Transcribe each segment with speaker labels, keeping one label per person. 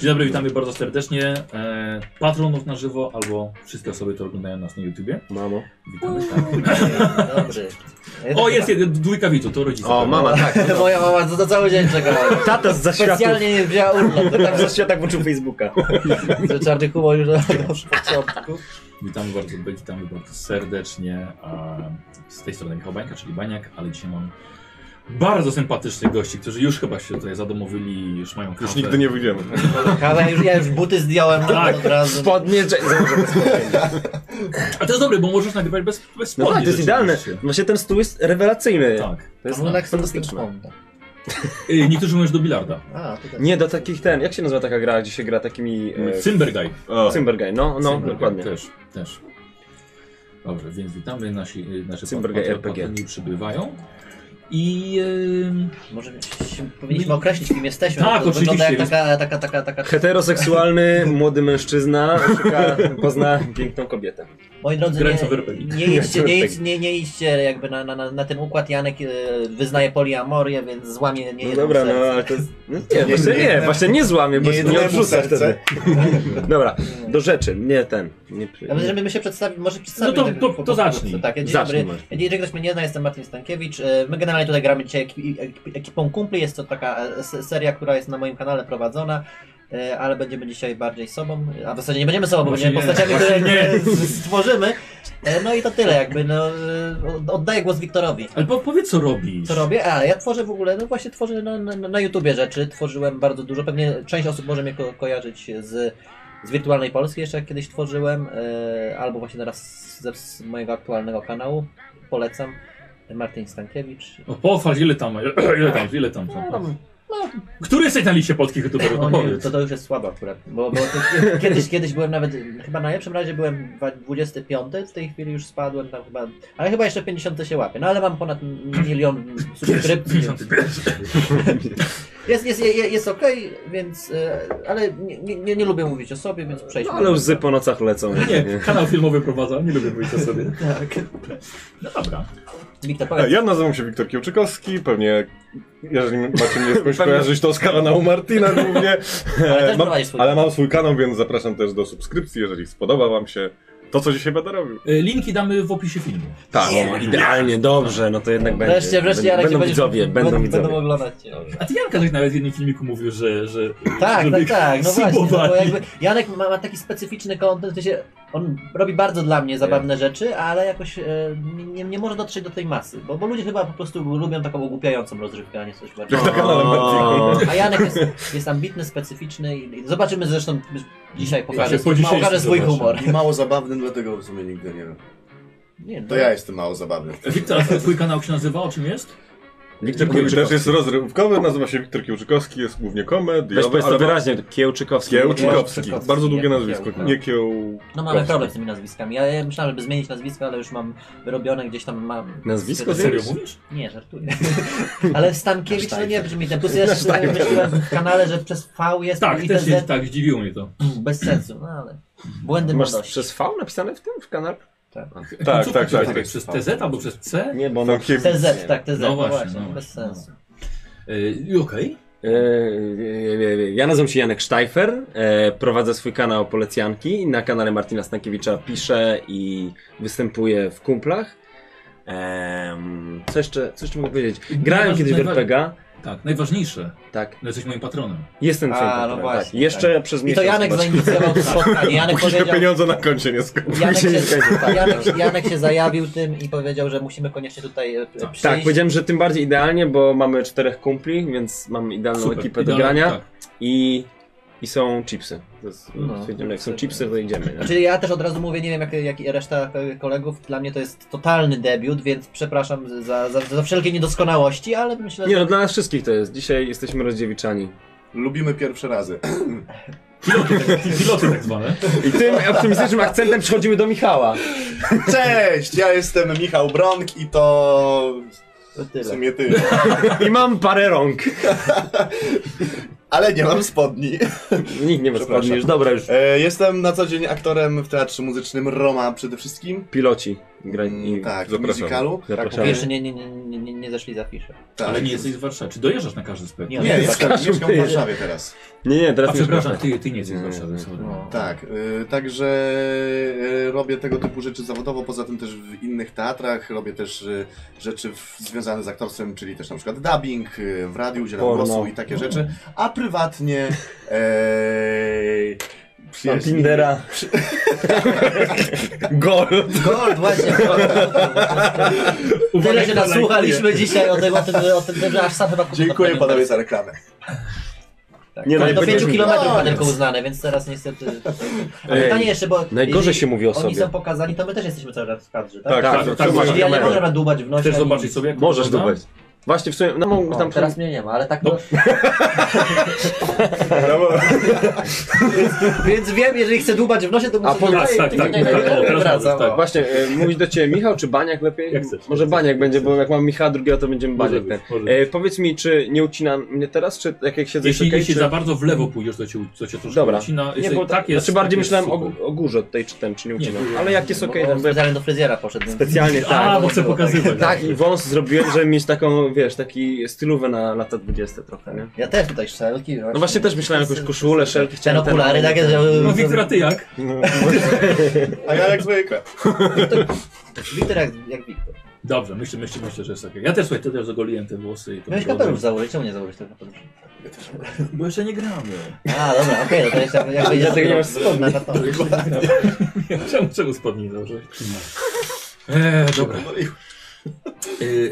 Speaker 1: Dzień dobry, witamy bardzo serdecznie. E, patronów na żywo albo wszystkie osoby, które oglądają nas na YouTubie.
Speaker 2: Mamo.
Speaker 1: Witamy. Tak.
Speaker 3: Dobry.
Speaker 1: O, jest jeden, dwójka widzów, to rodzice.
Speaker 2: O, mama, tak.
Speaker 3: Moja mama to, to cały dzień czekała.
Speaker 2: Tata z zaświatów.
Speaker 3: Specjalnie nie wzięła urlopu.
Speaker 2: Tata z zaświatach włączył Facebooka.
Speaker 3: Tam czarny humor już na początku.
Speaker 1: Witamy bardzo, witamy bardzo serdecznie. A z tej strony Michał Bańka, czyli Baniak, ale dzisiaj mam bardzo sympatycznych gości, którzy już chyba się tutaj zadomowili, już mają kawę.
Speaker 4: Już nigdy nie wyjdziemy.
Speaker 3: Kawa, już, ja już buty zdjąłem
Speaker 1: Tak.
Speaker 3: od razu.
Speaker 2: Spodnie, że- założę
Speaker 4: No
Speaker 2: spodnie.
Speaker 1: A to jest dobre, bo możesz nagrywać bez, bez
Speaker 2: No
Speaker 1: spodni
Speaker 2: tak, to jest idealne.
Speaker 1: rzeczywiście.
Speaker 2: Właśnie ten stół jest rewelacyjny.
Speaker 1: Tak.
Speaker 2: To jest
Speaker 3: Wygląda jak
Speaker 2: fantastyczne.
Speaker 3: ping-pong.
Speaker 1: Y, Niektórzy mówią, że do bilarda.
Speaker 3: A, tak. tutaj.
Speaker 2: Nie, do takich ten, jak się nazywa taka gra, gdzie się gra takimi... E,
Speaker 1: Cymbergaj.
Speaker 4: O,
Speaker 2: Cymbergaj, no, no,
Speaker 3: Cymbergaj,
Speaker 2: dokładnie.
Speaker 1: tak, Też, też. Dobrze, więc witamy, nasi, y, nasze
Speaker 2: Cymbergaj
Speaker 1: patro-
Speaker 2: RPG.
Speaker 1: patroni przybywają. I y, em,
Speaker 3: Może się, powinniśmy określić, kim jesteśmy.
Speaker 1: Tak,
Speaker 3: bo to Wygląda jak
Speaker 1: oczywiście,
Speaker 3: taka, taka, taka, taka...
Speaker 2: Heteroseksualny, młody mężczyzna szuka, pozna piękną kobietę.
Speaker 3: Moi drodzy,
Speaker 1: Grając
Speaker 3: nie,
Speaker 1: w RPG.
Speaker 3: nie, idźcie, nie, idź, nie, nie idźcie jakby na, na, na, na ten układ. Janek e, wyznaje poliamorię, więc złamie nie
Speaker 2: No
Speaker 3: jedno
Speaker 2: dobra, no
Speaker 3: serce.
Speaker 2: ale to... No, nie, właśnie nie, właśnie nie złamie, bo
Speaker 4: Nie
Speaker 2: nie,
Speaker 4: jednemu
Speaker 2: odrzuca
Speaker 4: serce.
Speaker 2: wtedy. Dobra, do rzeczy, nie ten. Nie, przy-
Speaker 3: Ja myślę, żeby my się przedstawić, może przedstawić.
Speaker 1: No to-
Speaker 3: tak
Speaker 1: to-
Speaker 3: po- po-
Speaker 1: to zacznij.
Speaker 3: Tak, ja dzień
Speaker 2: Zacznij
Speaker 3: dobry.
Speaker 2: może.
Speaker 3: Ja dzień, jeżeli ktoś mnie nie zna, jestem Martin Stankiewicz. E, My generalnie tutaj gramy dzisiaj ekip- ekip- ekipą kumpli. Jest to taka e, s- seria, która jest na moim kanale prowadzona. e, Ale będziemy dzisiaj bardziej sobą, a w zasadzie nie będziemy sobą, bo
Speaker 1: Właśnie
Speaker 3: będziemy
Speaker 1: nie,
Speaker 3: postaciami,
Speaker 1: właśnie
Speaker 3: które które stworzymy. E, No i to tyle jakby, no, e, oddaję głos Wiktorowi.
Speaker 1: Ale po, powiedz, co robisz.
Speaker 3: Co robię? A, ja tworzę w ogóle, no właśnie tworzę na, na, na YouTubie rzeczy, tworzyłem bardzo dużo, pewnie część osób może mnie ko kojarzyć z, z Wirtualnej Polski, jeszcze jak kiedyś tworzyłem, e, albo właśnie teraz ze z mojego aktualnego kanału, polecam, Martin Stankiewicz.
Speaker 1: No pochwal, ile tam, ile tam, ile tam.
Speaker 3: No,
Speaker 1: tam.
Speaker 3: no,
Speaker 1: Który jesteś na liście polskich youtuberów? No
Speaker 3: no, nie,
Speaker 1: powiedz.
Speaker 3: to, to już jest słabo akurat, bo, bo to, kiedyś, kiedyś byłem nawet, chyba na najlepszym razie byłem dwa- 25, w tej chwili już spadłem tam chyba, ale chyba jeszcze 50 się łapie, no ale mam ponad milion subskrypcji. Jest, jest, je- jest okej, więc. e, Ale nie, nie- nie, nie lubię mówić o sobie, więc przejdźmy.
Speaker 2: No, ale łzy po nocach lecą.
Speaker 1: Nie, kanał filmowy prowadza, nie lubię mówić o sobie.
Speaker 3: Tak.
Speaker 1: No dobra.
Speaker 3: Wiktor,
Speaker 4: E,
Speaker 3: powiedz.
Speaker 4: Ja nazywam się Wiktor Kiełczykowski, pewnie jeżeli macie mnie skądś
Speaker 2: Pewnie.
Speaker 4: kojarzyć, to z kanału Martina głównie.
Speaker 3: Ale
Speaker 4: E,
Speaker 3: też
Speaker 4: mam,
Speaker 3: prowadzisz swój.
Speaker 4: ale mam swój kanał, więc zapraszam też do subskrypcji, jeżeli spodoba wam się to, co dzisiaj będę robił.
Speaker 1: Y, Linki damy w opisie filmu.
Speaker 2: Tak,
Speaker 3: Nie.
Speaker 2: idealnie, dobrze, no to jednak będzie.
Speaker 3: Wreszcie, wreszcie,
Speaker 2: Będą,
Speaker 3: Jarek się
Speaker 2: będą
Speaker 3: będziesz-
Speaker 2: widzowie, będą, widzowie.
Speaker 3: Będą oglądać cię.
Speaker 1: A ty Janka coś nawet w jednym filmiku mówił, że... że
Speaker 3: Tak,
Speaker 1: żeby
Speaker 3: tak, tak. No właśnie, no
Speaker 1: subowali.
Speaker 3: bo jakby Janek ma, ma taki specyficzny kontent, w sensie on robi bardzo dla mnie zabawne rzeczy, ale jakoś e, nie- nie, nie może dotrzeć do tej masy, bo, bo ludzie chyba po prostu lubią taką ogłupiającą rozrywkę, a nie coś bardziej.
Speaker 2: Tak.
Speaker 4: Na kanale Martina.
Speaker 3: A Janek jest, jest ambitny, specyficzny i i zobaczymy zresztą dzisiaj pokaże,
Speaker 1: po dzisiejszym
Speaker 3: pokaże swój
Speaker 1: zobaczę.
Speaker 3: humor.
Speaker 5: I mało zabawny, dlatego w sumie nigdy nie wiem.
Speaker 3: Nie, no.
Speaker 5: To ja jestem mało zabawny.
Speaker 1: Wiktor, a twój kanał się nazywa? O czym jest?
Speaker 2: Wiktor
Speaker 4: Mój też
Speaker 2: Kiełczykowski.
Speaker 4: jest rozrywkowy, nazywa się Wiktor Kiełczykowski, jest głównie
Speaker 2: Weź
Speaker 4: komediowy,
Speaker 2: powiedz to
Speaker 4: ale ma-
Speaker 2: wyraźnie, Kiełczykowski.
Speaker 4: Kiełczykowski.
Speaker 3: Kiełczykowski,
Speaker 4: Bardzo
Speaker 3: nie
Speaker 4: długie nazwisko,
Speaker 3: Kieł, tak.
Speaker 4: nie Kieł...
Speaker 3: No mamy problem z tymi nazwiskami. Ja, ja myślałem, żeby zmienić nazwisko, ale już mam wyrobione gdzieś tam mam.
Speaker 2: Nazwisko
Speaker 3: Serio?
Speaker 1: Serio
Speaker 2: zmienisz?
Speaker 1: mówisz?
Speaker 3: Nie, żartuję. Ale Stankiewicz to nie brzmi ten. Plus ja jeszcze myślałem w kanale, że przez V jest
Speaker 1: Tak,
Speaker 3: i ten
Speaker 1: też
Speaker 3: Z
Speaker 1: jest, tak, zdziwiło mnie to.
Speaker 3: bez sensu, no ale. Błędy
Speaker 2: Masz
Speaker 3: młodości.
Speaker 2: przez V napisane w tym, w kanale?
Speaker 4: Tak,
Speaker 1: No Co
Speaker 4: tak,
Speaker 1: to
Speaker 4: tak.
Speaker 1: jest? Przez TZ albo przez C?
Speaker 2: Nie, bo
Speaker 4: Stankiewicz.
Speaker 3: TZ, tak, TZ,
Speaker 1: No
Speaker 3: no
Speaker 1: właśnie,
Speaker 3: właśnie,
Speaker 1: no właśnie,
Speaker 3: bez sensu.
Speaker 1: Y, i Okej.
Speaker 2: E, e, e, Ja nazywam się Janek Sztajfer, e, prowadzę swój kanał Polecianki, na kanale Martina Stankiewicza piszę i występuję w kumplach. Em, Co jeszcze, co jeszcze mogę powiedzieć? Grałem
Speaker 1: Najważ-
Speaker 2: kiedyś w
Speaker 1: najwa-
Speaker 2: RPG,
Speaker 1: Tak, najważniejsze.
Speaker 2: tak.
Speaker 1: No jesteś moim patronem.
Speaker 2: Jestem
Speaker 3: A,
Speaker 2: twoim
Speaker 3: no
Speaker 2: patronem, tak.
Speaker 3: właśnie,
Speaker 2: Jeszcze przez
Speaker 3: I to
Speaker 2: miesiąc
Speaker 3: Janek
Speaker 2: chyba.
Speaker 3: zainicjował to spotkanie. Janek
Speaker 4: Póki się
Speaker 3: powiedział.
Speaker 4: pieniądze na koncie nie skończą.
Speaker 3: Janek się,
Speaker 2: Później nie
Speaker 3: tak, Janek, Janek się zajawił tym i powiedział, że musimy koniecznie tutaj e, przyjść.
Speaker 2: Tak, powiedziałem, że tym bardziej idealnie, bo mamy czterech kumpli, więc mamy idealną ekipę do
Speaker 1: idealnie,
Speaker 2: grania
Speaker 1: tak.
Speaker 2: i, i są chipsy. To jest,
Speaker 3: No.
Speaker 2: stwierdziłem, jak są chipsy, to idziemy. Nie?
Speaker 3: Znaczy ja też od razu mówię, nie wiem jak, jak i reszta e, kolegów, dla mnie to jest totalny debiut, więc przepraszam za, za, za wszelkie niedoskonałości, ale myślę,
Speaker 2: Nie
Speaker 3: że...
Speaker 2: no, dla nas wszystkich to jest. Dzisiaj jesteśmy rozdziewiczani.
Speaker 5: Lubimy pierwsze razy.
Speaker 1: Piloty, tak, piloty tak zwane.
Speaker 2: I tym optymistycznym akcentem przechodzimy do Michała.
Speaker 5: Cześć! Ja jestem Michał Bronk i to...
Speaker 3: To
Speaker 5: w
Speaker 3: tyle.
Speaker 5: sumie tyle.
Speaker 2: I mam parę rąk.
Speaker 5: Ale nie mam spodni.
Speaker 2: Nikt nie ma
Speaker 5: Przepraszam.
Speaker 2: spadnie już. Dobra, już
Speaker 5: E, Jestem na co dzień aktorem w teatrze muzycznym Roma przede wszystkim.
Speaker 2: piloci. Gra... I...
Speaker 5: tak, w
Speaker 4: zapraszamy.
Speaker 5: musicalu.
Speaker 2: Zapraszamy.
Speaker 3: Jeszcze nie, nie, nie, nie, nie, nie zeszli za fiszę.
Speaker 5: Tak.
Speaker 1: Ale nie jesteś z Warszawy. Czy dojeżdżasz na każdy spektakl?
Speaker 5: Nie,
Speaker 3: Nie,
Speaker 5: nie, tak,
Speaker 2: zapraszam.
Speaker 5: mieszkam w Warszawie teraz.
Speaker 2: Nie, nie, teraz
Speaker 1: A
Speaker 2: nie
Speaker 1: przepraszam,
Speaker 2: zapraszam.
Speaker 1: ty, ty nie jesteś z
Speaker 2: Nie,
Speaker 1: Warszawy,
Speaker 2: nie.
Speaker 1: sorry.
Speaker 3: No.
Speaker 5: Tak, y, także y, robię tego typu rzeczy zawodowo, poza tym też w innych teatrach robię też y, rzeczy w, związane z aktorstwem, czyli też na przykład dubbing, y, w radiu udzielam
Speaker 2: Porno.
Speaker 5: głosu i takie rzeczy, a prywatnie e,
Speaker 2: Mam Tindera. Gol.
Speaker 3: Gold, właśnie. Tyle się nasłuchaliśmy dzisiaj o tym, o tym, o tym że aż sam chyba...
Speaker 5: Dziękuję panowie za reklamę.
Speaker 3: Tak.
Speaker 2: Nie, no,
Speaker 3: Nie, do
Speaker 2: nie
Speaker 3: 5
Speaker 2: będziemy-
Speaker 3: kilometrów ma
Speaker 5: Koniec.
Speaker 3: tylko uznane, więc teraz niestety... A
Speaker 2: Ej,
Speaker 3: pytanie jeszcze, bo...
Speaker 2: Najgorzej się mówi o
Speaker 3: Oni są
Speaker 2: sobie.
Speaker 3: pokazani, to my też jesteśmy cały czas w kadrze, tak?
Speaker 4: Tak, tak,
Speaker 2: tak,
Speaker 4: tak.
Speaker 2: tak,
Speaker 4: tak,
Speaker 3: Czyli ja nie
Speaker 2: kamerę.
Speaker 3: mogę nam dubać w nosie.
Speaker 1: Chcesz
Speaker 3: ani
Speaker 1: zobaczyć
Speaker 3: nic.
Speaker 1: sobie? jak
Speaker 2: Możesz
Speaker 1: wygląda?
Speaker 2: dupać. Właśnie w sumie, no mam
Speaker 3: O,
Speaker 2: tam...
Speaker 3: teraz mnie nie ma, ale tak...
Speaker 1: No.
Speaker 3: No. Więc wiem, jeżeli chcę dubać w nosie, to muszę...
Speaker 2: A powiedz,
Speaker 3: dubać.
Speaker 1: tak,
Speaker 3: Ej,
Speaker 1: tak,
Speaker 3: nie, nie,
Speaker 1: tak,
Speaker 3: nie,
Speaker 1: teraz możesz,
Speaker 3: wracam.
Speaker 1: tak.
Speaker 2: Właśnie, e, mówić do ciebie Michał czy Baniak lepiej?
Speaker 1: Jak chcesz.
Speaker 2: Może Baniak będzie, bo jak mam Michała drugiego, to będziemy
Speaker 1: Może
Speaker 2: Baniak
Speaker 1: być,
Speaker 2: ten.
Speaker 1: może być.
Speaker 2: E, powiedz mi, czy nie ucina mnie teraz, czy tak jak, jak siedzę
Speaker 1: Jeśli,
Speaker 2: jest okej,
Speaker 1: jeśli
Speaker 2: czy...
Speaker 1: za bardzo w lewo pójdziesz, to cię, u- to cię troszkę
Speaker 2: Dobra.
Speaker 1: ucina.
Speaker 2: Nie,
Speaker 1: Jeśli-
Speaker 2: bo tak jest. Znaczy bardziej myślałem o, o górze tutaj, czy ten, czy nie ucina.
Speaker 1: tu-
Speaker 2: Ale jak jest okej,
Speaker 3: Bo
Speaker 2: okay,
Speaker 3: Specjalnie do fryzjera poszedł. więc-
Speaker 2: specjalnie tak.
Speaker 1: A, bo chcę pokazywać.
Speaker 2: Tak, i wąs zrobiłem, żeby mieć taką, wiesz, taki stylówę na lata 20 trochę, nie?
Speaker 3: Ja też tutaj szelki.
Speaker 2: No właśnie też myślałem jakąś koszulę, szelki,
Speaker 3: Ten
Speaker 2: chciałem
Speaker 3: okulary takie, że...
Speaker 1: No Wiktor, a ty jak?
Speaker 5: A ja jak zwykle.
Speaker 3: Wiktor jak, jak Wiktor.
Speaker 1: Dobrze, myślę, myślę, myślę, że jest okej. Ja też słuchaj, ty też zagoliłem te włosy i to
Speaker 3: Miałeś kapelusz założyć, czemu nie założyć tego kapelusza?
Speaker 1: Bo jeszcze nie gramy.
Speaker 3: A, dobra, okej, no to jeszcze jakby... jakby
Speaker 2: Dlatego nie masz spodni.
Speaker 3: na- na to.
Speaker 1: Czemu, czemu spodni założyłeś? Eee, dobra.
Speaker 5: No i
Speaker 1: E,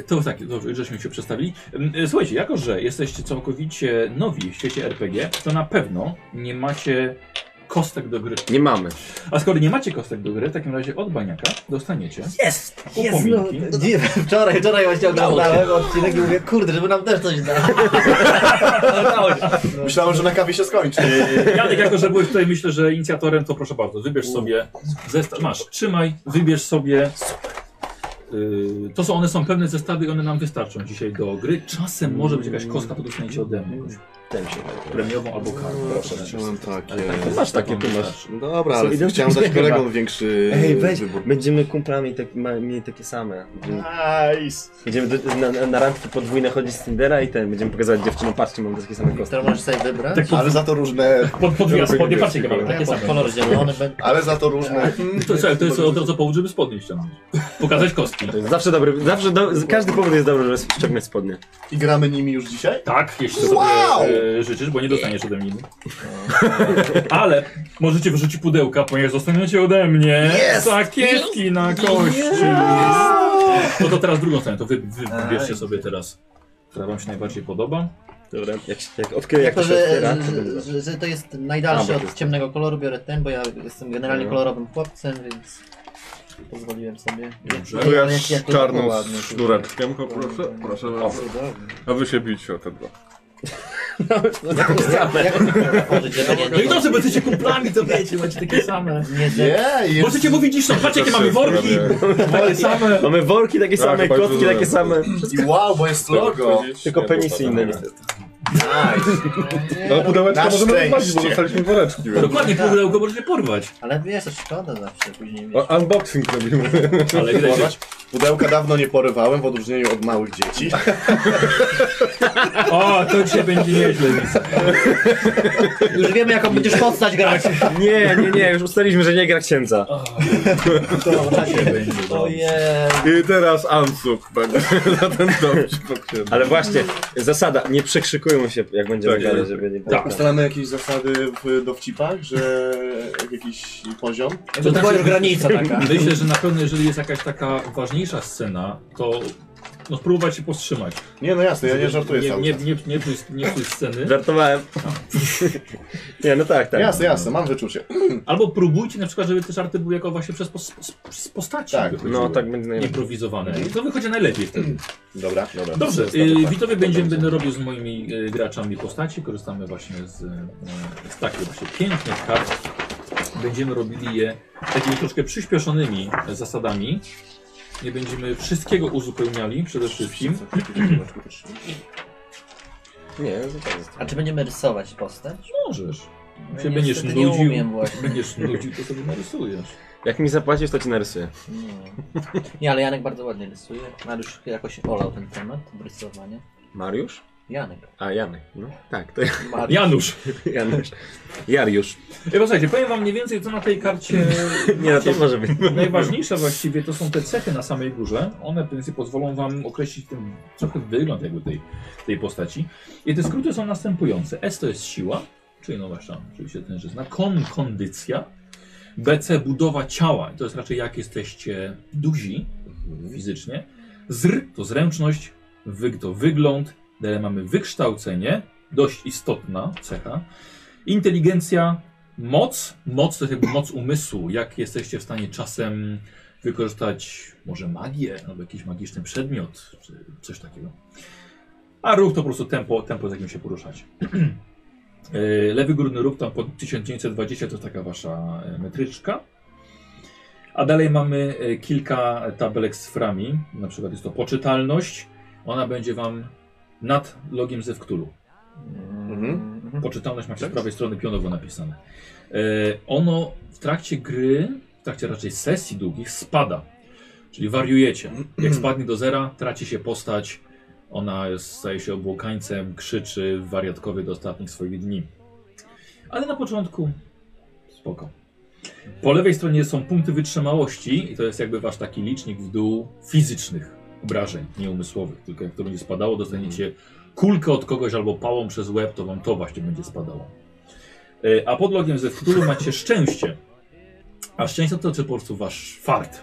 Speaker 1: To tak, dobrze, żeśmy się przestawili. Em, e, Słuchajcie, jako że jesteście całkowicie nowi w świecie RPG, to na pewno nie macie kostek do gry.
Speaker 2: Nie mamy.
Speaker 1: A skoro nie macie kostek do gry, w takim razie od baniaka dostaniecie.
Speaker 3: Jest! Jest! No,
Speaker 1: Upominki.
Speaker 3: nie, wczoraj, wczoraj właśnie oglądałem odcinek i mówię, kurde, żeby nam też coś dało.
Speaker 5: Myślałem, że na kawie się skończy.
Speaker 1: E, Janek, jako że byłeś tutaj, myślę, że inicjatorem, to proszę bardzo, wybierz sobie zestaw. Masz, trzymaj, wybierz sobie. Y, To są, one są pewne zestawy i one nam wystarczą dzisiaj do gry. Czasem może być jakaś kostka, to dostaniecie ode mnie. jakąś
Speaker 5: tak
Speaker 1: Premiową albo kartę.
Speaker 5: No, Chciałem takie.
Speaker 1: Ale tak, to
Speaker 2: Masz
Speaker 1: tak
Speaker 2: takie,
Speaker 1: wam
Speaker 2: ty masz.
Speaker 1: wystarczy.
Speaker 5: Dobra,
Speaker 2: Są
Speaker 5: ale chciałem
Speaker 2: identyczne
Speaker 5: dać kolegom
Speaker 2: chyba.
Speaker 5: większy
Speaker 2: Ej, weź,
Speaker 5: wybór.
Speaker 2: będziemy kumplami tak, ma- mieli takie same. Będziemy-
Speaker 5: Nice.
Speaker 2: Będziemy do, na, na- na randki podwójne chodzić z Tindera i ten, będziemy pokazywać dziewczynom, patrzcie, mam takie same kostki.
Speaker 3: To możesz sobie wybrać.
Speaker 1: Tak,
Speaker 5: Ale za to różne
Speaker 1: Pod, pod dwie spodnie, patrzcie, mamy
Speaker 2: Tak
Speaker 1: takie
Speaker 3: Pod
Speaker 1: same.
Speaker 3: kolor zielony będzie.
Speaker 5: Ale za to różne. Hmm,
Speaker 1: To, słuchaj, to jest od razu powód, żeby spodnie ściągnąć. Pokazać kostki.
Speaker 2: To jest zawsze dobry, zawsze do, z- każdy powód jest dobry, żeby ściągnąć spodnie.
Speaker 5: I gramy nimi już dzisiaj?
Speaker 1: Tak, jeśli sobie
Speaker 5: Wow!
Speaker 1: e, życzysz, bo nie dostaniesz ode mnie. E, Ale możecie wyrzucić pudełka, ponieważ dostaniecie ode mnie
Speaker 5: Yes!
Speaker 1: sakiewki na kości. No to teraz drugą stronę, to wy, wy, wybierzcie sobie teraz, która wam się najbardziej podoba.
Speaker 2: Dobra, jak, się- jak, odkry, jak
Speaker 3: To,
Speaker 2: to się
Speaker 3: że,
Speaker 2: otwiera, to
Speaker 3: że,
Speaker 2: będzie.
Speaker 3: że, że to jest
Speaker 2: A,
Speaker 3: najdalszy
Speaker 2: bo
Speaker 3: od
Speaker 2: to jest- No.
Speaker 3: ciemnego koloru, biorę ten, bo ja jestem generalnie kolorowym chłopcem, więc pozwoliłem sobie.
Speaker 1: Dobrze.
Speaker 3: Nie,
Speaker 4: To ja
Speaker 3: ale jak-
Speaker 4: z
Speaker 3: jak to
Speaker 4: czarną
Speaker 3: ładnie,
Speaker 4: z sznureczkiem, poproszę. Proszę bardzo.
Speaker 3: Cudownie.
Speaker 4: A wy się bijcie o te dwa.
Speaker 3: No Jak otworzyć, żeby nie-
Speaker 1: No i dobrze, bo jesteście kumplami, to wiecie, macie takie same.
Speaker 3: nie ze-
Speaker 5: Nie, jest.
Speaker 1: Możecie mówić niż są, patrzcie jakie mamy worki, takie same.
Speaker 2: Mamy worki takie
Speaker 4: Tak,
Speaker 2: same,
Speaker 4: bardzo
Speaker 2: kostki takie
Speaker 4: dobre.
Speaker 2: same,
Speaker 5: I wow, bo jest logo.
Speaker 2: tylko penisy inne niestety.
Speaker 5: Nice.
Speaker 4: No pudełeczka
Speaker 5: Na
Speaker 4: możemy
Speaker 5: szczęście.
Speaker 4: wypaść, bo dostaliśmy woreczki. więc-
Speaker 1: Dokładnie, pudełko możecie porwać.
Speaker 3: Ale wiesz, to szkoda zawsze później mieć.
Speaker 4: O, No, Unboxing robimy.
Speaker 1: Ale widać, że...
Speaker 5: Pudełka dawno nie porywałem w odróżnieniu od małych dzieci.
Speaker 1: O, to dzisiaj będzie nieźle, Lisa.
Speaker 3: Już wiemy jaką będziesz postać grać.
Speaker 2: Nie, nie, nie, już ustaliliśmy, że nie gra księdza.
Speaker 1: To dzisiaj będzie
Speaker 2: No.
Speaker 1: dobrze.
Speaker 3: Ojej.
Speaker 4: I teraz Ansuk będzie za ten dom się podpięty.
Speaker 2: Ale właśnie, zasada, nie przekrzykują się jak będziemy
Speaker 4: Tak,
Speaker 2: grali,
Speaker 4: tak.
Speaker 2: żeby nie było.
Speaker 1: Tak.
Speaker 5: Ustalamy jakieś zasady w dowcipach, że jakiś poziom.
Speaker 3: To była już granica taka.
Speaker 1: tak Myślę, że na pewno jeżeli jest jakaś taka ważniejsza scena, to no, spróbować się powstrzymać.
Speaker 5: Nie, no jasne, ja nie żartuję
Speaker 1: nie,
Speaker 5: cały
Speaker 1: nie,
Speaker 5: czas.
Speaker 1: nie, nie, psuj- nie psuj sceny.
Speaker 2: Żartowałem. Nie, no tak, tak.
Speaker 5: Jasne, jasne, mam wyczucie.
Speaker 1: Albo próbujcie na przykład, żeby te żarty były jako właśnie przez pos, z- z postaci
Speaker 5: Tak,
Speaker 1: wychodziły.
Speaker 2: No tak będzie najlepiej.
Speaker 1: Improwizowane. I to wychodzi najlepiej wtedy.
Speaker 5: Dobra, dobra.
Speaker 1: Dobrze,
Speaker 5: Zostawię
Speaker 1: yy,
Speaker 5: tak.
Speaker 1: witowie będziemy, będę robił z moimi y, graczami postaci. Korzystamy właśnie z, y, z takich właśnie pięknych kart. Będziemy robili je takimi troszkę przyspieszonymi zasadami. Nie będziemy wszystkiego uzupełniali przede wszystkim.
Speaker 2: Nie, zupełnie. no tak
Speaker 3: A czy będziemy rysować postać?
Speaker 1: Możesz.
Speaker 3: No
Speaker 1: się
Speaker 3: niestety
Speaker 1: będziesz
Speaker 3: nie
Speaker 1: nudził.
Speaker 3: umiem właśnie.
Speaker 1: Będziesz nudził, to sobie narysujesz.
Speaker 2: Jak mi zapłacisz, to ci narysuję.
Speaker 3: No. Nie, ale Janek bardzo ładnie rysuje. Mariusz jakoś olał ten temat rysowania.
Speaker 2: Mariusz?
Speaker 3: Janek.
Speaker 2: A, Janek. No tak, to
Speaker 3: Mariusz.
Speaker 1: Janusz!
Speaker 2: Janusz. Jariusz.
Speaker 1: Ej, Posłuchajcie, powiem wam mniej więcej co na tej karcie
Speaker 2: Nie, no to może być.
Speaker 1: Najważniejsze właściwie to są te cechy na samej górze. One więcej pozwolą wam określić ten trochę wygląd jakby tej, tej postaci. I te skróty są następujące. S to jest siła, czyli no właśnie oczywiście ten żyzna. Kon kondycja. BC budowa ciała. I to jest raczej jak jesteście duzi fizycznie. Zr to zręczność. Wyg to wygląd. Dalej mamy wykształcenie. Dość istotna cecha. Inteligencja Moc, moc to jest jakby moc umysłu. Jak jesteście w stanie czasem wykorzystać może magię albo jakiś magiczny przedmiot, czy coś takiego. A ruch to po prostu tempo, tempo z jakim się poruszacie. Yy, Lewy górny ruch tam pod 1920 to jest taka wasza e, metryczka. A dalej mamy e, kilka tabelek z frami. Na przykład jest to poczytalność. Ona będzie wam nad logiem ze Wktulu.
Speaker 3: Mhm. Mhm.
Speaker 1: Poczytalność macie z prawej strony pionowo napisane. E, ono w trakcie gry, w trakcie raczej sesji długich spada. Czyli wariujecie. Jak spadnie do zera, traci się postać. Ona jest- staje się obłokańcem, krzyczy wariatkowie do ostatnich swoich dni. Ale na początku spoko. Po lewej stronie są punkty wytrzymałości i to jest jakby wasz taki licznik w dół fizycznych obrażeń, nie umysłowych. Tylko jak to będzie spadało, dostaniecie
Speaker 5: Mhm.
Speaker 1: kulkę od kogoś albo pałą przez łeb, to wam to właśnie będzie spadało. E, A pod logiem ze Cthulhu macie szczęście. A szczęście to czy po prostu wasz fart.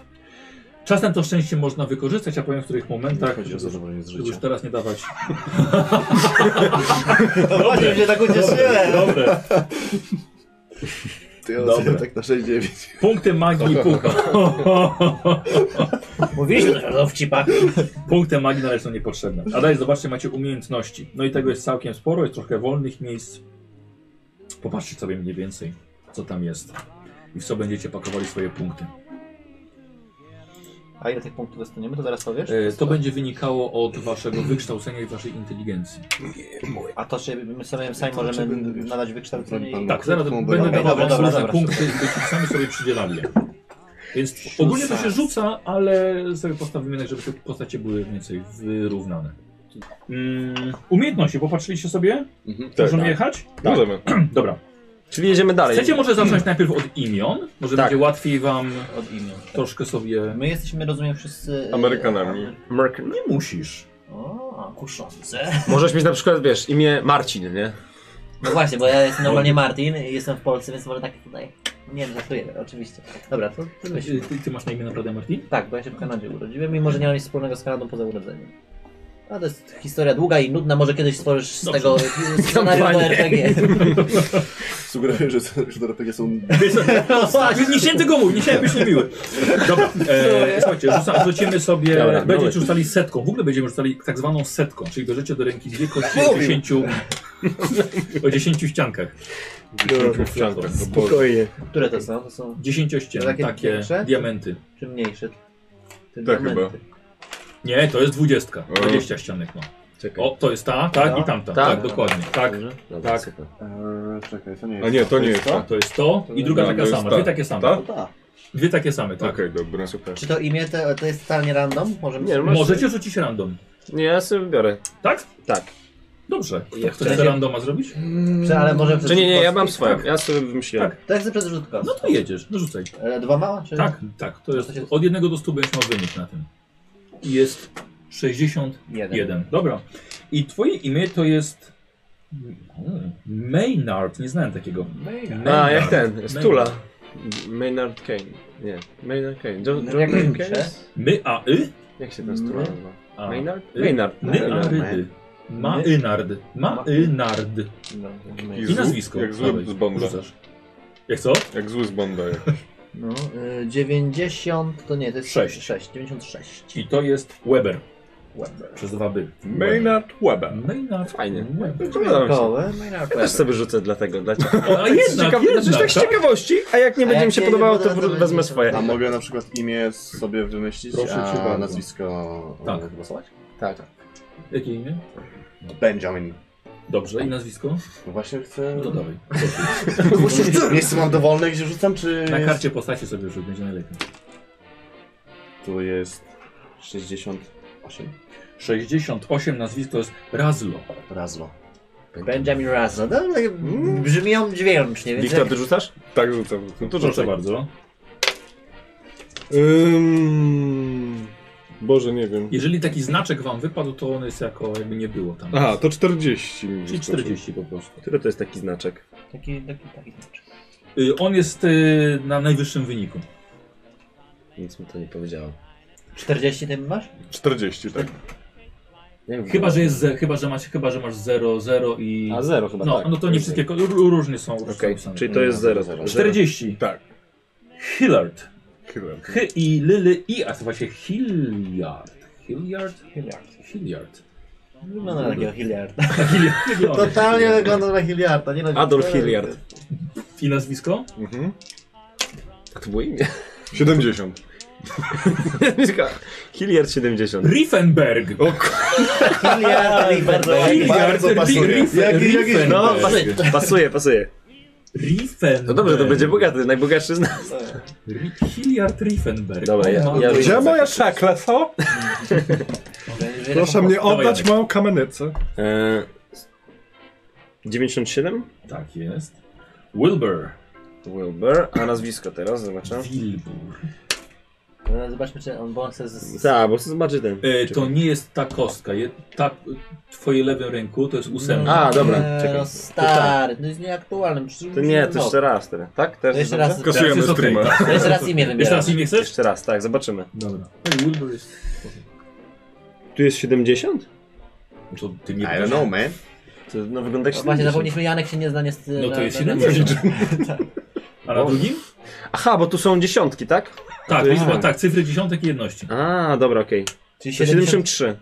Speaker 1: Czasem to szczęście można wykorzystać, a powiem w których momentach,
Speaker 5: chodzi o
Speaker 1: Tak, żeby-
Speaker 5: zadowolenie z
Speaker 1: żeby już
Speaker 5: życia.
Speaker 1: teraz nie dawać
Speaker 3: No właśnie, mnie tak ucieszyłem.
Speaker 1: Dobre.
Speaker 5: Ty
Speaker 1: Dobra.
Speaker 5: Dobra. tak na 6-9.
Speaker 1: Punkty magii i pucha.
Speaker 3: Mówiliśmy że o wcipach.
Speaker 1: Punkty magii należy są niepotrzebne. A dalej zobaczcie, macie umiejętności. No i tego jest całkiem sporo, jest trochę wolnych miejsc. Popatrzcie sobie mniej więcej, co tam jest. I w co będziecie pakowali swoje punkty.
Speaker 3: A ile tych punktów dostaniemy, to zaraz powiesz?
Speaker 1: E, To będzie wynikało od waszego wykształcenia i waszej inteligencji.
Speaker 3: A to, czy my sobie sami
Speaker 5: To
Speaker 3: możemy
Speaker 5: czy będę-
Speaker 3: nadać wykształcenie i...
Speaker 5: Pan-
Speaker 1: Tak, zaraz
Speaker 5: Krótką
Speaker 1: będę
Speaker 5: broń.
Speaker 1: dawał
Speaker 3: Dobra,
Speaker 1: wam
Speaker 3: dobra,
Speaker 1: różne
Speaker 3: dobra.
Speaker 1: punkty, byście sami sobie przydzielali je. Więc ogólnie to się rzuca, ale sobie postawimy tak, żeby te postacie były mniej więcej wyrównane. Mm, Umiejętności, popatrzyliście sobie?
Speaker 5: Mhm.
Speaker 4: Tak,
Speaker 1: Możemy
Speaker 4: tak.
Speaker 1: jechać?
Speaker 4: Możemy.
Speaker 1: Dobra.
Speaker 2: Czyli jedziemy dalej.
Speaker 1: Chcecie może zacząć najpierw od imion? Może
Speaker 2: Tak.
Speaker 1: będzie łatwiej wam
Speaker 3: Od imion.
Speaker 1: troszkę sobie...
Speaker 3: My jesteśmy, rozumiem, wszyscy... e,
Speaker 4: Amerykanami.
Speaker 3: Amery-
Speaker 2: Merk...
Speaker 1: Nie musisz.
Speaker 3: O, kuszące.
Speaker 2: Możesz mieć na przykład, wiesz, imię Marcin, nie?
Speaker 3: No właśnie, bo ja jestem normalnie Martin i jestem w Polsce, więc może tak tutaj... Nie wiem, żartuję, oczywiście. Dobra, to ty myśl.
Speaker 1: Ty, ty masz na imię naprawdę Martin?
Speaker 3: Tak, bo ja się w Kanadzie urodziłem, mimo że nie mam nic wspólnego z Kanadą poza urodzeniem. A to jest historia długa i nudna, może kiedyś stworzysz z
Speaker 1: Dobrze.
Speaker 3: tego scenariusz do RPG.
Speaker 5: Sugeruję, że, że do RPG są
Speaker 3: No
Speaker 1: Tak. Nie chciałem tego mówić, nie chciałem być niemiły. Dobra,
Speaker 4: No.
Speaker 1: e, słuchajcie, rzuca, rzucimy sobie,
Speaker 2: Dobra,
Speaker 1: będziecie
Speaker 2: dawaj.
Speaker 1: rzucali setką, w ogóle będziemy rzucali tak zwaną setką, czyli bierzecie do ręki dwie kości o
Speaker 5: Mówił.
Speaker 1: 10, o 10 ściankach.
Speaker 4: Wciąż tak, bo-
Speaker 2: Spokojnie.
Speaker 3: Które to są? To są
Speaker 1: 10 ścian,
Speaker 3: Takie
Speaker 1: takie,
Speaker 3: większe?
Speaker 1: diamenty.
Speaker 3: czy mniejsze? Te
Speaker 4: Tak,
Speaker 3: diamenty.
Speaker 1: Nie, to jest 20,
Speaker 4: O.
Speaker 1: 20 ścianek ma.
Speaker 2: Czekaj.
Speaker 1: O, to jest ta, tak
Speaker 3: Ta?
Speaker 1: i tamta,
Speaker 2: Ta?
Speaker 1: tak, dokładnie, tak.
Speaker 2: Dobrze? Dobra,
Speaker 1: Tak.
Speaker 2: super.
Speaker 5: Eee, czekaj, to nie jest.
Speaker 4: A nie, to nie jest.
Speaker 5: to?
Speaker 4: Tak?
Speaker 1: To jest to i druga
Speaker 4: Ta,
Speaker 1: taka
Speaker 4: to jest
Speaker 1: sama,
Speaker 4: ta.
Speaker 1: dwie takie same.
Speaker 4: Ta?
Speaker 5: Tak.
Speaker 1: Dwie takie same, tak.
Speaker 4: Okej, dobra. Super.
Speaker 3: Czy to imię to, to jest totalnie random? Możemy
Speaker 2: Nie,
Speaker 3: sobie-
Speaker 2: masz-
Speaker 1: Możecie rzucić random,
Speaker 2: Nie, ja sobie wybiorę.
Speaker 1: tak?
Speaker 2: Tak.
Speaker 1: Dobrze. To
Speaker 2: Ja
Speaker 1: Chcesz
Speaker 3: chcę-
Speaker 1: randoma zrobić?
Speaker 3: Czy, ale może
Speaker 2: Czy nie, nie, ja mam
Speaker 3: przez
Speaker 2: swoją. Ja sobie wymyśliłem.
Speaker 1: Tak.
Speaker 3: rzut kostki? To ja chcę przez rzut kostki.
Speaker 1: No to jedziesz, no rzucaj.
Speaker 3: E, Dwa mała? Czy...
Speaker 1: Tak, tak. To jest
Speaker 3: To znaczy- się-
Speaker 1: od 1 do 100 będziesz miał wynik na tym. I Jest 61.
Speaker 3: Jeden.
Speaker 1: Dobra. I twoje imię to jest mm, Maynard. Nie znałem takiego. Maynard.
Speaker 2: A, jak ten, Stula.
Speaker 1: Maynard.
Speaker 2: Maynard Kane. Nie, Maynard Kane. John,
Speaker 3: No,
Speaker 2: John
Speaker 3: jak
Speaker 2: Kane?
Speaker 3: pisze?
Speaker 2: jest?
Speaker 1: My a y?
Speaker 2: Jak się ten Stula
Speaker 3: My-
Speaker 2: nazywa? No.
Speaker 1: A.
Speaker 2: Maynard?
Speaker 1: Y.
Speaker 2: Maynard.
Speaker 1: My a
Speaker 2: Maynard.
Speaker 1: rydy. Ma ynard. Ma ynard.
Speaker 3: No,
Speaker 1: I
Speaker 4: Jezu,
Speaker 1: nazwisko.
Speaker 4: jak zły
Speaker 1: Dawaj,
Speaker 4: z Bonda.
Speaker 1: rzucasz. Jak co?
Speaker 4: Jak zły z Bonda. jak.
Speaker 3: no e, 90 to nie, to jest
Speaker 1: Sześć.
Speaker 3: 6 96.
Speaker 1: I to jest Weber.
Speaker 3: Weber.
Speaker 1: Przez dwa by.
Speaker 4: Maynard Weber.
Speaker 1: Maynard.
Speaker 2: Fajnie.
Speaker 1: Weber.
Speaker 2: Podoba mi się.
Speaker 3: Kołem, Maynard
Speaker 2: Też
Speaker 3: Weber.
Speaker 2: sobie rzucę dla tego, dla ciebie.
Speaker 1: O, a jednak,
Speaker 2: Ciekaw...
Speaker 1: jednak,
Speaker 2: znaczy, No tak z
Speaker 1: tak?
Speaker 2: ciekawości, a jak nie
Speaker 3: A
Speaker 2: będzie
Speaker 3: jak
Speaker 2: mi się
Speaker 3: nie
Speaker 2: podobało,
Speaker 3: będę,
Speaker 2: to
Speaker 3: to
Speaker 2: wr-
Speaker 3: będzie-
Speaker 2: wezmę swoje.
Speaker 5: A mogę na przykład imię sobie wymyślić,
Speaker 1: Proszę cię
Speaker 5: a
Speaker 1: bardzo.
Speaker 5: nazwisko
Speaker 1: Tak.
Speaker 5: e, głosować?
Speaker 2: Tak.
Speaker 1: Jakie imię?
Speaker 5: Benjamin.
Speaker 1: Dobrze, i nazwisko?
Speaker 5: No właśnie chcę...
Speaker 1: No dawaj.
Speaker 5: Miejsce mam dowolne, gdzie rzucam, czy...
Speaker 2: Mm.
Speaker 1: Na
Speaker 5: jest-
Speaker 1: karcie postaci sobie, żeby będzie najlepiej.
Speaker 5: Tu jest 68
Speaker 1: 68 nazwisko jest Razlo.
Speaker 5: razlo.
Speaker 3: Benjamin Russell. No, no, brzmią dźwięcznie, więc
Speaker 2: Wiktor, ty rzucasz?
Speaker 4: Tak rzucam. No to
Speaker 1: Proszę
Speaker 4: rzucaj.
Speaker 1: bardzo.
Speaker 4: Ym... Boże, nie wiem.
Speaker 1: Jeżeli taki znaczek wam wypadł, to on jest jako jakby nie było tam.
Speaker 4: Aha, to 40 mi
Speaker 1: Czyli
Speaker 4: wyskoczyło.
Speaker 1: 40 po prostu.
Speaker 2: Który to jest taki znaczek?
Speaker 3: taki, taki, taki znaczy.
Speaker 1: Y, On jest y, na najwyższym wyniku.
Speaker 2: Nic mi to nie powiedziało.
Speaker 3: 40 tym masz?
Speaker 4: 40, tak.
Speaker 2: Jak było?
Speaker 1: Chyba, że jest, ze- chyba, że masz, chyba, że masz 0, 0 i...
Speaker 2: A zero chyba,
Speaker 1: No,
Speaker 2: tak.
Speaker 1: no to nie wszystkie, ko- r- różnie są. różnie są
Speaker 2: Okej,
Speaker 1: napisane.
Speaker 2: czyli to jest zero.
Speaker 5: Zero.
Speaker 1: 40.
Speaker 4: Tak.
Speaker 1: Hillard.
Speaker 4: Chyba.
Speaker 1: Hy i Lily i, a to właśnie Hilliard. Hilliard?
Speaker 3: Hilliard.
Speaker 1: Hilliard.
Speaker 3: Wygląda na No, takiego Hilliarda.
Speaker 1: Hilliard.
Speaker 3: Totalnie wygląda na Hilliarda. Nie na
Speaker 2: Adolf Hilliard.
Speaker 1: I nazwisko?
Speaker 4: Mhm.
Speaker 2: A Tak to było imię.
Speaker 4: 70.
Speaker 2: Hilliard 70.
Speaker 1: Riefenberg.
Speaker 3: Hilliard,
Speaker 2: Tak,
Speaker 3: Hilliard.
Speaker 1: Hilliard
Speaker 5: bardzo pasuje.
Speaker 1: Riefen-
Speaker 5: Jaki- jakiś-
Speaker 2: No,
Speaker 1: Riefenberg.
Speaker 2: pasuje, pasuje, pasuje.
Speaker 1: Riefenberg.
Speaker 2: No dobrze, to będzie bogaty, najbogatszy z nas.
Speaker 1: Ri- Hilliard Riefenberg.
Speaker 2: Dobra,
Speaker 1: O
Speaker 2: ja-
Speaker 1: matko.
Speaker 2: ja rzucę.
Speaker 4: Gdzie moja szakla, co? Proszę mnie
Speaker 1: Dawaj,
Speaker 4: oddać
Speaker 1: Janek.
Speaker 4: moją kamienicę.
Speaker 2: E, 97?
Speaker 1: Tak jest. Wilbur.
Speaker 2: Wilbur, a nazwisko teraz, zobaczę.
Speaker 1: Wilbur.
Speaker 3: No, Zobaczmy, czy on, bo on chce z...
Speaker 2: Tak, bo zobaczy ten.
Speaker 1: E, to nie jest ta kostka. Je, ta, twoje lewym ręku to jest ósemka.
Speaker 2: A, dobra,
Speaker 3: Nie,
Speaker 2: czekaj.
Speaker 3: No stary, to jest nieaktualne. przecież
Speaker 2: To nie, to
Speaker 3: no.
Speaker 2: jeszcze raz teraz. Tak? Teraz
Speaker 3: To jeszcze
Speaker 2: dobrze?
Speaker 3: raz.
Speaker 1: Teraz
Speaker 4: Kasujemy
Speaker 1: jest okej,
Speaker 4: streama.
Speaker 1: tak.
Speaker 3: To Jeszcze raz imię
Speaker 1: Jeszcze
Speaker 3: wybieram.
Speaker 1: raz imię chcesz?
Speaker 2: Jeszcze raz, tak, zobaczymy.
Speaker 1: Dobra. Ej, No Wilbur jest...
Speaker 2: Tu jest 70?
Speaker 1: To ty
Speaker 5: I
Speaker 1: nie
Speaker 5: don't know, man.
Speaker 2: To, no wygląda jak
Speaker 3: No
Speaker 2: 70.
Speaker 3: właśnie, zapomnieliśmy, Janek się nie zna niestety.
Speaker 1: No
Speaker 3: na-
Speaker 1: to jest
Speaker 3: na- na-
Speaker 1: 70. A na drugim?
Speaker 2: Aha, bo tu są dziesiątki, tak?
Speaker 1: Tak,
Speaker 2: Aha.
Speaker 1: liczba, tak, cyfry dziesiątek i jedności.
Speaker 2: A, dobra, okej.
Speaker 3: Czyli
Speaker 2: To
Speaker 3: 70...
Speaker 2: 73.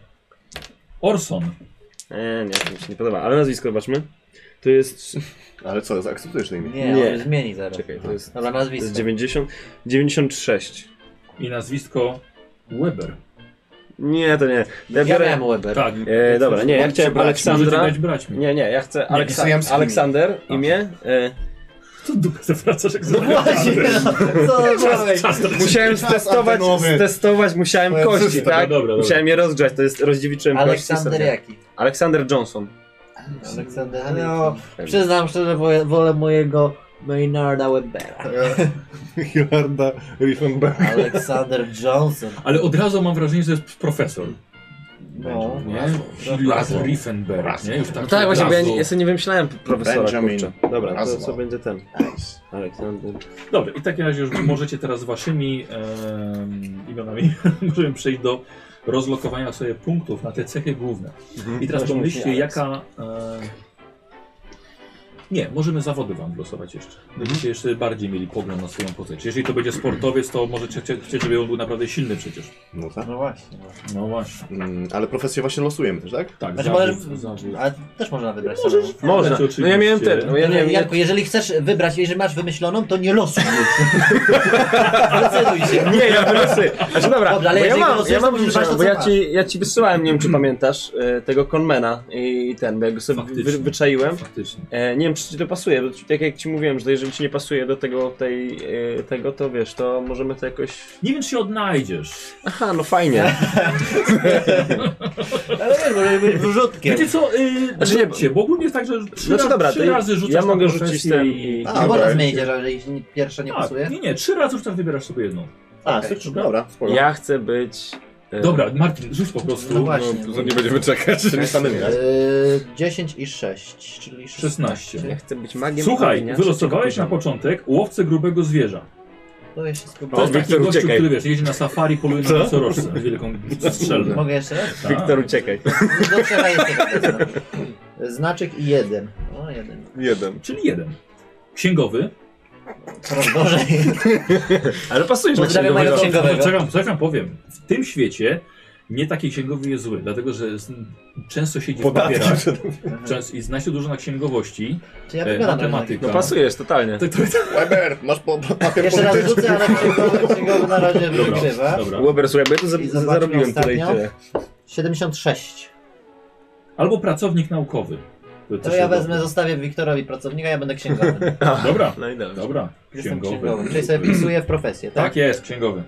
Speaker 1: Orson.
Speaker 2: E, nie, to mi się nie podoba, ale nazwisko zobaczmy. To jest...
Speaker 5: Ale co, zaakceptujesz na imię?
Speaker 3: Nie,
Speaker 2: Nie.
Speaker 3: on zmieni zaraz.
Speaker 2: Czekaj, to jest...
Speaker 3: Dobra,
Speaker 2: To jest
Speaker 3: nazwisko.
Speaker 2: 90... 96.
Speaker 1: I nazwisko Weber.
Speaker 2: Nie, to nie. Ja
Speaker 3: Ja
Speaker 2: biorę...
Speaker 3: miałem Weber.
Speaker 1: Tak.
Speaker 2: E, dobra, nie, ja
Speaker 5: Bądźcie
Speaker 2: chciałem
Speaker 1: Możecie
Speaker 5: braćmi,
Speaker 2: Aleksandra.
Speaker 1: dać brać mi.
Speaker 2: Nie, nie, ja chcę Aleksa...
Speaker 5: pisujemy z kim.
Speaker 2: Aleksander, imię. E,
Speaker 1: To dupę zawracasz jak
Speaker 3: No właśnie, no, co zrobiłeś?
Speaker 1: Czas to
Speaker 2: musiałem stestować,
Speaker 5: antenowy.
Speaker 2: stestować musiałem
Speaker 5: Twoja
Speaker 2: kości,
Speaker 5: system.
Speaker 2: tak?
Speaker 1: Dobra, dobra.
Speaker 2: Musiałem je rozgrzać, to jest rozdziewiczyłem kości.
Speaker 3: Aleksander
Speaker 2: sobie.
Speaker 3: jaki?
Speaker 2: Aleksander Johnson.
Speaker 3: Aleksander, no, przyznam szczerze, wolę, wolę mojego Maynarda Webera.
Speaker 4: Hillarda Riefenberg.
Speaker 3: Aleksander Johnson.
Speaker 1: Ale od razu mam wrażenie, że jest profesor.
Speaker 3: No.
Speaker 1: Nie? Hillas
Speaker 5: Razem.
Speaker 1: Riefenberg. Nie? Już tak
Speaker 2: No tak, właśnie, bo ja, nie- ja
Speaker 1: jest...
Speaker 2: sobie nie wymyślałem profesora,
Speaker 5: Benjamin.
Speaker 2: kurczę. Dobra, to
Speaker 5: Razem.
Speaker 2: co będzie ten?
Speaker 5: Nice.
Speaker 2: Aleksander.
Speaker 1: Dobra, i w takim razie już możecie teraz waszymi em, imionami możemy przejść do rozlokowania sobie punktów na te cechy główne. I teraz
Speaker 2: Proszę,
Speaker 1: pomyślcie,
Speaker 2: mówię, Aleks.
Speaker 1: jaka... E... Nie, możemy zawody wam losować jeszcze. Będziecie jeszcze bardziej mieli pogląd na swoją postać. Jeżeli to będzie sportowiec, to możecie chcie- chcieć, żeby on był naprawdę silny przecież.
Speaker 5: No tak.
Speaker 3: No właśnie. no.
Speaker 1: No właśnie.
Speaker 5: Mm, ale profesję właśnie losujemy też, tak?
Speaker 1: Tak,
Speaker 3: Znaczy,
Speaker 1: zawód,
Speaker 3: możesz-
Speaker 1: zawód.
Speaker 3: Ale też można wybrać. samemu.
Speaker 2: Można.
Speaker 1: Oczywiście.
Speaker 2: No ja miałem ten, no ja nie wiem.
Speaker 3: Janku, jeżeli chcesz wybrać, jeżeli masz wymyśloną, to nie losuj. Zdecyduj się.
Speaker 2: Nie, ja wylosuję. Znaczy dobra,
Speaker 3: Dobra, ale
Speaker 2: bo ja
Speaker 3: jeżeli
Speaker 2: mam,
Speaker 3: wylosujesz,
Speaker 2: ja mam
Speaker 3: to musisz
Speaker 2: wrzucone, bo
Speaker 3: brać to, co
Speaker 2: ja
Speaker 3: masz.
Speaker 2: ci, ja ci wysyłałem, nie wiem czy pamiętasz, e, tego Conmana i ten, bo ja go sobie
Speaker 1: Faktycznie.
Speaker 2: wy, wyczaiłem.
Speaker 1: Faktycznie.
Speaker 2: E, nie wiem, czy ci to pasuje, bo tak jak ci mówiłem, że jeżeli ci nie pasuje do tego, tej, e, tego, to wiesz, to możemy to jakoś...
Speaker 1: Nie wiem, czy się odnajdziesz.
Speaker 2: Aha, no fajnie.
Speaker 3: Ale wiesz, może być wrzutkiem.
Speaker 1: Wiecie co, yy,
Speaker 2: Znaczy nie,
Speaker 1: rzućcie, bo ogólnie jest tak, że trzy,
Speaker 2: Znaczy
Speaker 1: raz-
Speaker 2: dobra,
Speaker 1: trzy
Speaker 2: to ja-
Speaker 1: razy rzucasz
Speaker 2: ja
Speaker 1: na
Speaker 2: mogę
Speaker 1: profesję
Speaker 2: rzucić ten
Speaker 1: i-
Speaker 2: i-
Speaker 5: A,
Speaker 3: A,
Speaker 5: dobra.
Speaker 3: można zmienić, jeżeli pierwsza nie
Speaker 1: Tak,
Speaker 3: pasuje.
Speaker 1: nie, nie, trzy razy rzucasz, wybierasz sobie jedną.
Speaker 5: A,
Speaker 3: Okej.
Speaker 5: super, dobra, spoko.
Speaker 2: Ja chcę być... e,
Speaker 1: Dobra, Martin, rzuć po prostu.
Speaker 3: No
Speaker 4: No,
Speaker 3: właśnie.
Speaker 4: to nie będziemy czekać.
Speaker 5: Ja samym raz.
Speaker 3: Yy, 10 i 6, czyli 16.
Speaker 2: Ja chcę być magiem
Speaker 1: Słuchaj,
Speaker 2: ognia,
Speaker 1: wylosowałeś
Speaker 2: trzeciego
Speaker 1: na
Speaker 2: poziomu.
Speaker 1: początek łowcę grubego zwierza.
Speaker 3: To jeszcze
Speaker 1: To jest
Speaker 3: spróbuję.
Speaker 1: taki
Speaker 2: Wiktor,
Speaker 1: gościu,
Speaker 2: uciekaj.
Speaker 1: który wiesz, jeździ na safari, poluje na
Speaker 2: Co?
Speaker 1: nosorożce, wielką strzelbę.
Speaker 3: Mogę jeszcze raz?
Speaker 1: Tak.
Speaker 2: Wiktor, uciekaj.
Speaker 3: Do trzeba jest Znaczek i jeden. O, jeden.
Speaker 4: Jeden.
Speaker 1: Czyli jeden. Księgowy.
Speaker 3: Coraz gorzej.
Speaker 2: Ale pasujesz na
Speaker 3: Pozdrawiam mojego
Speaker 2: księgowego.
Speaker 3: księgowego.
Speaker 1: Czekam, czekam, powiem. W tym świecie nie taki księgowy jest zły, dlatego że z- często siedzi w
Speaker 4: Podatki
Speaker 1: papierach
Speaker 4: przed-
Speaker 1: często, i zna się dużo na księgowości,
Speaker 3: Czy ja
Speaker 1: e,
Speaker 3: wyglądam na
Speaker 1: matematyka.
Speaker 2: No pasujesz, totalnie.
Speaker 1: To- to- to-
Speaker 5: Weber, masz po, po, papier
Speaker 3: Jeszcze raz
Speaker 5: polityczny?
Speaker 3: rzucę, ale księgowy- księgowy na razie wygrywa.
Speaker 1: Dobra.
Speaker 2: Łober, słuchaj, bo ja tu za-
Speaker 3: I zobaczmy
Speaker 2: zarobiłem tyle i
Speaker 3: ostatnią.
Speaker 2: tyle.
Speaker 3: 76.
Speaker 1: Albo pracownik naukowy. które
Speaker 3: To
Speaker 1: też
Speaker 3: ja
Speaker 1: się
Speaker 3: wezmę,
Speaker 1: robią.
Speaker 3: zostawię Wiktorowi pracownika, ja będę księgowym.
Speaker 1: Dobra,
Speaker 2: No i dobrze.
Speaker 1: dobra.
Speaker 3: Jestem
Speaker 1: Księgowy.
Speaker 3: księgowym, czyli sobie wpisuję w profesję, tak?
Speaker 1: Tak jest, księgowy.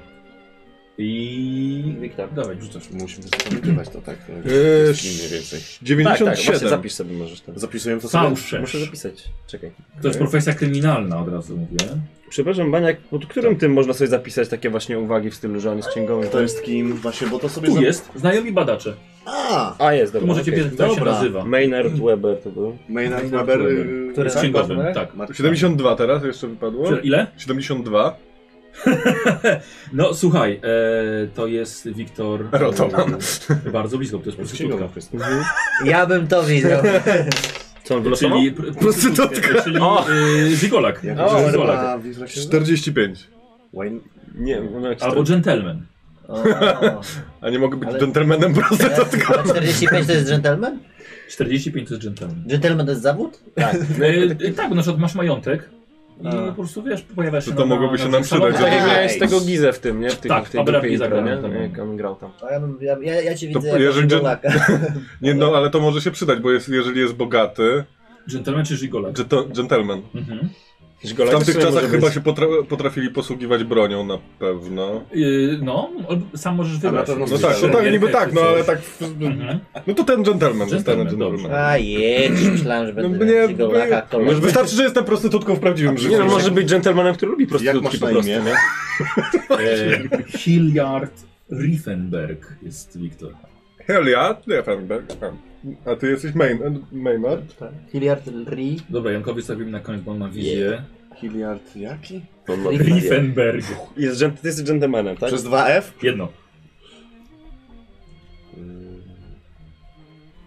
Speaker 1: I...
Speaker 3: Wiktor.
Speaker 1: Dawaj, rzucasz.
Speaker 5: Rzucasz, musimy zapamiętywać to, tak? To
Speaker 4: Eee,
Speaker 5: jest mniej więcej.
Speaker 4: 97.
Speaker 2: Tak, tak, właśnie zapisz sobie możesz tam.
Speaker 5: Zapisujemy to sobie?
Speaker 1: Fałszerz.
Speaker 2: Muszę zapisać, czekaj.
Speaker 1: To jest profesja kryminalna, od razu mówię.
Speaker 2: Przepraszam, Baniak, pod którym tym można sobie zapisać takie właśnie uwagi w stylu, że on jest księgowym?
Speaker 5: To jest kim? Właśnie, bo to sobie...
Speaker 1: Tu
Speaker 5: zap-
Speaker 1: jest, znajomi badacze.
Speaker 5: A!
Speaker 2: A, jest,
Speaker 1: Tu
Speaker 2: dobra.
Speaker 1: możecie
Speaker 2: okej.
Speaker 1: wiedzieć, jak się
Speaker 5: Dobra.
Speaker 1: nazywa.
Speaker 2: Maynard Weber to był.
Speaker 5: Maynard Weber... y,
Speaker 3: Który-
Speaker 1: Jest księgowym,
Speaker 3: Numer?
Speaker 1: tak.
Speaker 5: Martin.
Speaker 4: 72 teraz jeszcze wypadło.
Speaker 1: Czy- Ile?
Speaker 4: 72.
Speaker 1: No słuchaj, e, to jest Wiktor.
Speaker 4: Rotoman.
Speaker 1: Bardzo blisko, bo to jest prostytutka.
Speaker 3: Ja bym to widział.
Speaker 2: Co on wylosował?
Speaker 1: Czyli pr- prostytutka. Czyli
Speaker 2: O!
Speaker 1: e, Zigolak.
Speaker 5: Jak
Speaker 2: O,
Speaker 5: się
Speaker 2: dobra.
Speaker 1: Zigolak.
Speaker 5: nazywa? Wiesz, jak się nazywa?
Speaker 4: 45.
Speaker 5: Wayne...
Speaker 2: Nie, no jak
Speaker 1: Albo gentleman.
Speaker 3: O,
Speaker 4: A nie mogę być
Speaker 3: Ale-
Speaker 4: dżentelmenem prostytutką.
Speaker 3: a 45 to jest gentleman?
Speaker 1: 45 to jest gentleman.
Speaker 3: Gentleman to jest zawód?
Speaker 4: No
Speaker 1: E, e, tak, bo na przykład masz majątek i
Speaker 3: A.
Speaker 1: po prostu wiesz, pojawia się.
Speaker 4: No To to
Speaker 1: na-
Speaker 4: mogłoby
Speaker 1: na-
Speaker 4: się
Speaker 1: na
Speaker 4: nam
Speaker 1: salonach.
Speaker 4: przydać,
Speaker 2: Tak jak
Speaker 5: Nice.
Speaker 2: miałeś tego Gizę w tym, nie? W, tych,
Speaker 1: Tak,
Speaker 2: w tej
Speaker 1: Abra
Speaker 2: grupie
Speaker 1: Giza
Speaker 2: intro,
Speaker 1: grał,
Speaker 2: nie?
Speaker 1: tak.
Speaker 2: Jak on grał tam.
Speaker 3: A ja, bym, ja, ja, ja cię
Speaker 4: To
Speaker 3: widzę jako
Speaker 4: jeżeli gen-
Speaker 3: Polaka.
Speaker 4: Nie, no ale to może się przydać, bo jest, jeżeli jest bogaty,
Speaker 1: Gentleman czy Zigolak?
Speaker 4: dżento- dżentelmen.
Speaker 1: Mhm.
Speaker 4: W
Speaker 2: Żigolak to
Speaker 4: tamtych
Speaker 2: sobie
Speaker 4: czasach
Speaker 2: może
Speaker 4: chyba
Speaker 2: być.
Speaker 4: się potra- potrafili posługiwać bronią na pewno.
Speaker 1: E, no, albo sam możesz
Speaker 5: na
Speaker 1: wybrać.
Speaker 5: pewno
Speaker 4: No
Speaker 5: Czy
Speaker 4: tak, no
Speaker 5: to
Speaker 4: tak, niby tak, no ale tak. w-
Speaker 1: Mhm.
Speaker 4: No to ten dżentelmen zostanę
Speaker 1: Dżentelmen, dobrze.
Speaker 4: dżentelmenem.
Speaker 3: A jedź, myślałem, że
Speaker 4: No
Speaker 3: będę
Speaker 4: nie,
Speaker 3: no, Polaka.
Speaker 4: nie,
Speaker 3: kolor.
Speaker 4: wystarczy, że jestem prostytutką w prawdziwym życiu.
Speaker 2: Nie no, może być dżentelmenem, który lubi
Speaker 5: Jak
Speaker 2: prostytutki
Speaker 5: masz
Speaker 2: po
Speaker 5: na
Speaker 2: prostu.
Speaker 5: imię?
Speaker 1: E, Hilliard Riefenberg jest Wiktor.
Speaker 4: Hell ja, nie wiem, tak, tak. A ty jesteś main, Maynard?
Speaker 3: Hilliard Ri.
Speaker 1: Dobra, Jankowi stawimy na koniec, bo on ma wizję.
Speaker 5: Hilliard jaki?
Speaker 3: Tak.
Speaker 1: Riefenberg.
Speaker 2: Jest, dżent- ty jesteś dżentelmenem, tak?
Speaker 5: Przez 2F?
Speaker 1: Jedno.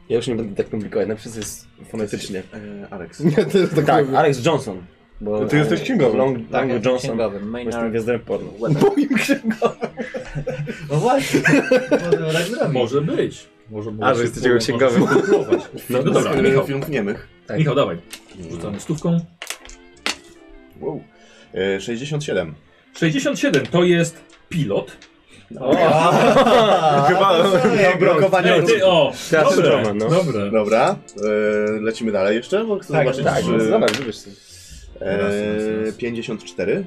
Speaker 2: Ja już nie będę tak komplikować, na wszyscy jest fonetycznie.
Speaker 5: E, Alex.
Speaker 4: Nie, to jest
Speaker 2: Tak, Alex Johnson. Bo,
Speaker 4: To ty jesteś księgowym.
Speaker 2: Long,
Speaker 3: Tak,
Speaker 2: Long
Speaker 3: jestem
Speaker 2: Johnson. Bo
Speaker 3: księgowym.
Speaker 2: Jestem
Speaker 3: Maynard.
Speaker 2: gwiazdą porno.
Speaker 4: Moim księgowym.
Speaker 3: No właśnie. Możemy tak zrobić.
Speaker 1: Może być. Może, może
Speaker 2: A, że jesteś jego księgowym.
Speaker 1: No dobra,
Speaker 5: E,
Speaker 1: Michał.
Speaker 5: Filmów niemych.
Speaker 2: Tak.
Speaker 1: Michał, dawaj. Rzucamy stówką.
Speaker 5: Wow. E, 67.
Speaker 1: 67 to jest pilot.
Speaker 3: A,
Speaker 4: Chyba-
Speaker 3: a to są jak blokowanie
Speaker 1: Ej, No, ty, o!
Speaker 2: Teatr
Speaker 1: Dobre,
Speaker 2: drama, no.
Speaker 1: dobre.
Speaker 5: Dobra, e, lecimy dalej jeszcze, bo chcę
Speaker 3: Tak,
Speaker 5: zobaczyć.
Speaker 2: Tak,
Speaker 5: czy-
Speaker 2: no, zobacz, wybierz sobie.
Speaker 1: Raz, raz,
Speaker 5: e,
Speaker 1: raz.
Speaker 5: 54.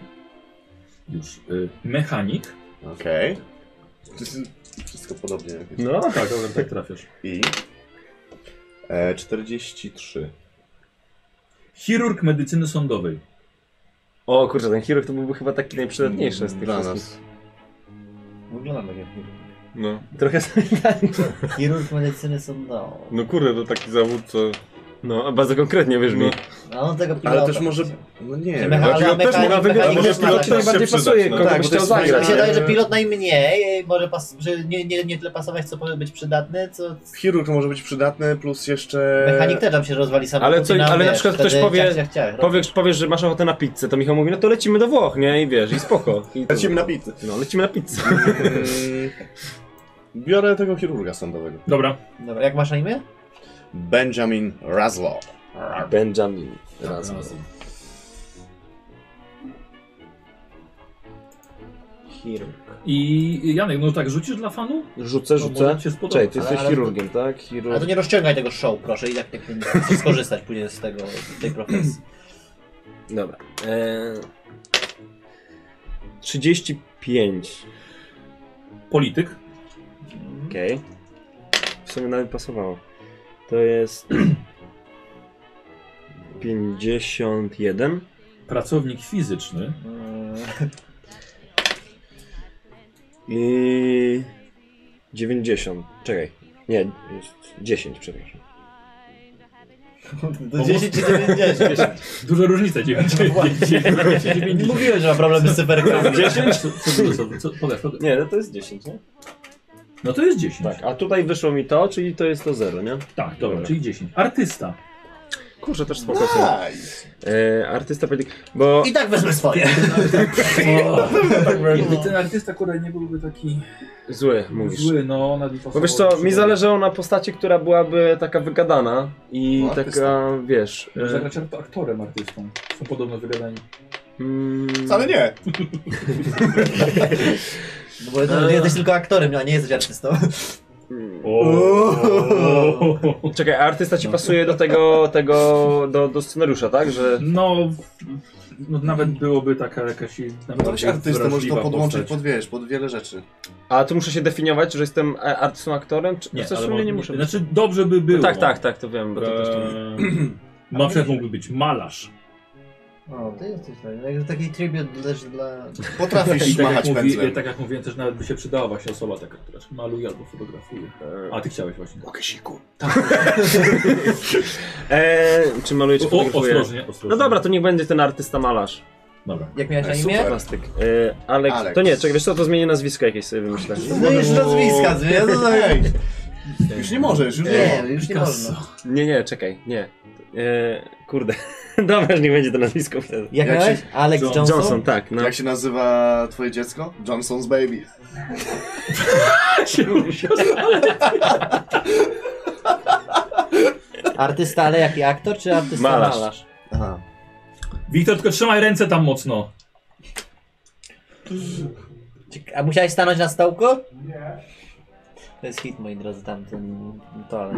Speaker 1: Już. Y, mechanik.
Speaker 5: Okej. To jest Wszystko podobnie. jakieś.
Speaker 2: No.
Speaker 1: Tak, dobra, tak trafiasz.
Speaker 5: I. E, 43.
Speaker 1: Chirurg medycyny sądowej.
Speaker 2: O kurczę, ten chirurg to byłby chyba taki najprzydatniejszy z tych
Speaker 5: Dla
Speaker 2: wszystkich.
Speaker 5: nas.
Speaker 3: Wygląda tak jak
Speaker 4: No.
Speaker 2: Trochę sanitariusz.
Speaker 3: chirurg medycyny sądowej.
Speaker 4: no kurde, to taki zawód, co...
Speaker 2: No, a bardzo konkretnie, wiesz mi. Znaczy,
Speaker 4: No.
Speaker 3: A on tego pilota.
Speaker 5: Ale też może. No nie.
Speaker 3: Mecha-
Speaker 4: Ale ja
Speaker 3: ale
Speaker 4: też mogę
Speaker 3: mechanik-
Speaker 4: wygrać,
Speaker 3: mechanik
Speaker 4: może
Speaker 3: jest
Speaker 4: pilot
Speaker 3: tak.
Speaker 4: najbardziej pasuje,
Speaker 2: no.
Speaker 4: kogo
Speaker 5: Tak,
Speaker 2: tak,
Speaker 5: bo
Speaker 2: byś
Speaker 5: to
Speaker 2: chciał
Speaker 5: jest
Speaker 3: Mi
Speaker 2: zagrać.
Speaker 5: fajne.
Speaker 3: się wydaje, że
Speaker 5: E,
Speaker 3: pilot najmniej e, może pas, że nie, nie, nie tyle pasować, co może być przydatny, co
Speaker 5: Chirurg może być przydatny, plus jeszcze.
Speaker 3: mechanik też nam się rozwali sam.
Speaker 2: E, Ale co- ale na przykład ktoś powie-
Speaker 3: Ciach, ciach, ciach,
Speaker 2: Powiesz, powiesz, że masz ochotę na pizzę, to Michał mówi, no to lecimy do Włoch, nie? I wiesz, i spoko. I to-
Speaker 5: Lecimy na pizzę.
Speaker 2: No, lecimy na pizzę.
Speaker 5: Mm, Biorę tego chirurga sądowego.
Speaker 1: Dobra.
Speaker 3: Dobra, jak masz na imię?
Speaker 5: Benjamin Raslow.
Speaker 2: Benjamin. Razem. Chirurg.
Speaker 1: I Janek, no tak rzucisz dla fanu?
Speaker 2: Rzucę,
Speaker 1: No, może
Speaker 2: rzucę.
Speaker 1: ci się spodoba.
Speaker 2: Czekaj, ty
Speaker 3: Ale-
Speaker 2: jesteś
Speaker 3: ale-
Speaker 2: chirurgiem, tak?
Speaker 3: Ale
Speaker 2: Chirurg.
Speaker 3: to nie rozciągaj tego show, proszę, i tak tak nie chcę skorzystać później z tego, z tej profesji.
Speaker 2: Dobra. Eee... 35.
Speaker 1: Polityk.
Speaker 2: Okej. W sumie nawet pasowało. To jest... 51.
Speaker 1: Pracownik fizyczny.
Speaker 3: Mm,
Speaker 2: I 90. Czekaj. Nie, jest 10, przepraszam.
Speaker 3: Do 10 czy 90?
Speaker 1: Duża różnica,
Speaker 2: No
Speaker 1: 99.
Speaker 3: Mówiłem, że ma problemy z cyferkami.
Speaker 1: 10? Co, co, co, co, co, powiedz, powiedz.
Speaker 2: Nie, no to jest 10, nie?
Speaker 1: No to jest 10.
Speaker 2: Tak, a tutaj wyszło mi to, czyli to jest to 0, nie?
Speaker 1: Tak, dobra, czyli 10. Artysta.
Speaker 2: Kurczę, też spoko. są.
Speaker 5: Nice.
Speaker 2: E, artysta polityk, bo...
Speaker 3: I tak wezmę swoje.
Speaker 1: Jakby ten artysta, który nie byłby taki
Speaker 2: Zły, mówisz.
Speaker 1: zły, no na
Speaker 2: Bo wiesz co, mi zależało na postaci, która byłaby taka wygadana i
Speaker 5: No, artysta.
Speaker 2: taka, wiesz...
Speaker 1: Może
Speaker 2: E,
Speaker 1: Zagrać akt- aktorem artystą. Są podobno wygadani.
Speaker 2: mm,
Speaker 5: Wcale nie.
Speaker 3: No Bo to, jesteś tylko aktorem, a nie jesteś artystą.
Speaker 2: mm,
Speaker 1: O.
Speaker 2: Czekaj, a artysta ci pasuje do tego, tego, do, do scenariusza, tak? Że...
Speaker 1: No, no, nawet byłoby taka jakaś... Nawet
Speaker 5: No jakiś artysta możesz to
Speaker 1: wrażliwa
Speaker 5: podłączyć
Speaker 1: postać.
Speaker 5: pod, wiesz, pod wiele rzeczy.
Speaker 2: A tu muszę się definiować, że jestem e, artystą, aktorem? Czy...
Speaker 1: Nie,
Speaker 2: w
Speaker 1: ale
Speaker 2: sumie
Speaker 1: mo-
Speaker 2: nie muszę być.
Speaker 1: Znaczy, dobrze by było.
Speaker 2: No tak, tak, tak, to wiem. Bo to też to...
Speaker 1: Eee, Na przykład mógłby być malarz.
Speaker 3: O, ty jesteś fajny. Jakby taki tribut też dla...
Speaker 1: I
Speaker 5: Potrafisz
Speaker 1: tak
Speaker 5: machać
Speaker 1: jak, mówi,
Speaker 5: pędzlem.
Speaker 1: tak jak mówiłem, też nawet by się przydała właśnie osoba taka, która czy maluje albo fotografuje.
Speaker 2: E,
Speaker 1: A ty chciałeś właśnie.
Speaker 5: Okesiku.
Speaker 2: Eee, Tak. czy maluję, czy
Speaker 1: O, o,
Speaker 2: fotografuję?
Speaker 1: ostrożnie, ostrożnie.
Speaker 2: No dobra, to niech będzie ten artysta malarz.
Speaker 1: Dobra.
Speaker 3: Jak miałeś na
Speaker 5: E,
Speaker 3: imię?
Speaker 5: super.
Speaker 2: Plastyk. Eee, Alex...
Speaker 5: Alex.
Speaker 2: To nie, czekaj, wiesz co, to zmienię nazwisko jakieś sobie wymyślę.
Speaker 3: No już nazwiska,
Speaker 5: Ja to
Speaker 3: zwiedzę.
Speaker 5: Ej, już nie możesz, już nie.
Speaker 3: Nie, już nie
Speaker 1: Picasso.
Speaker 3: można.
Speaker 2: Nie, nie, czekaj, nie. Eee, kurde. Dobra, niech będzie to nazwisko wtedy.
Speaker 3: Jak
Speaker 5: Jak
Speaker 3: miałeś? Alex
Speaker 1: John-
Speaker 3: Johnson?
Speaker 2: Johnson, tak, no.
Speaker 5: Jak się nazywa twoje dziecko? Johnson's Baby.
Speaker 3: Artysta, ale jaki aktor, czy artysta
Speaker 2: Malarz.
Speaker 3: malarz?
Speaker 5: Aha.
Speaker 1: Wiktor, tylko trzymaj ręce tam mocno.
Speaker 3: Ciek- A musiałeś stanąć na stołku? Nie. To jest hit, moi drodzy, tamten toalet.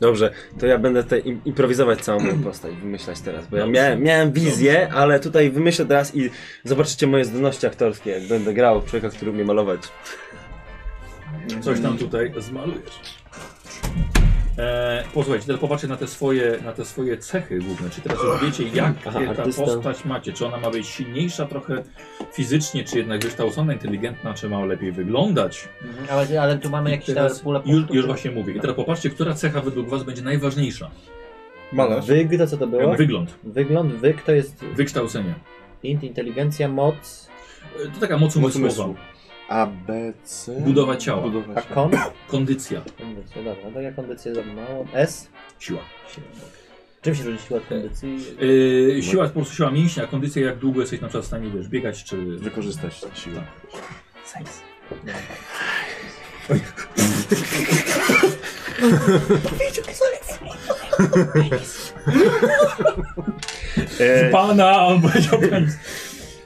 Speaker 2: Dobrze, to ja będę tutaj im, improwizować całą moją postać, wymyślać teraz, bo ja miałem, miałem wizję, ale tutaj wymyślę teraz i zobaczycie moje zdolności aktorskie, jak będę grał człowieka, który umie malować.
Speaker 1: Coś tam tutaj zmalujesz. E, posłuchajcie, teraz popatrzcie na te swoje, na te swoje cechy główne. Czy teraz już wiecie,
Speaker 2: Aha,
Speaker 1: jakie ta
Speaker 2: artysta.
Speaker 1: postać macie? Czy ona ma być silniejsza trochę fizycznie, czy jednak wykształcona, inteligentna, czy ma lepiej wyglądać?
Speaker 3: Mhm. Ale, ale tu mamy
Speaker 1: I
Speaker 3: jakieś
Speaker 1: teraz
Speaker 3: tam pulę
Speaker 1: już,
Speaker 3: punktów.
Speaker 1: już właśnie mówię. I teraz popatrzcie, która cecha według was będzie najważniejsza.
Speaker 4: Malarz.
Speaker 3: Wyg, to co to było?
Speaker 1: Wygląd,
Speaker 3: Wygląd, wyg to jest
Speaker 1: wykształcenie.
Speaker 3: int, inteligencja, moc,
Speaker 1: E, To taka moc
Speaker 5: Moc
Speaker 1: umysłowa,
Speaker 5: umysłu. A, B, C.
Speaker 1: Budowa ciała.
Speaker 5: Budowa
Speaker 3: a
Speaker 5: ciała.
Speaker 3: kon?
Speaker 1: kondycja,
Speaker 3: Kondycja, dobra, no to ja kondycję za mało. S?
Speaker 1: siła.
Speaker 3: Siła, dobra. Czym się różni siła od kondycji?
Speaker 1: E, siła jest po prostu siła mięśnia, a kondycja jak długo jesteś na przykład w stanie wiesz, biegać czy...
Speaker 5: Wykorzystać siłę.
Speaker 3: Sens.
Speaker 2: E,
Speaker 1: Pana, a on powiedział końc.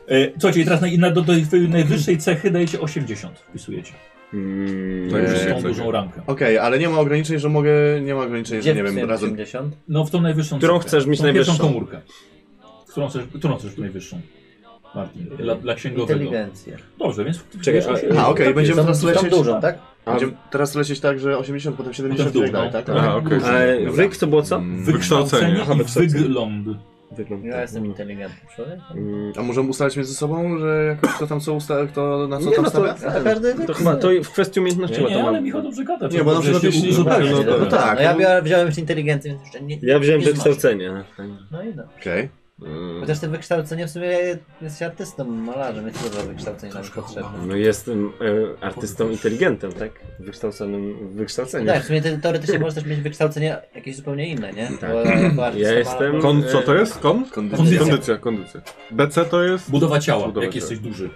Speaker 1: E, Słuchajcie, i teraz na, na, do, do tej twojej najwyższej cechy dajecie 80, wpisujecie.
Speaker 2: mm,
Speaker 4: To już
Speaker 1: Już
Speaker 4: Eee,
Speaker 1: tą
Speaker 4: cechy.
Speaker 1: dużą ramkę.
Speaker 5: Okej, ale nie ma ograniczeń, że mogę. Nie ma ograniczeń, że
Speaker 3: Gdzie
Speaker 5: nie wiem,
Speaker 3: wpisujemy
Speaker 5: razem.
Speaker 3: 80?
Speaker 1: No w tą najwyższą
Speaker 2: Którą
Speaker 1: cechę.
Speaker 2: chcesz mieć
Speaker 1: tą
Speaker 2: najwyższą?
Speaker 1: pierwszą komórkę. Którą chcesz, którą chcesz najwyższą? Martin, dla, dla księgowego.
Speaker 3: Inteligencja.
Speaker 1: Dobrze, więc...
Speaker 2: Czekaj,
Speaker 1: wpisujesz
Speaker 2: a-
Speaker 1: 80.
Speaker 5: A, okej, będziemy teraz
Speaker 3: Tą
Speaker 5: lecieć.
Speaker 3: dużą, tak?
Speaker 2: a,
Speaker 5: Będziemy teraz lecieć tak, że 80, potem 70 i
Speaker 1: Potem w
Speaker 5: tak
Speaker 1: dół,
Speaker 5: dalej, tak?
Speaker 1: no.
Speaker 4: Aha, okej.
Speaker 2: e, wyk to było co?
Speaker 1: Mm. Wykształcenie
Speaker 4: Wykształcenie.
Speaker 1: i wygląd.
Speaker 2: Wygląd.
Speaker 3: Ja jestem inteligentny człowiek.
Speaker 2: Mm,
Speaker 5: A możemy ustalać między sobą, że jakoś kto tam co usta, kto na co
Speaker 2: Nie,
Speaker 5: tam
Speaker 2: no to,
Speaker 3: A
Speaker 5: stawia?
Speaker 3: każdy
Speaker 2: to chyba to w kwestii umiejętności
Speaker 1: Nie,
Speaker 2: chyba to
Speaker 1: nie, ale
Speaker 2: mam.
Speaker 1: Michał dobrze gada.
Speaker 5: Nie, bo na przykład
Speaker 1: Dobrze się
Speaker 5: jeśli-
Speaker 1: uzupełnia.
Speaker 5: no, no, no tak.
Speaker 3: No ja biorę, wziąłem jeszcze inteligencję, więc jeszcze nie.
Speaker 2: Ja wziąłem
Speaker 3: nie znoszę.
Speaker 2: wykształcenie.
Speaker 3: No i no.
Speaker 5: Okej.
Speaker 3: Chociaż te wykształcenie w sumie jest się artystą, malarzem, więc dużo wykształcenia nam potrzebne.
Speaker 2: No jestem e, artystą inteligentem, tak? Wykształconym w wykształceniu.
Speaker 3: Tak, w sumie te, teoretycznie możesz też mieć wykształcenie jakieś zupełnie inne, nie?
Speaker 2: Tak.
Speaker 3: Bo jako artysta,
Speaker 2: Ja jestem...
Speaker 3: malarz-
Speaker 4: Kon, co
Speaker 2: E,
Speaker 4: to jest? Kon?
Speaker 5: Kondycja.
Speaker 4: Kondycja, kondycja. BC to jest?
Speaker 1: Budowa ciała,
Speaker 4: Budowa
Speaker 1: jak
Speaker 4: ciała.
Speaker 1: jesteś duży.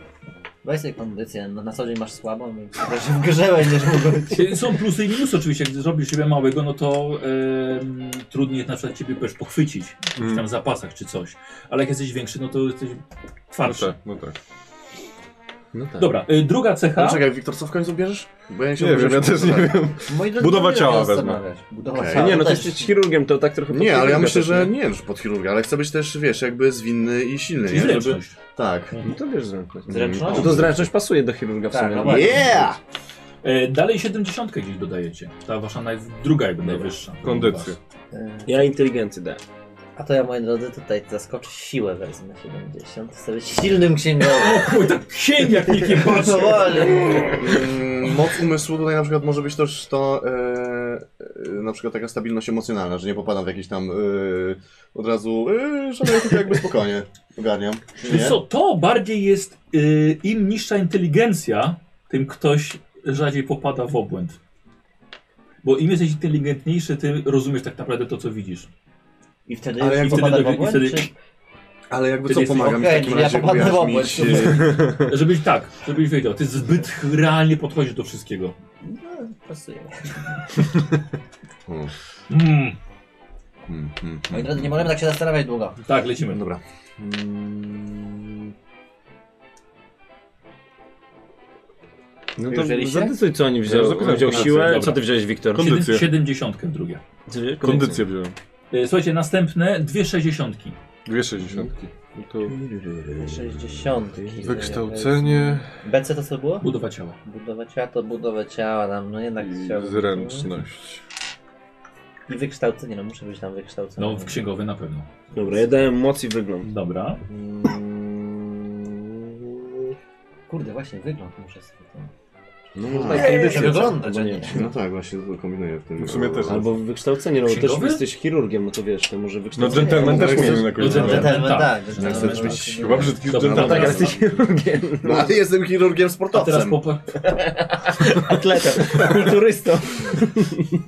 Speaker 3: Weź sobie kondycję, no, na co dzień masz słabą, więc też w grze będziesz mógł być.
Speaker 1: Są plusy i minusy oczywiście, jak zrobisz siebie małego, no to em, trudniej jest na przykład ciebie też pochwycić w jakichś tam zapasach czy coś. Ale jak jesteś większy, no to jesteś
Speaker 4: No
Speaker 1: twardszy.
Speaker 4: tak, no tak.
Speaker 2: No tak.
Speaker 1: Dobra, y, druga cecha.
Speaker 5: No czekaj, Wiktor, co w końcu bierzesz? Bo ja nie się
Speaker 4: Nie wiem, ja
Speaker 5: obrażam.
Speaker 4: też nie wiem.
Speaker 3: Moi drodzy,
Speaker 4: Budowa
Speaker 3: nie wiem,
Speaker 4: ciała
Speaker 3: jak to
Speaker 4: wezmę.
Speaker 3: rozmawiać. Budowa
Speaker 5: Okej.
Speaker 3: ciała.
Speaker 2: nie, no ty
Speaker 3: też
Speaker 2: jesteś chirurgiem, to tak trochę... pod
Speaker 5: Nie, ale ja
Speaker 2: chirurga
Speaker 5: myślę,
Speaker 2: też,
Speaker 5: że
Speaker 2: nie?
Speaker 5: nie wiem, że pod chirurga, ale chcę być też, wiesz, jakby zwinny i silny,
Speaker 1: Czyli
Speaker 5: nie? Żeby,
Speaker 1: zręczność.
Speaker 5: tak.
Speaker 2: No to wiesz zręczność.
Speaker 3: Zręczność?
Speaker 2: No to zręczność pasuje do chirurga w
Speaker 3: Tak,
Speaker 2: sumie.
Speaker 3: no
Speaker 2: no.
Speaker 3: właśnie.
Speaker 5: Yeah!
Speaker 1: E, dalej 70 gdzieś dodajecie. Ta wasza naj... druga jakby
Speaker 2: Dobra.
Speaker 1: najwyższa.
Speaker 4: Kondycję.
Speaker 3: Y,
Speaker 2: Ja inteligencję dałem.
Speaker 3: A to ja, moi drodzy, tutaj zaskoczę siłę wezmę 70. Chcę być silnym księgowym.
Speaker 1: Chuj, tak księg jak nikt nie patrzy.
Speaker 3: No ale...
Speaker 5: Mm, Moc umysłu tutaj na przykład może być też to e, e, na przykład taka stabilność emocjonalna, że nie popadam w jakieś tam e, od razu e, szaleję tylko jakby spokojnie ogarniam. Czy
Speaker 1: Wiesz
Speaker 5: nie?
Speaker 1: co, to bardziej jest, y, im niższa inteligencja, tym ktoś rzadziej popada w obłęd. Bo im jesteś inteligentniejszy, tym rozumiesz tak naprawdę to, co widzisz.
Speaker 3: I wtedy
Speaker 5: Ale
Speaker 3: ale
Speaker 5: jak
Speaker 3: jak
Speaker 1: wtedy
Speaker 3: popada w
Speaker 1: dowie- i
Speaker 3: obłęd,
Speaker 1: wtedy-
Speaker 3: czy...
Speaker 5: Ale jakby
Speaker 1: Ty
Speaker 5: co
Speaker 1: jesteś-
Speaker 5: pomaga mi w
Speaker 3: okej,
Speaker 5: takim
Speaker 3: czyli ja
Speaker 5: razie
Speaker 3: popadnę w
Speaker 5: objaśnić,
Speaker 3: obłęd.
Speaker 5: e,
Speaker 1: Żebyś tak, żebyś wiedział, ty zbyt realnie podchodzisz do wszystkiego.
Speaker 3: No, pasuje.
Speaker 5: hmm,
Speaker 1: Mm,
Speaker 5: hmm, hmm,
Speaker 3: Moi
Speaker 5: hmm.
Speaker 3: drodzy, nie możemy tak się zastanawiać długo.
Speaker 1: tak, lecimy.
Speaker 5: e, Dobra. Mm,
Speaker 2: No
Speaker 3: Już
Speaker 2: to
Speaker 3: wzięliście?
Speaker 2: zadecyduj, co oni wziął.
Speaker 4: Ja zapisałem
Speaker 2: wziął
Speaker 4: kondycję,
Speaker 2: siłę,
Speaker 1: dobra.
Speaker 2: co ty wziąłeś, Wiktor?
Speaker 4: Kondy- Kondycję.
Speaker 1: Siedem- Siedemdziesiątkę drugie.
Speaker 2: Co wziąłeś?
Speaker 4: Kondycję wziąłem.
Speaker 1: Y, Słuchajcie, następne dwie sześćdziesiątki.
Speaker 4: Dwie sześćdziesiątki. No To
Speaker 3: 60.
Speaker 4: wykształcenie
Speaker 3: BC to co było?
Speaker 1: Budowa ciała.
Speaker 3: Budowa ciała to budowa ciała, tam no jednak
Speaker 4: i
Speaker 3: chciałbym-
Speaker 4: zręczność.
Speaker 3: I wykształcenie, no muszę być tam wykształcony.
Speaker 1: No, w księgowy na pewno.
Speaker 2: Dobra, ja dałem moc i wygląd.
Speaker 1: Dobra.
Speaker 3: Mm, Kurde, właśnie wygląd muszę sobie tam.
Speaker 2: No,
Speaker 5: Ej,
Speaker 2: tak, kondycję, co?
Speaker 3: muszę wyglądać,
Speaker 2: Albo
Speaker 3: a nie.
Speaker 5: No tak, właśnie to kombinuję w tym.
Speaker 4: W sumie też.
Speaker 2: Albo wykształcenie, no bo też
Speaker 1: Księgowy?
Speaker 2: jesteś chirurgiem, no to wiesz, to może
Speaker 4: No
Speaker 2: wykształcenie.
Speaker 4: gentleman
Speaker 5: No,
Speaker 4: też
Speaker 5: no,
Speaker 4: mówimy
Speaker 5: no,
Speaker 4: na końcu.
Speaker 1: no,
Speaker 4: tak.
Speaker 1: gentleman.
Speaker 3: Gentleman, tak.
Speaker 5: Ja chcę
Speaker 3: gentleman,
Speaker 5: być
Speaker 3: tak.
Speaker 4: Chyba brzydki
Speaker 1: Dobra,
Speaker 4: gentleman.
Speaker 2: No tak, ale jesteś chirurgiem,
Speaker 5: No ale jestem chirurgiem
Speaker 1: A teraz
Speaker 5: sportowcem.
Speaker 1: po, po-
Speaker 2: atletą, kulturystą.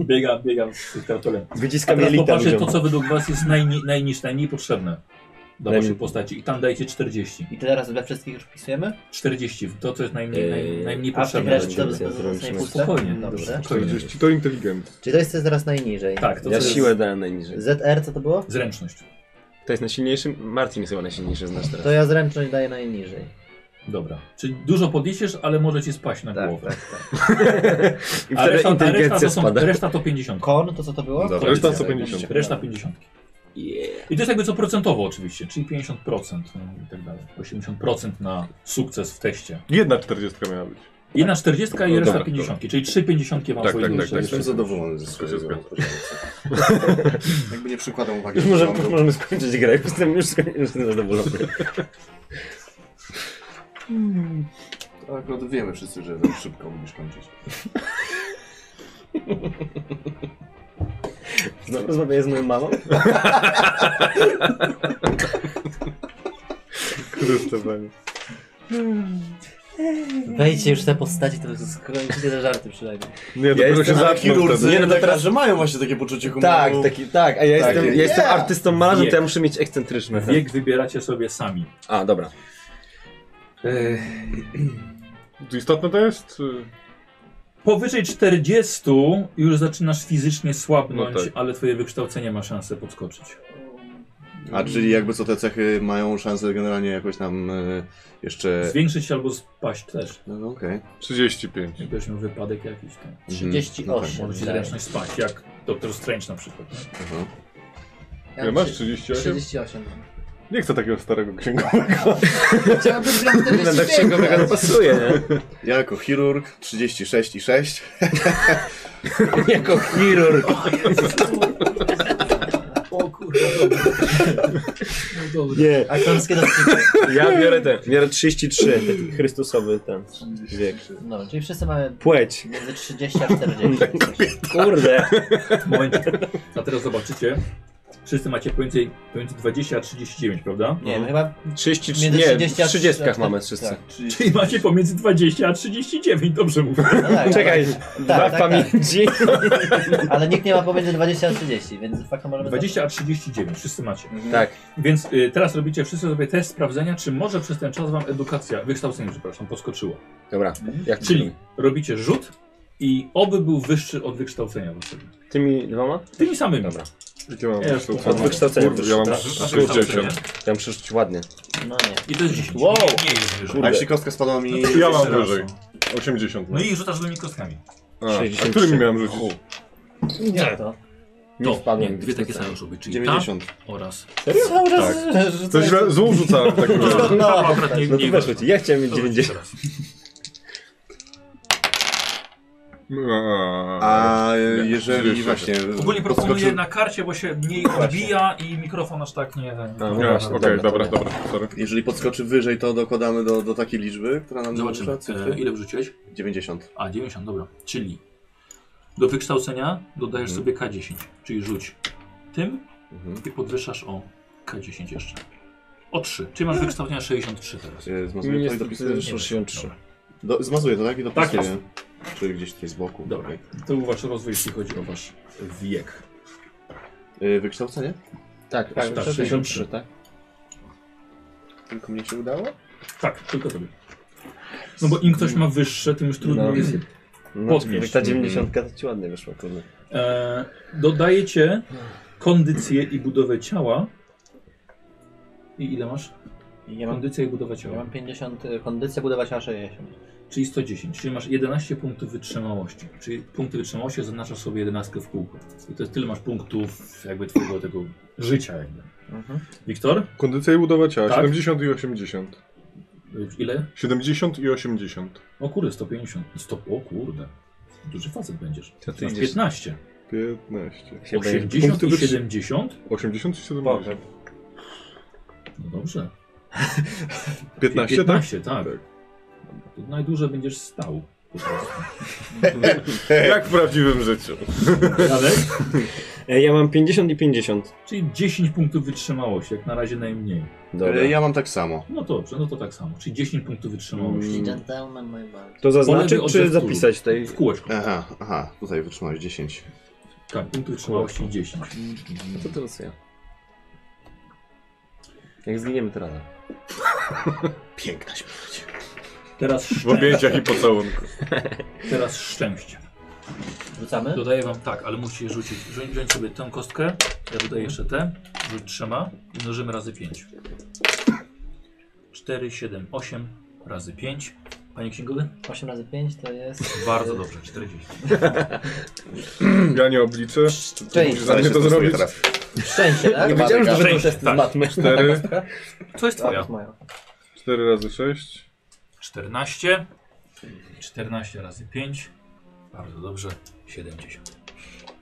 Speaker 1: biegam, biegam z kartolem. A
Speaker 2: Wyciskam
Speaker 1: teraz
Speaker 2: jelita
Speaker 1: popatrzcie to,
Speaker 2: ludziom.
Speaker 1: co według was jest najni, najniż, najmniej potrzebne do
Speaker 2: Najmniej.
Speaker 1: waszej postaci. I tam dajcie 40.
Speaker 3: I teraz dla wszystkich już wpisujemy?
Speaker 1: 40, to co jest najmniej, naj,
Speaker 2: Eee,
Speaker 1: najmniej
Speaker 3: A w tych
Speaker 1: potrzebne.
Speaker 2: reszcie
Speaker 3: resztach
Speaker 1: będzie.
Speaker 3: to
Speaker 2: będzie.
Speaker 3: zostanie puste?
Speaker 1: Spokojnie.
Speaker 3: Dobrze.
Speaker 1: Spokojnie.
Speaker 4: 40 to inteligent.
Speaker 3: Czyli to jest teraz najniżej.
Speaker 1: Tak, to
Speaker 2: Ja
Speaker 1: co
Speaker 2: siłę
Speaker 1: jest
Speaker 2: dałem najniżej.
Speaker 3: ZR co to było?
Speaker 1: zręczność.
Speaker 2: To jest najsilniejszy? Marcin jest chyba najsilniejszy z nas teraz.
Speaker 3: To ja zręczność daję najniżej.
Speaker 1: Dobra. Czyli dużo podniesiesz, ale może ci spaść na
Speaker 3: Tak,
Speaker 1: głowę.
Speaker 3: tak, tak.
Speaker 2: I
Speaker 1: A reszta,
Speaker 2: wtedy
Speaker 1: a reszta,
Speaker 2: inteligencja
Speaker 1: to są,
Speaker 2: spada.
Speaker 1: reszta to 50.
Speaker 3: Kon to co to było?
Speaker 5: Dobra.
Speaker 4: Reszta co
Speaker 5: Dobra.
Speaker 4: 50.
Speaker 1: Reszta 50.
Speaker 2: Yeah.
Speaker 1: I to jest jakby co procentowo oczywiście, czyli 50% no, i tak dalej. 80% na sukces w teście.
Speaker 4: Jedna 40 miała być.
Speaker 1: Jedna 40 i
Speaker 4: No
Speaker 1: reszta
Speaker 4: Tak. dobra,
Speaker 1: 50, czyli 3 50 wam
Speaker 4: Tak,
Speaker 1: wejdą
Speaker 4: tak, tak,
Speaker 1: jeszcze-
Speaker 4: tak.
Speaker 1: jeszcze.
Speaker 5: Jestem zadowolony ze
Speaker 4: Wszystko się
Speaker 5: swojego Jakby nie przykładam uwagi.
Speaker 2: Już możemy,
Speaker 5: do
Speaker 2: już
Speaker 5: rządu.
Speaker 2: możemy skończyć grę, już jestem, już skoń- już jestem zadowolony.
Speaker 5: Tak, no To Akurat wiemy wszyscy, że tak szybko musisz kończyć.
Speaker 2: Znowu rozmawiaję z moją mamą?
Speaker 4: Krystowanie.
Speaker 3: Wejdźcie już w te postaci, to skończycie te żarty przynajmniej.
Speaker 4: Nie,
Speaker 2: jestem
Speaker 4: dopiero się
Speaker 2: na
Speaker 4: zatknął
Speaker 2: chirurgii.
Speaker 4: wtedy.
Speaker 2: Nie, no to teraz-
Speaker 5: Tak, że mają właśnie takie poczucie humoru.
Speaker 2: Tak, taki, tak, a ja
Speaker 5: Tak,
Speaker 2: jestem, ja
Speaker 5: yeah.
Speaker 2: jestem artystą malarzem, to ja muszę mieć ekscentryczne. tak?
Speaker 1: Wiek wybieracie sobie sami.
Speaker 2: A, dobra.
Speaker 4: To Istotne to jest? y, czy-
Speaker 1: Powyżej 40 już zaczynasz fizycznie słabnąć,
Speaker 4: No tak.
Speaker 1: ale twoje wykształcenie ma szansę podskoczyć.
Speaker 5: A czyli jakby co te cechy mają szansę generalnie jakoś tam e, jeszcze...
Speaker 1: Zwiększyć się albo spaść też.
Speaker 5: No okej.
Speaker 4: 35.
Speaker 1: Jak będziesz miał wypadek jakiś, to
Speaker 5: Mhm.
Speaker 3: 38.
Speaker 1: może ci
Speaker 3: Tak.
Speaker 1: zręczność spaść, jak Doktor Strange na przykład. nie?
Speaker 5: Aha.
Speaker 3: Ja
Speaker 4: Ile
Speaker 3: mam
Speaker 4: masz? 38?
Speaker 3: 38.
Speaker 4: Nie chcę takiego starego księgowego.
Speaker 3: Chciałbym wziąć
Speaker 2: No do
Speaker 3: 45.
Speaker 2: księgowego to pasuje, nie?
Speaker 5: Ja jako chirurg 36 i 6.
Speaker 2: Jako chirurg.
Speaker 1: O kurwa, dobra. No dobra.
Speaker 2: Nie,
Speaker 3: Aktorskie dowcipy.
Speaker 2: ja biorę ten, biorę 33, taki chrystusowy ten wiek.
Speaker 3: No, czyli wszyscy mamy
Speaker 2: Płeć.
Speaker 3: między 30 a 40.
Speaker 2: Kurde.
Speaker 1: Moment. A teraz zobaczycie. Wszyscy macie pomiędzy, pomiędzy 20 a 39, prawda?
Speaker 3: Nie wiem, chyba
Speaker 2: 33,
Speaker 3: między
Speaker 2: nie,
Speaker 3: 30 a
Speaker 2: w 30 mamy
Speaker 3: tak.
Speaker 2: wszyscy.
Speaker 1: Czyli macie pomiędzy 20 a 39, dobrze mówię.
Speaker 3: No tak,
Speaker 2: Czekaj, dwa
Speaker 3: tak,
Speaker 2: w pamięci.
Speaker 3: Ale, ale nikt nie ma pomiędzy 20 a 30, więc faktem możemy...
Speaker 1: 20 a 39, wszyscy macie.
Speaker 2: Tak.
Speaker 1: Więc y, teraz robicie wszyscy sobie test sprawdzenia, czy może przez ten czas wam edukacja, wykształcenie, przepraszam, poskoczyło.
Speaker 2: Dobra, jak
Speaker 1: Czyli robicie rzut i oby był wyższy od wykształcenia waszego.
Speaker 2: Tymi dwoma?
Speaker 1: Tymi samymi.
Speaker 2: Dobra.
Speaker 4: Jakie mam
Speaker 1: Jest,
Speaker 4: wykształcenie?
Speaker 2: od wykształcenia
Speaker 4: Kurde,
Speaker 2: też,
Speaker 4: Ja mam
Speaker 2: tak?
Speaker 1: Masz
Speaker 4: 60.
Speaker 1: wykształcenie.
Speaker 2: Ja muszę rzucić ładnie.
Speaker 3: No nie.
Speaker 1: I to jest 10.
Speaker 2: Wow.
Speaker 1: Nie jest wyżej.
Speaker 5: A jeśli kostka spadła mi...
Speaker 4: Ja mam
Speaker 1: Jeszcze raz.
Speaker 4: wyżej. 80.
Speaker 1: No i rzucasz tymi kostkami.
Speaker 4: A, a
Speaker 2: 63.
Speaker 4: którymi miałem rzucić?
Speaker 3: Nie to.
Speaker 2: Nie
Speaker 1: To,
Speaker 2: wpadłem.
Speaker 1: nie, dwie takie same muszą być, czyli
Speaker 5: 90.
Speaker 1: ta oraz...
Speaker 3: Tak? Cały czas
Speaker 2: Tak.
Speaker 4: Coś źle, złą rzucałem w takim razie.
Speaker 1: No, no, akurat nie,
Speaker 2: No
Speaker 1: nie
Speaker 2: to weszło ci, ja chciałem mieć
Speaker 1: To będzie
Speaker 2: 90.
Speaker 1: teraz.
Speaker 5: A
Speaker 4: Nie,
Speaker 5: jeżeli
Speaker 4: 36.
Speaker 5: właśnie...
Speaker 1: Ogólnie proponuję
Speaker 5: podskoczy-
Speaker 1: na karcie, bo się mniej odbija i mikrofon aż tak nie...
Speaker 2: no
Speaker 4: Nie,
Speaker 2: właśnie,
Speaker 4: Okej, dobra, dobra, sorry.
Speaker 5: Jeżeli podskoczy wyżej, to dokładamy do, do takiej liczby, która nam
Speaker 1: Zobaczymy.
Speaker 5: narusza cyfry.
Speaker 1: E, ile wrzuciłeś?
Speaker 5: 90.
Speaker 1: A, 90, dobra. Czyli do wykształcenia dodajesz sobie K10, czyli rzuć tym
Speaker 5: Mhm.
Speaker 1: i podwyższasz o K10 jeszcze. O 3, czyli masz wykształcenia 63 teraz.
Speaker 5: E, Zmazuję to i
Speaker 2: Niestety
Speaker 5: dopisuję.
Speaker 2: wyszło 63.
Speaker 5: Do, zmazuję to, tak? I
Speaker 1: Tak
Speaker 5: dopisuję. Czyli gdzieś tutaj z boku.
Speaker 1: Dobra.
Speaker 5: Okej.
Speaker 1: To był wasz rozwój, jeśli chodzi o wasz wiek.
Speaker 5: E, wykształcenie?
Speaker 2: Tak,
Speaker 1: tak, 63,
Speaker 2: tak?
Speaker 5: Tylko mnie się udało?
Speaker 1: Tak, tylko tobie. No bo im ktoś ma wyższe, tym już trudno
Speaker 2: No.
Speaker 1: jest.
Speaker 2: No,
Speaker 1: Podnieś.
Speaker 2: ta 90 to ci ładnie wyszła, kurde.
Speaker 1: E, dodajecie kondycję i budowę ciała. I ile masz?
Speaker 3: Ja mam,
Speaker 1: Kondycja i budowa ciała.
Speaker 3: ja mam 50, y, kondycję budować na 60.
Speaker 1: Czyli 110, czyli masz 11 punktów wytrzymałości. Czyli punkty wytrzymałości zaznaczasz sobie 11 w kółko. I to jest tyle masz punktów jakby twojego tego życia jakby.
Speaker 3: Mhm.
Speaker 1: Wiktor?
Speaker 4: Kondycja i budowa ciała.
Speaker 1: Tak.
Speaker 4: 70 i 80.
Speaker 1: y, Ile?
Speaker 4: 70 i 80.
Speaker 1: O kurde, 150. Stop, o kurde. Duży facet będziesz.
Speaker 2: To ty
Speaker 1: Masz
Speaker 2: idziesz-
Speaker 1: 15.
Speaker 4: 15.
Speaker 2: Się boję.
Speaker 1: 80 i
Speaker 4: Punkty wytrzy-
Speaker 1: 70?
Speaker 4: 80 i 70.
Speaker 1: No dobrze.
Speaker 4: 15,
Speaker 1: 15, tak.
Speaker 4: tak?
Speaker 1: To najdłużej będziesz stał. po prostu.
Speaker 4: Jak w prawdziwym życiu.
Speaker 1: Dalej?
Speaker 2: E, Ja mam 50 i 50.
Speaker 1: Czyli 10 punktów wytrzymałości, jak na razie najmniej.
Speaker 2: Dobra.
Speaker 5: E, Ja mam tak samo.
Speaker 1: No dobrze, no to tak samo. Czyli 10 punktów wytrzymałości.
Speaker 2: Mm.
Speaker 3: Gentleman, my bad.
Speaker 2: To zaznaczyć
Speaker 1: Polewy od
Speaker 2: czy
Speaker 1: zewtóru.
Speaker 2: zapisać tutaj?
Speaker 1: W kółeczko.
Speaker 5: Aha, aha, tutaj wytrzymałeś 10.
Speaker 1: Tak, punktów wytrzymałości 10.
Speaker 2: To teraz ja. Jak zginiemy to rada.
Speaker 5: Piękna śmierć.
Speaker 1: Teraz,
Speaker 4: W
Speaker 1: szczę-
Speaker 4: objęciach i pocałunku.
Speaker 1: teraz szczęście.
Speaker 3: Rzucamy?
Speaker 1: Dodaję wam tak, ale musicie rzucić. Wziąć, wziąć sobie tę kostkę, ja dodaję jeszcze tę, rzuć trzema i mnożymy razy 5. 4, 7, 8 razy 5. Panie księgowy?
Speaker 3: 8 razy 5 to jest...
Speaker 1: Bardzo dobrze, 40.
Speaker 4: Ja nie obliczę. Ty musisz za
Speaker 5: Ale
Speaker 4: mnie
Speaker 5: się
Speaker 4: to
Speaker 5: to
Speaker 4: zrobić.
Speaker 5: teraz.
Speaker 3: tak?
Speaker 5: E,
Speaker 3: Szczęście, tak?
Speaker 2: Nie wiedziałem, że
Speaker 1: Szczęście,
Speaker 2: to jest
Speaker 1: tak.
Speaker 2: tak. matmy.
Speaker 4: 4,
Speaker 1: Co jest
Speaker 3: To
Speaker 1: twoja?
Speaker 3: jest moja.
Speaker 4: 4 razy 6.
Speaker 1: 14. 14 razy 5. Bardzo dobrze, 70.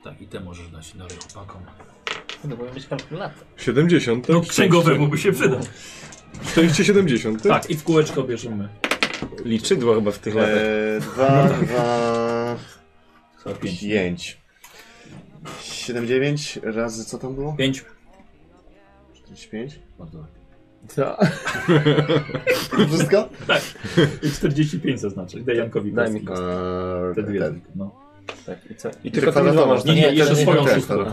Speaker 1: Tak, i te możesz dać dalej chłopakom.
Speaker 3: No, powinien być kalkulator.
Speaker 4: 70. tak?
Speaker 1: No księgowemu by się przydał.
Speaker 4: Szczęście 70. Tak.
Speaker 1: Tak, i w kółeczko bierzemy.
Speaker 2: Liczydło chyba w tych latach.
Speaker 5: E, 2, 2,
Speaker 1: Co, 5.
Speaker 5: 5. 7, 9 razy co tam było?
Speaker 1: 5.
Speaker 5: 45.
Speaker 1: Bardzo dobrze.
Speaker 5: To wszystko?
Speaker 1: I 45 zaznaczę. Daj Jankowi
Speaker 2: Daj
Speaker 1: kostki.
Speaker 2: mi
Speaker 5: Eee,
Speaker 1: Te dwie.
Speaker 5: ten.
Speaker 1: No.
Speaker 2: Tak, i co? I
Speaker 5: tylko
Speaker 2: tylko
Speaker 5: tymi
Speaker 2: tam
Speaker 5: dwoma
Speaker 2: dwa
Speaker 5: można.
Speaker 2: można.
Speaker 3: Nie, jeszcze
Speaker 5: ten-
Speaker 1: swoją
Speaker 5: ten-
Speaker 1: szóstkę.
Speaker 5: ten-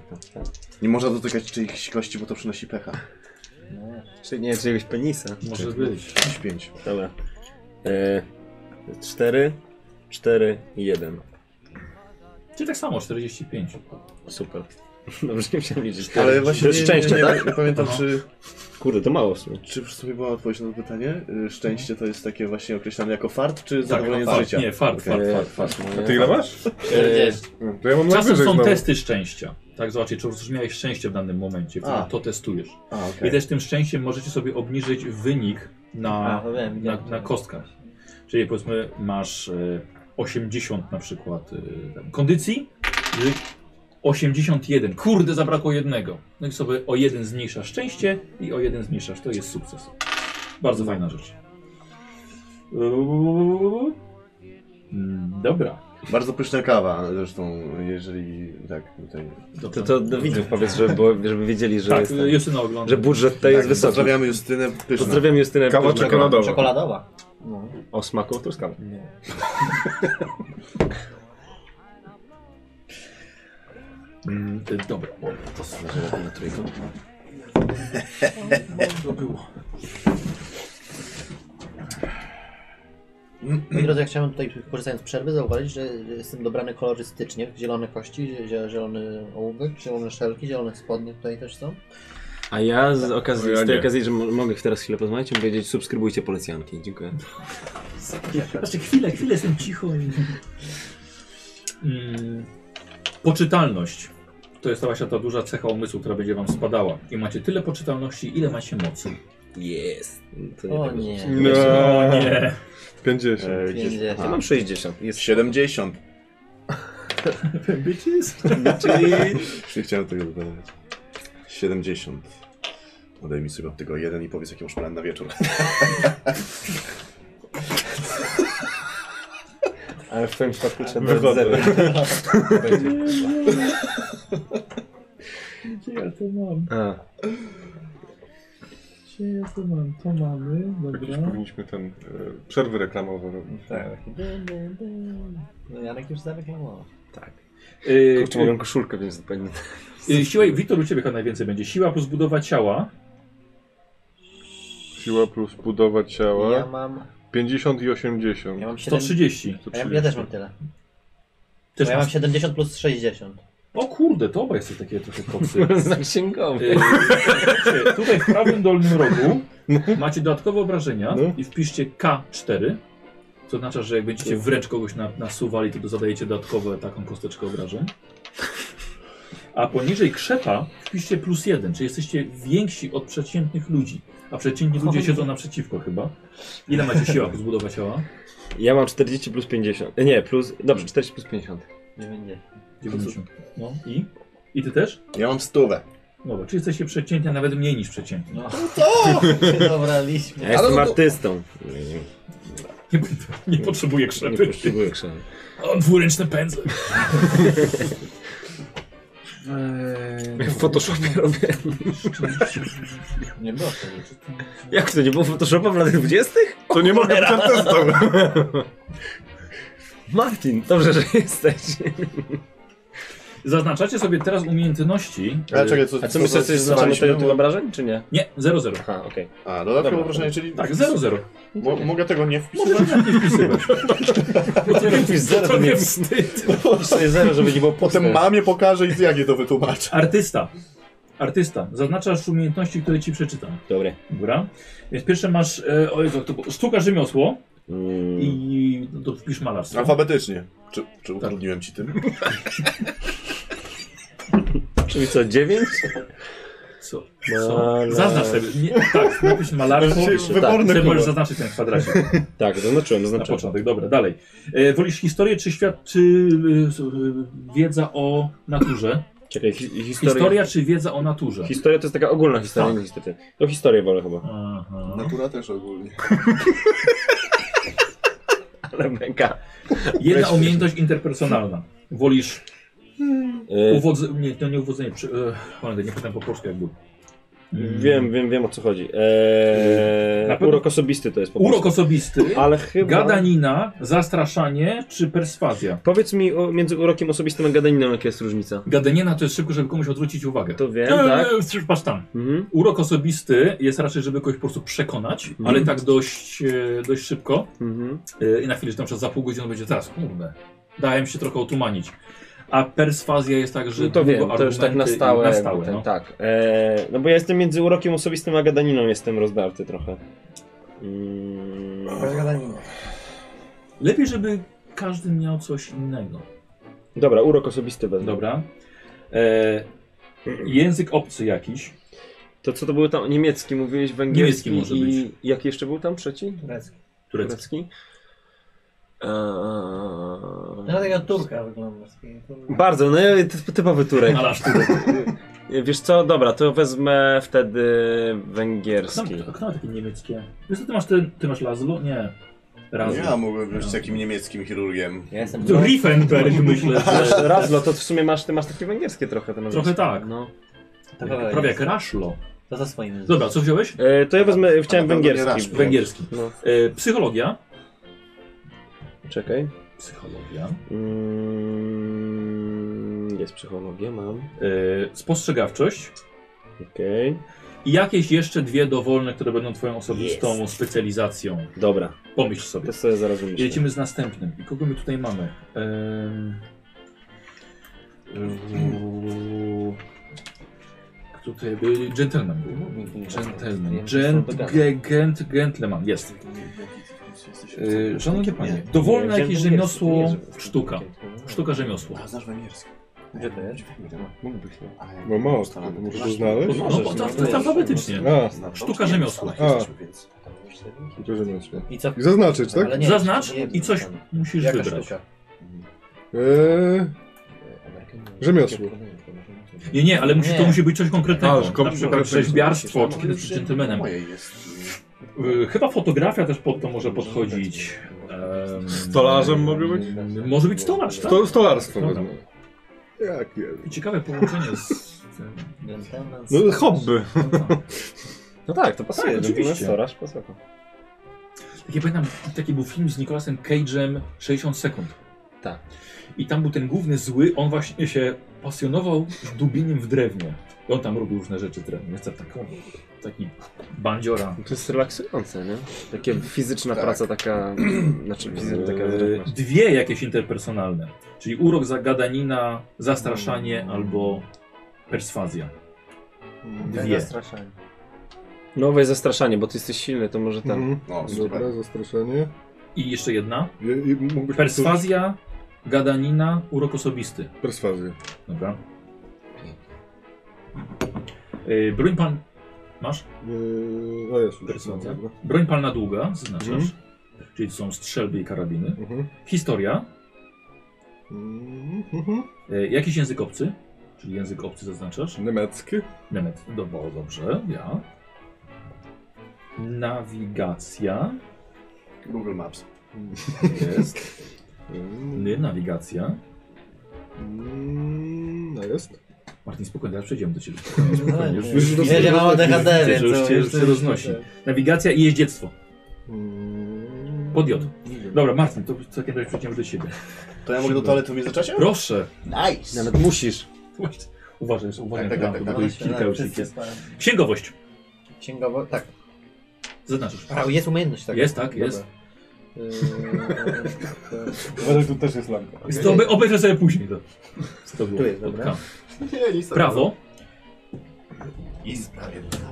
Speaker 5: ten.
Speaker 2: tak.
Speaker 5: Nie można dotykać czyichś kości, bo to przynosi pecha.
Speaker 2: Czy nie, czyjegoś penisa.
Speaker 1: Może być.
Speaker 5: 5.
Speaker 2: Dobra. E, 4, 4 i 1.
Speaker 1: Czyli tak samo, 45.
Speaker 2: Super. Dobrze, nie musiałem liczyć.
Speaker 5: Ale
Speaker 2: Cztery.
Speaker 5: właśnie
Speaker 2: to jest
Speaker 5: nie,
Speaker 2: szczęście,
Speaker 5: nie, nie,
Speaker 2: tak?
Speaker 5: nie pamiętam,
Speaker 1: No.
Speaker 5: czy,
Speaker 2: Kurde, to mało w sumie.
Speaker 5: czy w sumie była odpowiedź na to pytanie. Y, Szczęście to jest takie właśnie określane jako fart, czy
Speaker 1: Tak,
Speaker 5: zadowolenie z
Speaker 1: fart,
Speaker 5: życia?
Speaker 1: nie, fart,
Speaker 5: Okej.
Speaker 1: fart, fart.
Speaker 2: fart.
Speaker 4: A ty ile masz? E,
Speaker 3: 40.
Speaker 4: To ja mam
Speaker 1: Czasem
Speaker 4: najwyżej
Speaker 1: są
Speaker 4: znowu.
Speaker 1: testy szczęścia. Tak, zobaczcie, czy już miałeś szczęście w danym momencie, wtedy
Speaker 5: A.
Speaker 1: to testujesz.
Speaker 5: A,
Speaker 1: I
Speaker 5: okej.
Speaker 1: też tym szczęściem możecie sobie obniżyć wynik
Speaker 3: A,
Speaker 1: na,
Speaker 3: to wiem,
Speaker 1: na,
Speaker 3: wiem.
Speaker 1: na kostkach. Czyli powiedzmy masz e, 80 na przykład e, tam, kondycji, i 81. Kurde, zabrakło jednego. No i sobie o jeden zmniejszasz szczęście i o jeden zmniejszasz. To jest sukces. Bardzo fajna rzecz. Mm, Dobra.
Speaker 5: Bardzo pyszna kawa, zresztą, jeżeli tak tutaj.
Speaker 1: Dobra.
Speaker 2: To, to do widzów powiedz, żeby, było, żeby wiedzieli, że,
Speaker 1: tak,
Speaker 2: jest,
Speaker 1: Justyna ogląda.
Speaker 2: że budżet tutaj jest
Speaker 5: tak,
Speaker 2: wysoki.
Speaker 5: Pozdrawiamy Justynę, pyszna.
Speaker 2: Pozdrawiam Justynę.
Speaker 4: Kawa
Speaker 2: Pysznego.
Speaker 4: czekoladowa.
Speaker 3: Czekoladowa. No.
Speaker 2: O smaku truskawy.
Speaker 1: Mm, e, Dobra, o, to sobie na trójkę. To było.
Speaker 3: Moi drodzy, ja chciałem tutaj, korzystając z przerwy, zauważyć, że jestem dobrany kolorystycznie. Zielone kości, zie- zielony ołówek, zielone szelki, zielone spodnie tutaj też są.
Speaker 2: A ja z, okazji,
Speaker 4: O, ja
Speaker 2: z tej
Speaker 4: nie.
Speaker 2: okazji, że mo- mogę teraz chwilę porozmawiać, chciałbym powiedzieć, subskrybujcie Polecjanki. Dziękuję.
Speaker 1: Znaczy, chwilę, chwilę, jestem cicho. Mm, poczytalność. To jest ta właśnie ta duża cecha umysłu, która będzie wam spadała. I macie tyle poczytalności, ile macie mocy.
Speaker 2: Jest. To
Speaker 3: O
Speaker 2: tak
Speaker 3: nie.
Speaker 2: będzie.
Speaker 4: No,
Speaker 1: Nie.
Speaker 4: 50.
Speaker 5: E,
Speaker 3: Pięćdziesiąt.
Speaker 5: gdzieś-
Speaker 2: Ja
Speaker 5: a,
Speaker 2: mam 60. Jest
Speaker 5: 70.
Speaker 1: Bitches.
Speaker 5: Już nie chciałem tego dodawać. 70. Odejmij mi sobie od tego jeden i powiedz, jaki masz plan na wieczór.
Speaker 2: Ale w twoim przypadku trzeba
Speaker 4: Wychodzę.
Speaker 2: dać zero. Będzie.
Speaker 1: Ja to mam,
Speaker 2: A,
Speaker 1: ja to mam, to mamy,
Speaker 4: Jakieś powinniśmy ten... E, przerwy reklamowe robić.
Speaker 3: Tak. No Janek już zawykamował.
Speaker 2: tak.
Speaker 1: Yy,
Speaker 2: Kurczę, mogę koszulkę wziąć zupełnie.
Speaker 1: yy, siła, Witor, u ciebie chyba najwięcej będzie. Siła plus budowa ciała.
Speaker 4: Siła plus budowa
Speaker 3: Ja
Speaker 4: ciała.
Speaker 3: mam,
Speaker 4: 50 i 80.
Speaker 3: ja mam 7,
Speaker 1: 130.
Speaker 3: a ja, ja też mam tyle.
Speaker 1: Też
Speaker 3: Bo ja mam
Speaker 1: masz,
Speaker 3: 70 plus 60.
Speaker 1: O kurde, to obaj jesteś takie trochę koksy.
Speaker 2: Zasięgowy.
Speaker 1: Y, słuchajcie, Tutaj w prawym dolnym rogu macie dodatkowe obrażenia
Speaker 5: No.
Speaker 1: i wpiszcie K4. Co oznacza, że jak będziecie wręcz kogoś na- nasuwali, to zadajecie dodatkowo taką kosteczkę obrażeń. A poniżej krzepa wpiszcie plus jeden, czyli jesteście więksi od przeciętnych ludzi. A przeciętni ludzie siedzą naprzeciwko chyba. Ile macie siła zbudowa ciała?
Speaker 2: Ja mam 40 plus 50. Nie, plus. Dobrze, 40 plus 50.
Speaker 3: Nie będzie.
Speaker 1: 90. No i? I ty też?
Speaker 5: Ja mam stówę.
Speaker 1: Dobra, czy jesteście przeciętni, a nawet mniej niż przeciętni.
Speaker 3: No,
Speaker 5: Co?
Speaker 3: się
Speaker 2: Ja
Speaker 3: dobraliśmy.
Speaker 2: jestem
Speaker 5: no to-
Speaker 2: artystą. Nie, nie,
Speaker 1: Nie, nie potrzebuję krzepy.
Speaker 2: nie potrzebuję krzewy.
Speaker 1: O, dwuręczny pędzel.
Speaker 2: W Photoshopie robię.
Speaker 3: Nie było tego.
Speaker 2: Jak to nie było Photoshopa w latach 20?
Speaker 4: To nie mogę być artystą.
Speaker 2: Martin, dobrze, że jesteś.
Speaker 1: Zaznaczacie sobie teraz umiejętności. e,
Speaker 5: Ale czekaj, co,
Speaker 2: A co myślisz, że zaznaczamy
Speaker 5: znaliśmy?
Speaker 2: tego typu obrażeń, czy nie?
Speaker 1: Nie, 0-0.
Speaker 2: Aha, okej.
Speaker 5: A, no
Speaker 2: Dobra.
Speaker 5: dodatkowe obrażenie, czyli...
Speaker 1: Tak, 0-0.
Speaker 5: Mo mogę tego nie
Speaker 1: Możesz
Speaker 5: wpisywać?
Speaker 1: nawet nie wpisywać.
Speaker 2: Okay. Jak pisz zero, to mnie wstyd. Pisz sobie zero, żeby nie było
Speaker 5: Potem mamie pokażę i jak je to wytłumaczę.
Speaker 1: Artysta. Artysta. Zaznaczasz umiejętności, które ci przeczytam.
Speaker 2: Dobre.
Speaker 1: Dobra. Więc pierwsze masz, e, o Jezu, to było- sztuka rzemiosło
Speaker 2: Mm.
Speaker 1: i no, to wpisz malarstwo.
Speaker 5: Alfabetycznie. Czy, czy utrudniłem ci tym?
Speaker 2: Czyli co, 9?
Speaker 1: Co? Co? Zaznacz sobie. Nie, tak, napisz malarstwo.
Speaker 2: Dzisiaj wyborny
Speaker 1: Sobie możesz
Speaker 5: kolor.
Speaker 1: zaznaczyć ten kwadracik.
Speaker 2: Tak, zaznaczyłem,
Speaker 1: Na
Speaker 2: zaznaczyłem.
Speaker 1: początek, dobra, dalej. E, wolisz historię czy świat, czy y, s- y, wiedza o naturze?
Speaker 2: Czekaj, hi historia. historia. Tak.
Speaker 1: Historia czy wiedza o naturze?
Speaker 2: to jest taka ogólna historia, nie niestety. To historię wolę chyba.
Speaker 1: Aha.
Speaker 5: Natura też ogólnie.
Speaker 2: Ale mega.
Speaker 1: Jedna
Speaker 2: Weź-
Speaker 1: umiejętność interpersonalna. Wolisz
Speaker 2: Y,
Speaker 1: uwodzenie, nie, to nie uwodzenie, przy, e, cholera, nie pytam po polsku jak było. Mm.
Speaker 2: wiem, wiem, wiem o co chodzi. Eee,
Speaker 1: Na pewno-
Speaker 2: Urok osobisty to jest po prostu.
Speaker 1: Urok osobisty,
Speaker 2: Ale chyba...
Speaker 1: gadanina, zastraszanie czy perswazja?
Speaker 2: Powiedz mi o, między urokiem osobistym a gadaniną jaka jest różnica.
Speaker 1: Gadaniena to jest szybko, żeby komuś odwrócić uwagę.
Speaker 2: To wiem,
Speaker 1: E,
Speaker 2: tak?
Speaker 1: e, Patrz tam.
Speaker 2: Mhm.
Speaker 1: Urok osobisty jest raczej, żeby kogoś po prostu przekonać,
Speaker 2: Mhm.
Speaker 1: ale tak dość, e, dość szybko.
Speaker 2: Mhm.
Speaker 1: E, I na chwilę, że na przykład za pół godziny będzie teraz, kurde, dałem się trochę otumanić. A perswazja jest tak, że
Speaker 2: No to
Speaker 1: długo
Speaker 2: wiem, to już tak na
Speaker 1: argumenty i-
Speaker 2: stałe.
Speaker 1: Na
Speaker 2: jakby
Speaker 1: stałe
Speaker 2: ten,
Speaker 1: no.
Speaker 2: Tak. Eee, no bo ja jestem między urokiem osobistym a gadaniną jestem rozdarty trochę. Mm,
Speaker 1: Lepiej, żeby każdy miał coś innego.
Speaker 2: dobra, urok osobisty wezmę.
Speaker 1: Dobra. E, język obcy jakiś.
Speaker 2: To co to było tam? Niemiecki mówiłeś, węgierski
Speaker 1: Niemiecki może
Speaker 2: i... Jaki jeszcze był tam? Trzeci?
Speaker 3: Turecki.
Speaker 1: Turecki.
Speaker 2: Turecki? Eee,
Speaker 3: No takiego Turka wygląda.
Speaker 2: Bardzo, no i ty- typowy Turek.
Speaker 1: Ale aż Turek.
Speaker 2: Wiesz co, dobra, to wezmę wtedy
Speaker 1: Kto
Speaker 2: węgierski.
Speaker 1: ma- Kto ma takie niemieckie? Wiesz co, ty masz, ten, ty masz Lazlo? Nie.
Speaker 5: Ja
Speaker 1: Razlo.
Speaker 5: mógłbym być takim niemieckim chirurgiem.
Speaker 3: Ja jestem
Speaker 1: To Riefenberg myślę, że...
Speaker 2: Razlo, no to w sumie masz, ty masz takie węgierskie trochę. Ten
Speaker 1: Trochę tak.
Speaker 2: No.
Speaker 1: Prawie jak Raszlo.
Speaker 3: To za swoim.
Speaker 1: Dobra, co wziąłeś?
Speaker 2: E, to ja wezmę, chciałem
Speaker 5: pewno nie
Speaker 2: węgierski.
Speaker 5: Raszlo.
Speaker 1: Węgierski.
Speaker 2: No,
Speaker 1: E, psychologia.
Speaker 2: czekaj.
Speaker 1: Psychologia.
Speaker 2: Mm, jest psychologia, mam.
Speaker 1: E, spostrzegawczość.
Speaker 2: Okej.
Speaker 1: I jakieś jeszcze dwie dowolne, które będą twoją osobistą specjalizacją.
Speaker 2: Dobra,
Speaker 1: Pomyśl sobie.
Speaker 2: to sobie zaraz wymyślę.
Speaker 1: Jedziemy z następnym. I kogo my tutaj mamy? Em, em, Kto tutaj był? Gentleman był. Gentleman. Gent, ge- gent, gentleman. Jest. E, Szanowni panie, dowolne jakieś rzemiosło, sztuka. Sztuka rzemiosło.
Speaker 5: A, znasz węgierski.
Speaker 3: Gdzie to jest?
Speaker 2: Mógłbyś, no.
Speaker 4: No masz, to musisz to znaleźć.
Speaker 1: No, bo to, to jest alfabetycznie.
Speaker 4: A,
Speaker 1: Sztuka rzemiosła.
Speaker 4: to rzemiosło.
Speaker 3: I co?
Speaker 4: No, I zaznaczyć, tak?
Speaker 3: Ale nie,
Speaker 1: Zaznacz
Speaker 3: nie-
Speaker 1: i coś musisz
Speaker 3: Jaka
Speaker 1: wybrać.
Speaker 3: sztuka?
Speaker 4: Eee, rzemiosło.
Speaker 1: Nie, nie, ale musi, to
Speaker 3: Nie.
Speaker 1: musi być coś
Speaker 4: A,
Speaker 1: konkretnego.
Speaker 4: już
Speaker 1: Na
Speaker 4: kom-
Speaker 1: przykład
Speaker 4: konkretnego.
Speaker 1: rzeźbiarstwo, czy kiedyś z gentlemanem.
Speaker 5: Mojej jest.
Speaker 1: Y, Chyba fotografia też pod to może podchodzić. Em,
Speaker 4: Stolarzem mogę być?
Speaker 1: Może być stolarz, tak?
Speaker 4: Sto, stolarstwo
Speaker 1: Dobra.
Speaker 4: wezmę. Jak nie wiem.
Speaker 1: Ciekawe połączenie z tym.
Speaker 3: Gentleman.
Speaker 4: No hobby.
Speaker 2: No tak, to pasuje.
Speaker 1: Tak,
Speaker 2: Tak,
Speaker 1: oczywiście.
Speaker 2: Storaż, pasuje.
Speaker 1: Taki, pamiętam, taki był film z Nicolasem Cage'em 60 sekund.
Speaker 2: Tak.
Speaker 1: I tam był ten główny zły, on właśnie się pasjonował dubieniem w drewnie. I on tam robił różne rzeczy w drewnie. Jest taką, taki bandziora.
Speaker 2: To jest relaksujące, nie? Takie fizyczna
Speaker 5: Tak.
Speaker 2: praca taka, znaczy fizyczna taka...
Speaker 1: Eee, Dwie jakieś interpersonalne, czyli urok zagadanina, zastraszanie albo perswazja. Dwie.
Speaker 3: Zastraszanie.
Speaker 2: No weź zastraszanie, bo ty jesteś silny, to może ten...
Speaker 6: Mhm.
Speaker 5: O, no, super.
Speaker 6: Dobra, zastraszenie.
Speaker 1: I jeszcze jedna.
Speaker 6: I, i mógłbyś powtórzyć?
Speaker 1: Perswazja, gadanina, urok osobisty.
Speaker 6: Perswazja.
Speaker 1: Dobra. Yy, broń pan... Masz?
Speaker 4: E,
Speaker 6: Yy, a jest. już.
Speaker 1: Perswazja.
Speaker 6: Dobra.
Speaker 1: Broń palna długa, zaznaczasz.
Speaker 6: Mhm.
Speaker 1: Czyli to są strzelby i karabiny.
Speaker 6: Mhm.
Speaker 1: Historia.
Speaker 6: Mhm, mhm.
Speaker 1: Yy, jakiś język obcy. Czyli język obcy zaznaczasz.
Speaker 6: Niemiecki.
Speaker 1: Nemet. Do, o, dobrze, ja. Nawigacja.
Speaker 5: Google Maps.
Speaker 1: Jest.
Speaker 6: Mm,
Speaker 1: Ny, nawigacja.
Speaker 6: mm, a jest.
Speaker 1: Martin, spokojnie, teraz przejdziemy do ciebie.
Speaker 3: No,
Speaker 1: Spokojnie, już,
Speaker 3: nie.
Speaker 1: już,
Speaker 6: już
Speaker 3: Wiecie, mam ADHD,
Speaker 1: widzę,
Speaker 3: więc...
Speaker 1: że już
Speaker 3: to-
Speaker 1: cię- już cię roznosi. Nawigacja i jeździectwo.
Speaker 6: Mm,
Speaker 1: Podjot.
Speaker 6: nie wiem.
Speaker 1: Dobra, Martin, to w takim razie przejdziemy do ciebie.
Speaker 5: To ja mogę do toalety w międzyczasie?
Speaker 1: Proszę.
Speaker 5: Nice!
Speaker 2: Nawet musisz.
Speaker 1: Właśnie. Uważaj, że- uważaj.
Speaker 5: Tak,
Speaker 1: Tak,
Speaker 5: tak, tak,
Speaker 1: tak,
Speaker 5: tak,
Speaker 1: tak,
Speaker 3: Roznosi,
Speaker 1: kilka
Speaker 3: tak,
Speaker 1: już ich
Speaker 3: wszyscy
Speaker 1: jest.
Speaker 3: spałem.
Speaker 1: Księgowość.
Speaker 3: Księgowo, tak.
Speaker 1: Zaznaczasz.
Speaker 3: A, Jest umiejętność, tak?
Speaker 1: Jest, tak, jest.
Speaker 3: Yy,
Speaker 4: Uważaj, tu też jest lampka.
Speaker 1: Jest to obe- Obejrzę sobie później to. Co to było?
Speaker 3: Tu jest, dobra.
Speaker 1: Tam.
Speaker 5: Nie, nic takiego.
Speaker 1: Prawo.
Speaker 5: I sprawiedliwość.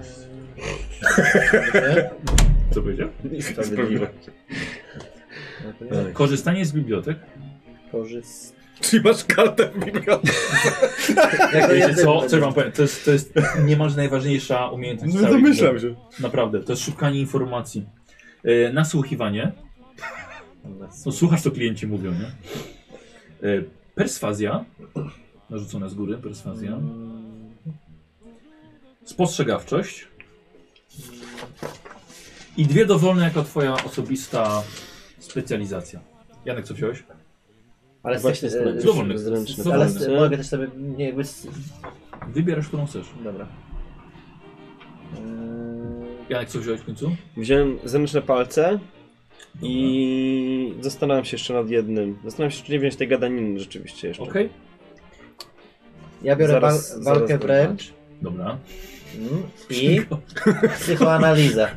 Speaker 3: Yy,
Speaker 1: Co powiedział?
Speaker 3: Sprawiedliwe. No to nie.
Speaker 1: Korzystanie z bibliotek.
Speaker 3: Korzyst...
Speaker 4: Czyli masz kartę w bibliotece.
Speaker 3: Jak to
Speaker 1: Wiecie
Speaker 3: jest-
Speaker 1: co, co ja wam powiem, to jest, to jest niemalże najważniejsza umiejętność
Speaker 4: No
Speaker 1: całej
Speaker 4: domyślam się.
Speaker 1: gry. Naprawdę, to jest szukanie informacji. E, nasłuchiwanie, no, słuchasz co klienci mówią, nie? E, perswazja, narzucona z góry, perswazja. Spostrzegawczość. I dwie dowolne jako twoja osobista specjalizacja. Janek, co wziąłeś?
Speaker 3: Ale z-
Speaker 2: Właśnie
Speaker 3: e,
Speaker 2: zręczny.
Speaker 1: Dowolny.
Speaker 2: Zręczny. e,
Speaker 3: Ale
Speaker 1: Dowolny.
Speaker 3: z- mogę też sobie nie, jakby... z-
Speaker 1: Wybierasz, którą chcesz.
Speaker 3: Dobra. Yy,
Speaker 1: Janek, co wziąłeś w końcu?
Speaker 2: Wziąłem zręczne palce i zastanawiam się jeszcze nad jednym. Zastanawiam się, czy nie wziąć tej gadaniny rzeczywiście jeszcze.
Speaker 1: Okej,
Speaker 3: Ja biorę
Speaker 2: Zaraz-
Speaker 3: wal,
Speaker 2: zaraz
Speaker 3: walkę
Speaker 2: będę.
Speaker 3: wręcz
Speaker 1: dobra.
Speaker 3: mm, i psychoanalizę.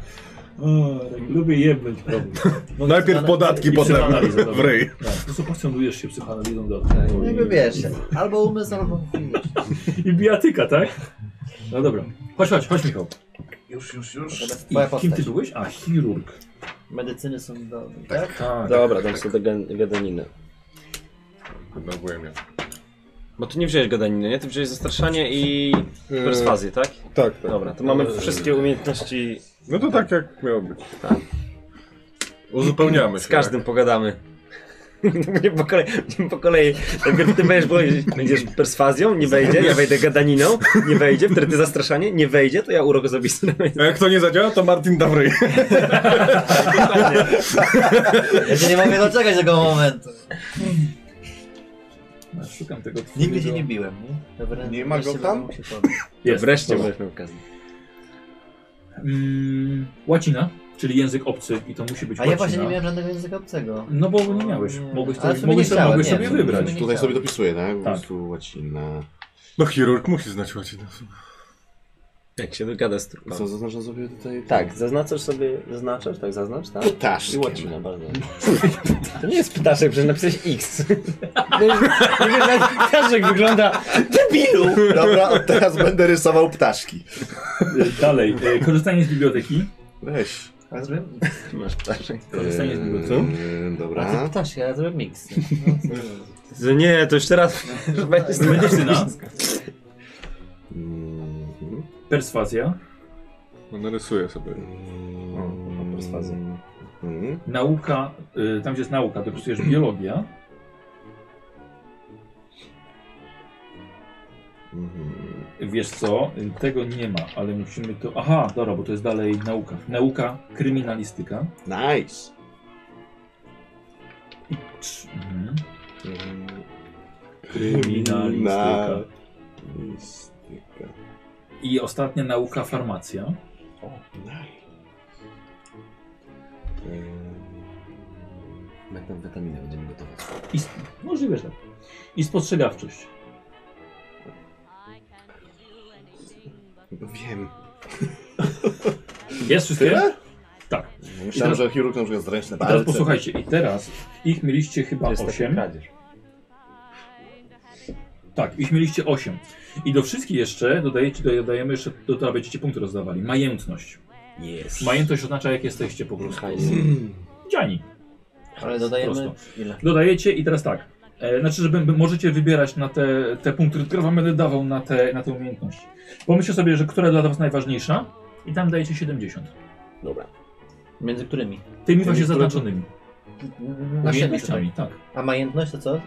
Speaker 1: O, tak lubię jebnąć problem.
Speaker 3: Bo
Speaker 4: Najpierw podatki,
Speaker 1: I
Speaker 4: potem
Speaker 1: psychoanaliza,
Speaker 4: w
Speaker 1: dobra.
Speaker 4: ryj.
Speaker 1: Tak, po prostu pasjonujesz się psychoanalizą do
Speaker 3: Tak, Jakby wiesz, albo umysł, albo...
Speaker 1: I bijatyka, tak? No dobra. Chodź, chodź, chodź Michał.
Speaker 5: Już, już, już.
Speaker 3: Teraz
Speaker 1: I
Speaker 3: Twoja
Speaker 1: kim ty
Speaker 3: postać.
Speaker 1: byłeś? A, chirurg.
Speaker 3: Medycyny są do... Tak?
Speaker 1: Tak.
Speaker 2: Dobra, dam sobie ga- gadaninę.
Speaker 4: Denerwuje mnie.
Speaker 2: Bo ty nie wziąłeś gadaniny, nie? Ty wziąłeś zastraszanie i
Speaker 1: Hmm.
Speaker 6: Yy,
Speaker 2: perswazję, tak?
Speaker 6: Tak, tak.
Speaker 2: Dobra, to
Speaker 1: No,
Speaker 2: mamy wszystkie umiejętności.
Speaker 4: No to tak jak miało być.
Speaker 2: Tak.
Speaker 4: Uzupełniamy się.
Speaker 2: Z każdym pogadamy. Nie po kolei, nie po kolei. Najpierw ty będziesz, bo- będziesz perswazją, nie wejdzie, ja wejdę gadaniną, nie wejdzie, wtedy ty zastraszanie, nie wejdzie, to ja urok osobisty.
Speaker 4: A jak to nie zadziała, to Martin da w ryj.
Speaker 3: Ja się nie mogę doczekać tego momentu.
Speaker 1: Ja no, Szukam tego
Speaker 3: Nigdy się
Speaker 1: twojego-
Speaker 3: nie biłem, nie? Wręcz
Speaker 5: Nie ma go
Speaker 3: wreszcie
Speaker 5: tam?
Speaker 3: będę mógł się podnieść.
Speaker 1: Jest.
Speaker 2: Wreszcie
Speaker 1: Dobra.
Speaker 2: mieliśmy okazję.
Speaker 1: Mm, łacina, czyli język obcy i to musi być
Speaker 3: A
Speaker 1: łacina.
Speaker 3: ja właśnie nie miałem żadnego języka obcego.
Speaker 1: No bo nie miałeś. Mogłeś
Speaker 3: Ale
Speaker 1: sobie,
Speaker 3: sobie
Speaker 1: mogłeś
Speaker 3: nie
Speaker 1: sobie,
Speaker 3: chciałem,
Speaker 1: mogłeś
Speaker 3: nie,
Speaker 1: sobie
Speaker 3: sobie
Speaker 1: wybrać.
Speaker 3: nie-
Speaker 5: Tutaj sobie dopisuję, tak? Po
Speaker 1: Tak.
Speaker 5: prostu łacina.
Speaker 4: No chirurg musi znać łacinę.
Speaker 2: Jak się dogada z
Speaker 1: Tak.
Speaker 2: trupą.
Speaker 5: Co, zaznaczam sobie tutaj?
Speaker 2: Tak, zaznaczasz sobie, zaznaczasz, tak zaznacz, tak? I
Speaker 5: Ptaszkiem.
Speaker 2: łacina, bardzo. To nie jest ptaszek, przecież napisałeś X. Nie wiesz- nie wiesz, jak ptaszek wygląda. Debilu!
Speaker 5: Dobra, od teraz będę rysował ptaszki.
Speaker 1: Dalej, e, korzystanie z biblioteki.
Speaker 5: Weź.
Speaker 3: A ja zrobiłem
Speaker 2: Masz ptaszek.
Speaker 3: E,
Speaker 1: Korzystanie z biblioteki.
Speaker 5: Eee,
Speaker 3: A ty
Speaker 5: Dobra.
Speaker 3: ptasz, ja zrobiłem mix. No, co zrobić?
Speaker 2: Nie, to No, jeszcze raz. że będziesz-
Speaker 1: Medycyna,
Speaker 5: Mhm.
Speaker 1: perswazja,
Speaker 4: No narysuję sobie.
Speaker 5: Mm.
Speaker 2: O, perswazja.
Speaker 5: Mhm.
Speaker 1: nauka, y, tam gdzie jest nauka, to pisujesz biologia.
Speaker 5: Mhm.
Speaker 1: Wiesz co, y, tego nie ma, ale musimy to... Aha, dobra, bo to jest dalej nauka. Nauka, kryminalistyka.
Speaker 5: Nice.
Speaker 1: Trz- Mhm. Kryminalistyka.
Speaker 5: Na- Listyka.
Speaker 1: I ostatnia nauka, farmacja.
Speaker 5: O, nice. Eee, Będą witaminę, będziemy gotować.
Speaker 1: I... Możliwe, że tak. I spostrzegawczość.
Speaker 5: No
Speaker 6: Wiem.
Speaker 1: Jest wszystkie?
Speaker 5: Tyle?
Speaker 1: Tak. I
Speaker 5: Myślałem,
Speaker 1: teraz,
Speaker 5: że chirurg na przykład z ręczne
Speaker 1: I teraz
Speaker 5: palce.
Speaker 1: posłuchajcie, i teraz ich mieliście chyba 8.
Speaker 2: kradzież.
Speaker 1: Tak, ich mieliście 8. I do wszystkich jeszcze dodajecie, dodajemy jeszcze, do tego będziecie punkty rozdawali. Majętność.
Speaker 2: Jest.
Speaker 1: Majętność oznacza, jak jesteście po prostu.
Speaker 2: Hajs.
Speaker 1: Dziani.
Speaker 3: Ale dodajemy
Speaker 1: Prosto.
Speaker 3: ile?
Speaker 1: Dodajecie i teraz tak. E, znaczy, że b- możecie wybierać na te, te punkty, które wam będę dawał na te, na te umiejętności. Pomyślcie sobie, że która dla was najważniejsza i tam dajecie 70.
Speaker 2: Dobra.
Speaker 3: Między którymi?
Speaker 1: Tymi właśnie
Speaker 5: które-
Speaker 1: zaznaczonymi.
Speaker 3: Naszymi tutaj.
Speaker 1: Umiejętnościami, tak.
Speaker 3: A majętność to co?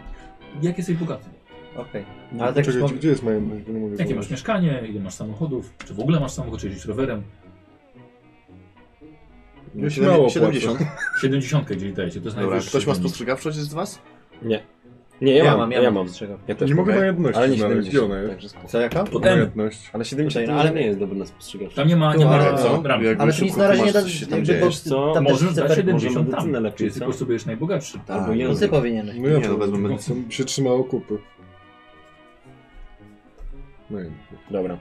Speaker 1: Jak jesteś bogaty?
Speaker 3: Okej.
Speaker 6: No,
Speaker 3: Ale tak
Speaker 6: czekaj,
Speaker 3: już mam-
Speaker 6: gdzie jest moja myśl? Bo nie mogę
Speaker 1: Jakie masz
Speaker 6: znaleźć.
Speaker 1: mieszkanie, ile masz samochodów, czy w ogóle masz samochód, czy jeździsz rowerem.
Speaker 6: Już
Speaker 5: Siedem-
Speaker 6: mało
Speaker 5: 70.
Speaker 1: 70 gdzieś dajecie, to jest
Speaker 5: Dobra,
Speaker 1: najwyższy.
Speaker 5: ktoś ma
Speaker 1: wynik.
Speaker 5: spostrzegawczość z was?
Speaker 2: Nie, ja, mam, ja, mam.
Speaker 3: Strzegam.
Speaker 2: Ja też
Speaker 6: Nie mogę
Speaker 2: mam.
Speaker 6: majętności
Speaker 2: Ale nie
Speaker 6: znaleźć, gdzie
Speaker 4: no,
Speaker 2: 70,
Speaker 6: ona jest?
Speaker 2: także spoko.
Speaker 3: Co jaka?
Speaker 1: Pod M.
Speaker 6: Majętność.
Speaker 2: Ale 70
Speaker 3: Tutaj,
Speaker 2: Znaczy,
Speaker 3: no,
Speaker 2: ale
Speaker 3: ale-
Speaker 2: nie jest dobry na spostrzegawczy.
Speaker 1: Tam nie ma, nie
Speaker 5: Ale
Speaker 1: ma
Speaker 5: co?
Speaker 1: bram.
Speaker 5: Jakby
Speaker 3: Ale to nic
Speaker 5: szybko
Speaker 3: na razie nie da
Speaker 5: tłumaczysz, co się tam
Speaker 3: jakby,
Speaker 5: dzieje.
Speaker 3: bo
Speaker 2: Wiesz co,
Speaker 3: tam też
Speaker 1: Możesz
Speaker 3: chcę
Speaker 1: dać
Speaker 3: per-
Speaker 1: 70
Speaker 2: możemy
Speaker 1: tam,
Speaker 2: medycynę lepiej,
Speaker 1: czyli ty po
Speaker 2: co?
Speaker 1: prostu będziesz najbogatszy.
Speaker 5: Tak.
Speaker 2: Albo
Speaker 5: no
Speaker 3: No
Speaker 2: język.
Speaker 3: ty powinieneś.
Speaker 6: No ja
Speaker 5: Nie, no
Speaker 6: to
Speaker 5: wezmę
Speaker 6: no, są- się trzymało kupy. No i
Speaker 2: Dobra.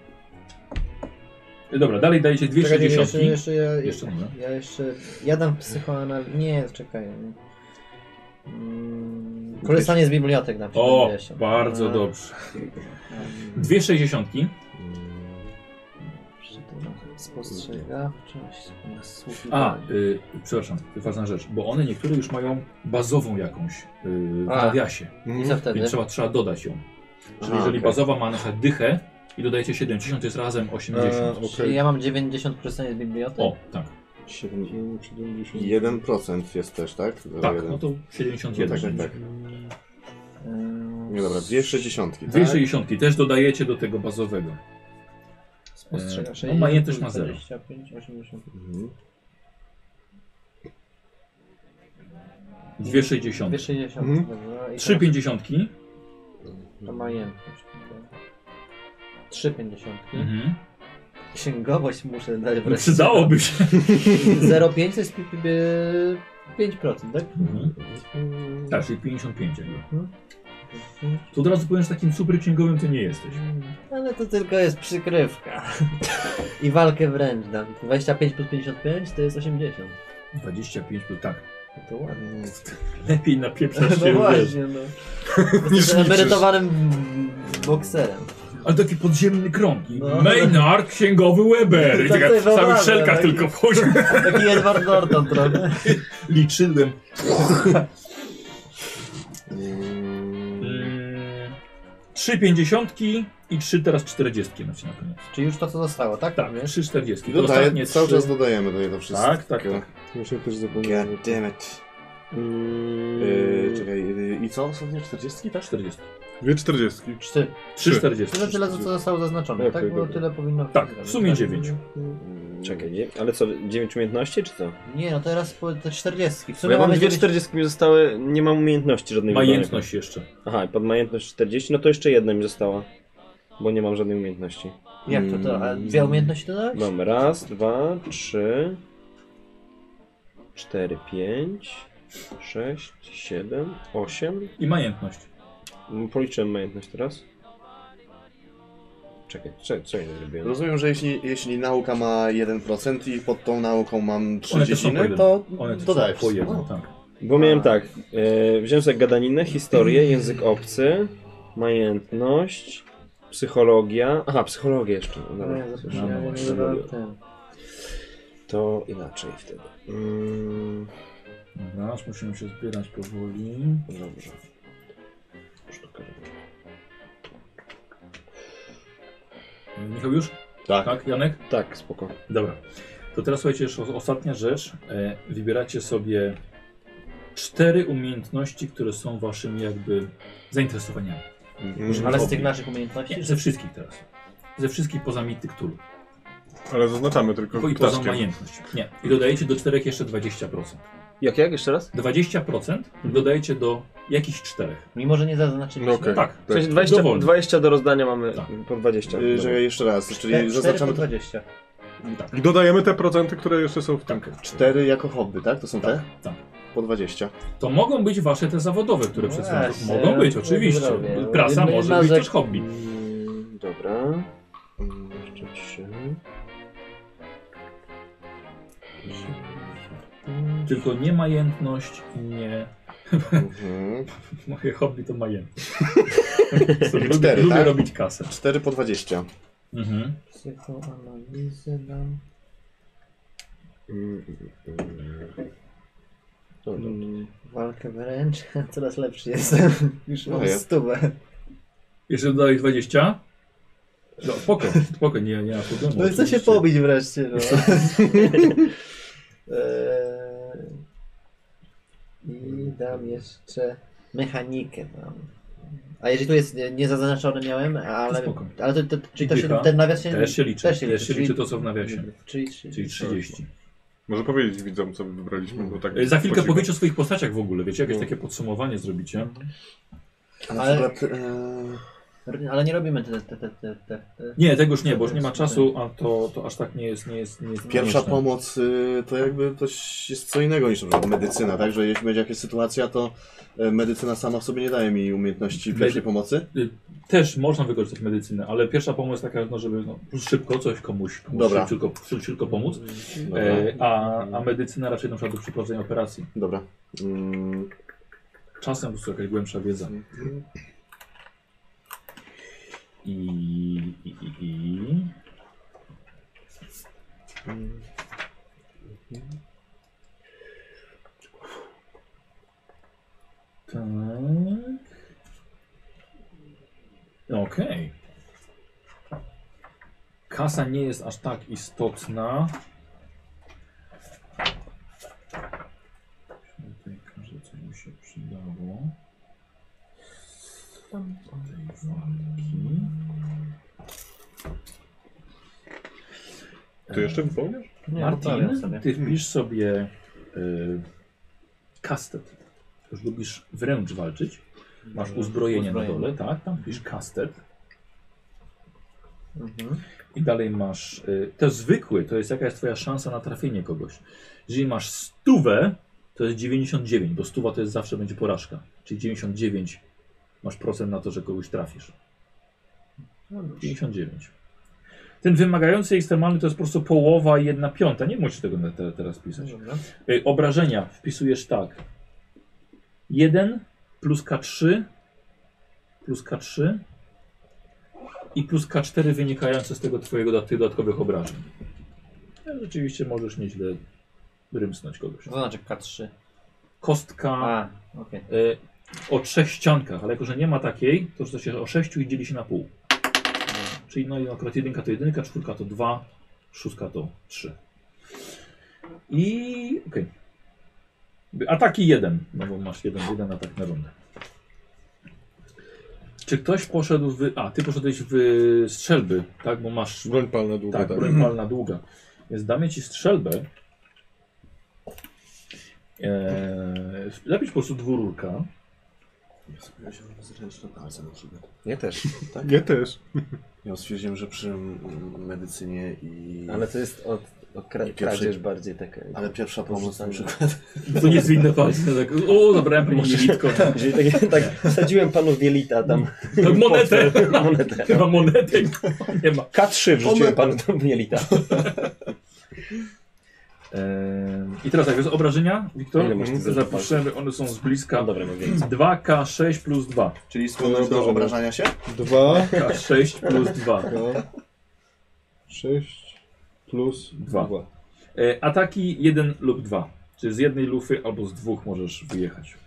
Speaker 1: Dobra, dalej dajecie dwie
Speaker 3: Czekaj,
Speaker 1: sześćdziesiątki.
Speaker 3: jeszcze, jeszcze, ja,
Speaker 1: Jeszcze
Speaker 3: jeszcze,
Speaker 1: dobra.
Speaker 3: ja jeszcze, ja dam psychoanal... Nie, czekaj. Mm, Korzystanie z bibliotek na przykład.
Speaker 1: O,
Speaker 3: wiesz. Mm.
Speaker 1: bardzo
Speaker 3: A,
Speaker 1: dobrze.
Speaker 3: a,
Speaker 1: Dwie sześćdziesiątki.
Speaker 3: Spostrzegawczość,
Speaker 1: A,
Speaker 3: nasłuchiwanie.
Speaker 1: y, przepraszam, ważna rzecz, bo one niektóre już mają bazową jakąś y, w
Speaker 3: A.
Speaker 1: nawiasie,
Speaker 3: I co wtedy?
Speaker 1: więc trzeba, trzeba dodać ją. Czyli
Speaker 5: Aha,
Speaker 1: jeżeli
Speaker 5: okej.
Speaker 1: bazowa ma na przykład dychę i dodajecie 70, to jest razem 80.
Speaker 6: A, okej.
Speaker 3: Czyli ja mam 90 korzystanie z bibliotek.
Speaker 1: O, tak,
Speaker 6: 70, 70.
Speaker 5: 1% jest też, tak?
Speaker 1: tak,
Speaker 5: 01.
Speaker 1: no to 71.
Speaker 5: tak, tak, tak.
Speaker 3: E, Ym,
Speaker 5: Nie dobra, tak? dwie sześćdziesiątki.
Speaker 1: Dwie sześćdziesiątki też dodajecie do tego bazowego. No,
Speaker 3: Spostrzegawczość.
Speaker 1: majętność ma zero.
Speaker 3: 25, 80.
Speaker 5: Mhm.
Speaker 1: Dwie sześćdziesiątki.
Speaker 3: 260.
Speaker 6: Mhm.
Speaker 3: dobra, i
Speaker 1: Trzy
Speaker 3: teraz
Speaker 1: pięćdziesiątki.
Speaker 3: To majętność. 3,50.
Speaker 1: Mhm.
Speaker 3: Księgowość muszę dać
Speaker 1: No,
Speaker 3: wreszcie.
Speaker 1: Przydałoby się.
Speaker 3: 0,5 to jest pi- pi- pi- 5%, tak?
Speaker 1: Mhm. Tak, czyli 55 jakby.
Speaker 3: Mhm.
Speaker 1: To od razu powiem, że takim super księgowym ty nie jesteś.
Speaker 3: Mm. Ale to tylko jest przykrywka. I walkę wręcz dam. 25 plus 55 to jest 80.
Speaker 1: 25 był tak.
Speaker 3: No to ładnie.
Speaker 1: Lepiej napieprzasz się,
Speaker 3: no
Speaker 1: wiesz.
Speaker 3: właśnie, no. Jestem emerytowanym bokserem.
Speaker 1: Ale taki podziemny krąg.
Speaker 3: No.
Speaker 1: Maynard, księgowy Weber. I
Speaker 3: Tak
Speaker 1: taka
Speaker 3: sobie
Speaker 1: w całych
Speaker 3: wyobrażam,
Speaker 1: szelkach
Speaker 3: taki-
Speaker 1: tylko wchodzi.
Speaker 3: Taki Edward Norton trochę.
Speaker 1: Liczyłem.
Speaker 5: Mm.
Speaker 1: Trzy pięćdziesiątki i trzy teraz czterdziestki macie na koniec.
Speaker 3: Czy już to co zostało, tak?
Speaker 1: Tak,
Speaker 3: Wiesz?
Speaker 1: trzy czterdziestki. To
Speaker 5: Dodaję,
Speaker 1: ostatnie
Speaker 5: cały
Speaker 1: trzy.
Speaker 5: czas dodajemy do tego wszystkiego.
Speaker 1: Tak, tak, tak.
Speaker 6: Ja się też zapomniałem.
Speaker 5: God damn it. Yy,
Speaker 6: Yy,
Speaker 5: czekaj, yy, i co? Ostatnie 40, tak?
Speaker 1: 40.
Speaker 4: Dwie czterdziestki.
Speaker 3: Cztery.
Speaker 1: Trzy
Speaker 4: Trzy.
Speaker 1: czterdziestki.
Speaker 3: Tyle, tyle co zostało zaznaczone,
Speaker 6: Okej,
Speaker 3: tak? Bo
Speaker 6: dobra.
Speaker 3: tyle powinno być.
Speaker 1: Tak, w sumie dziewięć.
Speaker 5: Mm,
Speaker 2: Czekaj, nie? ale co, 9 umiejętności czy co?
Speaker 3: Nie, no teraz po te 40. W
Speaker 2: Bo
Speaker 3: sumie
Speaker 2: ja mam
Speaker 3: mamy
Speaker 2: dwie
Speaker 3: 40.
Speaker 2: 40 mi zostały, nie mam umiejętności żadnej wybranej.
Speaker 1: Majętność jeszcze.
Speaker 2: Aha, i pod majętność 40, no to jeszcze jedna mi została. Bo nie mam żadnej umiejętności.
Speaker 3: Jak to to? No, A dwie umiejętności dodałeś?
Speaker 2: Mam raz, dwa, trzy, cztery, pięć, sześć, siedem, osiem.
Speaker 1: I majętność.
Speaker 2: Mm, Policzyłem majętność teraz. Czekaj, co, co ja nie zrobiłem?
Speaker 5: Rozumiem, że jeśli, jeśli nauka ma 1% i pod tą nauką mam
Speaker 1: One też są po
Speaker 5: 30,
Speaker 1: jeden.
Speaker 5: to
Speaker 1: One też
Speaker 5: dodajesz.
Speaker 1: są po jedno,
Speaker 5: No.
Speaker 1: tak.
Speaker 2: Bo miałem tak, e, wziąłem sobie gadaninę, historię, język obcy, majętność, psychologia, aha, psychologię jeszcze, no
Speaker 3: No,
Speaker 2: dobra,
Speaker 3: ja
Speaker 1: no,
Speaker 3: zapomniałem,
Speaker 2: właśnie,
Speaker 3: nie dodałem
Speaker 2: dobra.
Speaker 3: ten.
Speaker 2: to inaczej wtedy. Mm,
Speaker 1: Dobra, aż musimy się zbierać powoli.
Speaker 2: dobrze. Już pokażę.
Speaker 1: E, Michał już?
Speaker 5: Tak.
Speaker 1: Tak, Janek?
Speaker 2: Tak, spoko.
Speaker 1: Dobra. To teraz słuchajcie, jeszcze o- ostatnia rzecz. E, wybieracie sobie cztery umiejętności, które są waszymi jakby zainteresowaniami.
Speaker 2: Mhm.
Speaker 3: no, Ale z tych naszych umiejętności?
Speaker 1: Nie, ze wszystkich teraz. Ze wszystkich poza Mityktulu.
Speaker 4: Ale zaznaczamy tylko
Speaker 1: I poza majętność. Nie. I dodajecie do czterech jeszcze 20%.
Speaker 2: Jak, jak? Jeszcze raz?
Speaker 1: 20%
Speaker 5: Mhm.
Speaker 1: dodajecie do jakichś czterech.
Speaker 3: Mimo, że nie zaznaczyliśmy.
Speaker 4: No okej.
Speaker 1: Tak.
Speaker 2: W sensie 20,
Speaker 1: Dowolny.
Speaker 2: 20 do rozdania mamy
Speaker 1: Tak.
Speaker 2: po 20.
Speaker 5: Yy, że jeszcze raz, czyli
Speaker 3: Cztery-
Speaker 5: zaznaczamy
Speaker 3: cztery po 20.
Speaker 1: Tak.
Speaker 4: I dodajemy te procenty, które jeszcze są w tym.
Speaker 1: Tak.
Speaker 5: 4 jako hobby, tak? To są te?
Speaker 1: tak.
Speaker 5: Po 20.
Speaker 1: To mogą być wasze te zawodowe, które
Speaker 3: No
Speaker 1: przedstawiasz.
Speaker 3: właśnie,
Speaker 1: Mogą być,
Speaker 3: no to
Speaker 1: oczywiście.
Speaker 3: zrobię.
Speaker 1: Prasa
Speaker 3: Jedna
Speaker 1: może być
Speaker 3: rzecz-
Speaker 1: też hobby.
Speaker 2: Mm, Dobra.
Speaker 5: Mm,
Speaker 6: 23.
Speaker 1: Tylko nie majętność i nie...
Speaker 5: Mhm.
Speaker 1: Moje hobby to majętność. lubię
Speaker 5: Cztery,
Speaker 1: lubię
Speaker 5: tak?
Speaker 1: robić kasę.
Speaker 5: 4 po 20.
Speaker 1: Mhm.
Speaker 3: Psychoanalizę nam.
Speaker 2: Mm,
Speaker 5: Dobra.
Speaker 3: Mm, Walkę wręcz. Coraz lepszy jestem. Już
Speaker 1: No
Speaker 3: mam
Speaker 5: Moje.
Speaker 3: stówę.
Speaker 1: Jeszcze dodałeś 20? No spoko, spoko, nie, nie ma problemu.
Speaker 3: No i chcę się
Speaker 1: oczywiście.
Speaker 3: pobić wreszcie. No. Eee, I dam jeszcze mechanikę. Mam. A jeżeli tu jest nie- niezaznaczony miałem, ale,
Speaker 1: Spoko.
Speaker 3: ale to, to, czyli to
Speaker 1: I
Speaker 3: się,
Speaker 1: dycha.
Speaker 3: ten nawias się,
Speaker 1: Też się liczy,
Speaker 3: Też się liczy, czyli-
Speaker 1: to co w nawiasie,
Speaker 3: Czyli, czyli,
Speaker 1: czyli 30.
Speaker 4: Może powiedzieć widzom, co wybraliśmy, bo tak...
Speaker 1: E, Za chwilkę
Speaker 4: po cichu.
Speaker 1: powiecie o swoich postaciach w ogóle, wiecie,
Speaker 3: No.
Speaker 1: jakieś takie podsumowanie zrobicie.
Speaker 5: A na
Speaker 3: Ale-
Speaker 5: przykład... e,
Speaker 3: Ale nie robimy te, te, te, te, te, te.
Speaker 1: Nie, tegoż nie, bo już nie ma czasu, a to, to aż tak nie jest, nie jest, nie jest
Speaker 5: Pierwsza
Speaker 1: konieczne.
Speaker 5: pomoc y, to jakby to jest co innego niż na przykład medycyna, tak? Że jeśli będzie jakaś sytuacja, to e, medycyna sama w sobie nie daje mi umiejętności pierwszej pomocy.
Speaker 1: Też można wykorzystać medycynę, ale pierwsza pomoc taka, no, żeby no, szybko coś komuś, komuś
Speaker 5: Dobra.
Speaker 1: szybciutko, szybciutko pomóc,
Speaker 5: Dobra.
Speaker 1: e, a, a medycyna raczej na przykład do przeprowadzenia operacji.
Speaker 5: Dobra. Mm,
Speaker 1: Czasem po prostu jakaś głębsza wiedza. I, i, i, i. Tak. Okej. Kasa nie jest aż tak istotna. Tutaj każdy co mu się przydało. Tej walki.
Speaker 4: Ty jeszcze wypełniasz?
Speaker 3: Nie,
Speaker 1: Martin,
Speaker 3: zostawiam sobie.
Speaker 1: ty wpisz sobie y, kastet. Już lubisz wręcz walczyć. Masz Tak, uzbrojenie,
Speaker 3: Uzbrojenie.
Speaker 1: na dole, tak? Tam wpisz kastet.
Speaker 3: Mhm.
Speaker 1: I dalej masz. Y, to jest zwykły, to jest jaka jest twoja szansa na trafienie kogoś. Jeżeli masz stówę, to jest 99, bo stuwa to jest zawsze będzie porażka. Czyli 99 masz procent na to, że kogoś trafisz. 59. Ten wymagający ekstremalny to jest po prostu połowa i jedna piąta. Nie musisz tego na te, teraz pisać.
Speaker 3: Dobra.
Speaker 1: Y, Obrażenia wpisujesz tak. 1 plus K3 plus K3 i plus K4 wynikające z tego twojego dodat- tych dodatkowych obrażeń. No, Rzeczywiście możesz nieźle rymsnąć kogoś.
Speaker 3: Co to znaczy K3?
Speaker 1: Kostka
Speaker 3: A, okej.
Speaker 1: y, o trzech ściankach, ale jako, że nie ma takiej, to rzuca się o sześciu i dzieli się na pół. Czyli no i akurat jedynka to jedynka, czwórka to dwa, szóstka to trzy. I okej. Ataki jeden, no bo masz jeden, jeden atak na rundę. Czy ktoś poszedł w... A, ty poszedłeś w strzelby, tak? Bo masz...
Speaker 6: Broń palna długa,
Speaker 1: Tak,
Speaker 6: tak.
Speaker 1: broń palna długa. Więc damy ci strzelbę. Eee, zapisz po prostu dwururka.
Speaker 5: Ja sobie wziąłem zręczne palce na przykład.
Speaker 2: Nie też.
Speaker 6: Ja też.
Speaker 5: Ja stwierdziłem, że przy mm, medycynie i...
Speaker 2: Ale to jest od, od kra-
Speaker 5: I pierwszy-
Speaker 2: kradzież bardziej taka.
Speaker 5: Ale pierwsza pomoc na
Speaker 2: Porzucanie.
Speaker 5: przykład.
Speaker 1: To nie zwinne palce. Tak, o, zabrałem pani jelitko.
Speaker 2: Jeżeli tak, tak wsadziłem panu wielita tam.
Speaker 1: Monetę.
Speaker 2: Monetę.
Speaker 1: Nie ma monety. Nie ma.
Speaker 2: K3 wrzuciłem panu do wielita.
Speaker 1: Eee, I teraz tak, jest obrażenia, Wiktor?
Speaker 2: Ile masz ty za
Speaker 1: Zapiszemy, one są z
Speaker 2: No
Speaker 1: bliska.
Speaker 2: dobra, mam więcej.
Speaker 1: 2K6 plus 2.
Speaker 5: Czyli skłonność do obrażania się?
Speaker 6: Dwa,
Speaker 1: K6 plus 2.
Speaker 6: dwa, sześć plus
Speaker 1: Dwa.
Speaker 6: dwa.
Speaker 1: E, ataki 1 lub 2. Czyli z jednej lufy albo z dwóch możesz wyjechać.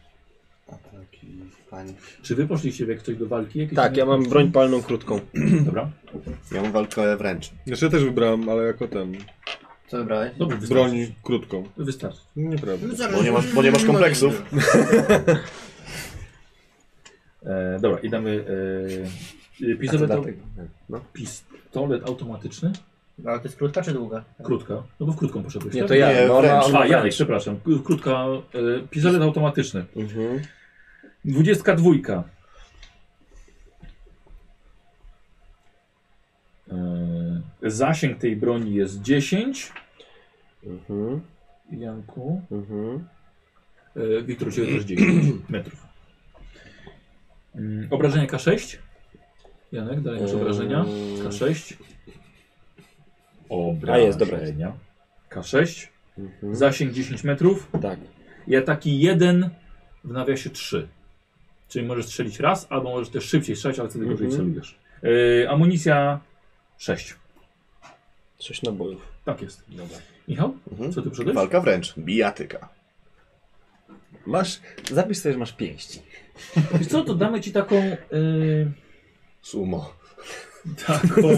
Speaker 5: A taki pani.
Speaker 1: Czy wy poszliście jak ktoś do walki? Jakieś
Speaker 2: Tak, ja mam broń palną krótką.
Speaker 1: Dobra.
Speaker 5: Ja mam walkę wręcz.
Speaker 6: Znaczy ja też wybrałem, ale jako ten.
Speaker 3: Co wybrałeś?
Speaker 1: Dobrze, wystarczy.
Speaker 6: Broń krótką.
Speaker 1: Wystarczy.
Speaker 6: Nieprawda.
Speaker 5: Bo nie masz, bo nie masz kompleksów.
Speaker 1: E, dobra, i damy e,
Speaker 2: A to
Speaker 1: pistolet,
Speaker 2: dlatego. No.
Speaker 1: pistolet automatyczny.
Speaker 3: No, Ale to jest krótka czy długa?
Speaker 1: Krótka. No bo w krótką poszedłeś,
Speaker 2: Nie,
Speaker 1: tak?
Speaker 2: to ja.
Speaker 5: Nie,
Speaker 2: No,
Speaker 5: wręcz.
Speaker 2: ona, ona
Speaker 1: A, Janek,
Speaker 2: wręcz.
Speaker 1: przepraszam. K- Krótka. E, pistolet automatyczny.
Speaker 2: Mhm.
Speaker 1: 22. E, zasięg tej broni jest 10.
Speaker 2: Mhm.
Speaker 1: Janku.
Speaker 2: Mhm.
Speaker 1: E, Wiktor, ciebie też 10 metrów.
Speaker 2: Eee.
Speaker 1: Mm, obrażenia K6. Janek, dalej masz obrażenia. K6. obrażenia.
Speaker 2: A, jest, dobra,
Speaker 1: K6,
Speaker 2: Mhm.
Speaker 1: zasięg 10 metrów
Speaker 2: Tak.
Speaker 1: i ataki 1 w nawiasie 3. Czyli możesz strzelić raz, albo możesz też szybciej strzelać, ale wtedy gorzej
Speaker 2: Mhm.
Speaker 1: celujesz. Yy, amunicja 6.
Speaker 2: Sześć nabojów.
Speaker 1: Tak jest.
Speaker 2: Dobra.
Speaker 1: Michał,
Speaker 5: Mhm.
Speaker 1: co ty przedajesz?
Speaker 5: Walka wręcz. Bijatyka.
Speaker 2: Masz. Zapisz sobie, że masz pięści.
Speaker 1: Wiesz co, to damy ci taką... Yy,
Speaker 5: Sumo.
Speaker 1: taką...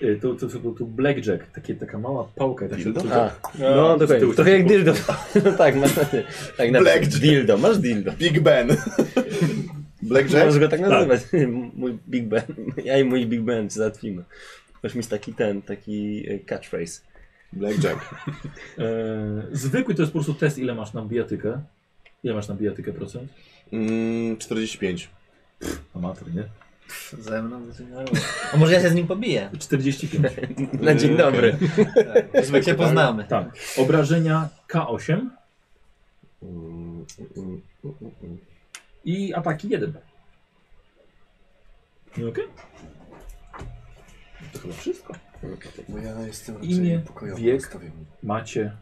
Speaker 1: Yy, to, to, to, to, blackjack, takie, taka mała pałka. Tak się,
Speaker 5: Dildo?
Speaker 2: A, no dokładnie.
Speaker 1: tyłu
Speaker 2: Trochę
Speaker 1: się
Speaker 2: jak dildo. tak, masz na ty. Tak, na
Speaker 5: Blackjack.
Speaker 2: Dildo, masz dildo.
Speaker 5: Big Ben.
Speaker 2: Możesz
Speaker 5: Blackjack?
Speaker 2: go tak nazywać. mój Big Ben. Ja i mój Big Ben cię załatwimy. Masz mieć taki ten, taki e, catchphrase.
Speaker 5: Blackjack.
Speaker 1: Eee, zwykły to jest po prostu test, ile masz na bijatykę. Ile masz na bijatykę procent?
Speaker 5: Mm, 45.
Speaker 1: Amator, nie?
Speaker 3: Ze mną to się nie robi. A może ja się z nim pobiję?
Speaker 1: 45.
Speaker 2: Na
Speaker 3: E,
Speaker 2: dzień
Speaker 5: Okej.
Speaker 2: dobry.
Speaker 3: Zwykle się poznamy.
Speaker 1: tak. Obrażenia K8
Speaker 5: Mm,
Speaker 1: i ataki 1. Nie okej? To chyba wszystko.
Speaker 5: Bo ja jestem raczej
Speaker 1: Imię,
Speaker 5: pokojowy.
Speaker 1: wiek.
Speaker 5: nastawiony.
Speaker 1: Macie.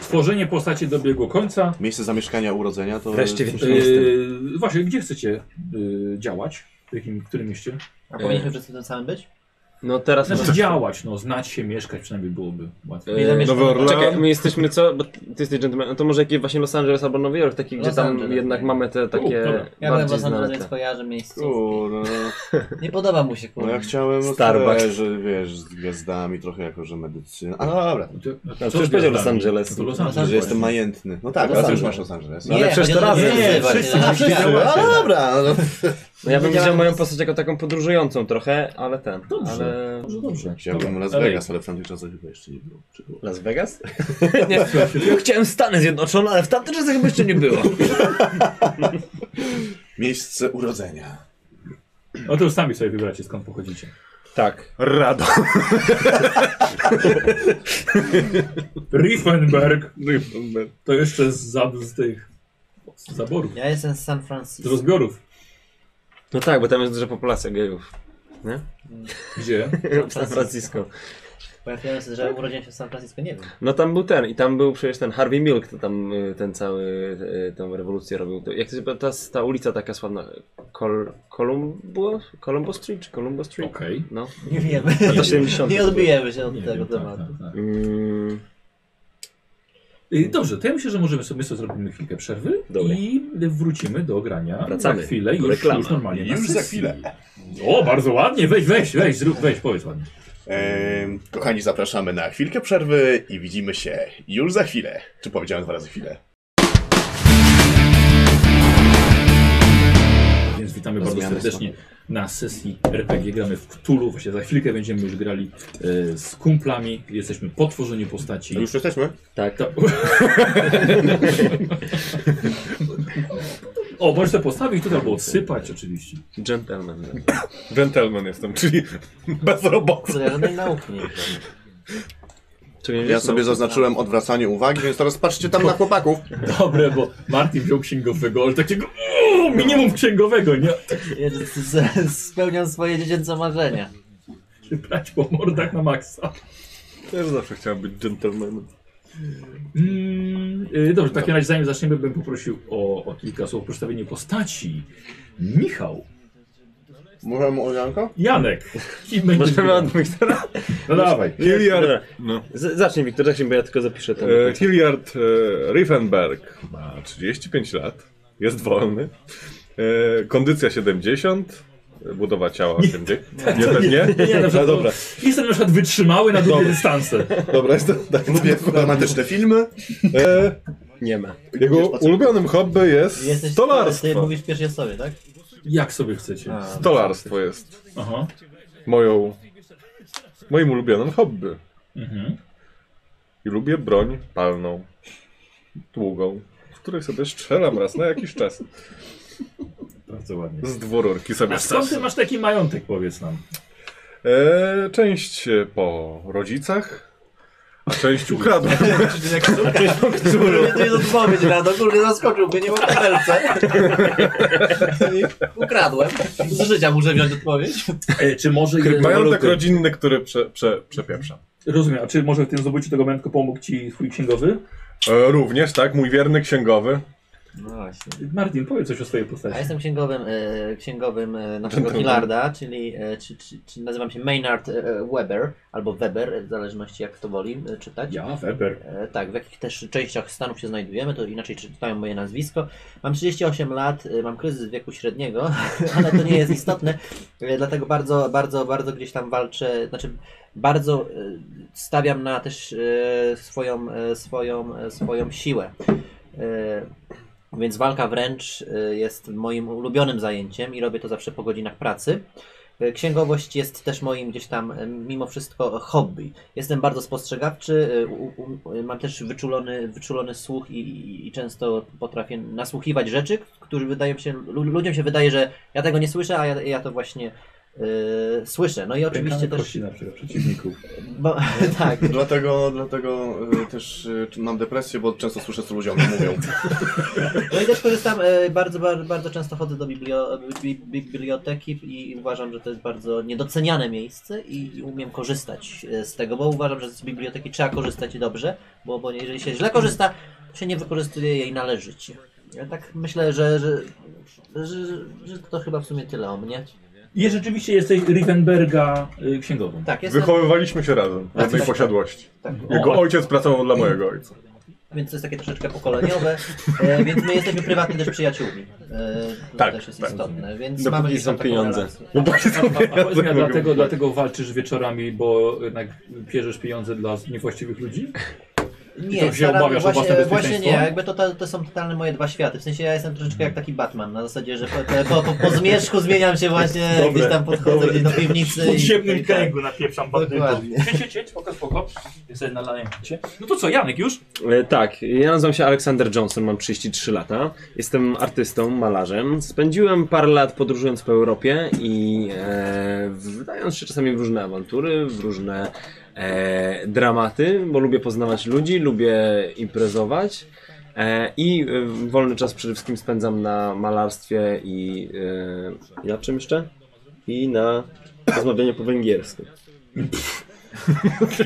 Speaker 1: Tworzenie postaci dobiegło końca.
Speaker 5: Miejsce zamieszkania, urodzenia to...
Speaker 2: Wreszcie wiem, że jestem.
Speaker 1: Eee, właśnie, gdzie chcecie eee, działać? W jakim, w którym mieście?
Speaker 3: A powinniśmy wszyscy tym samym być?
Speaker 2: No teraz...
Speaker 1: Znaczy działać, no, znać się, mieszkać przynajmniej byłoby łatwiej.
Speaker 3: Ile mieszkań?
Speaker 6: Nowy Orlean.
Speaker 2: Czekaj, my jesteśmy co? Bo ty jesteś gentleman. No to może jakieś właśnie Los Angeles albo Nowy Jork, taki, gdzie
Speaker 3: Los
Speaker 2: tam
Speaker 3: Angeles,
Speaker 2: jednak
Speaker 3: tak.
Speaker 2: mamy te takie
Speaker 1: U, dobra.
Speaker 3: Ja byłem
Speaker 2: bardziej tak.
Speaker 3: w Los
Speaker 2: znane.
Speaker 3: Angeles,
Speaker 2: te.
Speaker 3: więc kojarzę miejsce.
Speaker 5: Kurde.
Speaker 3: Nie podoba mu się,
Speaker 5: No ja
Speaker 3: kurwa.
Speaker 5: chciałem
Speaker 2: Starbucks.
Speaker 5: że wiesz, z gwiazdami trochę jako, że medycyna. A no dobra,
Speaker 1: To-
Speaker 2: przecież
Speaker 1: co gwiazdami?
Speaker 2: powiedział Los Angeles.
Speaker 1: No to Los
Speaker 3: Los
Speaker 1: Angeles.
Speaker 5: że
Speaker 3: Angeles.
Speaker 5: jestem majętny. No tak,
Speaker 3: Los
Speaker 5: ale ty już
Speaker 3: Angeles.
Speaker 5: masz Los Angeles.
Speaker 2: No ale przecież
Speaker 3: chodzi o
Speaker 2: teraz
Speaker 3: to, że
Speaker 2: nie,
Speaker 3: wzywa
Speaker 1: wszyscy
Speaker 3: się.
Speaker 1: na
Speaker 3: A,
Speaker 1: wszyscy.
Speaker 3: wszyscy.
Speaker 5: No dobra, no, to-
Speaker 2: No ja bym
Speaker 3: Widziałem-
Speaker 2: wziął moją postać jako taką podróżującą trochę, ale ten.
Speaker 1: Dobrze.
Speaker 2: Ale...
Speaker 1: Dobrze, dobrze.
Speaker 5: Chciałbym Las
Speaker 1: Dobra.
Speaker 5: Vegas, ale w tamtych czasach chyba jeszcze nie było. Czy było?
Speaker 2: Las Vegas? nie, ja chciałem Stany Zjednoczone, ale w tamtych czasach chyba jeszcze nie było.
Speaker 5: Miejsce urodzenia.
Speaker 1: No to już sami sobie wybracie skąd pochodzicie.
Speaker 2: Tak.
Speaker 4: Rado.
Speaker 1: Riefenberg
Speaker 6: No
Speaker 1: to jeszcze z, za- z tych z zaborów,
Speaker 3: Ja jestem z San
Speaker 1: z
Speaker 3: Francisco.
Speaker 1: rozbiorów.
Speaker 2: No tak, bo tam jest duża populacja gejów.
Speaker 1: Gdzie?
Speaker 2: W San Francisco.
Speaker 3: Bo ja wiem, że urodziłem się w San Francisco, nie wiem.
Speaker 2: No tam był ten, i tam był przecież ten Harvey Milk, to tam y, ten cały, y, tą rewolucję robił. To, jak to się nazywa, ta, ta ulica taka sławna, Col, Columbo, Columbo Street czy Columbo Street?
Speaker 1: Okej.
Speaker 2: No.
Speaker 3: Nie wiemy.
Speaker 2: Lata 70.
Speaker 3: Nie odbijemy się od
Speaker 1: Nie
Speaker 3: tego
Speaker 1: wiem, tak,
Speaker 3: tematu.
Speaker 1: tak, tak.
Speaker 2: Mm,
Speaker 1: Y, Dobrze, to ja myślę, że możemy sobie, sobie zrobimy chwilkę przerwy
Speaker 2: Dobra.
Speaker 1: i wrócimy do grania
Speaker 2: Wracamy.
Speaker 1: za chwilę
Speaker 2: Do
Speaker 1: już,
Speaker 2: reklamy.
Speaker 1: już normalnie. na
Speaker 5: Już za
Speaker 1: sesji.
Speaker 5: chwilę.
Speaker 1: O, bardzo ładnie, weź, weź, weź, zrób, weź, powiedz ładnie.
Speaker 5: Em, kochani, zapraszamy na chwilkę przerwy i widzimy się już za chwilę. Czy powiedziałem dwa razy chwilę?
Speaker 1: Więc witamy
Speaker 2: Rozumiane
Speaker 1: bardzo serdecznie na sesji RPG. Gramy w Cthulhu. Właśnie za chwilkę będziemy już grali e, z kumplami. Jesteśmy po tworzeniu postaci.
Speaker 5: Już jesteśmy?
Speaker 2: tak.
Speaker 1: To... o, możesz to postawić tutaj, albo odsypać oczywiście.
Speaker 2: Gentleman.
Speaker 4: Gentleman jestem, czyli bez
Speaker 1: tak.
Speaker 4: roboty.
Speaker 3: Co ja żadnej nauki nie wiem.
Speaker 2: Czyli
Speaker 5: Ja sobie zaznaczyłem odwracanie uwagi, więc teraz patrzcie tam na chłopaków.
Speaker 1: Dobre, bo Martin wziął księgowego, ale takiego uuu, minimum księgowego, nie? Tak
Speaker 3: Ja z- z- Spełniam swoje dziecięce marzenia.
Speaker 1: Czy brać po mordach na maksa.
Speaker 4: Też zawsze chciałem być gentlemanem.
Speaker 1: Mm, y, dobrze, w takim razie zanim zaczniemy, bym poprosił o, o kilka słów o przedstawienie postaci. Michał,
Speaker 5: Mówiłem o Janko?
Speaker 1: Janek i będzie
Speaker 2: Możemy
Speaker 1: grał.
Speaker 2: od Wiktora?
Speaker 1: No dawaj.
Speaker 4: Hilliard,
Speaker 2: Dobra.
Speaker 4: no.
Speaker 2: Z- zacznij Wiktor, zacznij, bo ja tylko zapiszę ten.
Speaker 4: e, Hilliard e, Riefenberg ma 35 lat, jest wolny, e, kondycja 70, e, budowa ciała 80. Nie, pewnie?
Speaker 1: Nie, na
Speaker 4: No
Speaker 1: przykład,
Speaker 4: dobra,
Speaker 1: Jestem na przykład wytrzymały na długie dystanse.
Speaker 4: dobra, jest to tak.
Speaker 5: Lubię dramatyczne filmy.
Speaker 4: E,
Speaker 2: Nie ma.
Speaker 4: jego ulubionym hobby jest
Speaker 3: Jesteś Ty
Speaker 4: stolarstwo.
Speaker 3: mówisz w pierwszej osobie, tak?
Speaker 1: Jak sobie chcecie.
Speaker 4: Stolarstwo jest
Speaker 1: Aha.
Speaker 4: moją, moim ulubionym hobby.
Speaker 1: Mhm.
Speaker 4: I lubię broń palną, długą, w której sobie strzelam raz na jakiś czas.
Speaker 1: Bardzo ładnie.
Speaker 4: Z dworurki sobie
Speaker 1: A skąd ty
Speaker 4: strzelam.
Speaker 1: masz taki majątek, powiedz nam?
Speaker 4: E, część e, po rodzicach, a część ukradłem.
Speaker 3: Kurde, to jest odpowiedź na to, kurde, zaskoczył mnie, nie mam kabelce. Ukradłem. Z życia muszę wziąć odpowiedź.
Speaker 1: E, czy może jeden...
Speaker 4: Majątek
Speaker 1: waluty-
Speaker 4: rodzinny, który prze, prze, przepieprzam.
Speaker 1: Rozumiem, a czy może w tym zdobyciu tego majątku pomógł ci twój księgowy?
Speaker 4: E, również, tak, mój wierny księgowy.
Speaker 3: No właśnie.
Speaker 1: Martin, powiedz coś o swojej
Speaker 3: A
Speaker 1: postaci.
Speaker 3: jestem księgowym, e, księgowym e, naszego Hillarda, czyli e, czy, czy, czy nazywam się Maynard e, Weber, albo Weber, e, w zależności jak kto woli e, czytać.
Speaker 1: Ja, Weber.
Speaker 3: E, tak, w jakich też częściach Stanów się znajdujemy, to inaczej czytają moje nazwisko. Mam 38 lat, e, mam kryzys wieku średniego, ale to nie jest istotne, e, dlatego bardzo, bardzo, bardzo gdzieś tam walczę, znaczy bardzo e, stawiam na też e, swoją, e, swoją, e, swoją siłę. E, Więc walka wręcz e, jest moim ulubionym zajęciem i robię to zawsze po godzinach pracy. E, Księgowość jest też moim gdzieś tam e, mimo wszystko hobby. Jestem bardzo spostrzegawczy, e, u, u, u- mam też wyczulony, wyczulony słuch i, i, i często potrafię nasłuchiwać rzeczy, które wydają się, lu- ludziom się wydaje, że ja tego nie słyszę, a ja, ja to właśnie e, słyszę. No i oczywiście
Speaker 1: Pękamy
Speaker 3: też...
Speaker 1: kości na przykład przeciwników.
Speaker 3: Bo, tak,
Speaker 5: Dlatego, dlatego y, też y, mam depresję, bo często słyszę, co ludzie o mnie mówią.
Speaker 3: No i też korzystam, e, bardzo, bardzo, bardzo często chodzę do biblio, bi, biblioteki i uważam, że to jest bardzo niedoceniane miejsce i, i umiem korzystać e, z tego, bo uważam, że z biblioteki trzeba korzystać dobrze, bo, bo jeżeli się źle korzysta, to się nie wykorzystuje jej należycie. Ja tak myślę, że, że, że, że to chyba w sumie tyle o mnie.
Speaker 1: I rzeczywiście jesteś Rivenberga y, księgową.
Speaker 3: Tak, jestem,
Speaker 4: Wychowywaliśmy się razem w jednej
Speaker 3: tak.
Speaker 4: posiadłości.
Speaker 3: tak.
Speaker 4: Jego ojciec pracował dla mojego ojca.
Speaker 3: więc to jest takie troszeczkę pokoleniowe, e, więc my jesteśmy prywatnie też przyjaciółmi. E, to
Speaker 4: Tak,
Speaker 3: też jest
Speaker 4: tak.
Speaker 3: istotne, więc
Speaker 2: Dopóki
Speaker 3: mamy gdzieś tam
Speaker 2: są
Speaker 3: taką
Speaker 2: pieniądze.
Speaker 3: relację.
Speaker 1: A powiedz mi, a dlatego, dlatego walczysz wieczorami, bo jednak pierzesz pieniądze dla niewłaściwych ludzi? I
Speaker 3: Nie,
Speaker 1: to się
Speaker 3: staram,
Speaker 1: obawiasz o
Speaker 3: właśnie,
Speaker 1: własne
Speaker 3: właśnie nie,
Speaker 1: bezpieczeństwo?
Speaker 3: jakby to, to, to są totalne moje dwa światy. W sensie ja jestem troszeczkę jak taki Batman, na zasadzie, że po, po, po, po zmierzchu zmieniam się właśnie,
Speaker 1: Dobre,
Speaker 3: gdzieś tam podchodzę
Speaker 1: dobre.
Speaker 3: gdzieś do piwnicy.
Speaker 7: W podziemnym
Speaker 3: i, tak.
Speaker 7: kręgu napieprzam bandytów.
Speaker 3: Dokładnie.
Speaker 1: Cieć, cieć, spoko, spoko. Jesteś na lajemcie. No to co, Janek już?
Speaker 2: E, Tak, ja nazywam się Alexander Johnson, mam 33 lata. Jestem artystą, malarzem. Spędziłem parę lat podróżując po Europie i e, wdając się czasami w różne awantury, w różne e, dramaty, bo lubię poznawać ludzi, lubię imprezować. E, I e, wolny czas przede wszystkim spędzam na malarstwie i e, na czym jeszcze? I na rozmawianiu po węgiersku.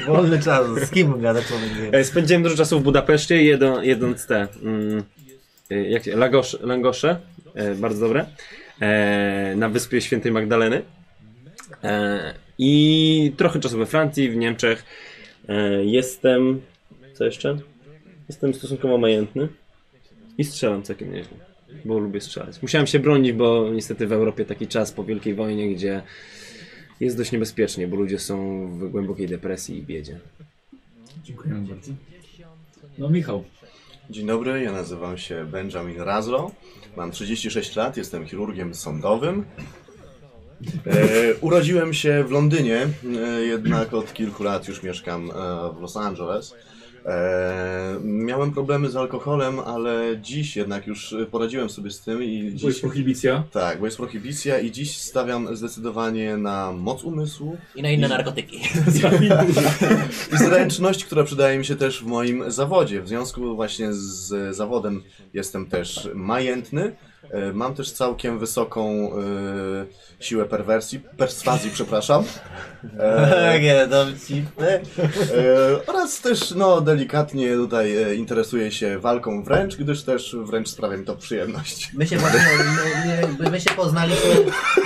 Speaker 3: Wolny czas, z kim gadać pomiędzy?
Speaker 2: E, Spędziłem dużo czasu w Budapeszcie, jedno- jedząc te. Mm, e, jak, się- langosz, langosze, e, bardzo dobre. E, na wyspie Świętej Magdaleny. E, I trochę czasu we Francji, w Niemczech. E, jestem. Co jeszcze? Jestem stosunkowo majętny. I strzelam całkiem nieźle. Bo lubię strzelać. Musiałem się bronić, bo niestety w Europie taki czas po Wielkiej Wojnie, gdzie jest dość niebezpiecznie, bo ludzie są w głębokiej depresji i biedzie.
Speaker 1: Dziękujemy bardzo. No Michał,
Speaker 5: Dzień dobry, ja nazywam się Benjamin Razlo. Mam 36 lat, jestem chirurgiem sądowym. E, urodziłem się w Londynie, e, jednak od kilku lat już mieszkam e, w Los Angeles. E, miałem problemy z alkoholem, ale dziś jednak już poradziłem sobie z tym i
Speaker 1: to jest
Speaker 5: dziś,
Speaker 1: prohibicja.
Speaker 5: tak, bo jest prohibicja i dziś stawiam zdecydowanie na moc umysłu,
Speaker 3: I na inne narkotyki.
Speaker 5: i zręczność, która przydaje mi się też w moim zawodzie. W związku właśnie z zawodem jestem też majętny. E, Mam też całkiem wysoką e, siłę perwersji, perswazji, przepraszam. E,
Speaker 3: Takie dowcipy.
Speaker 5: e, oraz też no, delikatnie tutaj e, interesuję się walką wręcz, gdyż też wręcz sprawia mi to przyjemność.
Speaker 3: My się właśnie, my, my, my się poznaliśmy,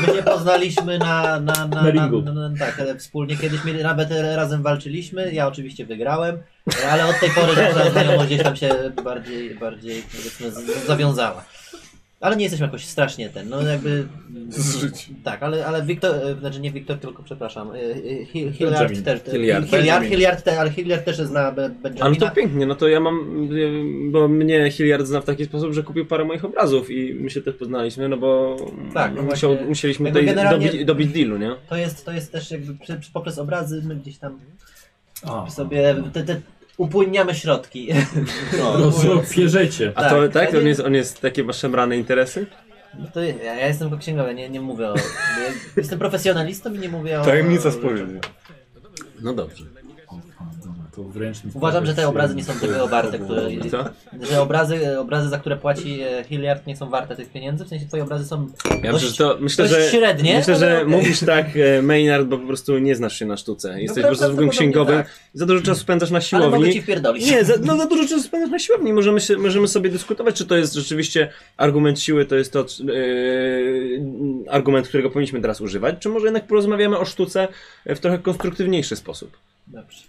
Speaker 3: my się poznaliśmy na, na, na,
Speaker 1: Na ringu.
Speaker 3: Na, na, tak, e, wspólnie kiedyś mieli, nawet e, razem walczyliśmy, ja oczywiście wygrałem, e, ale od tej pory nasza znajomość gdzieś tam się bardziej, bardziej powiedzmy z- zawiązała. Ale nie jesteśmy jakoś strasznie ten, no jakby...
Speaker 4: Z życia.
Speaker 3: Tak, ale, ale Wiktor, e, znaczy nie Wiktor, tylko przepraszam, e, e, Hi- Hilliard
Speaker 1: Benjamin.
Speaker 3: też, te-
Speaker 2: Hilliard.
Speaker 3: Hilliard,
Speaker 5: Benjamin.
Speaker 3: Hilliard, te- ale Hilliard też zna Be-
Speaker 2: Ale to
Speaker 3: Benjamina.
Speaker 2: pięknie, no to ja mam, y, bo mnie Hilliard zna w taki sposób, że kupił parę moich obrazów i my się też poznaliśmy, no bo
Speaker 3: Tak, no
Speaker 2: musiał,
Speaker 3: właśnie.
Speaker 2: musieliśmy
Speaker 3: Jakby
Speaker 2: tutaj
Speaker 3: generalnie-
Speaker 2: dobić, dobić dealu, nie?
Speaker 3: To jest, to jest też jakby przy, przy, poprzez obrazy my gdzieś tam
Speaker 1: A,
Speaker 3: sobie te, te upłynniamy środki.
Speaker 5: No,
Speaker 1: no, pierzecie.
Speaker 2: A to
Speaker 3: Tak.
Speaker 2: tak, on jest, on jest takie masz szemrane interesy?
Speaker 3: No to ja, ja jestem tylko księgowy, nie, nie mówię o... Ja jestem profesjonalistą i nie mówię o...
Speaker 4: Tajemnica
Speaker 3: o-
Speaker 4: spowiedzi.
Speaker 2: No dobrze.
Speaker 1: to wręcz mi
Speaker 3: Uważam, że te obrazy nie są
Speaker 1: przyjemnie.
Speaker 3: tego warte, które,
Speaker 2: Co?
Speaker 3: że obrazy, obrazy, za które płaci e, Hilliard nie są warte tych pieniędzy, w sensie twoje obrazy są
Speaker 2: Ja
Speaker 3: Dość-
Speaker 2: myślę, że to, myślę,
Speaker 3: dość
Speaker 2: że,
Speaker 3: średnie,
Speaker 2: myślę,
Speaker 3: ale
Speaker 2: że
Speaker 3: okej. No
Speaker 2: mówisz tak e, Maynard, bo po prostu nie znasz się na sztuce. Jesteś po prostu zwykłym
Speaker 3: prawdopodobnie
Speaker 2: księgowym.
Speaker 3: tak.
Speaker 2: Za dużo czasu spędzasz na
Speaker 3: Ale mogę
Speaker 2: siłowni.
Speaker 3: ci wpierdolić.
Speaker 2: Nie, za, no za dużo czasu spędzasz na siłowni. Możemy, się, możemy sobie dyskutować, czy to jest rzeczywiście argument siły, to jest to czy- yy, argument, którego powinniśmy teraz używać, czy może jednak porozmawiamy o sztuce w trochę konstruktywniejszy sposób.
Speaker 3: Dobrze.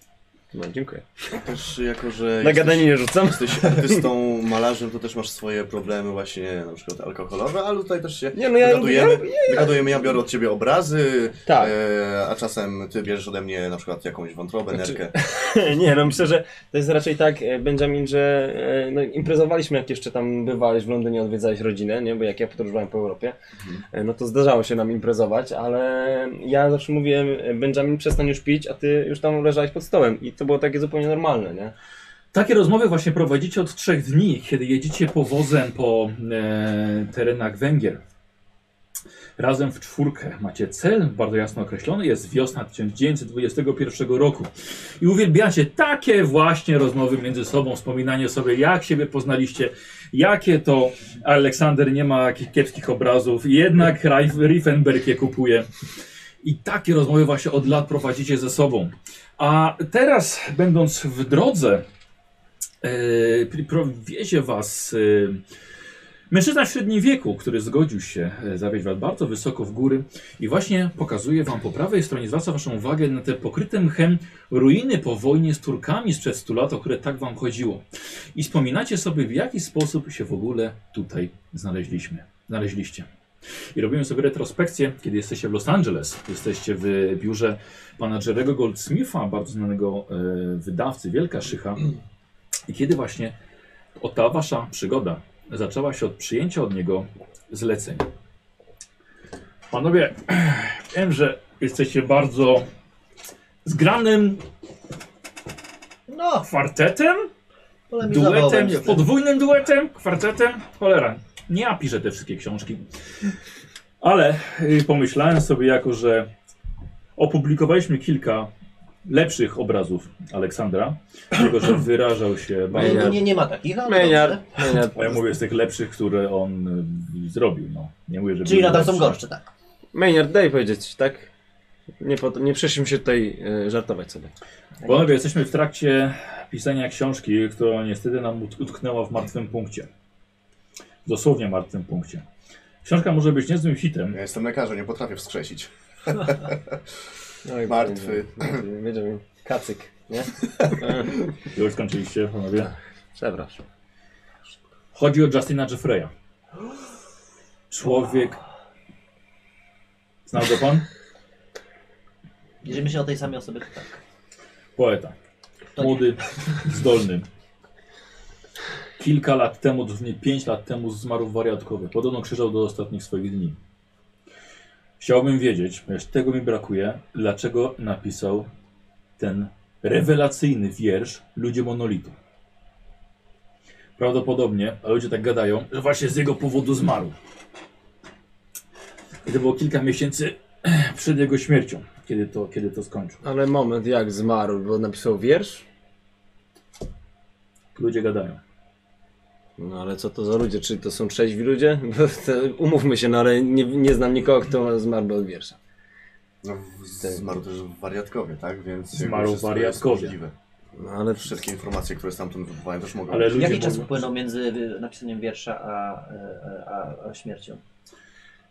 Speaker 2: No, dziękuję.
Speaker 5: Też jako, że
Speaker 2: Na gadanie nie rzucam.
Speaker 5: jesteś artystą, malarzem, to też masz swoje problemy właśnie na przykład alkoholowe, ale tutaj też się
Speaker 2: Nie, no ja
Speaker 5: dogadujemy. dogadujemy, ja biorę od ciebie obrazy,
Speaker 2: Tak.
Speaker 5: e, a czasem ty bierzesz ode mnie na przykład jakąś wątrobę, nerkę.
Speaker 2: Nie, no myślę, że to jest raczej tak, e, Benjamin, że e, no, imprezowaliśmy, jak jeszcze tam bywałeś w Londynie, odwiedzałeś rodzinę, nie? Bo jak ja podróżowałem po Europie, e, no to zdarzało się nam imprezować, ale ja zawsze mówiłem, e, Benjamin, przestań już pić, a ty już tam leżałeś pod stołem. I to było takie zupełnie normalne, nie?
Speaker 1: Takie rozmowy właśnie prowadzicie od trzech dni, kiedy jedziecie powozem po e, terenach Węgier. Razem w czwórkę macie cel, bardzo jasno określony, jest wiosna 1921 roku. I uwielbiacie takie właśnie rozmowy między sobą, wspominanie sobie, jak siebie poznaliście, jakie to Aleksander nie ma jakich kiepskich obrazów, jednak Rif- Riefenberg je kupuje. I takie rozmowy właśnie od lat prowadzicie ze sobą. A teraz, będąc w drodze, E, pri- prowiezie was e, mężczyzna w średnim wieku, który zgodził się e, zawieźć was bardzo wysoko w góry i właśnie pokazuje wam po prawej stronie, zwraca waszą uwagę na te pokryte mchem ruiny po wojnie z Turkami sprzed 100 lat, o które tak wam chodziło. I wspominacie sobie, w jaki sposób się w ogóle tutaj znaleźliśmy, znaleźliście. I robimy sobie retrospekcję, kiedy jesteście w Los Angeles, jesteście w biurze pana Jerego Goldsmitha, bardzo znanego e, wydawcy, wielka szycha. I kiedy właśnie o ta wasza przygoda zaczęła się od przyjęcia od niego zleceń. Panowie, wiem, że jesteście bardzo zgranym
Speaker 3: No,
Speaker 1: kwartetem,
Speaker 3: polemizowałem
Speaker 1: duetem,
Speaker 3: z tym.
Speaker 1: podwójnym duetem, kwartetem. Cholera, nie ja piszę te wszystkie książki. Ale y, pomyślałem sobie jako, że opublikowaliśmy kilka lepszych obrazów Aleksandra, tego, że wyrażał się bardzo...
Speaker 3: no Nie, nie, nie ma takich, ale
Speaker 2: Maynard,
Speaker 3: dobrze.
Speaker 2: Maynard,
Speaker 1: A No ja mówię z tych lepszych, które on y, zrobił. No. Nie mówię, że
Speaker 3: Czyli
Speaker 1: były
Speaker 3: nadal są
Speaker 1: lepsze.
Speaker 3: gorsze, tak.
Speaker 2: Maynard, daj powiedzieć, tak? Nie, pod, nie przeszliśmy się tutaj e, żartować sobie.
Speaker 1: Panowie, jesteśmy w trakcie pisania książki, która niestety nam ut- utknęła w martwym punkcie. Dosłownie martwym punkcie. Książka może być niezłym hitem.
Speaker 5: Ja jestem lekarzem, nie potrafię wskrzesić.
Speaker 2: Oj,
Speaker 5: Martwy.
Speaker 2: Benjamin, Benjamin, kacyk, nie?
Speaker 1: Już skończyliście, panowie.
Speaker 2: Przepraszam.
Speaker 1: Chodzi o Justina Jeffreya. Człowiek... Znał go pan?
Speaker 3: Jeżeli myślę o tej samej osobie, to tak.
Speaker 1: Poeta.
Speaker 3: To nie.
Speaker 1: Młody, zdolny. Kilka lat temu, dosłownie 5 lat temu zmarł w wariatkowie. Podobno krzyżał do ostatnich swoich dni. Chciałbym wiedzieć, ponieważ tego mi brakuje, dlaczego napisał ten rewelacyjny wiersz Ludzie Monolitu. Prawdopodobnie, a ludzie tak gadają, że właśnie z jego powodu zmarł. I to było kilka miesięcy przed jego śmiercią, kiedy to, kiedy to skończył.
Speaker 2: Ale moment, jak zmarł, bo napisał wiersz?
Speaker 1: Ludzie gadają.
Speaker 2: No ale co to za ludzie? Czy to są trzeźwi ludzie? Bo to, umówmy się, no ale nie, nie znam nikogo, kto zmarłby od wiersza.
Speaker 5: No, w- zmarł też w wariatkowie, tak? Więc jakby
Speaker 1: Zmarł w
Speaker 5: wszystko jest
Speaker 1: wariatkowie.
Speaker 5: możliwe.
Speaker 2: No ale
Speaker 5: Wszystkie informacje, które stamtąd wypływają też mogą
Speaker 1: Ale
Speaker 5: być.
Speaker 1: ludzie
Speaker 3: Jaki czas
Speaker 1: mogą-
Speaker 3: upłynął między y, napisaniem wiersza a, y, a, a śmiercią?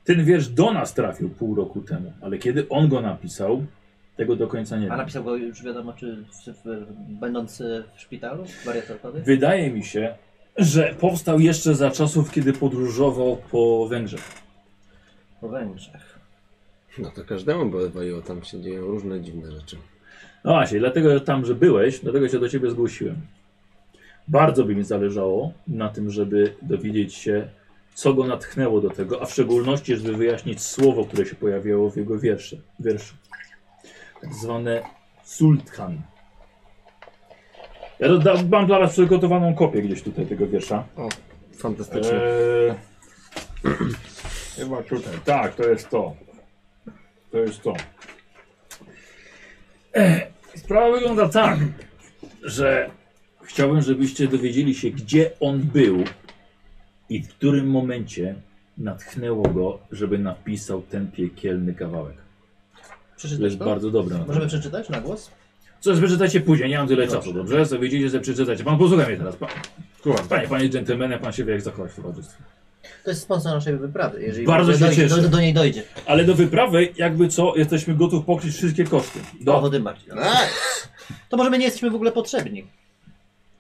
Speaker 1: Ten wiersz do nas trafił pół roku temu, ale kiedy on go napisał, tego do końca nie
Speaker 3: A
Speaker 1: wiem.
Speaker 3: napisał go już wiadomo, czy w, w, będąc y, w szpitalu, w wariatowie?
Speaker 1: Wydaje mi się, że powstał jeszcze za czasów, kiedy podróżował po Węgrzech.
Speaker 3: Po Węgrzech.
Speaker 2: No to każdemu by waliło, tam się dzieją różne dziwne rzeczy.
Speaker 1: No właśnie, dlatego że tam, że byłeś, dlatego się do ciebie zgłosiłem. Bardzo by mi zależało na tym, żeby dowiedzieć się, co go natchnęło do tego, a w szczególności, żeby wyjaśnić słowo, które się pojawiało w jego wiersze, wierszu. Tak zwane sultkan. Ja doda- mam dla was przygotowaną kopię gdzieś tutaj tego wiersza.
Speaker 2: Fantastyczne.
Speaker 1: Eee, Chyba tutaj. Tak, to jest to. To jest to. Eee, sprawa wygląda tak. że chciałbym, żebyście dowiedzieli się, gdzie on był i w którym momencie natchnęło go, żeby napisał ten piekielny kawałek. To
Speaker 3: Przeczytasz
Speaker 1: jest
Speaker 3: to?
Speaker 1: bardzo dobre.
Speaker 3: Możemy przeczytać na głos?
Speaker 1: Co przeczytajcie później, nie mam tyle
Speaker 3: Dobrze.
Speaker 1: czasu, dobrze? Co widzicie, że przeczytacie. Pan posłucha mnie teraz. Pan,
Speaker 4: Słucham. tak.
Speaker 1: panie, panie dżentelmenie, pan się wie jak zachować w towarzystwie.
Speaker 3: To jest sponsor naszej wyprawy, jeżeli
Speaker 1: Bardzo
Speaker 3: w ogóle
Speaker 1: się
Speaker 3: dojdzie,
Speaker 1: cieszę.
Speaker 3: Do, do niej dojdzie.
Speaker 1: Ale do wyprawy, jakby co, jesteśmy gotów pokryć wszystkie koszty.
Speaker 3: Brawo,
Speaker 1: Do.
Speaker 3: tym bardziej.
Speaker 5: Nice.
Speaker 3: To może my nie jesteśmy w ogóle potrzebni.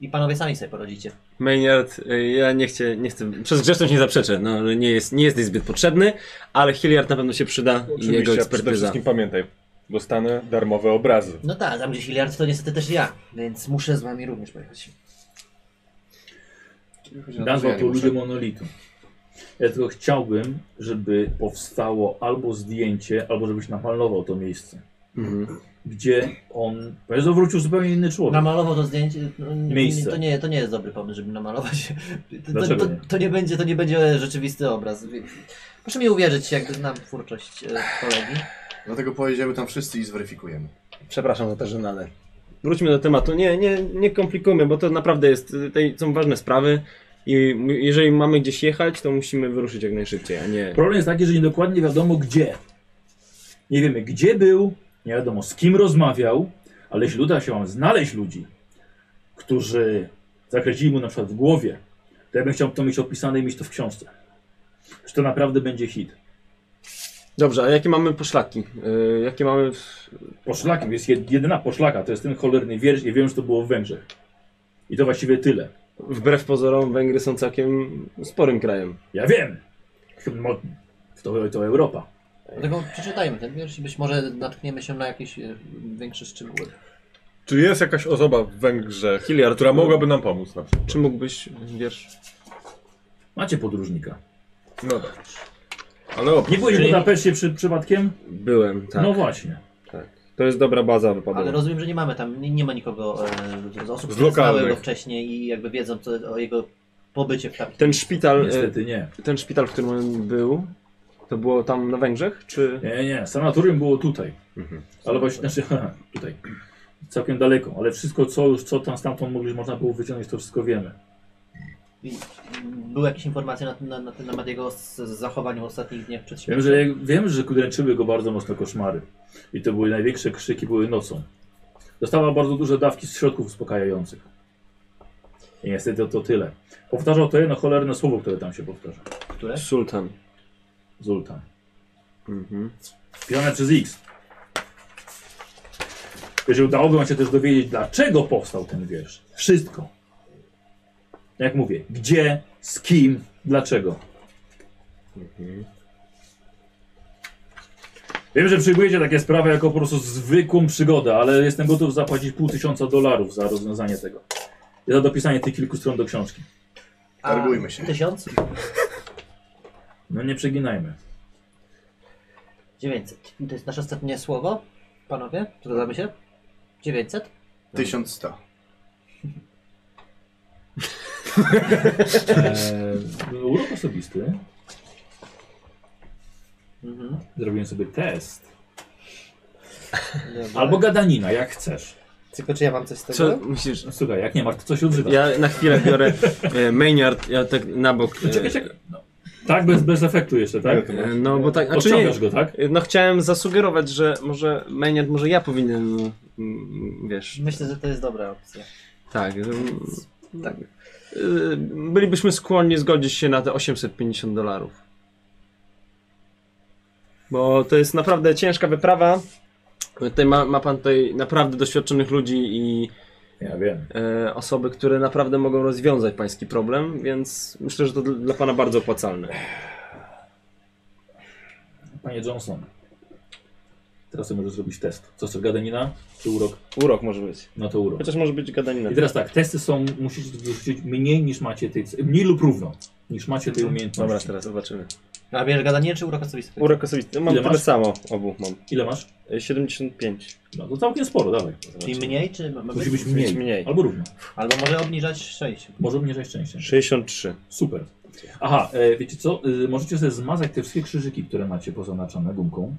Speaker 3: I panowie sami sobie poradzicie.
Speaker 2: Maynard, y, ja nie chcę, nie chcę, przez grzeczność nie zaprzeczę, no, że nie, jest, nie jesteś zbyt potrzebny, ale Hilliard na pewno się przyda i jego
Speaker 4: Oczywiście, przede
Speaker 2: ekspertyza.
Speaker 4: wszystkim pamiętaj, dostanę darmowe obrazy.
Speaker 3: No tak, tam gdzieś Hilliard to niestety też ja, więc muszę z wami również pojechać.
Speaker 1: Nazwa
Speaker 5: Ja
Speaker 1: to
Speaker 5: nie muszę.
Speaker 1: ludzie monolitu. Ja tylko chciałbym, żeby powstało albo zdjęcie, albo żebyś napalował to miejsce.
Speaker 2: Mhm.
Speaker 1: Gdzie on. Bo jest wrócił zupełnie inny człowiek.
Speaker 3: Namalował to zdjęcie. No, nie-
Speaker 1: Miejsce.
Speaker 3: To nie, to nie jest dobry pomysł, żeby namalować. To, to,
Speaker 1: Dlaczego
Speaker 3: to,
Speaker 1: nie?
Speaker 3: to nie będzie, to nie będzie rzeczywisty obraz. Proszę mi uwierzyć, jak znam twórczość e, kolegi.
Speaker 5: Dlatego pojedziemy tam wszyscy i zweryfikujemy.
Speaker 2: Przepraszam za tę żenadę. Wróćmy do tematu. Nie, nie, nie komplikujmy, bo to naprawdę jest, y, tutaj są ważne sprawy i m- jeżeli mamy gdzieś jechać, to musimy wyruszyć jak najszybciej, a nie...
Speaker 1: Problem jest taki, że niedokładnie wiadomo gdzie. Nie wiemy gdzie był, nie wiadomo z kim rozmawiał, ale jeśli uda się wam znaleźć ludzi, którzy zakreślili mu na przykład w głowie, to ja bym chciał to mieć opisane i mieć to w książce. Że to naprawdę będzie hit.
Speaker 2: Dobrze, a jakie mamy poszlaki? Y, jakie mamy... w-
Speaker 1: Poszlakiem jest jed- jedyna poszlaka, to jest ten cholerny wiersz i wiem, że to było w Węgrzech. I to właściwie tyle.
Speaker 2: Wbrew pozorom Węgry są całkiem sporym krajem.
Speaker 1: Ja wiem! Mo- To, to Europa.
Speaker 3: Dlatego przeczytajmy ten wiersz i być może natkniemy się na jakieś e, większe szczegóły.
Speaker 4: Czy jest jakaś osoba w Węgrzech,
Speaker 2: Hilliard,
Speaker 4: która mogłaby nam pomóc na przykład?
Speaker 2: Czy mógłbyś wiersz?
Speaker 1: Macie podróżnika.
Speaker 4: No tak. Ale op...
Speaker 1: Nie byłeś w Budapeszcie przy, przypadkiem?
Speaker 2: Byłem, tak.
Speaker 1: No właśnie.
Speaker 2: To jest dobra baza wypadowa.
Speaker 3: Ale rozumiem, że nie mamy tam, nie, nie ma nikogo e, z osób,
Speaker 4: Z
Speaker 3: które znały
Speaker 4: lokalnych.
Speaker 3: go wcześniej i jakby wiedzą co, o jego pobycie w tam.
Speaker 2: Ten szpital, e,
Speaker 1: Niestety nie.
Speaker 2: ten szpital, w którym on był, to było tam na Węgrzech, czy...
Speaker 1: Nie, nie, sanatorium było tutaj.
Speaker 2: Mhm.
Speaker 1: Ale właśnie, znaczy, tutaj. Całkiem daleko, ale wszystko, co już, co tam stamtąd mogli, można było wyciągnąć, to wszystko wiemy.
Speaker 3: I- Były jakieś informacje na, na, na ten temat jego z, z zachowania w ostatnich dniach przed
Speaker 1: Wiem,
Speaker 3: śmiercią?
Speaker 1: że, wiem, że dręczyły go bardzo mocno koszmary. I to były największe krzyki, były nocą. Dostała bardzo duże dawki z środków uspokajających. I niestety to tyle. Powtarzał to jedno cholerne słowo, które tam się powtarza.
Speaker 3: Które?
Speaker 2: Sultan.
Speaker 1: Zultan.
Speaker 2: Mhm.
Speaker 1: Pisane przez X. Jeżeli udałoby wam się też dowiedzieć, dlaczego powstał ten wiersz. Wszystko. Jak mówię, gdzie, z kim, dlaczego. Wiem, że przyjmujecie takie sprawy jako po prostu zwykłą przygodę, ale jestem gotów zapłacić pół tysiąca dolarów za rozwiązanie tego. I za dopisanie tych kilku stron do książki.
Speaker 3: A
Speaker 5: targujmy się.
Speaker 3: Tysiąc?
Speaker 1: No nie przeginajmy.
Speaker 3: 900. To jest nasze ostatnie słowo, panowie? Zgadzamy się? 900?
Speaker 5: 1100.
Speaker 1: Eee, urok osobisty.
Speaker 3: Mhm.
Speaker 1: Zrobiłem sobie test.
Speaker 3: Dobra.
Speaker 1: Albo gadanina, jak chcesz. No
Speaker 3: Tylko czy ja mam coś z
Speaker 2: Co myślisz?
Speaker 1: Słuchaj, jak nie masz, to coś odżywa.
Speaker 2: Ja na chwilę biorę e, Maynard, ja tak na bok... e,
Speaker 1: Czekaj, czekaj. No. Tak, bez, bez efektu jeszcze, tak?
Speaker 2: e, No bo tak, znaczy nie,
Speaker 1: Odciągasz go, tak?
Speaker 2: no chciałem zasugerować, że może Maynard, może ja powinienem, mm, wiesz,
Speaker 3: Myślę, że to jest dobra opcja.
Speaker 2: tak, że, mm, tak. Y, Bylibyśmy skłonni zgodzić się na te 850 dolarów. Bo to jest naprawdę ciężka wyprawa. Tutaj ma, ma pan tutaj naprawdę doświadczonych ludzi i
Speaker 1: Ja wiem.
Speaker 2: e, osoby, które naprawdę mogą rozwiązać pański problem, więc myślę, że to dl- dla pana bardzo opłacalne.
Speaker 1: Panie Johnson, teraz sobie możesz zrobić test. Co chcesz, gadanina czy urok?
Speaker 2: Urok może być.
Speaker 1: No to urok.
Speaker 2: Chociaż może być gadanina.
Speaker 1: I teraz tak, testy są, musisz wyrzucić mniej niż macie tej, mniej lub równo, niż macie tej umiejętności.
Speaker 2: Dobra, teraz zobaczymy.
Speaker 3: A bierz gadanie czy urok osobisty?
Speaker 2: Urok osobisty. Mam
Speaker 1: Ile
Speaker 2: tyle
Speaker 1: masz?
Speaker 2: samo, obu mam.
Speaker 1: Ile masz?
Speaker 2: E, 75.
Speaker 1: No to całkiem sporo, dawaj.
Speaker 3: Czyli mniej czy ma ma
Speaker 1: Musi
Speaker 3: być?
Speaker 1: być
Speaker 2: Musi być
Speaker 1: mniej.
Speaker 2: No mniej.
Speaker 1: Albo równo.
Speaker 3: Albo może obniżać 6.
Speaker 1: Może mniej szczęście.
Speaker 2: 63.
Speaker 1: Super. Aha, e, wiecie co? E, możecie sobie zmazać te wszystkie krzyżyki, które macie poznaczone gumką,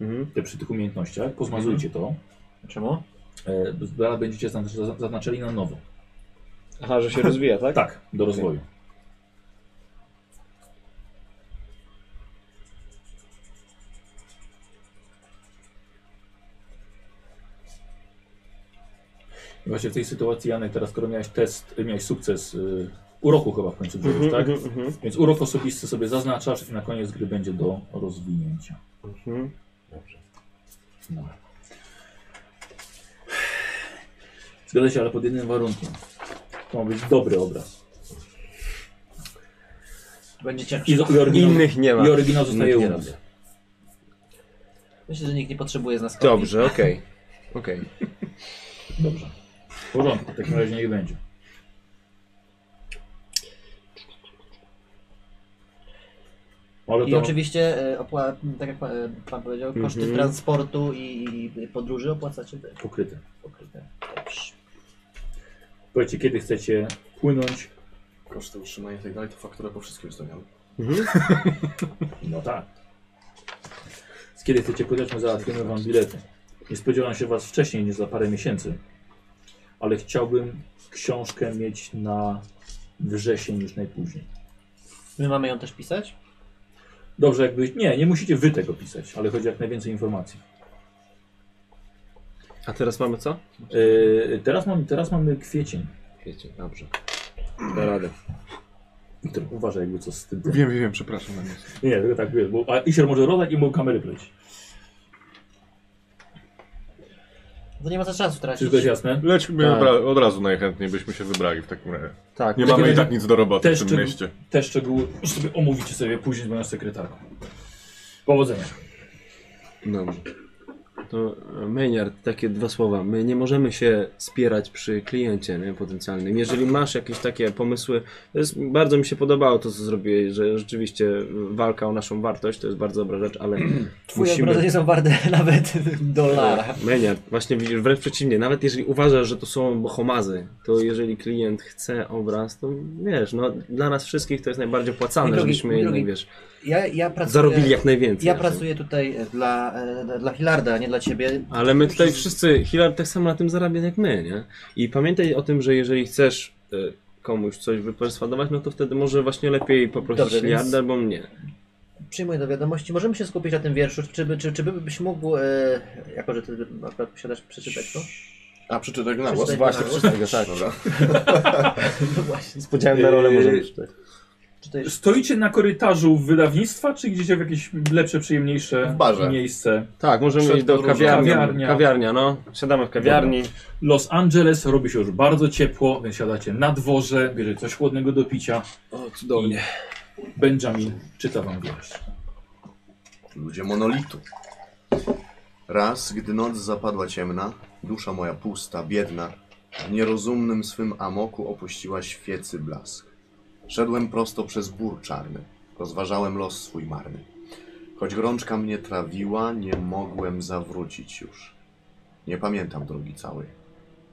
Speaker 2: Mhm.
Speaker 1: te przy tych umiejętnościach. Pozmazujcie to.
Speaker 3: Czemu?
Speaker 1: E, Bzdala będziecie zazn- zazn- zaznaczali na nowo.
Speaker 7: Aha, że się rozwija, tak?
Speaker 1: Tak, do rozwoju. I Właśnie w tej sytuacji, Janek, teraz skoro miałeś test, miałeś sukces y, uroku chyba w końcu
Speaker 2: Mhm,
Speaker 4: Mhm,
Speaker 1: zrobiłeś, tak? Więc urok osobisty sobie zaznaczasz i na koniec gry będzie do rozwinięcia.
Speaker 2: Mhm.
Speaker 1: Dobrze. No. Zgadza się, ale pod jednym warunkiem. To ma być dobry obraz.
Speaker 3: Będzie
Speaker 1: I,
Speaker 3: ciężko.
Speaker 1: i, oryginał,
Speaker 2: Innych nie ma.
Speaker 1: i oryginał zostaje u
Speaker 2: nie
Speaker 1: nas.
Speaker 2: robię.
Speaker 3: Myślę, że nikt nie potrzebuje z nas kopii.
Speaker 2: Dobrze, okej. Okej.
Speaker 1: Dobrze. W porządku, w takim razie niech będzie. Ale
Speaker 3: I
Speaker 1: to...
Speaker 3: oczywiście, e, opła- tak jak pan, e, pan powiedział, koszty
Speaker 2: no Mhm.
Speaker 3: transportu i, i podróży opłacacie wy.
Speaker 1: Pokryte.
Speaker 3: Pokryte. Dobrze.
Speaker 1: Powiedzcie, kiedy chcecie płynąć?
Speaker 5: Koszty utrzymania i tak dalej, to fakturę po wszystkim ustawiamy.
Speaker 1: No tak. Więc Kiedy chcecie płynąć, my załatwimy wam bilety. Nie spodziewam się was wcześniej niż za parę miesięcy. Ale chciałbym książkę mieć na wrzesień już najpóźniej.
Speaker 3: My mamy ją też pisać?
Speaker 1: Dobrze, jakby... Nie, nie musicie wy tego pisać, ale chodzi o jak najwięcej informacji.
Speaker 2: A teraz mamy co?
Speaker 1: Yy, teraz, mam, teraz mamy kwiecień.
Speaker 2: Wiecie, dobrze. Da radę.
Speaker 1: Wiktor, uważaj, jakby co z tym.
Speaker 6: Wiem, wiem, wiem, przepraszam. na nic.
Speaker 1: Nie, tylko tak wiesz, bo a Isier może rodać i mu kamery pleć.
Speaker 3: To nie ma za czasu
Speaker 1: Czy
Speaker 3: tracić.
Speaker 1: to jest jasne?
Speaker 4: Lećmy
Speaker 2: Tak.
Speaker 4: od, ra- od razu najchętniej byśmy się wybrali w takim razie.
Speaker 2: Tak,
Speaker 4: Nie
Speaker 1: Tak,
Speaker 4: mamy i
Speaker 1: tak.
Speaker 4: tak nic do roboty
Speaker 1: Też
Speaker 4: w tym
Speaker 1: czym-
Speaker 4: mieście.
Speaker 1: Te szczegóły już sobie omówicie sobie później z moją sekretarką. Powodzenia.
Speaker 2: Dobrze. To e, Maynard, takie dwa słowa. My nie możemy się spierać przy kliencie nie, potencjalnym. Jeżeli masz jakieś takie pomysły, to jest, bardzo mi się podobało to, co zrobiłeś, że rzeczywiście walka o naszą wartość, to jest bardzo dobra rzecz, ale
Speaker 3: Twoje obrazy
Speaker 2: musimy...
Speaker 3: nie są warte nawet dolara.
Speaker 2: Maynard, właśnie widzisz, wręcz przeciwnie, nawet jeżeli uważasz, że to są bohomazy, to jeżeli klient chce obraz, to wiesz, no dla nas wszystkich to jest najbardziej
Speaker 3: Mój
Speaker 2: opłacalne,
Speaker 3: drogi,
Speaker 2: żebyśmy
Speaker 3: mój
Speaker 2: jednak,
Speaker 3: drogi,
Speaker 2: wiesz,
Speaker 3: Ja, ja pracuję...
Speaker 2: zarobili jak najwięcej.
Speaker 3: Ja
Speaker 2: na tym.
Speaker 3: pracuję tutaj e, dla, e, dla Hilarda, nie dla ciebie.
Speaker 2: Ale my tutaj wszyscy, Hilar tak samo na tym zarabia jak my, nie? I pamiętaj o tym, że jeżeli chcesz y, komuś coś wyperswadować, no to wtedy może właśnie lepiej poprosić
Speaker 3: Dobrze,
Speaker 2: Dobrze,
Speaker 3: więc-
Speaker 2: albo mnie.
Speaker 3: Przyjmuję do wiadomości. Możemy się skupić na tym wierszu. Czy, by- czy, czy by- byś mógł, e, jako że ty akurat posiadasz przeczytać to?
Speaker 5: A, przeczytaj go na głos.
Speaker 3: Przeczytaj
Speaker 7: Właśnie,
Speaker 3: na głos.
Speaker 7: przeczytaj go, tak.
Speaker 5: Dobra.
Speaker 3: No właśnie.
Speaker 7: Z podziałem na rolę
Speaker 1: Yy,
Speaker 2: E,
Speaker 7: możemy przeczytać.
Speaker 3: Czy to jest...
Speaker 1: Stoicie na korytarzu wydawnictwa, czy idziecie w jakieś lepsze, przyjemniejsze
Speaker 5: W barze.
Speaker 1: miejsce?
Speaker 2: Tak, możemy
Speaker 5: Przed
Speaker 2: iść do
Speaker 5: podróżą.
Speaker 2: kawiarni.
Speaker 1: Kawiarnia.
Speaker 2: Kawiarnia. no. Siadamy w kawiarni.
Speaker 1: Los Angeles, robi się już bardzo ciepło, więc siadacie na dworze, bierzecie coś chłodnego do picia.
Speaker 2: O,
Speaker 1: cudownie. Benjamin czyta wam wiersz.
Speaker 5: Ludzie monolitu. Raz, gdy noc zapadła ciemna, dusza moja pusta, biedna, w nierozumnym swym amoku opuściła świecy blask. Szedłem prosto przez bór czarny, rozważałem los swój marny. Choć gorączka mnie trawiła, nie mogłem zawrócić już. Nie pamiętam drogi całej.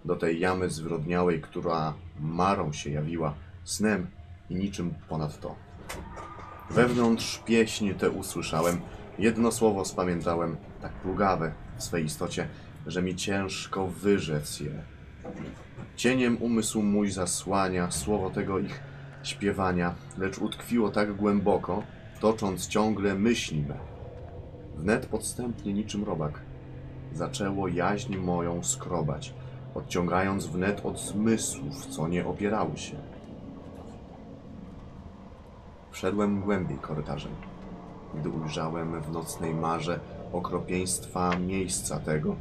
Speaker 5: Do tej jamy zwyrodniałej, która marą się jawiła, snem i niczym ponad to. Wewnątrz pieśń tę usłyszałem, Jedno słowo spamiętałem, tak plugawe w swej istocie, że mi ciężko wyrzec je. Cieniem umysł mój zasłania słowo tego ich śpiewania, lecz utkwiło tak głęboko, tocząc ciągle myśli me. Wnet podstępnie niczym robak zaczęło jaźń moją skrobać, odciągając wnet od zmysłów, co nie opierały się. Wszedłem głębiej korytarzem gdy ujrzałem w nocnej marze okropieństwa miejsca tego,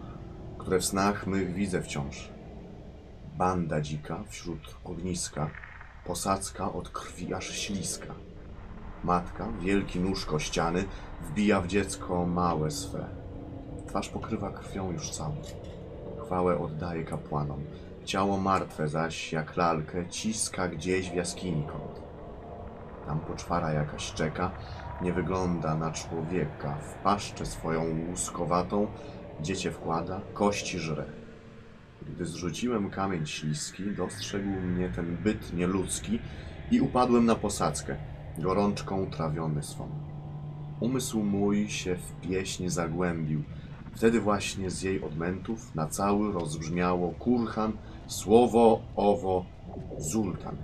Speaker 5: które w snach mych widzę wciąż. Banda dzika wśród ogniska, posadzka od krwi aż śliska. Matka, wielki nóż kościany, wbija w dziecko małe swe. Twarz pokrywa krwią już całą. Chwałę oddaje kapłanom. Ciało martwe zaś, jak lalkę, ciska gdzieś w jaskini kąt. Tam poczwara jakaś czeka, nie wygląda na człowieka. W paszczę swoją łuskowatą dziecię wkłada, kości żre. Gdy zrzuciłem kamień śliski, dostrzegł mnie ten byt nieludzki i upadłem na posadzkę, gorączką trawiony swą. Umysł mój się w pieśń zagłębił, Wtedy właśnie z jej odmętów na cały rozbrzmiało kurhan słowo owo zultan.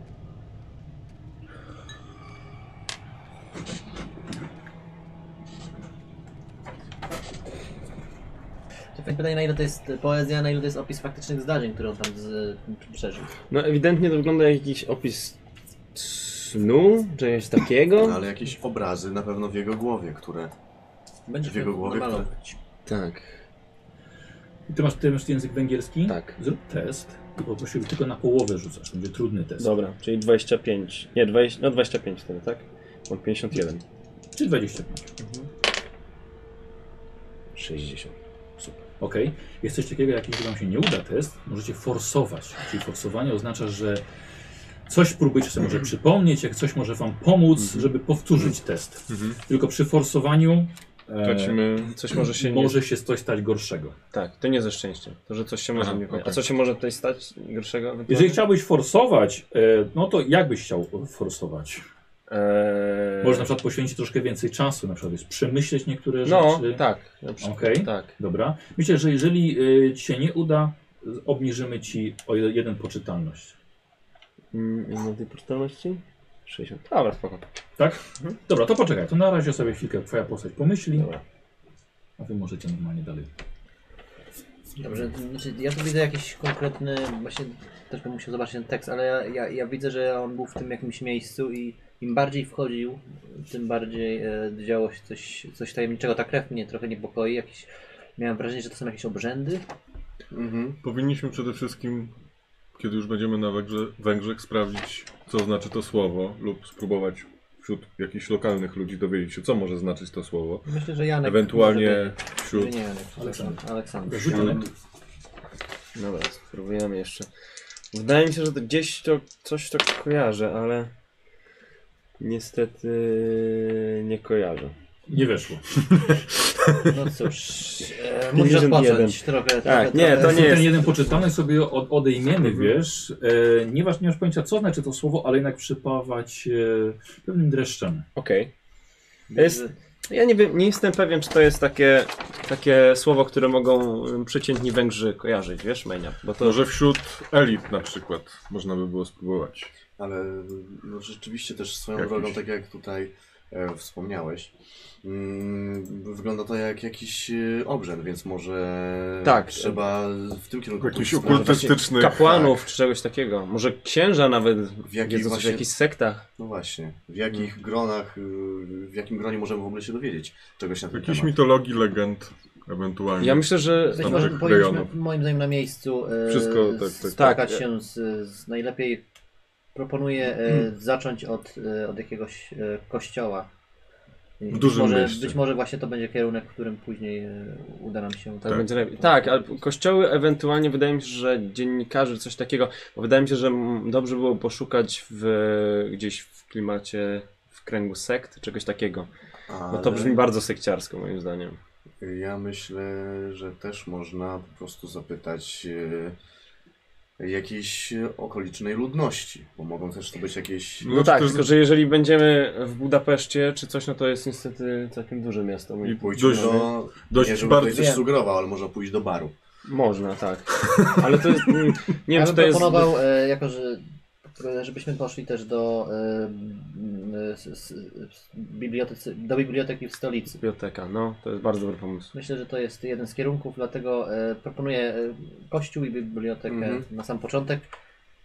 Speaker 3: To pytanie, na ile to jest poezja, na ile to jest opis faktycznych zdarzeń, które on tam z, przeżył.
Speaker 2: No ewidentnie to wygląda jak jakiś opis snu, czegoś takiego.
Speaker 5: No, ale jakieś obrazy na pewno w jego głowie, które...
Speaker 3: Będzie
Speaker 5: W jego
Speaker 3: to
Speaker 5: głowie
Speaker 3: normalną-
Speaker 2: Tak,
Speaker 1: I Ty masz, ty masz język węgierski?
Speaker 2: tak.
Speaker 1: Zrób test. i Poprosił tylko na połowę rzucasz. To Będzie trudny test.
Speaker 7: Dobra, czyli 25. Nie, 20, no 25 wtedy, tak? Mam 51.
Speaker 1: Czy 25.
Speaker 2: 60.
Speaker 1: Okej. Jest coś takiego, jak jeśli wam się nie uda test, możecie forsować. Czyli forsowanie oznacza, że coś próbujecie sobie może przypomnieć, jak coś może wam pomóc,
Speaker 2: Mhm.
Speaker 1: żeby powtórzyć test. Tylko przy forsowaniu e,
Speaker 4: Tracimy...
Speaker 2: Coś może się nie...
Speaker 1: może się coś stać gorszego.
Speaker 2: Tak, to nie ze szczęściem. To, że coś się może
Speaker 4: Aha,
Speaker 2: nie... A
Speaker 4: okej.
Speaker 2: co się może tutaj stać gorszego?
Speaker 1: Jeżeli chciałbyś forsować, e, no to jak byś chciał forsować?
Speaker 2: Eee...
Speaker 1: Można na przykład poświęcić troszkę więcej czasu, na przykład wiesz, przemyśleć niektóre
Speaker 2: No,
Speaker 1: rzeczy.
Speaker 2: tak. Na przykład,
Speaker 1: Okej.
Speaker 2: Tak.
Speaker 1: Dobra. Myślę, że jeżeli y, ci się nie uda, y, obniżymy ci o je- jeden poczytalność.
Speaker 2: Mm, i Na tej portalności? 60. Dobra, spoko.
Speaker 1: Tak? Dobra, to poczekaj. To na razie sobie chwilkę twoja postać pomyśli.
Speaker 2: Dobra.
Speaker 1: A wy możecie normalnie dalej.
Speaker 3: Dobrze, to znaczy ja tu widzę jakiś konkretny, właśnie też bym musiał zobaczyć ten tekst, ale ja, ja, ja widzę, że on był w tym jakimś miejscu i im bardziej wchodził, tym bardziej e, działo się coś, coś tajemniczego. Ta krew mnie trochę niepokoi, jakieś, miałem wrażenie, że to są jakieś obrzędy.
Speaker 5: Mhm.
Speaker 4: Powinniśmy przede wszystkim, kiedy już będziemy na Węgrze, Węgrzech, sprawdzić, co znaczy to słowo, lub spróbować wśród jakichś lokalnych ludzi dowiedzieć się, co może znaczyć to słowo.
Speaker 3: Myślę, że Janek...
Speaker 4: Ewentualnie
Speaker 3: może by-
Speaker 4: wśród
Speaker 3: Nie, Janek, Aleksander. Aleksander.
Speaker 1: Rzuć
Speaker 4: Mhm.
Speaker 1: elementy.
Speaker 2: Dobra, spróbujemy jeszcze. Wydaje mi się, że to gdzieś to coś to kojarzę, ale niestety nie kojarzę.
Speaker 1: Nie weszło.
Speaker 3: No cóż, e, musisz
Speaker 2: 51.
Speaker 3: odpocząć trochę. trochę,
Speaker 2: Tak, nie,
Speaker 3: trochę.
Speaker 2: to nie-
Speaker 1: Ten
Speaker 2: jest-
Speaker 1: jeden poczytany sobie od, odejmiemy, wiesz. E, nie, masz, nie masz pojęcia, co znaczy to słowo, ale jednak przypawać e, pewnym dreszczem.
Speaker 2: Okej. Jest- Ja nie wiem, nie jestem pewien, czy to jest takie, takie słowo, które mogą ym, przeciętni Węgrzy kojarzyć, wiesz, Menia? Bo
Speaker 5: No,
Speaker 2: to,
Speaker 4: Może wśród elit na przykład można by było spróbować.
Speaker 5: Ale no, rzeczywiście też swoją
Speaker 4: Jakiś.
Speaker 5: drogą, tak jak tutaj e, wspomniałeś, mm, wygląda to jak jakiś e, obrzęd, więc może
Speaker 2: Tak.
Speaker 5: trzeba w tym kierunku...
Speaker 4: Jakiś
Speaker 5: pójść.
Speaker 4: okultystyczny...
Speaker 2: kapłanów tak. czy czegoś takiego. Może księża nawet
Speaker 5: W jakich
Speaker 2: wiedzą coś o
Speaker 5: właśnie-
Speaker 2: jakichś sektach.
Speaker 5: No właśnie, w jakich
Speaker 2: Mm.
Speaker 5: gronach, y, w jakim gronie możemy w ogóle się dowiedzieć czegoś na ten
Speaker 4: Jakiejś
Speaker 5: temat?
Speaker 4: mitologii, legend, ewentualnie.
Speaker 2: Ja myślę, że
Speaker 3: Być
Speaker 4: Tam
Speaker 3: może
Speaker 4: tych
Speaker 3: powinniśmy,
Speaker 4: rejonów.
Speaker 3: moim zdaniem, na miejscu e,
Speaker 4: Wszystko tak, tak.
Speaker 2: Tak.
Speaker 3: spotkać się z, z najlepiej. Proponuję e,
Speaker 2: Hmm.
Speaker 3: zacząć od, e, od jakiegoś e, kościoła. I
Speaker 4: W
Speaker 3: być
Speaker 4: dużym
Speaker 3: może,
Speaker 4: mieście.
Speaker 3: Być może właśnie to będzie kierunek, w którym później e, uda nam się.
Speaker 2: Tak, będzie lepiej. Tak, ale kościoły ewentualnie wydaje mi się, że dziennikarze coś takiego, bo wydaje mi się, że mm, dobrze było poszukać w, gdzieś w klimacie, w kręgu sekt, czegoś takiego. Bo No to
Speaker 5: Ale
Speaker 2: brzmi bardzo sekciarsko moim zdaniem.
Speaker 5: Ja myślę, że też można po prostu zapytać e, jakiejś okolicznej ludności, bo mogą też to być jakieś...
Speaker 2: No,
Speaker 4: No
Speaker 2: tak,
Speaker 4: to-
Speaker 2: tylko że jeżeli będziemy w Budapeszcie czy coś, no to jest niestety całkiem duże miasto.
Speaker 4: I
Speaker 5: Pójdźmy
Speaker 4: dość,
Speaker 5: do...
Speaker 4: dość
Speaker 5: nie, żeby
Speaker 4: bardzo...
Speaker 5: ktoś coś sugerował, ale można pójść do baru.
Speaker 2: Można, tak. Ale to jest, mm, nie wiem
Speaker 3: ja bym
Speaker 2: czy to jest...
Speaker 3: proponował, e, jako że e, żebyśmy poszli też do, e, m, e, s, s, s, bibliotece, do biblioteki w stolicy.
Speaker 2: Biblioteka, no, to jest bardzo dobry pomysł.
Speaker 3: Myślę, że to jest jeden z kierunków, dlatego e, proponuję e, kościół i bibliotekę
Speaker 5: Mhm.
Speaker 3: na sam początek.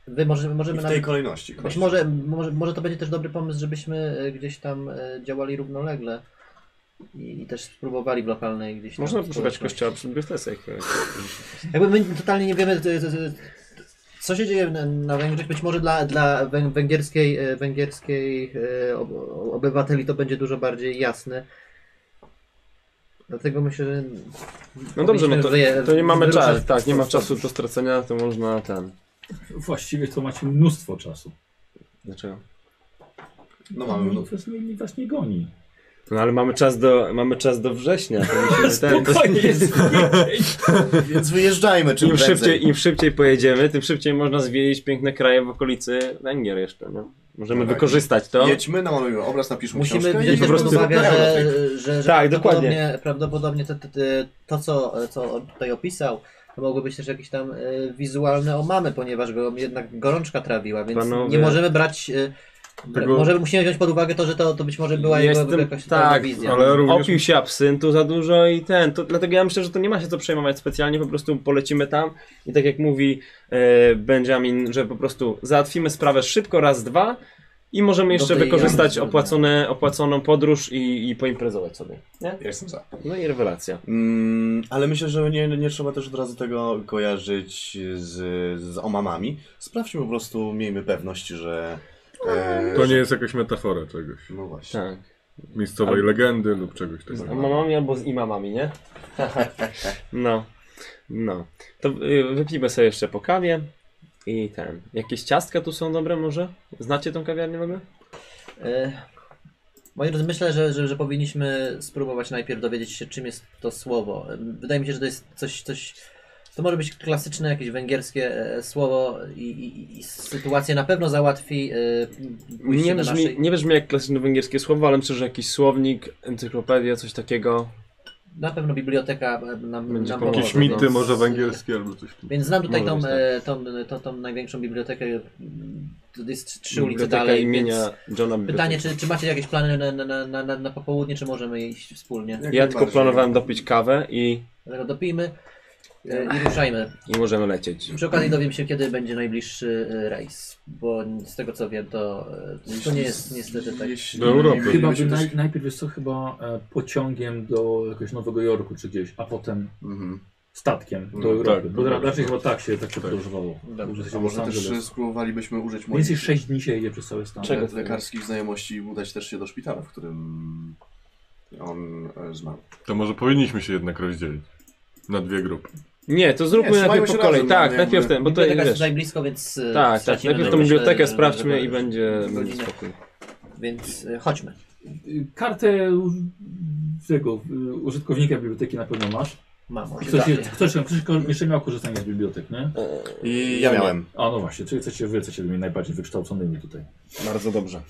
Speaker 3: Wy może,
Speaker 5: I
Speaker 3: możemy
Speaker 5: w
Speaker 3: nawet,
Speaker 5: tej kolejności.
Speaker 3: być może, może, może to będzie też dobry pomysł, żebyśmy e, gdzieś tam e, działali równolegle i, i też spróbowali w lokalnej gdzieś tam
Speaker 2: Można poszukać
Speaker 3: społeczności.
Speaker 2: kościoła przy bibliotece. jak-
Speaker 3: Jakby my totalnie nie wiemy, e, e, e, co się dzieje na, na Węgrzech. Być może dla, dla wę- węgierskiej, e, węgierskiej e, ob, obywateli to będzie dużo bardziej jasne. Dlatego myślę, że
Speaker 2: No dobrze, no to,
Speaker 3: Powinniśmy
Speaker 2: to nie mamy
Speaker 3: wyruszać
Speaker 2: czasu, tak, nie ma
Speaker 3: stąd.
Speaker 2: czasu do stracenia, to można ten...
Speaker 1: Właściwie to macie mnóstwo czasu.
Speaker 2: Dlaczego?
Speaker 5: No mamy...
Speaker 1: No,
Speaker 5: No,
Speaker 1: was, nie, nikt was nie goni.
Speaker 2: No ale mamy czas do, mamy czas do września. To musimy ten, to,
Speaker 1: Spokojnie jest tydzień.
Speaker 5: więc wyjeżdżajmy czym
Speaker 2: im,
Speaker 5: prędzej.
Speaker 2: szybciej, Im szybciej pojedziemy, tym szybciej można zwiedzić piękne kraje w okolicy Węgier jeszcze, no. Możemy
Speaker 5: Dobra,
Speaker 2: wykorzystać to.
Speaker 5: Jedźmy, namalujmy obraz, napiszmy
Speaker 3: Musimy
Speaker 5: książkę i
Speaker 3: wziąć
Speaker 5: po
Speaker 3: też
Speaker 5: prostu
Speaker 3: pod uwagę,
Speaker 5: zapraszamy do
Speaker 3: że,
Speaker 5: tej-
Speaker 3: że, że
Speaker 7: Tak,
Speaker 3: prawdopodobnie,
Speaker 7: dokładnie.
Speaker 3: prawdopodobnie to, to, to, to co, co on tutaj opisał, to mogły być też jakieś tam e, wizualne omamy, ponieważ go jednak gorączka trawiła, więc
Speaker 2: Panowie.
Speaker 3: nie możemy brać. e,
Speaker 4: Tego-
Speaker 3: Możemy musimy wziąć pod uwagę to, że to, to być może była jego
Speaker 2: Jestem-
Speaker 3: jakaś
Speaker 2: tak,
Speaker 3: wizja.
Speaker 4: ale również-
Speaker 2: Opił się absyntu za dużo i ten. To, dlatego ja myślę, że to nie ma się co przejmować specjalnie, po prostu polecimy tam i tak jak mówi e, Benjamin, że po prostu załatwimy sprawę szybko, raz, dwa i możemy jeszcze
Speaker 3: Dobry
Speaker 2: wykorzystać
Speaker 3: jazdy,
Speaker 2: opłacone, opłaconą podróż i, i poimprezować sobie. Nie?
Speaker 5: Ja jestem za.
Speaker 2: No i rewelacja.
Speaker 5: Mm, ale myślę, że nie, nie trzeba też od razu tego kojarzyć z, z omamami. Sprawdźmy po prostu, miejmy pewność, że... e,
Speaker 4: To nie
Speaker 5: że-
Speaker 4: jest jakaś metafora czegoś.
Speaker 5: No właśnie.
Speaker 2: Tak.
Speaker 4: Miejscowej
Speaker 2: Ale-
Speaker 4: legendy lub czegoś
Speaker 2: Z
Speaker 4: takiego.
Speaker 2: mamami albo z imamami, nie? No. No. To y, wypijmy sobie jeszcze po kawie. I ten. Jakieś ciastka tu są dobre może? Znacie tą kawiarnię w ogóle?
Speaker 3: E, Moi drodzy, myślę, że, że, że powinniśmy spróbować najpierw dowiedzieć się, czym jest to słowo. E, Wydaje mi się, że to jest coś, coś to może być klasyczne jakieś węgierskie e, słowo i, i, i sytuację na pewno załatwi e, pójście
Speaker 2: Nie
Speaker 3: do
Speaker 2: brzmi,
Speaker 3: naszej...
Speaker 2: nie brzmi jak klasyczne węgierskie słowo, ale myślę, że jakiś słownik, encyklopedia, coś takiego.
Speaker 3: Na pewno biblioteka e, nam,
Speaker 2: Będzie
Speaker 3: nam
Speaker 2: pomogła,
Speaker 4: Jakieś
Speaker 2: no.
Speaker 4: mity może
Speaker 3: Z-
Speaker 4: węgierskie albo coś.
Speaker 3: Więc znam tutaj
Speaker 2: Może
Speaker 3: tą,
Speaker 2: być tak.
Speaker 3: e, tą, tą, tą największą bibliotekę, m, to jest trzy- trzy ulice
Speaker 2: Biblioteka
Speaker 3: dalej,
Speaker 2: imienia
Speaker 3: więc
Speaker 2: Johna
Speaker 3: pytanie,
Speaker 2: Biblioteki.
Speaker 3: czy, czy macie jakieś plany na, na, na, na, na popołudnie, czy możemy iść wspólnie?
Speaker 5: Jak
Speaker 2: Ja tylko
Speaker 5: najbardziej.
Speaker 2: planowałem dopić kawę i,
Speaker 3: Dlatego dopijmy e, i ruszajmy.
Speaker 2: i możemy lecieć.
Speaker 3: Przy okazji dowiem się, kiedy będzie najbliższy e, rejs, bo z tego co wiem, to, e, to nie jest niestety tak.
Speaker 5: Jeśli-
Speaker 4: Do Europy.
Speaker 5: nie
Speaker 1: Chyba by
Speaker 5: byśmy
Speaker 1: naj,
Speaker 5: też-
Speaker 1: najpierw jest to chyba e, pociągiem do jakiegoś Nowego Jorku czy gdzieś, a potem
Speaker 5: Mhm.
Speaker 1: statkiem do
Speaker 5: No,
Speaker 1: Europy.
Speaker 4: tak,
Speaker 1: bo
Speaker 4: no,
Speaker 1: ra-
Speaker 4: tak.
Speaker 1: raczej chyba tak się tak się podróżowało.
Speaker 3: Dobra.
Speaker 1: Że się
Speaker 5: A
Speaker 1: w
Speaker 5: może
Speaker 1: Los
Speaker 5: też
Speaker 1: Angeles.
Speaker 5: spróbowaliśmy użyć
Speaker 1: Mniej
Speaker 5: moich
Speaker 1: więcej 6 dni się jedzie przez cały stan.
Speaker 2: Czego?
Speaker 5: le- lekarskich znajomości i udać też się do szpitala, w którym on e, zmarł.
Speaker 4: To może powinniśmy się jednak rozdzielić na dwie grupy.
Speaker 2: Nie, to zróbmy
Speaker 5: Nie,
Speaker 2: najpierw
Speaker 5: trzymajmy
Speaker 2: po
Speaker 5: się
Speaker 2: kolei.
Speaker 5: razem,
Speaker 2: tak,
Speaker 5: no,
Speaker 2: najpierw
Speaker 5: jakby-
Speaker 2: ten, bo to
Speaker 3: Biblioteka
Speaker 2: wiesz.
Speaker 3: jest najblisko, więc. e,
Speaker 2: Tak, tak.
Speaker 3: stracimy
Speaker 2: Najpierw tą
Speaker 3: najpierw
Speaker 2: bibliotekę
Speaker 3: te-
Speaker 2: sprawdźmy
Speaker 3: te-
Speaker 2: i będzie, będzie
Speaker 3: godzinę.
Speaker 2: spokój.
Speaker 3: Więc e, chodźmy.
Speaker 1: Y, Kartę u- tego y, użytkownika biblioteki na pewno masz.
Speaker 3: Mamo.
Speaker 6: tak.
Speaker 1: Ktoś, jest, ktoś, tam- ktoś ko- jeszcze miał korzystanie z bibliotek, nie?
Speaker 6: E.
Speaker 5: I ja miałem.
Speaker 1: A no właśnie, czyli jesteście wy jesteście tymi najbardziej wykształconymi tutaj
Speaker 6: Bardzo dobrze.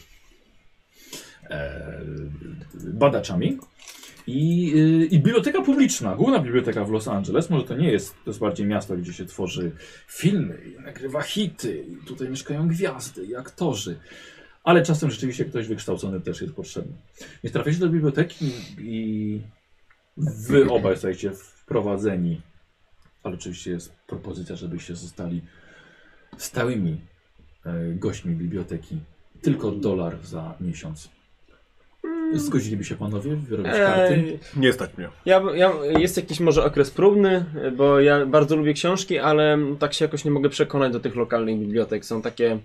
Speaker 1: e, badaczami. I, y, I biblioteka publiczna, główna biblioteka w Los Angeles, może to nie jest, to jest bardziej miasto, gdzie się tworzy filmy, i nagrywa hity, i tutaj mieszkają gwiazdy i aktorzy. Ale czasem rzeczywiście ktoś wykształcony też jest potrzebny. Więc trafiacie do biblioteki i wy obaj jesteście wprowadzeni. Ale oczywiście jest propozycja, żebyście zostali stałymi e, gośćmi biblioteki. Tylko dolar za miesiąc.
Speaker 3: Mm.
Speaker 1: Zgodziliby się panowie wyrobić karty?
Speaker 2: Ej,
Speaker 4: Nie stać mnie.
Speaker 2: Ja, by- ja, jest jakiś może okres próbny, bo ja bardzo lubię książki, ale tak się jakoś nie mogę przekonać do tych lokalnych bibliotek. Są takie,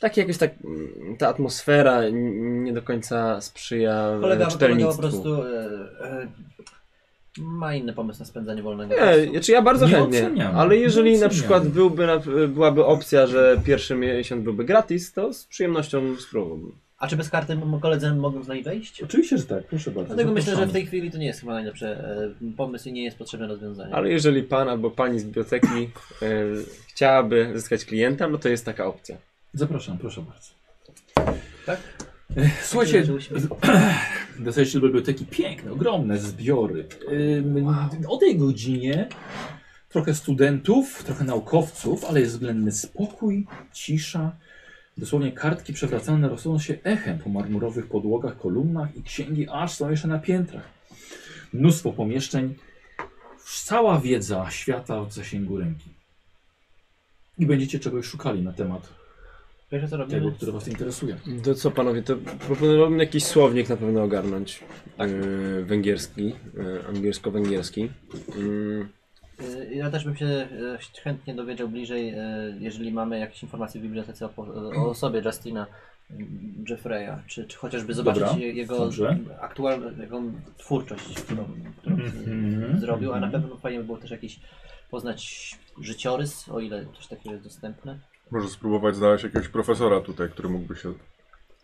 Speaker 2: takie jakoś tak, mm, ta atmosfera n- nie do końca sprzyja
Speaker 3: Kolega,
Speaker 2: Kolega,
Speaker 3: kolega po
Speaker 2: czytelnictwu.
Speaker 3: prostu e, e, ma inny pomysł na spędzanie wolnego
Speaker 2: Nie,
Speaker 3: czasu.
Speaker 2: znaczy ja bardzo
Speaker 1: Nie
Speaker 2: chętnie,
Speaker 1: oceniamy,
Speaker 2: ale jeżeli
Speaker 1: nie
Speaker 2: na
Speaker 1: oceniamy.
Speaker 2: przykład byłby, na, byłaby opcja, że pierwszy miesiąc byłby gratis, to z przyjemnością spróbowałbym.
Speaker 3: A czy bez karty m- koledzy mogą z niej wejść?
Speaker 1: Oczywiście, że tak, proszę bardzo.
Speaker 3: Dlatego myślę, że w
Speaker 1: zapraszamy.
Speaker 3: tej chwili to nie jest chyba najlepszy e, pomysł i nie jest potrzebne rozwiązanie.
Speaker 2: Ale jeżeli pan albo pani z biblioteki e, chciałaby zyskać klienta, no to jest taka opcja.
Speaker 1: Zapraszam, proszę bardzo.
Speaker 3: Tak?
Speaker 1: Ech, Słuchajcie,
Speaker 3: Taki duży uśmiech.
Speaker 1: dostajecie do biblioteki piękne, ogromne zbiory. Ym, O tej godzinie trochę studentów, trochę naukowców, ale jest względny spokój, cisza. Dosłownie kartki przewracane rosną się echem po marmurowych podłogach, kolumnach i księgi aż są jeszcze na piętrach. Mnóstwo pomieszczeń, cała wiedza świata od zasięgu ręki. I będziecie czegoś szukali na temat
Speaker 3: Wiesz co
Speaker 1: tego,
Speaker 3: robimy?
Speaker 1: który was interesuje.
Speaker 2: To co panowie, to proponowałbym jakiś słownik na pewno ogarnąć.
Speaker 7: Tak.
Speaker 2: E, węgierski, e, angielsko-węgierski. Mm,
Speaker 3: Y, Ja też bym się y, chętnie dowiedział bliżej, y, jeżeli mamy jakieś informacje w bibliotece o, po-
Speaker 1: Mhm.
Speaker 3: o osobie Justina y, Jeffreya, czy, czy chociażby zobaczyć
Speaker 1: Dobra,
Speaker 3: je- jego
Speaker 1: dobrze.
Speaker 3: aktualną jaką twórczość, którą, którą
Speaker 1: Mhm,
Speaker 3: zrobił, a na
Speaker 1: mhm.
Speaker 3: pewno fajnie by było też jakiś poznać życiorys, o ile coś takiego jest dostępne.
Speaker 4: Może spróbować znaleźć jakiegoś profesora tutaj, który mógłby się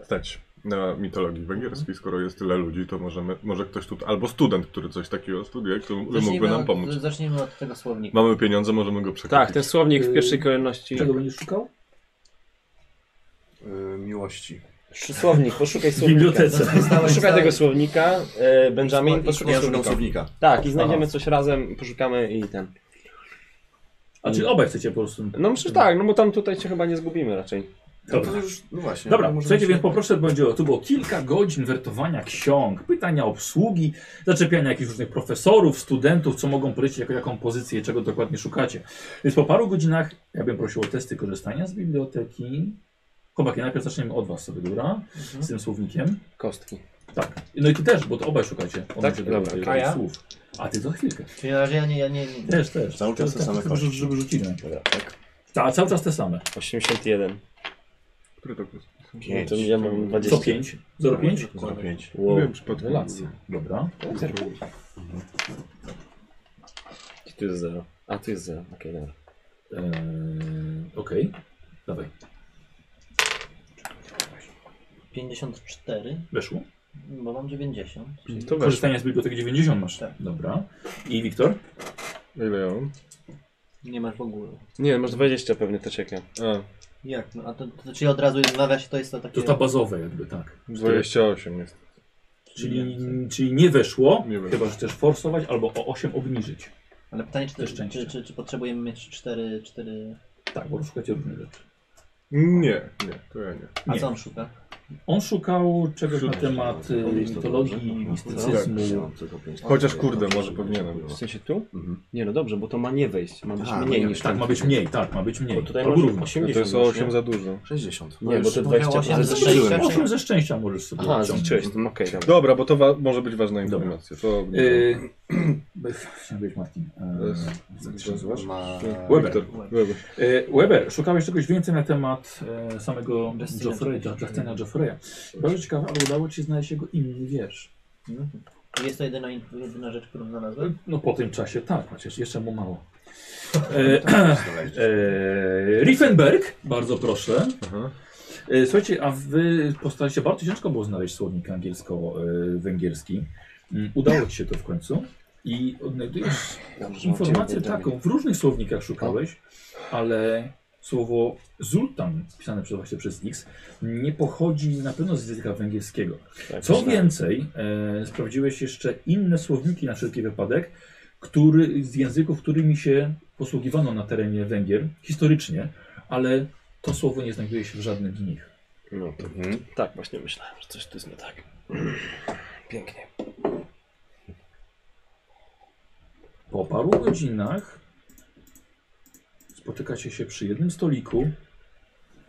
Speaker 4: stać na mitologii węgierskiej. Skoro jest tyle ludzi, to możemy, może ktoś tu, albo student, który coś takiego studiuje, który mógłby nam
Speaker 3: od,
Speaker 4: pomóc.
Speaker 3: zacznijmy od tego
Speaker 1: No.
Speaker 3: słownika.
Speaker 4: Mamy pieniądze, możemy go przekupić.
Speaker 2: tak, ten słownik tak, w
Speaker 1: Y,
Speaker 2: pierwszej kolejności.
Speaker 1: Czego będziesz szukał?
Speaker 5: y, miłości.
Speaker 7: Słownik, poszukaj
Speaker 1: W
Speaker 7: słownika.
Speaker 1: bibliotece.
Speaker 3: Zostałeś
Speaker 7: Poszukaj
Speaker 3: cały-
Speaker 7: tego słownika, e, Benjamin,
Speaker 5: I
Speaker 7: poszukaj
Speaker 5: ja szukam
Speaker 7: słownika.
Speaker 5: słownika.
Speaker 2: Tak, i znajdziemy coś razem, poszukamy i ten.
Speaker 1: A czy obaj chcecie po prostu.
Speaker 2: No myślę, że tak, no bo tam tutaj się chyba nie zgubimy raczej.
Speaker 5: No
Speaker 1: Dobra.
Speaker 5: to już, no właśnie.
Speaker 1: Dobra,
Speaker 5: no możemy
Speaker 1: słuchajcie,
Speaker 5: się-
Speaker 1: więc poproszę, będzie tu było kilka godzin wertowania ksiąg, pytania obsługi, zaczepiania jakichś różnych profesorów, studentów, co mogą polecić, jako, jaką pozycję, czego dokładnie szukacie. Więc po paru godzinach ja bym prosił o testy korzystania z biblioteki. Chłopaki, najpierw zaczniemy od was sobie, dobra?
Speaker 5: Mhm.
Speaker 1: Z tym słownikiem.
Speaker 2: Kostki.
Speaker 1: Tak. No i ty też, bo to obaj szukacie.
Speaker 2: Tak?
Speaker 1: odnośnie
Speaker 2: Dobra,
Speaker 1: tych
Speaker 2: a
Speaker 3: ja?
Speaker 1: słów. A ty za chwilkę.
Speaker 3: Czyli na razie ja nie, ja nie, nie.
Speaker 1: Też, też. tak,
Speaker 5: Cały czas te same
Speaker 1: Tylko,
Speaker 5: kości.
Speaker 1: żeby rzucili na to, tak. Tak, cały czas te same.
Speaker 7: 81.
Speaker 2: No
Speaker 4: Który to jest?
Speaker 7: No to ja mam 20.
Speaker 1: Co 5? 0,5?
Speaker 5: Za pięć.
Speaker 4: Nie
Speaker 7: Wow.
Speaker 4: wiem przypadkiem.
Speaker 7: Relacja.
Speaker 1: Dobra.
Speaker 7: Gdzie Tu jest 0. A tu jest 0. Okej, dobra.
Speaker 1: Eee, Okej. Dawaj.
Speaker 3: 54,
Speaker 1: Weszło.
Speaker 3: bo mam 90.
Speaker 1: Mhm.
Speaker 3: czyli-
Speaker 7: To weź.
Speaker 1: Korzystanie z biblioteki 90 masz.
Speaker 3: Tak.
Speaker 1: Dobra. I Wiktor?
Speaker 4: Ile ja mam?
Speaker 3: Nie masz w ogóle.
Speaker 7: Nie, masz 20 pewnie, to czekam.
Speaker 4: A,
Speaker 3: Jak? No, a to, to, czyli od razu nawiasie to jest to takie...
Speaker 1: To ta bazowe jakby, tak.
Speaker 4: 28 jest.
Speaker 1: Czyli nie, czyli nie weszło,
Speaker 4: Nie weszło.
Speaker 1: chyba że chcesz forsować albo o 8 obniżyć.
Speaker 3: Ale pytanie, czy,
Speaker 1: To
Speaker 3: to, czy,
Speaker 1: szczęście.
Speaker 3: czy, czy, potrzebujemy mieć 4, 4...
Speaker 1: Tak, bo szukacie różnych rzeczy.
Speaker 4: Nie, nie, to ja nie.
Speaker 3: A
Speaker 1: Nie.
Speaker 3: co on szuka?
Speaker 1: On szukał czegoś na
Speaker 4: Siódmy.
Speaker 1: temat y, mitologii,
Speaker 5: no, tak,
Speaker 1: mistycyzmu.
Speaker 4: Chociaż kurde, może powinienem.
Speaker 7: W sensie tu?
Speaker 5: Mhm.
Speaker 7: Nie, no dobrze, bo to ma no nie wejść. Ma być
Speaker 5: A,
Speaker 7: mniej
Speaker 5: nie,
Speaker 7: niż
Speaker 1: Tak,
Speaker 7: tam.
Speaker 1: ma być mniej, tak, ma być mniej.
Speaker 7: Bo tutaj
Speaker 1: Albo
Speaker 7: masz
Speaker 1: równo.
Speaker 7: 80.
Speaker 4: To jest o
Speaker 7: już,
Speaker 4: 8
Speaker 7: nie?
Speaker 4: za dużo.
Speaker 5: 60.
Speaker 7: Nie, bo te 20
Speaker 3: osiem
Speaker 7: ale
Speaker 3: ze
Speaker 7: zliczyłem.
Speaker 3: sześcia.
Speaker 1: 8 ze szczęścia możesz sobie
Speaker 7: Aha,
Speaker 1: wyciągnąć.
Speaker 7: zliczyłeś, no okej, dobra.
Speaker 4: Dobra, bo to wa- może być ważna
Speaker 1: Dobra.
Speaker 4: informacja. To
Speaker 1: Yy, Chciałem powiedzieć Martin. e,
Speaker 4: Zobacz.
Speaker 5: Ma...
Speaker 1: Weber.
Speaker 4: Wiktor, Weber.
Speaker 1: E, Weber, szukałeś czegoś więcej na temat e, samego
Speaker 3: Justina
Speaker 1: Joffreya,
Speaker 3: Jeffreya.
Speaker 1: Justina Joffreya. Bardzo ciekawe, ale udało ci się znaleźć jego inny wiersz.
Speaker 3: Mhm. Jest to jedyna, in- jedyna rzecz, którą znalazłem?
Speaker 1: No po tym czasie tak, przecież jeszcze mu mało. E, e, Riefenberg, bardzo proszę.
Speaker 4: Aha.
Speaker 1: E, słuchajcie, a wy postaraliście, bardzo ciężko było znaleźć słownik angielsko-węgierski. Mm, Udało ci się to w końcu i odnajdujesz
Speaker 7: Dobrze,
Speaker 1: informację
Speaker 7: mam dziewięć,
Speaker 1: taką, w różnych słownikach szukałeś, ale słowo zultan, pisane przez, właśnie przez X, nie pochodzi na pewno z języka węgierskiego.
Speaker 7: Tak,
Speaker 1: Co
Speaker 7: tak.
Speaker 1: więcej, e, sprawdziłeś jeszcze inne słowniki na wszelki wypadek, który, z języków, którymi się posługiwano na terenie Węgier historycznie, ale to słowo nie znajduje się w żadnym z nich.
Speaker 7: No, to-
Speaker 5: Mhm.
Speaker 7: tak, właśnie myślałem, że coś tu jest nie tak. Pięknie.
Speaker 1: Po paru godzinach spotykacie się przy jednym stoliku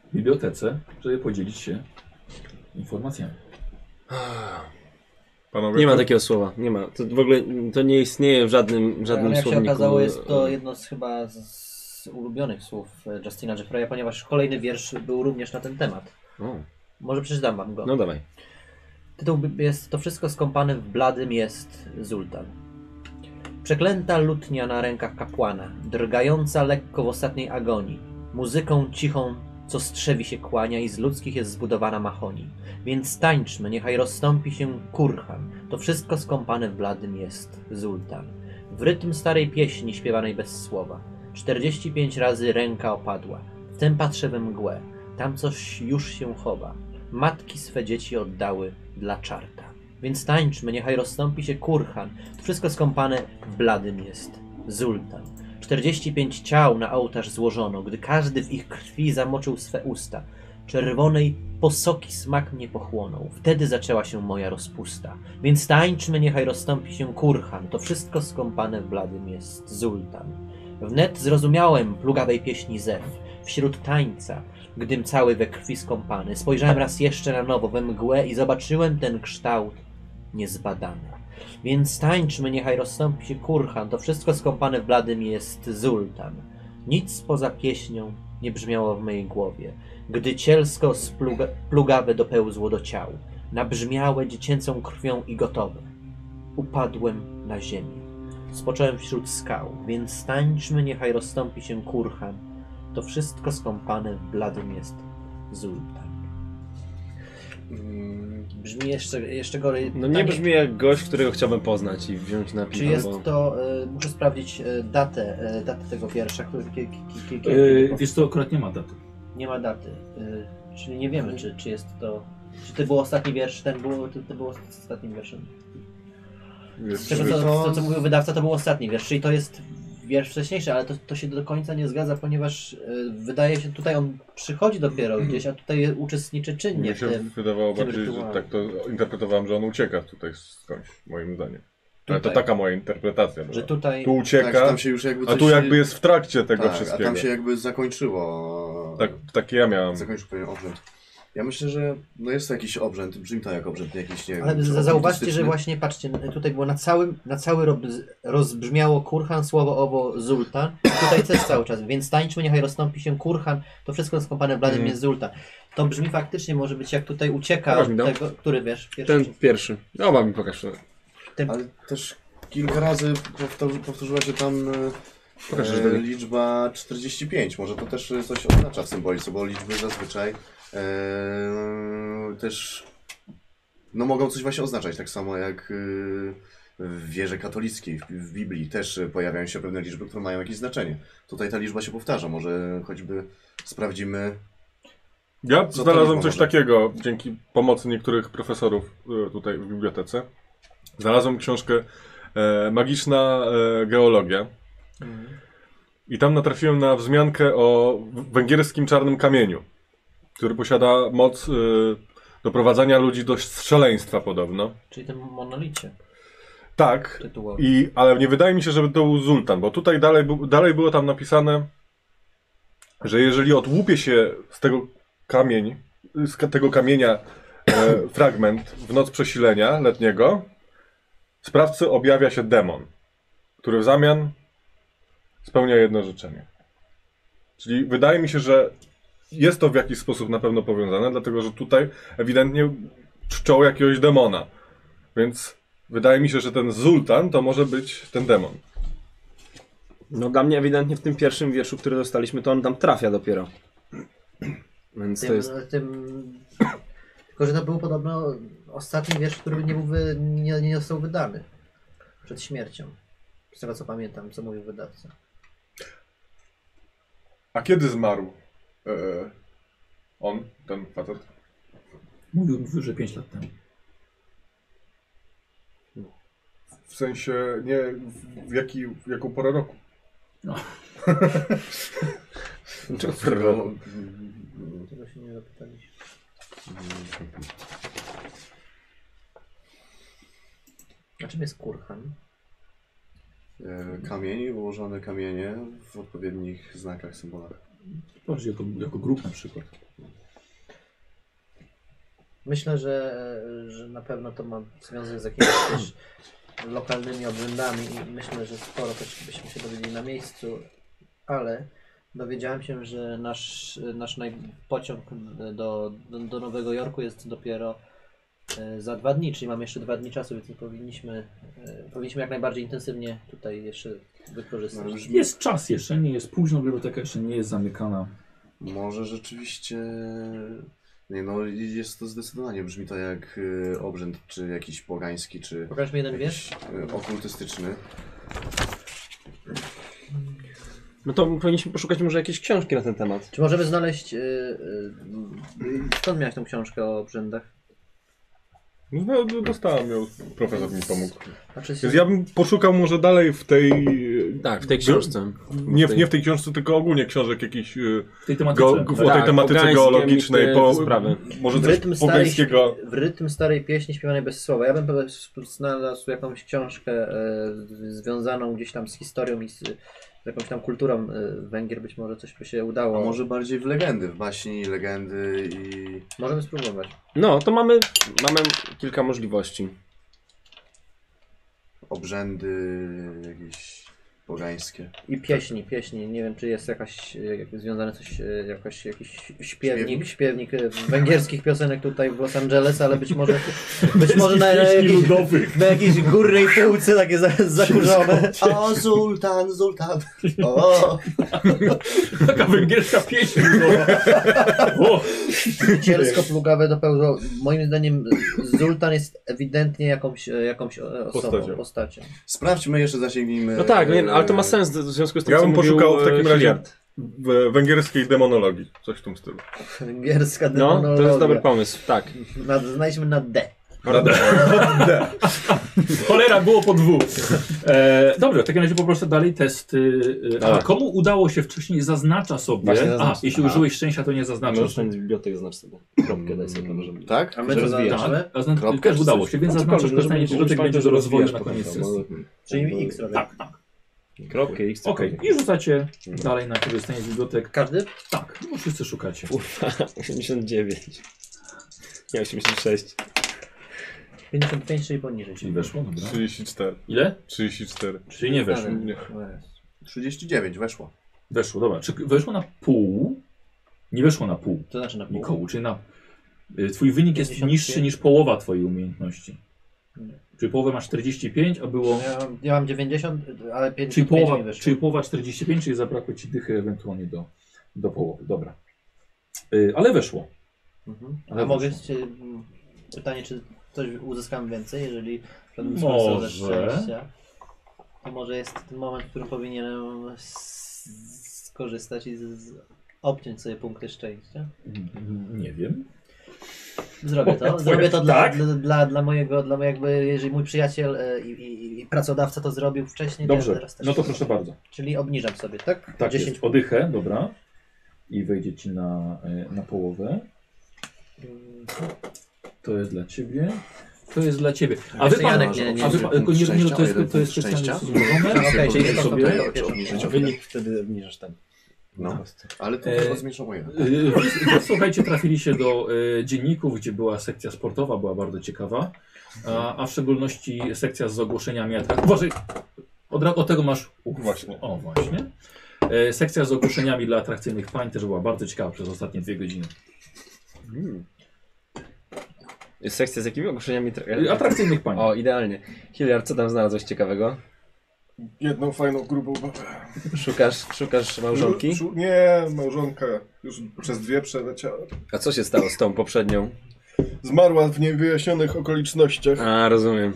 Speaker 1: w bibliotece, żeby podzielić się informacjami.
Speaker 4: Panowie, tak?
Speaker 7: Nie ma takiego słowa, nie ma. To w ogóle mm, to nie istnieje w żadnym, żadnym
Speaker 3: Ale jak się
Speaker 7: słowniku.
Speaker 3: okazało, jest to jedno z chyba z, z ulubionych słów e, Justina Jeffreya, ponieważ kolejny wiersz był również na ten temat.
Speaker 7: O,
Speaker 3: Może przeczytam wam go.
Speaker 7: No dawaj.
Speaker 3: Tytuł by- jest To wszystko skąpane w bladym jest Zultan. Przeklęta lutnia na rękach kapłana, drgająca lekko w ostatniej agonii, muzyką cichą, co strzewi się kłania i z ludzkich jest zbudowana mahoni. Więc tańczmy, niechaj rozstąpi się kurhan, to wszystko skąpane w bladym jest Zultan. W rytm starej pieśni śpiewanej bez słowa, 45 razy ręka opadła, wtem patrzę we mgłę, tam coś już się chowa matki swe dzieci oddały dla czarta. Więc tańczmy, niechaj rozstąpi się kurhan, to wszystko skąpane w bladym jest zultan. 45 ciał na ołtarz złożono, gdy każdy w ich krwi zamoczył swe usta. Czerwonej posoki smak mnie pochłonął, wtedy zaczęła się moja rozpusta. Więc tańczmy, niechaj rozstąpi się kurhan, to wszystko skąpane w bladym jest zultan. Wnet zrozumiałem plugawej pieśni zew, wśród tańca, gdym cały we krwi skąpany. Spojrzałem raz jeszcze na nowo we mgłę i zobaczyłem ten kształt niezbadany. Więc tańczmy, niechaj rozstąpi się kurhan, to wszystko skąpane w bladym jest zultan. Nic poza pieśnią nie brzmiało w mojej głowie, gdy cielsko spluga- plugawe dopełzło do ciał, nabrzmiałe dziecięcą krwią i gotowe. Upadłem na ziemię. Spocząłem wśród skał, więc tańczmy, niechaj rozstąpi się kurhan, to wszystko skąpane w bladym jest zultan.
Speaker 5: Mm,
Speaker 3: Brzmi jeszcze, jeszcze gorzej.
Speaker 7: No nie
Speaker 3: Pytanie,
Speaker 7: brzmi jak gość, którego chciałbym poznać i wziąć na piwo.
Speaker 3: Tak.
Speaker 4: No,
Speaker 3: Czy jest
Speaker 7: bo-
Speaker 3: to, y, muszę e, sprawdzić y, datę, y, datę tego wiersza, który... Ki, ki, ki, ki,
Speaker 4: Yy,
Speaker 1: Tak. E, wiesz co, akurat nie ma daty.
Speaker 3: Nie ma daty. Y, czyli nie wiemy, czy, czy jest to. Czy to był ostatni wiersz, ten był, to, to był ostatnim wierszem. Z
Speaker 6: Wiesz,
Speaker 3: tego, co, co, co mówił wydawca, to był ostatni wiersz, czyli to jest wiersz wcześniejszy, ale to, to się do końca nie zgadza, ponieważ y, wydaje się, tutaj on przychodzi dopiero gdzieś, a tutaj uczestniczy czynnie
Speaker 4: Mi
Speaker 3: w
Speaker 4: się
Speaker 3: tym.
Speaker 4: wydawało
Speaker 3: w tym
Speaker 4: bardziej, że
Speaker 3: rytuale.
Speaker 4: tak to interpretowałem, że on ucieka tutaj skądś, moim zdaniem. Ale to
Speaker 3: Tutaj.
Speaker 4: taka moja interpretacja
Speaker 3: Że
Speaker 4: była.
Speaker 3: tutaj.
Speaker 4: Tu
Speaker 5: Tak, że
Speaker 4: ucieka,
Speaker 5: tam się już jakby
Speaker 4: a
Speaker 5: coś-
Speaker 4: tu jakby jest w trakcie tego
Speaker 5: tak,
Speaker 4: wszystkiego.
Speaker 5: A tam się jakby zakończyło.
Speaker 4: Tak, takie ja miałem.
Speaker 5: Zakończył pewien obrzęd. Ja myślę, że no jest to jakiś obrzęd, brzmi to jak obrzęd jakiś, nie wiem.
Speaker 3: Ale
Speaker 5: czy
Speaker 3: za- zauważcie, że
Speaker 5: okultystyczny.
Speaker 3: właśnie, patrzcie, tutaj było na, całym, na cały rob, rozbrzmiało kurhan, słowo owo zultan. Tutaj też cały czas, więc tańczmy, niechaj rozstąpi się kurhan. To wszystko skąpane bladym
Speaker 2: Mhm.
Speaker 3: jest zultan. To brzmi faktycznie, może być jak tutaj ucieka
Speaker 2: Pokaż
Speaker 3: od
Speaker 2: mi to.
Speaker 3: tego, który wiesz, pierwszy,
Speaker 2: no. Ten pierwszy.
Speaker 7: No,
Speaker 2: Oba mi pokaż.
Speaker 3: ten,
Speaker 5: Ale też kilka razy powtórzy, powtórzyła się tam e,
Speaker 2: Pokażesz
Speaker 5: e,
Speaker 2: do mnie.
Speaker 5: liczba 45. Może to też e, coś oznacza w symbolice, bo liczby zazwyczaj e, też no mogą coś właśnie oznaczać, tak samo jak e, w wierze katolickiej, w, w Biblii też e, pojawiają się pewne liczby, które mają jakieś znaczenie. Tutaj ta liczba się powtarza, może choćby sprawdzimy
Speaker 4: Ja
Speaker 5: Co to
Speaker 4: znalazłem
Speaker 5: jest
Speaker 4: coś
Speaker 5: może?
Speaker 4: takiego dzięki pomocy niektórych profesorów e, tutaj w bibliotece. Znalazłem książkę e, Magiczna e, geologia. I tam natrafiłem na wzmiankę o w- węgierskim czarnym kamieniu, który posiada moc e, doprowadzania ludzi do szaleństwa podobno.
Speaker 3: czyli ten monolicie
Speaker 4: Tak,
Speaker 3: tytułowy.
Speaker 4: i, ale nie wydaje mi się, żeby to był Zultan, bo tutaj dalej, bu- dalej było tam napisane, że jeżeli odłupie się z tego kamień, z ka- tego kamienia e, fragment w noc przesilenia letniego, sprawcy objawia się demon, który w zamian spełnia jedno życzenie. Czyli wydaje mi się, że jest to w jakiś sposób na pewno powiązane, dlatego że tutaj ewidentnie czczą jakiegoś demona. Więc Wydaje mi się, że ten Zultan to może być ten demon.
Speaker 2: No dla mnie ewidentnie w tym pierwszym wierszu, który dostaliśmy, to on tam trafia dopiero. Więc to
Speaker 3: Tym,
Speaker 2: jest...
Speaker 3: tym, tylko, że to był podobno ostatni wiersz, który nie, był wy, nie, nie został wydany przed śmiercią. Z tego co pamiętam, co mówił wydawca.
Speaker 4: A kiedy zmarł e, on, ten facet?
Speaker 1: Mówił mówił, że 5 lat temu.
Speaker 4: W sensie, nie, w, w, jaki, w jaką porę roku?
Speaker 5: Bo-
Speaker 3: Tego się nie zapytaliśmy. A czym jest kurhan?
Speaker 5: e, kamieni, ułożone kamienie w odpowiednich znakach, symbolach.
Speaker 1: Patrz, jako, jako grup na przykład.
Speaker 3: Myślę, że, że na pewno to ma związek z jakimiś też lokalnymi obrzędami i myślę, że sporo też byśmy się dowiedzieli na miejscu, ale dowiedziałem się, że nasz, nasz naj... pociąg do, do, do Nowego Jorku jest dopiero e, za dwa dni, czyli mamy jeszcze dwa dni czasu, więc powinniśmy, e, powinniśmy jak najbardziej intensywnie tutaj jeszcze wykorzystać.
Speaker 5: No, brzmi-
Speaker 1: Jest czas jeszcze, nie jest późno, biblioteka jeszcze nie jest zamykana.
Speaker 5: Może rzeczywiście. Nie no, jest to zdecydowanie. Brzmi to jak y, obrzęd, czy jakiś pogański, czy
Speaker 3: Pokaż mi jeden wiersz.
Speaker 5: jakiś, y, okultystyczny.
Speaker 2: No to powinniśmy poszukać może jakiejś książki na ten temat.
Speaker 3: Czy możemy znaleźć. y, y, y, skąd miałeś tą książkę o obrzędach?
Speaker 4: No, No, no, dostałem ją, profesor mi pomógł.
Speaker 3: Znaczy,
Speaker 4: Więc ja bym poszukał może dalej w tej...
Speaker 2: Tak, w tej książce.
Speaker 4: Nie w, nie w tej książce, tylko ogólnie książek jakichś e,
Speaker 1: W tej tematyce.
Speaker 4: geo, w, o tej
Speaker 2: Tak,
Speaker 4: tematyce
Speaker 2: pogańskie
Speaker 4: geologicznej,
Speaker 2: mity,
Speaker 4: po,
Speaker 2: sprawy.
Speaker 4: może
Speaker 3: w
Speaker 4: coś
Speaker 3: rytm, starej,
Speaker 4: pogańskiego.
Speaker 3: w rytm starej pieśni śpiewanej bez słowa. Ja bym pewnie sp- znalazł jakąś książkę e, związaną gdzieś tam z historią i z, z jakąś tam kulturą e, Węgier. Być może coś by się
Speaker 5: A
Speaker 3: udało.
Speaker 5: może bardziej w legendy, w baśni, legendy i.
Speaker 3: Możemy spróbować.
Speaker 2: No, to mamy, mamy kilka możliwości.
Speaker 5: obrzędy jakieś pogańskie.
Speaker 3: I pieśni, pieśni. Nie wiem, czy jest jakaś e, jak, związane coś, e, jakoś, jakiś śpiewnik, śpiewnik e, węgierskich piosenek tutaj w Los Angeles, ale być może, być może na, na,
Speaker 1: Pieśni
Speaker 3: jakiejś,
Speaker 1: ludowych.
Speaker 3: na jakiejś górnej półce takie za, zakurzone.
Speaker 5: O, sultan, sultan! O!
Speaker 1: Taka węgierska pieśń ludowa. O,
Speaker 3: Cielsko plugawe dopełniło. Moim zdaniem Zultan jest ewidentnie jakąś, jakąś e, osobą, postacią.
Speaker 4: Postacią.
Speaker 5: Sprawdźmy jeszcze, zasięgnijmy.
Speaker 2: No tak, nie, ale to ma
Speaker 5: e,
Speaker 2: sens w związku z tym,
Speaker 4: Ja
Speaker 2: co
Speaker 4: bym
Speaker 2: mówił,
Speaker 4: poszukał w
Speaker 2: e,
Speaker 4: takim razie
Speaker 2: Hilliard.
Speaker 4: w węgierskiej demonologii, coś w tym stylu.
Speaker 3: Węgierska
Speaker 2: No, to jest dobry
Speaker 3: demonologia.
Speaker 2: pomysł, tak.
Speaker 1: Znaczy,
Speaker 3: Nad, znajdźmy na D.
Speaker 1: Cholera, było po dwóch. E, dobrze, w takim razie poproszę dalej test. Y, a
Speaker 2: Dobra.
Speaker 1: komu udało się wcześniej, zaznacza sobie.
Speaker 2: Właśnie zaznacz.
Speaker 1: A, jeśli
Speaker 2: Aha.
Speaker 1: użyłeś szczęścia, to nie
Speaker 2: Możesz
Speaker 1: zaznaczasz.
Speaker 2: ten z bibliotek znacz sobie. Kropkę daj sobie tam, żeby...
Speaker 5: Tak?
Speaker 3: A my
Speaker 2: Że
Speaker 3: to
Speaker 2: rozwijasz.
Speaker 3: zaznaczamy?
Speaker 1: A zna,
Speaker 5: Kropka
Speaker 1: też
Speaker 5: czy
Speaker 1: udało
Speaker 5: coś?
Speaker 1: się, więc zaznaczasz
Speaker 2: no,
Speaker 1: korzystanie z bibliotek będzie do rozwoju na koniec sesji.
Speaker 3: Czyli X robię.
Speaker 1: Tak, tak.
Speaker 2: Kropkę i chcę.
Speaker 1: Okej, Mhm. i rzucacie dalej na korzystanie z bibliotek.
Speaker 3: Każdy?
Speaker 1: Tak, bo wszyscy szukacie.
Speaker 2: 89. Nie, 86.
Speaker 3: 55, czyli poniżej.
Speaker 1: Czyli weszło, dobra.
Speaker 4: 34.
Speaker 1: Ile?
Speaker 4: 34.
Speaker 1: Czyli nie weszło.
Speaker 4: Nie.
Speaker 5: 39, weszło.
Speaker 1: Weszło, dobra. Czy weszło na pół? Nie weszło na pół.
Speaker 3: To znaczy na pół.
Speaker 1: Nikołu, czyli na. y, Twój wynik jest
Speaker 3: 55.
Speaker 1: niższy niż połowa Twojej umiejętności.
Speaker 3: Nie.
Speaker 1: Czyli połowę masz 45, a było.
Speaker 3: Ja mam, ja mam 90, ale 55
Speaker 1: Czyli
Speaker 3: mi
Speaker 1: połowa,
Speaker 3: wyszło.
Speaker 1: czyli połowa 45, czyli zabrakło ci dychy ewentualnie do, do połowy. Dobra. Y, ale weszło. Ale
Speaker 3: A mogę
Speaker 1: weszło.
Speaker 3: się, m, pytanie, czy coś uzyskam więcej, jeżeli wszedłem
Speaker 1: Może.
Speaker 3: ze szczęścia. To może jest ten moment, w którym powinienem s- skorzystać i z, z, obciąć sobie punkty szczęścia.
Speaker 1: Mm, Nie wiem.
Speaker 3: Zrobię to.
Speaker 1: Twoje-
Speaker 3: Zrobię to dla,
Speaker 1: tak?
Speaker 3: dla, dla, dla mojego, dla mojego, jakby, jeżeli mój przyjaciel e, i, i, i pracodawca to zrobił wcześniej, to ja
Speaker 1: Dobrze.
Speaker 3: teraz też.
Speaker 1: No to proszę bardzo.
Speaker 3: Czyli obniżam sobie, tak?
Speaker 1: Tak, jest.
Speaker 3: punktów.
Speaker 1: Odychę, dobra. I wejdzie ci na, y, na połowę. To jest dla ciebie. To jest dla ciebie. A wy
Speaker 3: Jeszcze
Speaker 1: pan,
Speaker 3: Janek nie- nie
Speaker 1: a wy
Speaker 5: obniżył
Speaker 1: pan,
Speaker 5: punkt
Speaker 1: tylko nie, nie, no
Speaker 5: szczęścia
Speaker 1: to
Speaker 5: o
Speaker 1: jest,
Speaker 5: jeden
Speaker 1: to jest
Speaker 5: punkt
Speaker 1: specjalnie
Speaker 5: szczęścia?
Speaker 1: zrobione.
Speaker 3: Okej, czyli
Speaker 5: Sobie
Speaker 3: to są
Speaker 5: sobie
Speaker 3: to
Speaker 5: czy obniżyć o
Speaker 2: Wynik wtedy obniżasz ten.
Speaker 5: No, ale to
Speaker 1: E,
Speaker 5: chyba zmieszało jeden.
Speaker 1: Y, wy- Słuchajcie, trafili się do y, dzienników, gdzie była sekcja sportowa, była bardzo ciekawa, a, a w szczególności sekcja z ogłoszeniami atrakcji. Uważaj, od, ra- od tego masz. Uf,
Speaker 4: Właśnie.
Speaker 1: O, właśnie. E, Sekcja z ogłoszeniami dla atrakcyjnych pań też była bardzo ciekawa przez ostatnie dwie godziny.
Speaker 2: Jest sekcja z jakimi ogłoszeniami? tra-
Speaker 1: Y, Atrakcyjnych pań.
Speaker 2: O, idealnie. Hilliard, co tam znalazłeś ciekawego?
Speaker 4: Jedną fajną, grubą babę.
Speaker 2: Szukasz, szukasz małżonki?
Speaker 4: Żu- żu- Nie, małżonka. Już przez dwie przeleciała.
Speaker 2: A co się stało z tą poprzednią?
Speaker 4: Zmarła w niewyjaśnionych okolicznościach.
Speaker 2: A, rozumiem.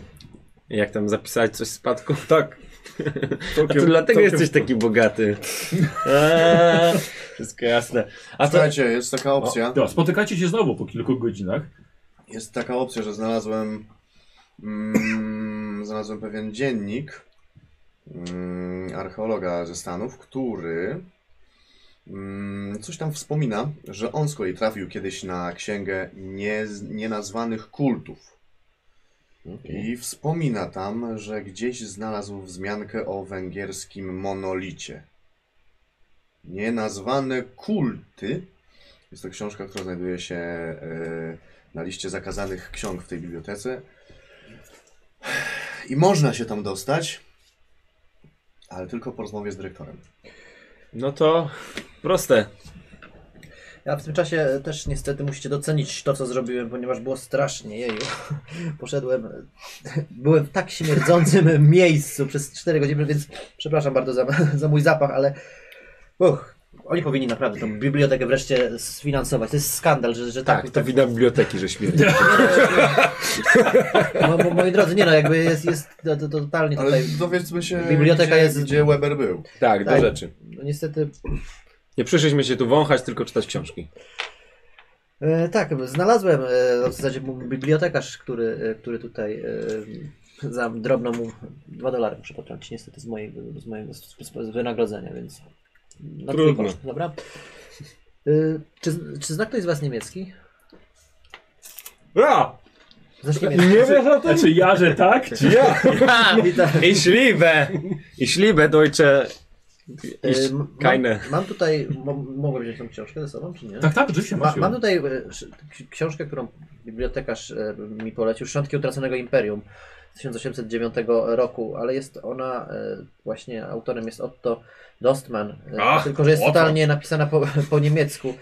Speaker 2: Jak tam zapisać coś z spadku? Tak. A
Speaker 4: Całkiem-
Speaker 2: to dlatego
Speaker 4: całkiem-
Speaker 2: jesteś taki bogaty. A, wszystko jasne. A to...
Speaker 5: Słuchajcie, jest taka opcja.
Speaker 1: Dobra, spotykacie się znowu po kilku godzinach.
Speaker 5: Jest taka opcja, że znalazłem. Mm, znalazłem pewien dziennik mm, archeologa ze Stanów, który mm, coś tam wspomina, że on z kolei trafił kiedyś na księgę nie, nienazwanych kultów. I wspomina tam, że gdzieś znalazł wzmiankę o węgierskim monolicie. Nienazwane kulty. Jest to książka, która znajduje się. e, na liście zakazanych ksiąg w tej bibliotece. I można się tam dostać, ale tylko po rozmowie z dyrektorem.
Speaker 2: No to proste.
Speaker 3: Ja w tym czasie też niestety musicie docenić to, co zrobiłem, ponieważ było strasznie, jeju. Poszedłem, byłem w tak śmierdzącym miejscu przez 4 godziny, więc przepraszam bardzo za, za mój zapach, ale uch, oni powinni naprawdę tą bibliotekę wreszcie sfinansować. To jest skandal, że, że tak.
Speaker 2: Tak, to wina biblioteki, że śmierdzi.
Speaker 3: Mo, mo, moi drodzy, nie no, jakby jest, jest to, to, to totalnie
Speaker 5: Ale
Speaker 3: tutaj...
Speaker 5: dowiedzmy się,
Speaker 3: biblioteka
Speaker 5: gdzie,
Speaker 3: jest-
Speaker 5: gdzie Weber był.
Speaker 2: Tak, do
Speaker 3: Tak.
Speaker 2: rzeczy.
Speaker 3: No, niestety
Speaker 2: Nie przyszliśmy się tu wąchać, tylko czytać książki.
Speaker 3: E, tak, znalazłem e, w zasadzie mu- bibliotekarz, który, e, który tutaj e, za drobną mu 2 dolary muszę potrącić niestety z mojego, z mojego z, z z wynagrodzenia, więc na twój
Speaker 6: Trudno.
Speaker 3: koszt, dobra? E, czy, czy zna ktoś z Was niemiecki?
Speaker 2: Ja!
Speaker 3: Znasz niemiecki?
Speaker 6: Nie wiesz o tym? tak.
Speaker 1: Znaczy ja, że tak? Czy...
Speaker 6: Ja!
Speaker 3: Witam.
Speaker 2: Ich liebe! Ich liebe Deutsche.
Speaker 3: E,
Speaker 2: Ich
Speaker 3: m-
Speaker 2: keine.
Speaker 3: Mam, mam tutaj, mo, mogłem wziąć tą książkę ze sobą, czy nie?
Speaker 1: Tak, tak, oczywiście
Speaker 3: Ma,
Speaker 1: masz. ją.
Speaker 3: mam tutaj e, sz- k- książkę, którą bibliotekarz e, mi polecił, Szczątki utraconego imperium z 1809 roku, ale jest ona, e, właśnie autorem jest Otto Dostman, e,
Speaker 2: Ach,
Speaker 3: tylko że jest
Speaker 2: Otto.
Speaker 3: totalnie napisana po, po niemiecku.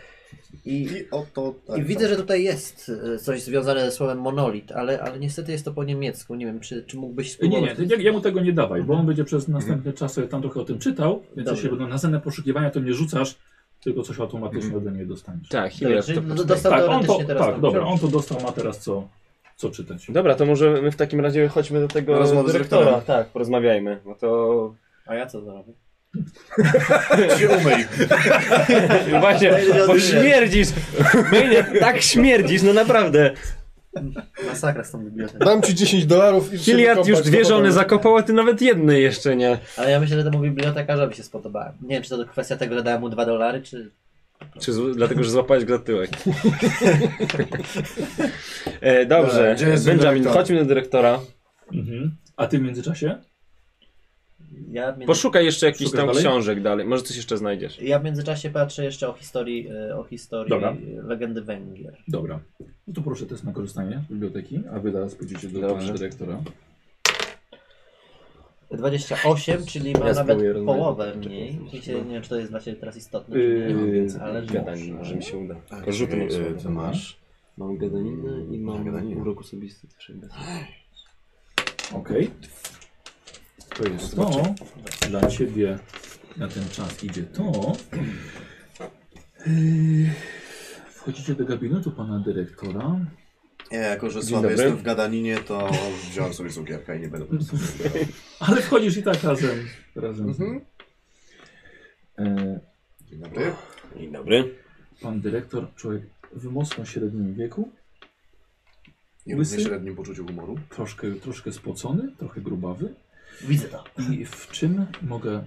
Speaker 3: I,
Speaker 5: I oto... Tak,
Speaker 3: I widzę, że tutaj jest e, coś związane ze słowem monolit, ale, ale niestety jest to po niemiecku. Nie wiem, czy, czy mógłbyś
Speaker 1: Nie,
Speaker 3: spróbować.
Speaker 1: nie, ty- ja, ja mu tego nie dawaj, bo on będzie przez następny czas sobie tam trochę o tym czytał, więc
Speaker 3: Dobrze.
Speaker 1: jeśli będą następne poszukiwania, to nie rzucasz, tylko coś automatycznie ode mnie dostaniesz.
Speaker 2: Tak,
Speaker 3: Dobra,
Speaker 2: Hilliard
Speaker 3: czyli
Speaker 2: to
Speaker 3: d-
Speaker 2: poczytaj.
Speaker 3: dostał
Speaker 1: Tak, on to,
Speaker 3: teoretycznie teraz.
Speaker 1: tak
Speaker 3: tą
Speaker 1: dobra,
Speaker 3: książkę.
Speaker 1: on to dostał, ma teraz co, co czytać.
Speaker 2: Dobra, to może my w takim razie chodźmy do tego
Speaker 5: Rozmowy z
Speaker 2: dyrektora.
Speaker 5: dyrektorem.
Speaker 2: tak, porozmawiajmy. No to
Speaker 3: A ja co zrobię?
Speaker 5: Się umyj.
Speaker 7: Właśnie, bo śmierdzisz. Myjnie, tak śmierdzisz, no naprawdę.
Speaker 3: Masakra z tą biblioteką.
Speaker 6: Dam ci 10 dolarów i
Speaker 2: Kiliard już dwie żony
Speaker 6: zakopał.
Speaker 2: zakopał, a ty nawet jednej jeszcze nie.
Speaker 3: Ale ja myślę, że temu bibliotekarzowi się spodobałem. Nie wiem, czy to kwestia tego, że dałem mu 2 dolary, czy...
Speaker 2: Czy z, dlatego, że złapałeś go za tyłek. e, dobrze,
Speaker 6: Gdzie jest
Speaker 2: Benjamin,
Speaker 6: dyrektor?
Speaker 2: chodźmy do dyrektora.
Speaker 1: Mhm. A ty w międzyczasie?
Speaker 3: Ja w, między...
Speaker 2: Poszukaj jeszcze jakichś
Speaker 1: Szukaj
Speaker 2: tam
Speaker 1: dalej?
Speaker 2: książek dalej, może coś jeszcze znajdziesz.
Speaker 3: ja w międzyczasie patrzę jeszcze o historii, e, o historii
Speaker 1: Dobra.
Speaker 3: e, legendy Węgier.
Speaker 1: Dobra. No to proszę test na korzystanie z biblioteki, a wy zaraz pójdziecie do
Speaker 2: Dobrze.
Speaker 1: pana dyrektora.
Speaker 3: 28, czyli ma
Speaker 2: Ja
Speaker 3: nawet
Speaker 2: spróbuję rozmawiać.
Speaker 3: połowę mniej. Wiecie, nie wiem, czy to jest dla Ciebie teraz istotne,
Speaker 1: Yy,
Speaker 3: czy nie, ale
Speaker 2: Gadanin, może mi się uda. Rzuty
Speaker 5: Ej,
Speaker 2: mam
Speaker 5: e,
Speaker 2: słabe.
Speaker 5: Ty masz.
Speaker 2: Mam gadaninę i mam
Speaker 5: Gadaninę.
Speaker 2: urok osobisty też. jakby.
Speaker 1: Okej. To jest to. Dla ciebie na ten czas idzie to. Yy, Wchodzicie do gabinetu pana dyrektora.
Speaker 5: Ja jako, że
Speaker 2: Dzień
Speaker 5: słaby
Speaker 2: dobry.
Speaker 5: jestem w gadaninie, to wziąłem sobie cukierka i nie będę po prostu zbierał.
Speaker 1: Ale wchodzisz i tak razem. razem z nim. E,
Speaker 5: Dzień dobry.
Speaker 2: Dzień dobry.
Speaker 1: Pan dyrektor, człowiek w mocno średnim wieku,
Speaker 5: I w
Speaker 1: Łysy?
Speaker 5: nieśrednim poczuciu humoru.
Speaker 1: troszkę, troszkę spocony, trochę grubawy.
Speaker 3: Widzę to.
Speaker 1: I w czym mogę y,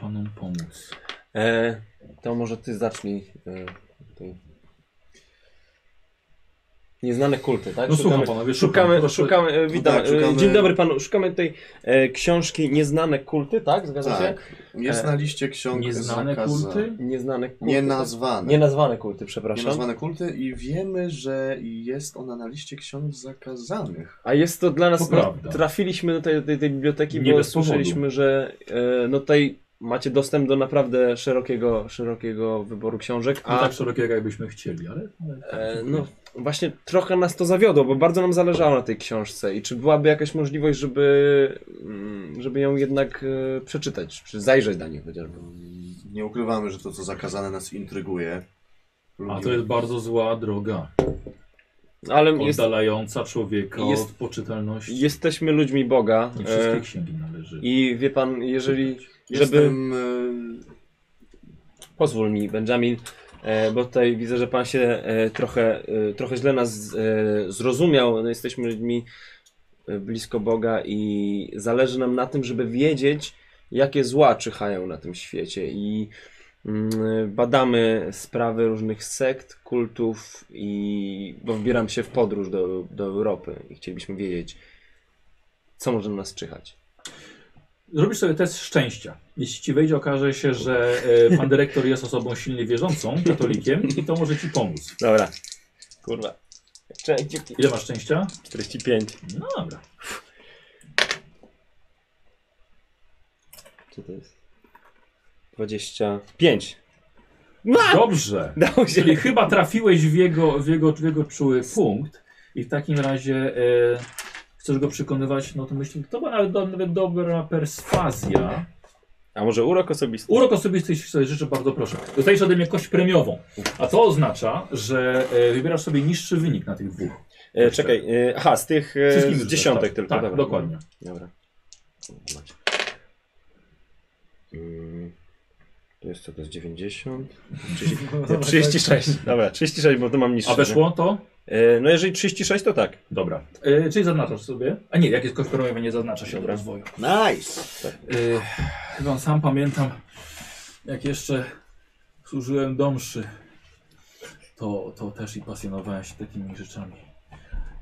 Speaker 1: panom pomóc?
Speaker 2: E, to może ty zacznij. E, tutaj. Nieznane kulty, tak?
Speaker 1: No
Speaker 2: Szukamy-
Speaker 1: słucham panowie,
Speaker 2: Szukamy,
Speaker 1: szukam.
Speaker 2: szukamy, e, witam.
Speaker 5: tak, szukamy-
Speaker 2: e, Dzień dobry panu, szukamy tej e, książki Nieznane kulty, tak? Zgadza się?
Speaker 5: Tak.
Speaker 3: E,
Speaker 5: Jest na liście ksiąg
Speaker 1: Nieznane
Speaker 5: zakaza-
Speaker 1: kulty?
Speaker 2: Nieznane kulty.
Speaker 5: Nienazwane.
Speaker 2: Nienazwane kulty, przepraszam.
Speaker 5: Nienazwane kulty i wiemy, że jest ona na liście ksiąg zakazanych.
Speaker 2: A jest to dla nas,
Speaker 1: To
Speaker 2: no,
Speaker 1: prawda.
Speaker 2: trafiliśmy do tej, tej, tej biblioteki,
Speaker 1: Nie
Speaker 2: bo
Speaker 1: bez powodu.
Speaker 2: słyszeliśmy, że e, no tutaj macie dostęp do naprawdę szerokiego, szerokiego wyboru książek,
Speaker 1: Nie
Speaker 2: a
Speaker 1: tak szerokiego, jakbyśmy chcieli, ale...
Speaker 2: E, No właśnie trochę nas to zawiodło, bo bardzo nam zależało na tej książce i czy byłaby jakaś możliwość, żeby, mm, żeby ją jednak e, przeczytać, czy zajrzeć do niej chociażby.
Speaker 5: Nie ukrywamy, że to, co zakazane, nas intryguje.
Speaker 1: A to jest bardzo zła droga,
Speaker 2: Ale jest,
Speaker 1: oddalająca człowieka
Speaker 2: jest-
Speaker 1: od poczytalności.
Speaker 2: jesteśmy ludźmi Boga
Speaker 1: Nie
Speaker 2: e,
Speaker 1: wszystkie księgi należy.
Speaker 2: i wie pan, jeżeli, żeby...
Speaker 5: Jestem,
Speaker 2: Pozwól mi Benjamin, e, bo tutaj widzę, że pan się e, trochę, e, trochę źle nas e, zrozumiał. No, jesteśmy ludźmi e, blisko Boga i zależy nam na tym, żeby wiedzieć, jakie zła czyhają na tym świecie i mm, badamy sprawy różnych sekt, kultów i bo wybieram się w podróż do, do Europy i chcielibyśmy wiedzieć, co może na nas czyhać.
Speaker 1: Robisz sobie test szczęścia. Jeśli ci wejdzie, okaże się, że e, pan dyrektor jest osobą silnie wierzącą, katolikiem i to może ci pomóc.
Speaker 2: Dobra. Kurwa. Cześć,
Speaker 1: Ile masz szczęścia?
Speaker 7: 45.
Speaker 1: No dobra.
Speaker 2: Co to jest? 25. No!
Speaker 1: Dobrze.
Speaker 2: Dało się.
Speaker 1: Czyli chyba trafiłeś w jego, w jego, w jego czuły punkt i w takim razie e, chcesz go przekonywać, no to myślę, to była nawet, do, nawet dobra perswazja.
Speaker 2: A może urok osobisty?
Speaker 1: Urok osobisty, jeśli sobie życzę, bardzo proszę. Dostajesz ode mnie kość premiową, a to oznacza, że e, wybierasz sobie niższy wynik na tych dwóch.
Speaker 2: E, czekaj, e, aha, z tych e,
Speaker 1: Wszystkim
Speaker 2: z
Speaker 1: życzę,
Speaker 2: dziesiątek
Speaker 1: tak.
Speaker 2: tylko.
Speaker 1: Tak,
Speaker 2: dobra.
Speaker 1: dokładnie.
Speaker 2: Dobra. Macie. Mm, To jest co, to jest 90? 30, nie, 36, dobra, 36, bo to mam niższe.
Speaker 1: No, A weszło to?
Speaker 2: E, no jeżeli 36 to tak.
Speaker 1: Dobra. E, czyli zaznaczasz sobie? A nie, jak jest kość premiowa, nie zaznacza się od rozwoju.
Speaker 5: Nice!
Speaker 2: Tak.
Speaker 1: Yy, chyba sam pamiętam, jak jeszcze służyłem domszy, to, to też i pasjonowałem się takimi rzeczami.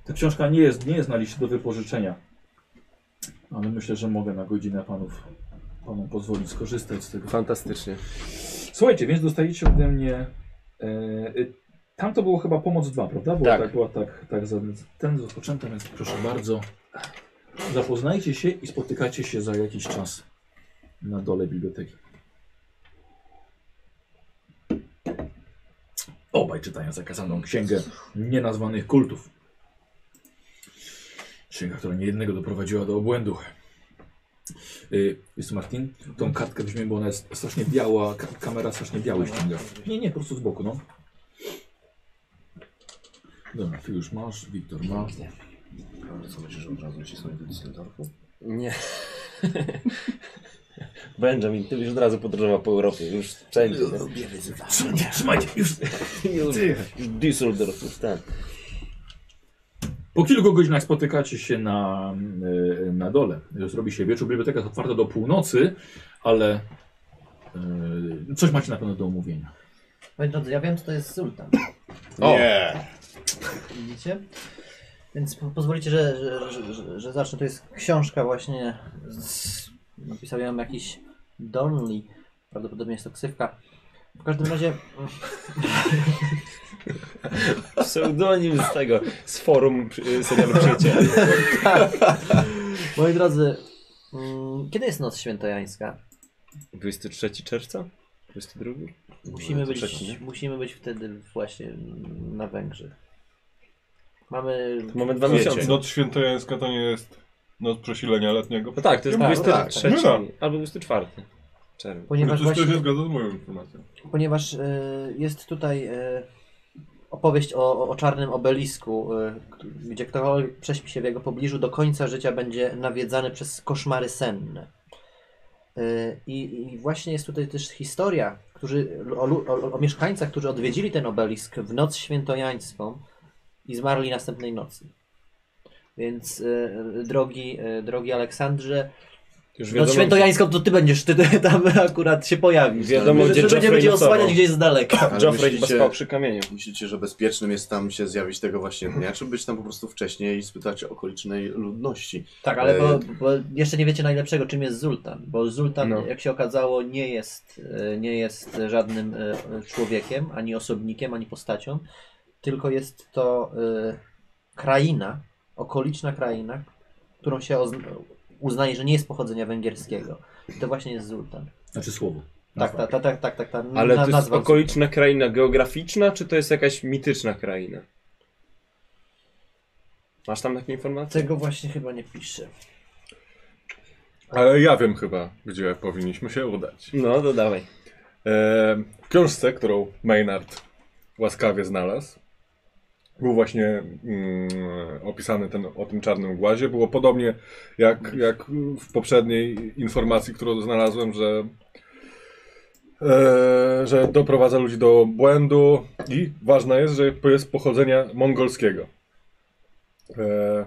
Speaker 1: Ta książka nie jest, nie jest na liście do wypożyczenia, ale myślę, że mogę na godzinę panów, panom pozwolić skorzystać z tego.
Speaker 2: Fantastycznie.
Speaker 1: Słuchajcie, więc dostajecie ode mnie. E, y, tam to było chyba pomoc 2, prawda? Było,
Speaker 2: Tak.
Speaker 1: tak. Była tak, tak za, ten rozpoczęta, więc proszę bardzo. Zapoznajcie się i spotykacie się za jakiś czas na dole biblioteki. Obaj czytają zakazaną księgę nienazwanych kultów. Księga, która niejednego doprowadziła do obłędu. Y, Jest Martin, tą kartkę weźmiemy, bo ona jest strasznie biała, ka kamera strasznie biała ściąga. Nie, nie, po prostu z boku, no. Dobra, ty już masz, Wiktor ma.
Speaker 5: e, Co myślisz, że od razu cisnąć do dyscyplinarku?
Speaker 2: Nie. Benjamin, ty byś od razu podróżował po Europie, już wszędzie. nie?
Speaker 1: Trzymajcie, trzymajcie, już.
Speaker 2: Już, już Düsseldorf, tak.
Speaker 1: Po kilku godzinach spotykacie się na, y, na dole. Zrobi się wieczór. Biblioteka jest otwarta do północy, ale y, coś macie na pewno do omówienia.
Speaker 3: Moi drodzy, ja wiem, co to jest sultan.
Speaker 5: O. Nie.
Speaker 3: Widzicie? Więc po- pozwolicie, że, że, że, że, że zacznę. To jest książka właśnie. Z... Napisał ją jakiś Donley. Prawdopodobnie jest to ksywka. W każdym razie
Speaker 2: Pseudonim z tego, z forum y, serialu Przyjaciele.
Speaker 3: tak. Moi drodzy, mm, kiedy jest noc świętojańska?
Speaker 2: 23 czerwca? 22?
Speaker 3: Musimy być,
Speaker 2: trzeci, nie?
Speaker 3: musimy być wtedy właśnie mm, na Węgrzech. Mamy.
Speaker 2: To mamy dwa miesiące.
Speaker 4: Noc świętojańska to nie jest noc przesilenia letniego.
Speaker 2: No tak, to jest
Speaker 4: No tak,
Speaker 2: 23
Speaker 4: no tak.
Speaker 2: albo 24 czerwca.
Speaker 4: Ponieważ
Speaker 3: Ponieważ,
Speaker 4: Coś właśnie... się
Speaker 3: właśnie,
Speaker 4: zgadza z moją informacją.
Speaker 3: ponieważ y, jest tutaj y, opowieść o, o- o czarnym obelisku, y, k- gdzie ktokolwiek prześpi się w jego pobliżu, do końca życia będzie nawiedzany przez koszmary senne. Y, I, I właśnie jest tutaj też historia którzy, o, lu- o, o mieszkańcach, którzy odwiedzili ten obelisk w noc świętojańską i zmarli następnej nocy. Więc y, y, drogi, y, drogi Aleksandrze,
Speaker 2: Już
Speaker 3: no świętojańską to ty będziesz, ty, ty tam akurat się pojawisz.
Speaker 2: Wiadomo,
Speaker 3: że,
Speaker 2: gdzie
Speaker 3: że będzie
Speaker 2: Joffrey
Speaker 3: będzie
Speaker 2: nocował.
Speaker 3: osłaniać gdzieś z daleka.
Speaker 5: Ale
Speaker 2: Joffrey chyba spał
Speaker 5: myślicie,
Speaker 2: przy kamieniu.
Speaker 5: myślicie, że bezpiecznym jest tam się zjawić tego właśnie dnia, czy być tam po prostu wcześniej i spytać okolicznej ludności?
Speaker 3: Tak, ale
Speaker 5: E,
Speaker 3: bo, bo jeszcze nie wiecie najlepszego, czym jest Zultan. Bo Zultan,
Speaker 2: No.
Speaker 3: jak się okazało, nie jest, e, nie jest żadnym e, człowiekiem, ani osobnikiem, ani postacią. Tylko jest to e, kraina, okoliczna kraina, którą się ozna- uznaje, że nie jest pochodzenia węgierskiego. I to właśnie jest Zultan.
Speaker 1: Znaczy słowo.
Speaker 3: Tak, tak, tak, tak, tak, tak. ta
Speaker 8: Ale
Speaker 3: na-
Speaker 8: to jest
Speaker 3: nazwa
Speaker 8: okoliczna kraina geograficzna, czy to jest jakaś mityczna kraina? Masz tam takie informacje?
Speaker 3: Tego właśnie chyba nie pisze.
Speaker 4: Ale ja wiem chyba, gdzie powinniśmy się udać.
Speaker 8: No, to dawaj.
Speaker 4: E, w książce, którą Maynard łaskawie znalazł, był właśnie mm, opisany ten, o tym czarnym głazie. Było podobnie jak, jak w poprzedniej informacji, którą znalazłem, że, e, że doprowadza ludzi do błędu i ważne jest, że jest pochodzenia mongolskiego. E,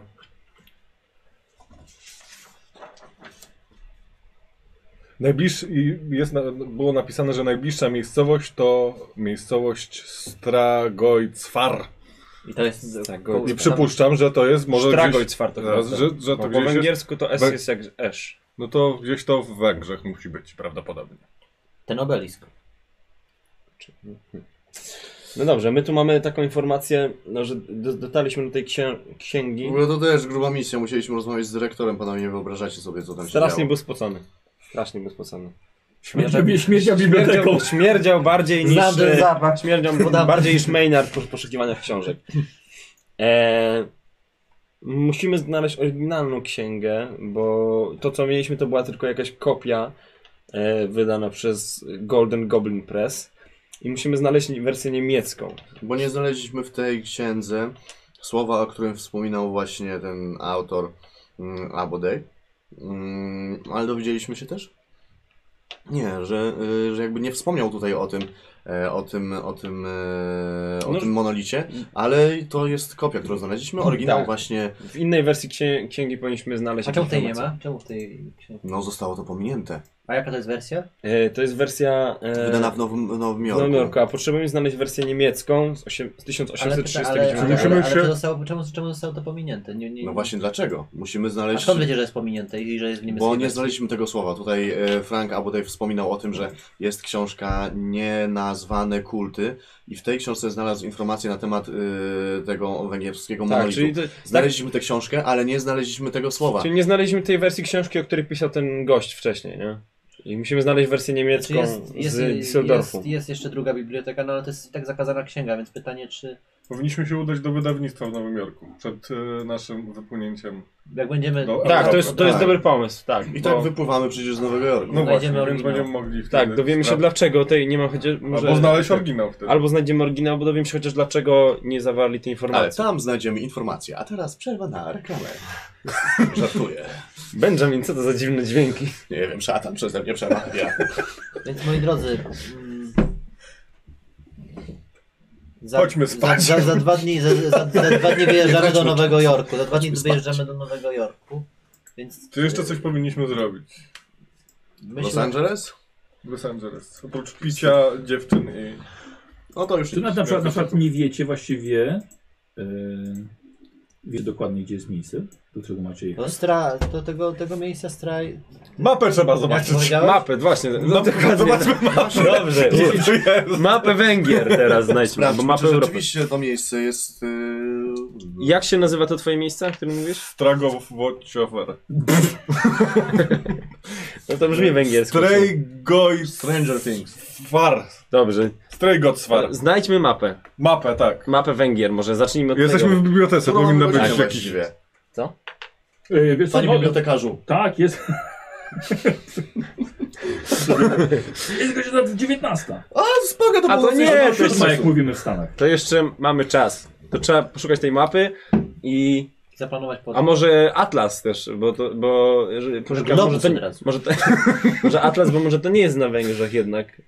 Speaker 4: Najbliższy, i jest, na- było napisane, że najbliższa miejscowość to miejscowość Stragojcwar.
Speaker 3: I to jest.
Speaker 2: Tak,
Speaker 3: koło-
Speaker 4: I przypuszczam, że to jest może
Speaker 2: Stragoj
Speaker 4: gdzieś,
Speaker 2: czwarty.
Speaker 4: że, że
Speaker 2: Bo
Speaker 4: to
Speaker 2: po
Speaker 4: gdzieś jest,
Speaker 2: węgiersku to S
Speaker 4: Wę-
Speaker 2: jest jak esz.
Speaker 4: No to gdzieś to w Węgrzech musi być prawdopodobnie.
Speaker 3: Ten obelisk.
Speaker 2: No dobrze, my tu mamy taką informację, no, że do, dotarliśmy do tej księ
Speaker 5: W
Speaker 2: księgi.
Speaker 5: ogóle to też gruba misja, musieliśmy rozmawiać z dyrektorem, panowie nie wyobrażacie sobie co tam się
Speaker 2: Strasznie
Speaker 5: działo.
Speaker 2: był spocony. Strasznie był spocony.
Speaker 1: Śmierdzia, śmierdzia biblioteką.
Speaker 2: Śmierdział, śmierdział bardziej niż...
Speaker 3: Znam ten
Speaker 2: e,
Speaker 3: zapach.
Speaker 2: Śmierdzią
Speaker 3: Podam-
Speaker 2: bardziej niż Maynard po poszukiwaniach książek. E, musimy znaleźć oryginalną księgę, bo to co mieliśmy to była tylko jakaś kopia e, wydana przez Golden Goblin Press. I musimy znaleźć wersję niemiecką.
Speaker 5: Bo nie znaleźliśmy w tej księdze słowa, o którym wspominał właśnie ten autor mm, Abodej. Mm, ale dowiedzieliśmy się też? Nie, że, y, że jakby nie wspomniał tutaj o tym, e, o tym, o tym, e, o
Speaker 2: No,
Speaker 5: tym monolicie, ale to jest kopia, którą znaleźliśmy, oryginał
Speaker 2: Tak.
Speaker 5: właśnie,
Speaker 2: W innej wersji księ księgi powinniśmy znaleźć.
Speaker 3: A czemu
Speaker 2: jakieś
Speaker 3: tej nie
Speaker 2: informacje.
Speaker 3: ma? Czemu w tej książce?
Speaker 5: no zostało to pominięte,
Speaker 3: A jaka to jest wersja?
Speaker 2: E, to jest wersja. E,
Speaker 5: wydana w Nowym, Nowym
Speaker 2: w
Speaker 5: Jorku.
Speaker 2: Nowym Jorku, a potrzebujemy znaleźć wersję niemiecką z, osiem, z
Speaker 3: Ale,
Speaker 2: 1839
Speaker 3: ale, ale, ale,
Speaker 4: musimy
Speaker 3: ale,
Speaker 4: się-
Speaker 3: to zostało, czemu, czemu zostało to pominięte? Nie, nie,
Speaker 5: No właśnie dlaczego? Musimy
Speaker 3: A
Speaker 5: znaleźć...
Speaker 3: skąd wiecie, że jest pominięte i że jest w niemieckiej
Speaker 5: Bo nie
Speaker 3: wersji?
Speaker 5: znaleźliśmy tego słowa. Tutaj e, Frank Abodej wspominał o tym, że jest książka Nienazwane kulty i w tej książce znalazł informacje na temat y, tego węgierskiego
Speaker 2: Tak,
Speaker 5: monolitu.
Speaker 2: czyli, to,
Speaker 5: Znaleźliśmy tę książkę, ale nie znaleźliśmy tego słowa.
Speaker 2: czyli nie znaleźliśmy tej wersji książki, o której pisał ten gość wcześniej, nie? I musimy znaleźć wersję niemiecką
Speaker 3: Znaczy jest, jest,
Speaker 2: z
Speaker 3: jest,
Speaker 2: Düsseldorfu.
Speaker 3: jest, jest jeszcze druga biblioteka, no ale to jest i tak zakazana księga, więc pytanie, czy
Speaker 4: Powinniśmy się udać do wydawnictwa w Nowym Jorku przed e, naszym wypłynięciem.
Speaker 3: Jak będziemy.
Speaker 4: Do-
Speaker 2: Tak, to jest, to jest
Speaker 5: Tak.
Speaker 2: dobry pomysł, tak.
Speaker 5: I
Speaker 2: bo-
Speaker 5: tak wypływamy przecież z Nowego Jorku.
Speaker 4: No właśnie,
Speaker 3: oryginał.
Speaker 4: więc będziemy mogli wtedy...
Speaker 2: Tak, dowiemy się
Speaker 4: sprawdzić.
Speaker 2: dlaczego tej nie ma chociaż. Może...
Speaker 4: Albo znaleźć oryginał wtedy.
Speaker 2: Albo znajdziemy oryginał, bo dowiemy się chociaż dlaczego nie zawarli tej
Speaker 5: Ale
Speaker 2: informacji.
Speaker 5: tam znajdziemy informacje. A teraz przerwa na reklamę. Żartuję.
Speaker 2: Benjamin, co to za dziwne dźwięki?
Speaker 5: Nie wiem, szatan przeze mnie przemawia.
Speaker 3: Więc moi drodzy. mm, Za,
Speaker 4: Chodźmy spać.
Speaker 3: Za, za, za dwa dni, za, za, za dwa dni wyjeżdżamy do Nowego Jorku. Za dwa dni
Speaker 5: Chodźmy spać.
Speaker 3: wyjeżdżamy do Nowego Jorku. Więc
Speaker 4: Czy jeszcze coś powinniśmy zrobić
Speaker 5: Los
Speaker 3: myślę,
Speaker 5: Angeles?
Speaker 4: w Los Angeles? Oprócz picia dziewczyn i...
Speaker 5: No to już
Speaker 1: Czy na, na, przykład, na przykład nie wiecie właściwie, yy, wiecie dokładnie gdzie jest miejsce, do którego macie jechać.
Speaker 3: to No, stra, do tego, tego miejsca straj.
Speaker 4: Mapę trzeba
Speaker 3: Jak
Speaker 4: zobaczyć.
Speaker 3: powiedziałeś?
Speaker 2: Mapę, właśnie. No, dokładnie.
Speaker 4: Zobaczmy mapę.
Speaker 2: Dobrze.
Speaker 4: Co to jest?
Speaker 2: Mapę Węgier teraz znajdźmy,
Speaker 5: Sprawdźmy,
Speaker 2: albo mapę
Speaker 5: czy
Speaker 2: Europy.
Speaker 5: rzeczywiście to miejsce jest... Yy...
Speaker 2: Jak się nazywa to twoje miejsce, o którym mówisz?
Speaker 4: Stragow Watchover.
Speaker 2: No to brzmi węgiersko.
Speaker 4: Straygoy...
Speaker 5: Stranger Things.
Speaker 4: Far.
Speaker 2: Dobrze.
Speaker 4: Straygotsfar.
Speaker 2: Znajdźmy mapę.
Speaker 4: Mapę, tak.
Speaker 2: Mapę Węgier może, zacznijmy od
Speaker 4: Jesteśmy
Speaker 2: tego.
Speaker 4: w bibliotece,
Speaker 5: Którą
Speaker 4: powinna
Speaker 5: mamy
Speaker 4: być
Speaker 5: godzinę
Speaker 4: jakiś...
Speaker 5: właściwie?
Speaker 1: Yy, wiesz co,
Speaker 5: Panie
Speaker 1: nie mogę.
Speaker 5: bibliotekarzu.
Speaker 1: Tak, jest. jest godzina 19.
Speaker 5: A, spoko, to
Speaker 2: A
Speaker 5: było
Speaker 2: to
Speaker 5: coś
Speaker 2: nie,
Speaker 5: do
Speaker 2: to jest-
Speaker 5: czasu.
Speaker 1: Siódma, jak mówimy w Stanach.
Speaker 2: To jeszcze mamy czas. To trzeba poszukać tej mapy i...
Speaker 3: Zaplanować podróż.
Speaker 2: A może Atlas też, bo to, bo... że- Poszukam,
Speaker 3: Globus
Speaker 2: może, to,
Speaker 3: od
Speaker 2: nie-
Speaker 3: razu.
Speaker 2: może, to, może Atlas, bo może to nie jest na Węgrzech jednak.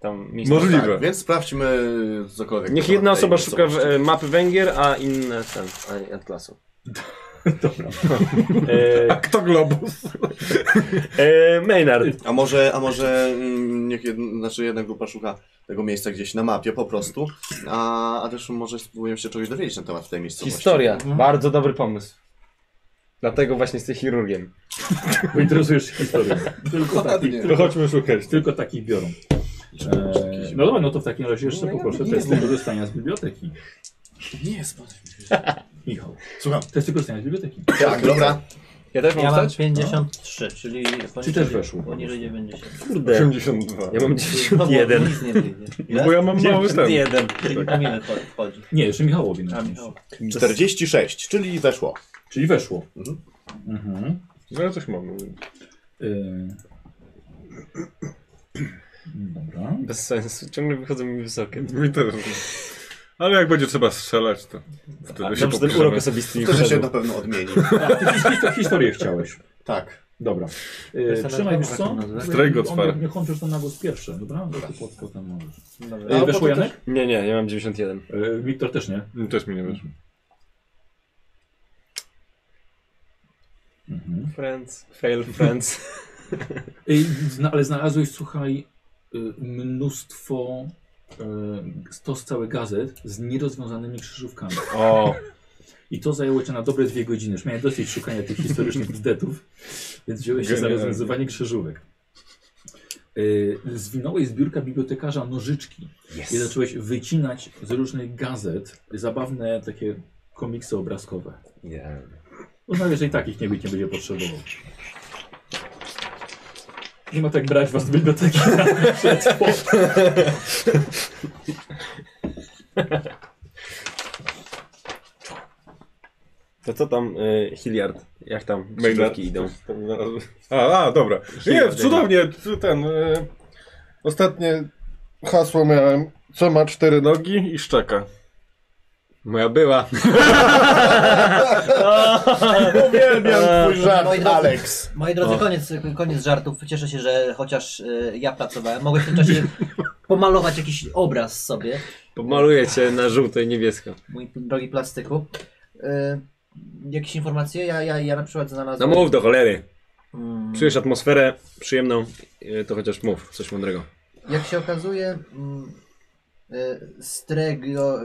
Speaker 2: Tam miejsce.
Speaker 4: Możliwe.
Speaker 5: Tak, więc sprawdźmy cokolwiek.
Speaker 2: Niech
Speaker 5: na
Speaker 2: jedna
Speaker 5: tej
Speaker 2: osoba szuka w,
Speaker 5: miejscowości.
Speaker 2: e, mapy Węgier, a inne ten, a Atlasu.
Speaker 1: Dobra.
Speaker 2: E,
Speaker 4: Kto globus?
Speaker 2: e, Maynard.
Speaker 5: A może, a może mm, niech jed, znaczy jedna grupa szuka tego miejsca gdzieś na mapie po prostu, a, a też może spróbujemy się czegoś dowiedzieć na temat tej miejscowości.
Speaker 2: Historia.
Speaker 1: Mhm.
Speaker 2: Bardzo dobry pomysł. Dlatego właśnie jesteś chirurgiem.
Speaker 1: Bo interesujesz się historią. Tylko takich,
Speaker 5: Dokładnie.
Speaker 1: tylko,
Speaker 6: chodźmy szukać.
Speaker 1: tylko takich biorą. Eee, no dobra, no to w takim razie jeszcze poproszę testy korzystania z biblioteki.
Speaker 5: Nie, spadaj.
Speaker 1: Michał,
Speaker 5: Słucham.
Speaker 1: testy korzystania z biblioteki.
Speaker 5: Tak, dobra.
Speaker 2: Ja też mam
Speaker 3: Ja mam
Speaker 2: wstać?
Speaker 3: 53, czyli
Speaker 1: Czy
Speaker 3: poniżej,
Speaker 1: też weszło?
Speaker 3: poniżej 90.
Speaker 2: Kurde.
Speaker 4: 82.
Speaker 2: Ja mam
Speaker 3: No, bo
Speaker 2: 91.
Speaker 3: Nic nie wyjdzie.
Speaker 4: No bo ja mam mały ten.
Speaker 2: 91.
Speaker 3: Czyli po No. minę wchodzi- wchodzi.
Speaker 1: Nie, jeszcze Michałowi.
Speaker 3: A,
Speaker 1: najpierw.
Speaker 3: Michał.
Speaker 5: 46, czyli weszło.
Speaker 1: Czyli weszło.
Speaker 5: Mhm.
Speaker 1: Mhm.
Speaker 4: No ja coś mam.
Speaker 1: Y. Dobra.
Speaker 2: Bez sensu. Ciągle wychodzą mi wysokie.
Speaker 4: Mi też. Ale jak będzie trzeba strzelać, to wtedy się
Speaker 2: Tak, Dobrze, ten
Speaker 4: popiszemy.
Speaker 2: urok osobisty mi
Speaker 5: To się
Speaker 2: wszedł.
Speaker 5: na pewno odmieni.
Speaker 1: A, ty his- his- historię chciałeś.
Speaker 5: Tak.
Speaker 1: Dobra.
Speaker 3: jest
Speaker 1: Y,
Speaker 3: ten
Speaker 1: Trzymaj, wiesz
Speaker 3: alkohol,
Speaker 1: co?
Speaker 3: jak to nazwę?
Speaker 4: Strajk
Speaker 1: On-
Speaker 4: otwarty.
Speaker 1: Niech on też tam na głos pierwszy, dobra? Bo ty pod, potem możesz.
Speaker 3: Dobra.
Speaker 1: Y, Weszło Janek?
Speaker 2: Nie, nie, ja mam 91.
Speaker 1: Y, Wiktor też nie.
Speaker 4: Mm, Też mi nie weszło.
Speaker 1: Mhm.
Speaker 2: Friends. Fail friends.
Speaker 1: Y, zna- Ale znalazłeś, słuchaj, y, mnóstwo, y, stos cały gazet z nierozwiązanymi krzyżówkami.
Speaker 2: O.
Speaker 1: I to zajęło cię na dobre dwie godziny. Już miałem dosyć szukania tych historycznych zdetów, więc wziąłeś się za
Speaker 4: Genialnie.
Speaker 1: rozwiązywanie krzyżówek. Yy, Zwinąłeś z biurka bibliotekarza nożyczki i zacząłeś wycinać z różnych gazet zabawne takie komiksy obrazkowe.
Speaker 2: Nie.
Speaker 1: Uznajesz, że i takich nie, być- nie będzie potrzebował. Nie ma tak brać was z biblioteki.
Speaker 2: To co tam, y, Hilliard? Jak tam?
Speaker 4: Maynard.
Speaker 2: Krzyżówki idą.
Speaker 4: A, a, dobra. Nie, cudownie, ten... E, ostatnie hasło miałem. Co ma cztery nogi i szczeka?
Speaker 2: Moja była.
Speaker 5: Uwielbiam twój
Speaker 3: Moi
Speaker 5: żart,
Speaker 3: drodzy-
Speaker 5: Alex.
Speaker 3: Moi drodzy, koniec, koniec żartów. Cieszę się, że chociaż e, ja pracowałem, mogę w tym czasie pomalować jakiś obraz sobie,
Speaker 2: Pomaluję cię na żółto i niebiesko.
Speaker 3: mój drogi plastyku. E, jakieś informacje? Ja, ja, ja na przykład
Speaker 2: No
Speaker 3: znalazłem...
Speaker 2: mów do cholery.
Speaker 3: Mm,
Speaker 2: Czujesz atmosferę przyjemną, y, to chociaż mów coś mądrego.
Speaker 3: jak się okazuje, mm, e, Strego,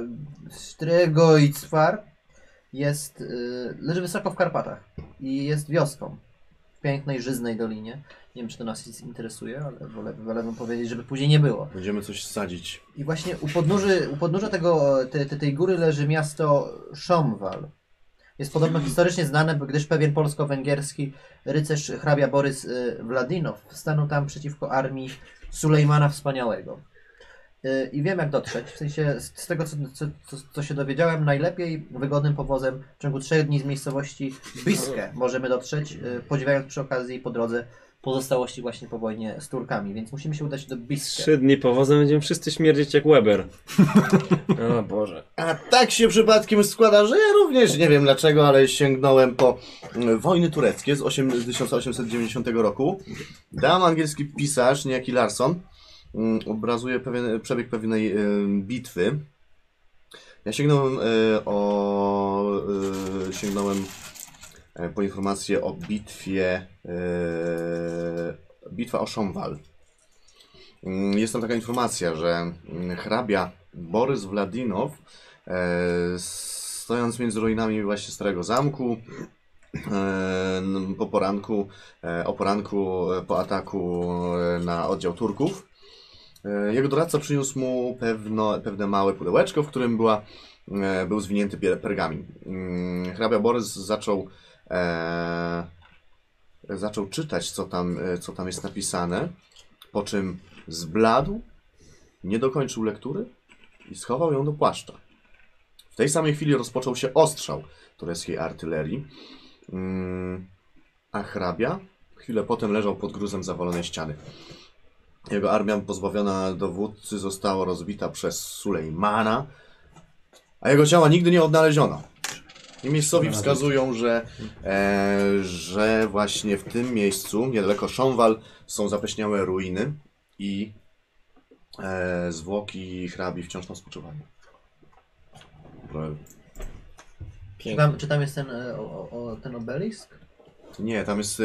Speaker 3: Stregoicfar jest, e, leży wysoko w Karpatach i jest wioską w pięknej, żyznej dolinie. Nie wiem, czy to nas interesuje, ale wolę, wolę wam powiedzieć, żeby później nie było.
Speaker 5: Będziemy coś sadzić.
Speaker 3: I właśnie u, podnóży, u podnóża tego, te, te, tej góry leży miasto Szomwal. Jest podobno historycznie znane, gdyż pewien polsko-węgierski rycerz hrabia Borys y, Wladinow stanął tam przeciwko armii Sulejmana Wspaniałego. y, i wiem jak dotrzeć. W sensie z, z tego co, co, co, co się dowiedziałem, najlepiej wygodnym powozem w ciągu trzech dni z miejscowości Biskie możemy dotrzeć, y, podziwiając przy okazji po drodze pozostałości właśnie po wojnie z Turkami, więc musimy się udać do Biskie.
Speaker 2: Trzy dni powozem będziemy wszyscy śmierdzieć jak Weber. O Boże.
Speaker 5: A tak się przypadkiem składa, że ja również nie wiem dlaczego, ale sięgnąłem po mm, wojny tureckie z 8, 1890 roku. Tam angielski pisarz, niejaki Larson, mm, obrazuje pewien, przebieg pewnej em, bitwy. Ja sięgnąłem e, o. e, sięgnąłem e, po informację o bitwie. e, bitwa o Szomwal. Mm, Jest tam taka informacja, że mm, hrabia Borys Wladinow, e, stojąc między ruinami właśnie Starego Zamku, e, n- po poranku, e, o poranku e, po ataku e, na oddział Turków, e, jego doradca przyniósł mu pewno, pewne małe pudełeczko, w którym była, e, był zwinięty pier- pergamin. Mm, Hrabia Borys zaczął, e, zaczął czytać, co tam, e, co tam jest napisane, po czym zbladł, nie dokończył lektury i schował ją do płaszcza. W tej samej chwili rozpoczął się ostrzał tureckiej artylerii, Mm, a hrabia chwilę potem leżał pod gruzem zawalonej ściany. Jego armia pozbawiona dowódcy została rozbita przez Sulejmana, a jego ciała nigdy nie odnaleziono. I miejscowi wskazują, że, e, że właśnie w tym miejscu, niedaleko Szomwal, są zapeśniałe ruiny i e, zwłoki hrabi wciąż tam spoczywają.
Speaker 3: Czy tam, czy tam jest ten, e, o, o, o, ten obelisk?
Speaker 5: Nie, tam jest e,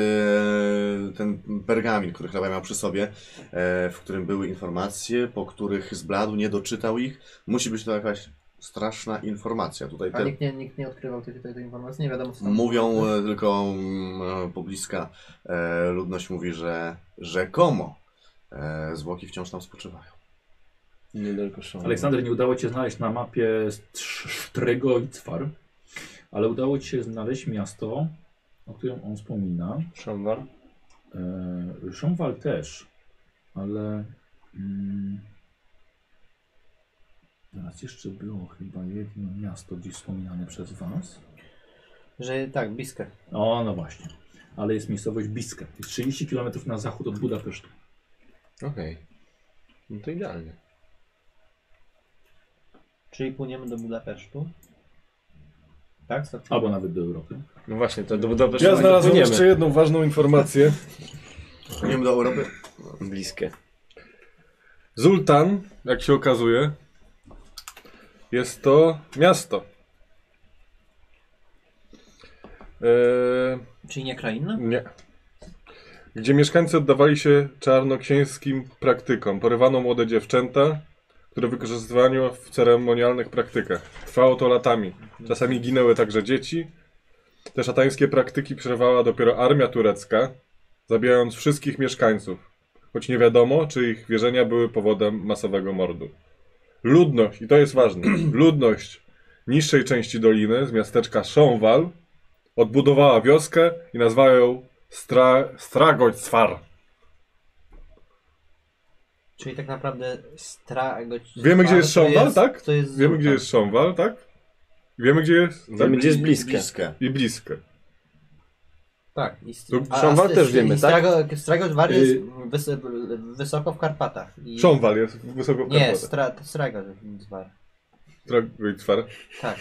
Speaker 5: ten pergamin, który hrabia miał przy sobie, e, w którym były informacje, po których zbladł, nie doczytał ich. Musi być to jakaś straszna informacja. Tutaj
Speaker 3: A
Speaker 5: te,
Speaker 3: nikt nie, nikt nie odkrywał tej, tej, tej informacji, nie wiadomo co tam.
Speaker 5: mówią e, tylko mm, pobliska e, ludność mówi, że rzekomo e, zwłoki wciąż tam spoczywają.
Speaker 9: Niedaleko szą.
Speaker 1: Aleksander, nie udało ci się znaleźć na mapie Strz- Strego i Twar, ale udało ci się znaleźć miasto, o którym on wspomina.
Speaker 9: Szambar?
Speaker 1: Eee, Szomwal też, ale. Mm, teraz jeszcze było chyba jedno miasto gdzieś wspominane przez Was.
Speaker 3: Że tak, Biskie.
Speaker 1: O, no właśnie. Ale jest miejscowość Biska. Jest 30 km na zachód od Budapesztu.
Speaker 2: Okej. No to idealnie.
Speaker 3: Czyli płyniemy do Budapesztu. Tak? Co?
Speaker 1: Albo nawet do Europy.
Speaker 2: No właśnie, to do Budapesztu
Speaker 4: Ja znalazłem
Speaker 2: dopłyniemy.
Speaker 4: jeszcze jedną ważną informację.
Speaker 5: Nie wiem do Europy.
Speaker 2: Bliskie.
Speaker 4: Zultan, jak się okazuje, jest to miasto. Eee,
Speaker 3: Czyli nie kraina?
Speaker 4: nie. Gdzie mieszkańcy oddawali się czarnoksięskim praktykom. Porywano młode dziewczęta, które wykorzystywano w ceremonialnych praktykach. Trwało to latami. Czasami ginęły także dzieci. Te szatańskie praktyki przerwała dopiero armia turecka, zabijając wszystkich mieszkańców. Choć nie wiadomo, czy ich wierzenia były powodem masowego mordu. Ludność, i to jest ważne, ludność niższej części doliny z miasteczka Szonwal odbudowała wioskę i nazwała ją Stra Stragoćsfar.
Speaker 3: Czyli tak naprawdę strago...
Speaker 4: Wiemy, gdzie jest Szondal, tak?
Speaker 3: To jest
Speaker 4: Wiemy, gdzie jest Szonwal, tak? Wiemy, gdzie jest
Speaker 6: Tak?
Speaker 2: Wiemy, gdzie jest bliskie.
Speaker 5: bliskie.
Speaker 4: i bliskie.
Speaker 3: Tak. I...
Speaker 4: Tu
Speaker 3: a- a
Speaker 2: Szondal
Speaker 3: st-
Speaker 2: też
Speaker 3: i
Speaker 2: wiemy, tak?
Speaker 3: Strago, strago Dwar jest
Speaker 1: Y-
Speaker 3: wys... wysoko w Karpatach. I...
Speaker 4: Szonwal jest wysoko w
Speaker 3: Nie,
Speaker 4: Karpatach.
Speaker 3: stra... strago Dwar.
Speaker 4: Stragoćsfar.
Speaker 3: Tak.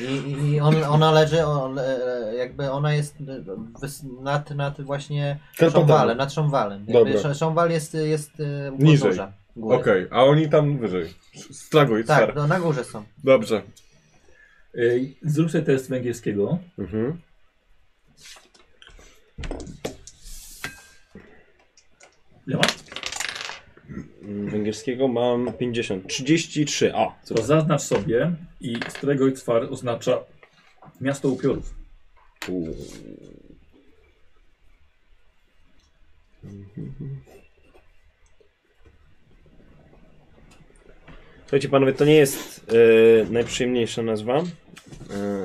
Speaker 3: I, i on, ona leży, on, e, jakby ona jest e, wys, nad, nad właśnie
Speaker 4: Karpatami.
Speaker 3: Szomwalem, nad Szomwalem.
Speaker 4: Dobra.
Speaker 3: Jakby Sz- Szomwal jest, jest e, u
Speaker 4: Niżej.
Speaker 3: podnóża góry.
Speaker 4: Okej, a oni tam wyżej. Stragoćsfar.
Speaker 3: Tak, no, na górze są.
Speaker 4: Dobrze.
Speaker 1: Ej, E, Zrób sobie test węgierskiego.
Speaker 2: Mhm.
Speaker 1: Ile masz?
Speaker 2: Mm, Węgierskiego mam 50. 33. O, co
Speaker 1: To zaznacz sobie i Strego i Twar oznacza miasto upiorów.
Speaker 2: Słuchajcie panowie, to nie jest e, najprzyjemniejsza nazwa e,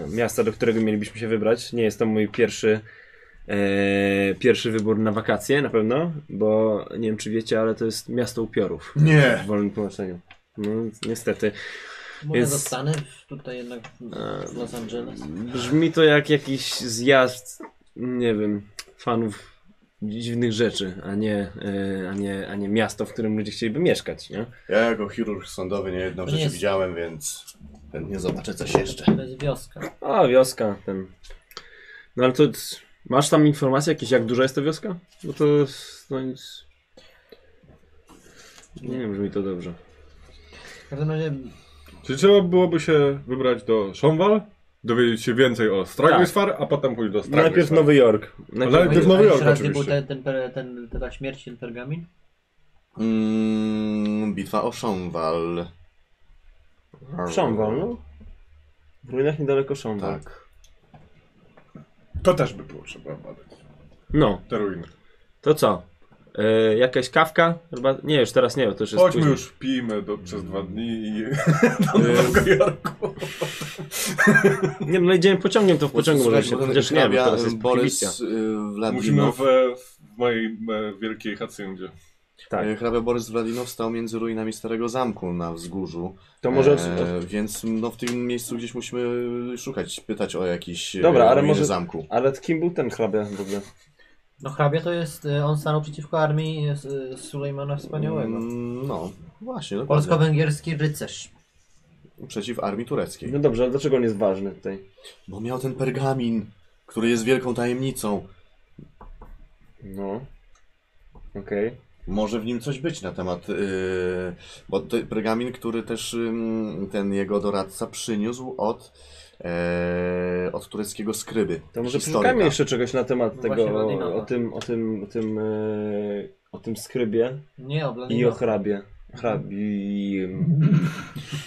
Speaker 2: miasta, do którego mielibyśmy się wybrać. Nie jest to mój pierwszy e, e, pierwszy wybór na wakacje na pewno, bo nie wiem czy wiecie, ale to jest miasto upiorów
Speaker 5: Nie.
Speaker 2: w wolnym tłumaczeniu. No, niestety.
Speaker 3: Może
Speaker 2: Jest-
Speaker 3: zostanę tutaj jednak w
Speaker 2: Eee,
Speaker 3: Los Angeles.
Speaker 2: Brzmi to jak jakiś zjazd, nie wiem, fanów dziwnych rzeczy, a nie, e, a nie, a nie miasto, w którym ludzie chcieliby mieszkać, nie?
Speaker 5: Ja jako chirurg sądowy nie jedną
Speaker 3: To
Speaker 5: rzecz
Speaker 3: nie jest-
Speaker 5: widziałem, więc chętnie zobaczę coś jeszcze.
Speaker 3: To jest wioska.
Speaker 2: A, wioska, ten. No ale to. c- Masz tam informacje jakieś, jak duża jest ta wioska? Bo to. s- No nic. Nie wiem, brzmi to dobrze.
Speaker 3: W każdym razie
Speaker 6: Czy trzeba byłoby się wybrać do Szomwal, dowiedzieć się więcej o Stranglisfar, a potem pójść do Stranglisfar?
Speaker 2: Najpierw Nowy Jork. Najpierw...
Speaker 6: Ale- To jest Nowy
Speaker 3: A jeszcze
Speaker 6: Jork
Speaker 3: raz nie
Speaker 6: oczywiście.
Speaker 3: był ten, ten, per- ten, ten, ta śmierć, ten pergamin?
Speaker 5: Mm, bitwa o Szomwal.
Speaker 2: Szomwal, no?
Speaker 7: W ruinach niedaleko Szomba.
Speaker 5: Tak.
Speaker 6: To też by było trzeba badać.
Speaker 2: No,
Speaker 6: Te ruiny.
Speaker 2: to co? E, jakaś kawka? Chyba... Nie, już teraz nie, bo to już jest.
Speaker 6: Chodźmy
Speaker 2: późno.
Speaker 6: już, pijmy do, przez dwa dni i...
Speaker 5: Y,
Speaker 4: No,
Speaker 2: Nie, no idziemy pociągiem, to w pociągu może się.
Speaker 5: bo ten
Speaker 2: Chociaż nie, bo
Speaker 5: hrabia,
Speaker 2: teraz jest
Speaker 5: Borys
Speaker 2: prohibicja.
Speaker 5: y,
Speaker 6: Musimy
Speaker 5: Wladinow.
Speaker 6: w, w mojej e, wielkiej hacyndzie.
Speaker 2: Tak.
Speaker 5: y, Hrabia Borys Wladinow stał między ruinami Starego Zamku na wzgórzu.
Speaker 7: To może.
Speaker 5: E, więc no, w tym miejscu gdzieś musimy szukać, pytać o jakiś e,
Speaker 7: Dobra, ale
Speaker 5: ruiny
Speaker 7: może-
Speaker 5: zamku.
Speaker 7: Ale kim był ten hrabia w ogóle?
Speaker 3: No hrabia to jest, y, on stanął przeciwko armii y, Sulejmana Wspaniałego.
Speaker 5: Mm, No, właśnie. dokładnie.
Speaker 3: Polsko-węgierski rycerz.
Speaker 5: Przeciw armii tureckiej.
Speaker 7: No dobrze, ale dlaczego on jest ważny tutaj?
Speaker 5: Bo miał ten pergamin, który jest wielką tajemnicą.
Speaker 7: No. Okej.
Speaker 5: Może w nim coś być na temat. Yy, bo to pergamin, który też ym, ten jego doradca przyniósł od, e, od tureckiego skryby.
Speaker 7: To może
Speaker 5: historyka.
Speaker 7: poszukajmy jeszcze czegoś na temat
Speaker 3: No
Speaker 7: tego,
Speaker 3: właśnie, Wladimira.
Speaker 7: o, o tym, o tym, o tym, e, o tym skrybie
Speaker 3: Nie,
Speaker 7: i o
Speaker 3: oblany.
Speaker 7: hrabie. Hrabim.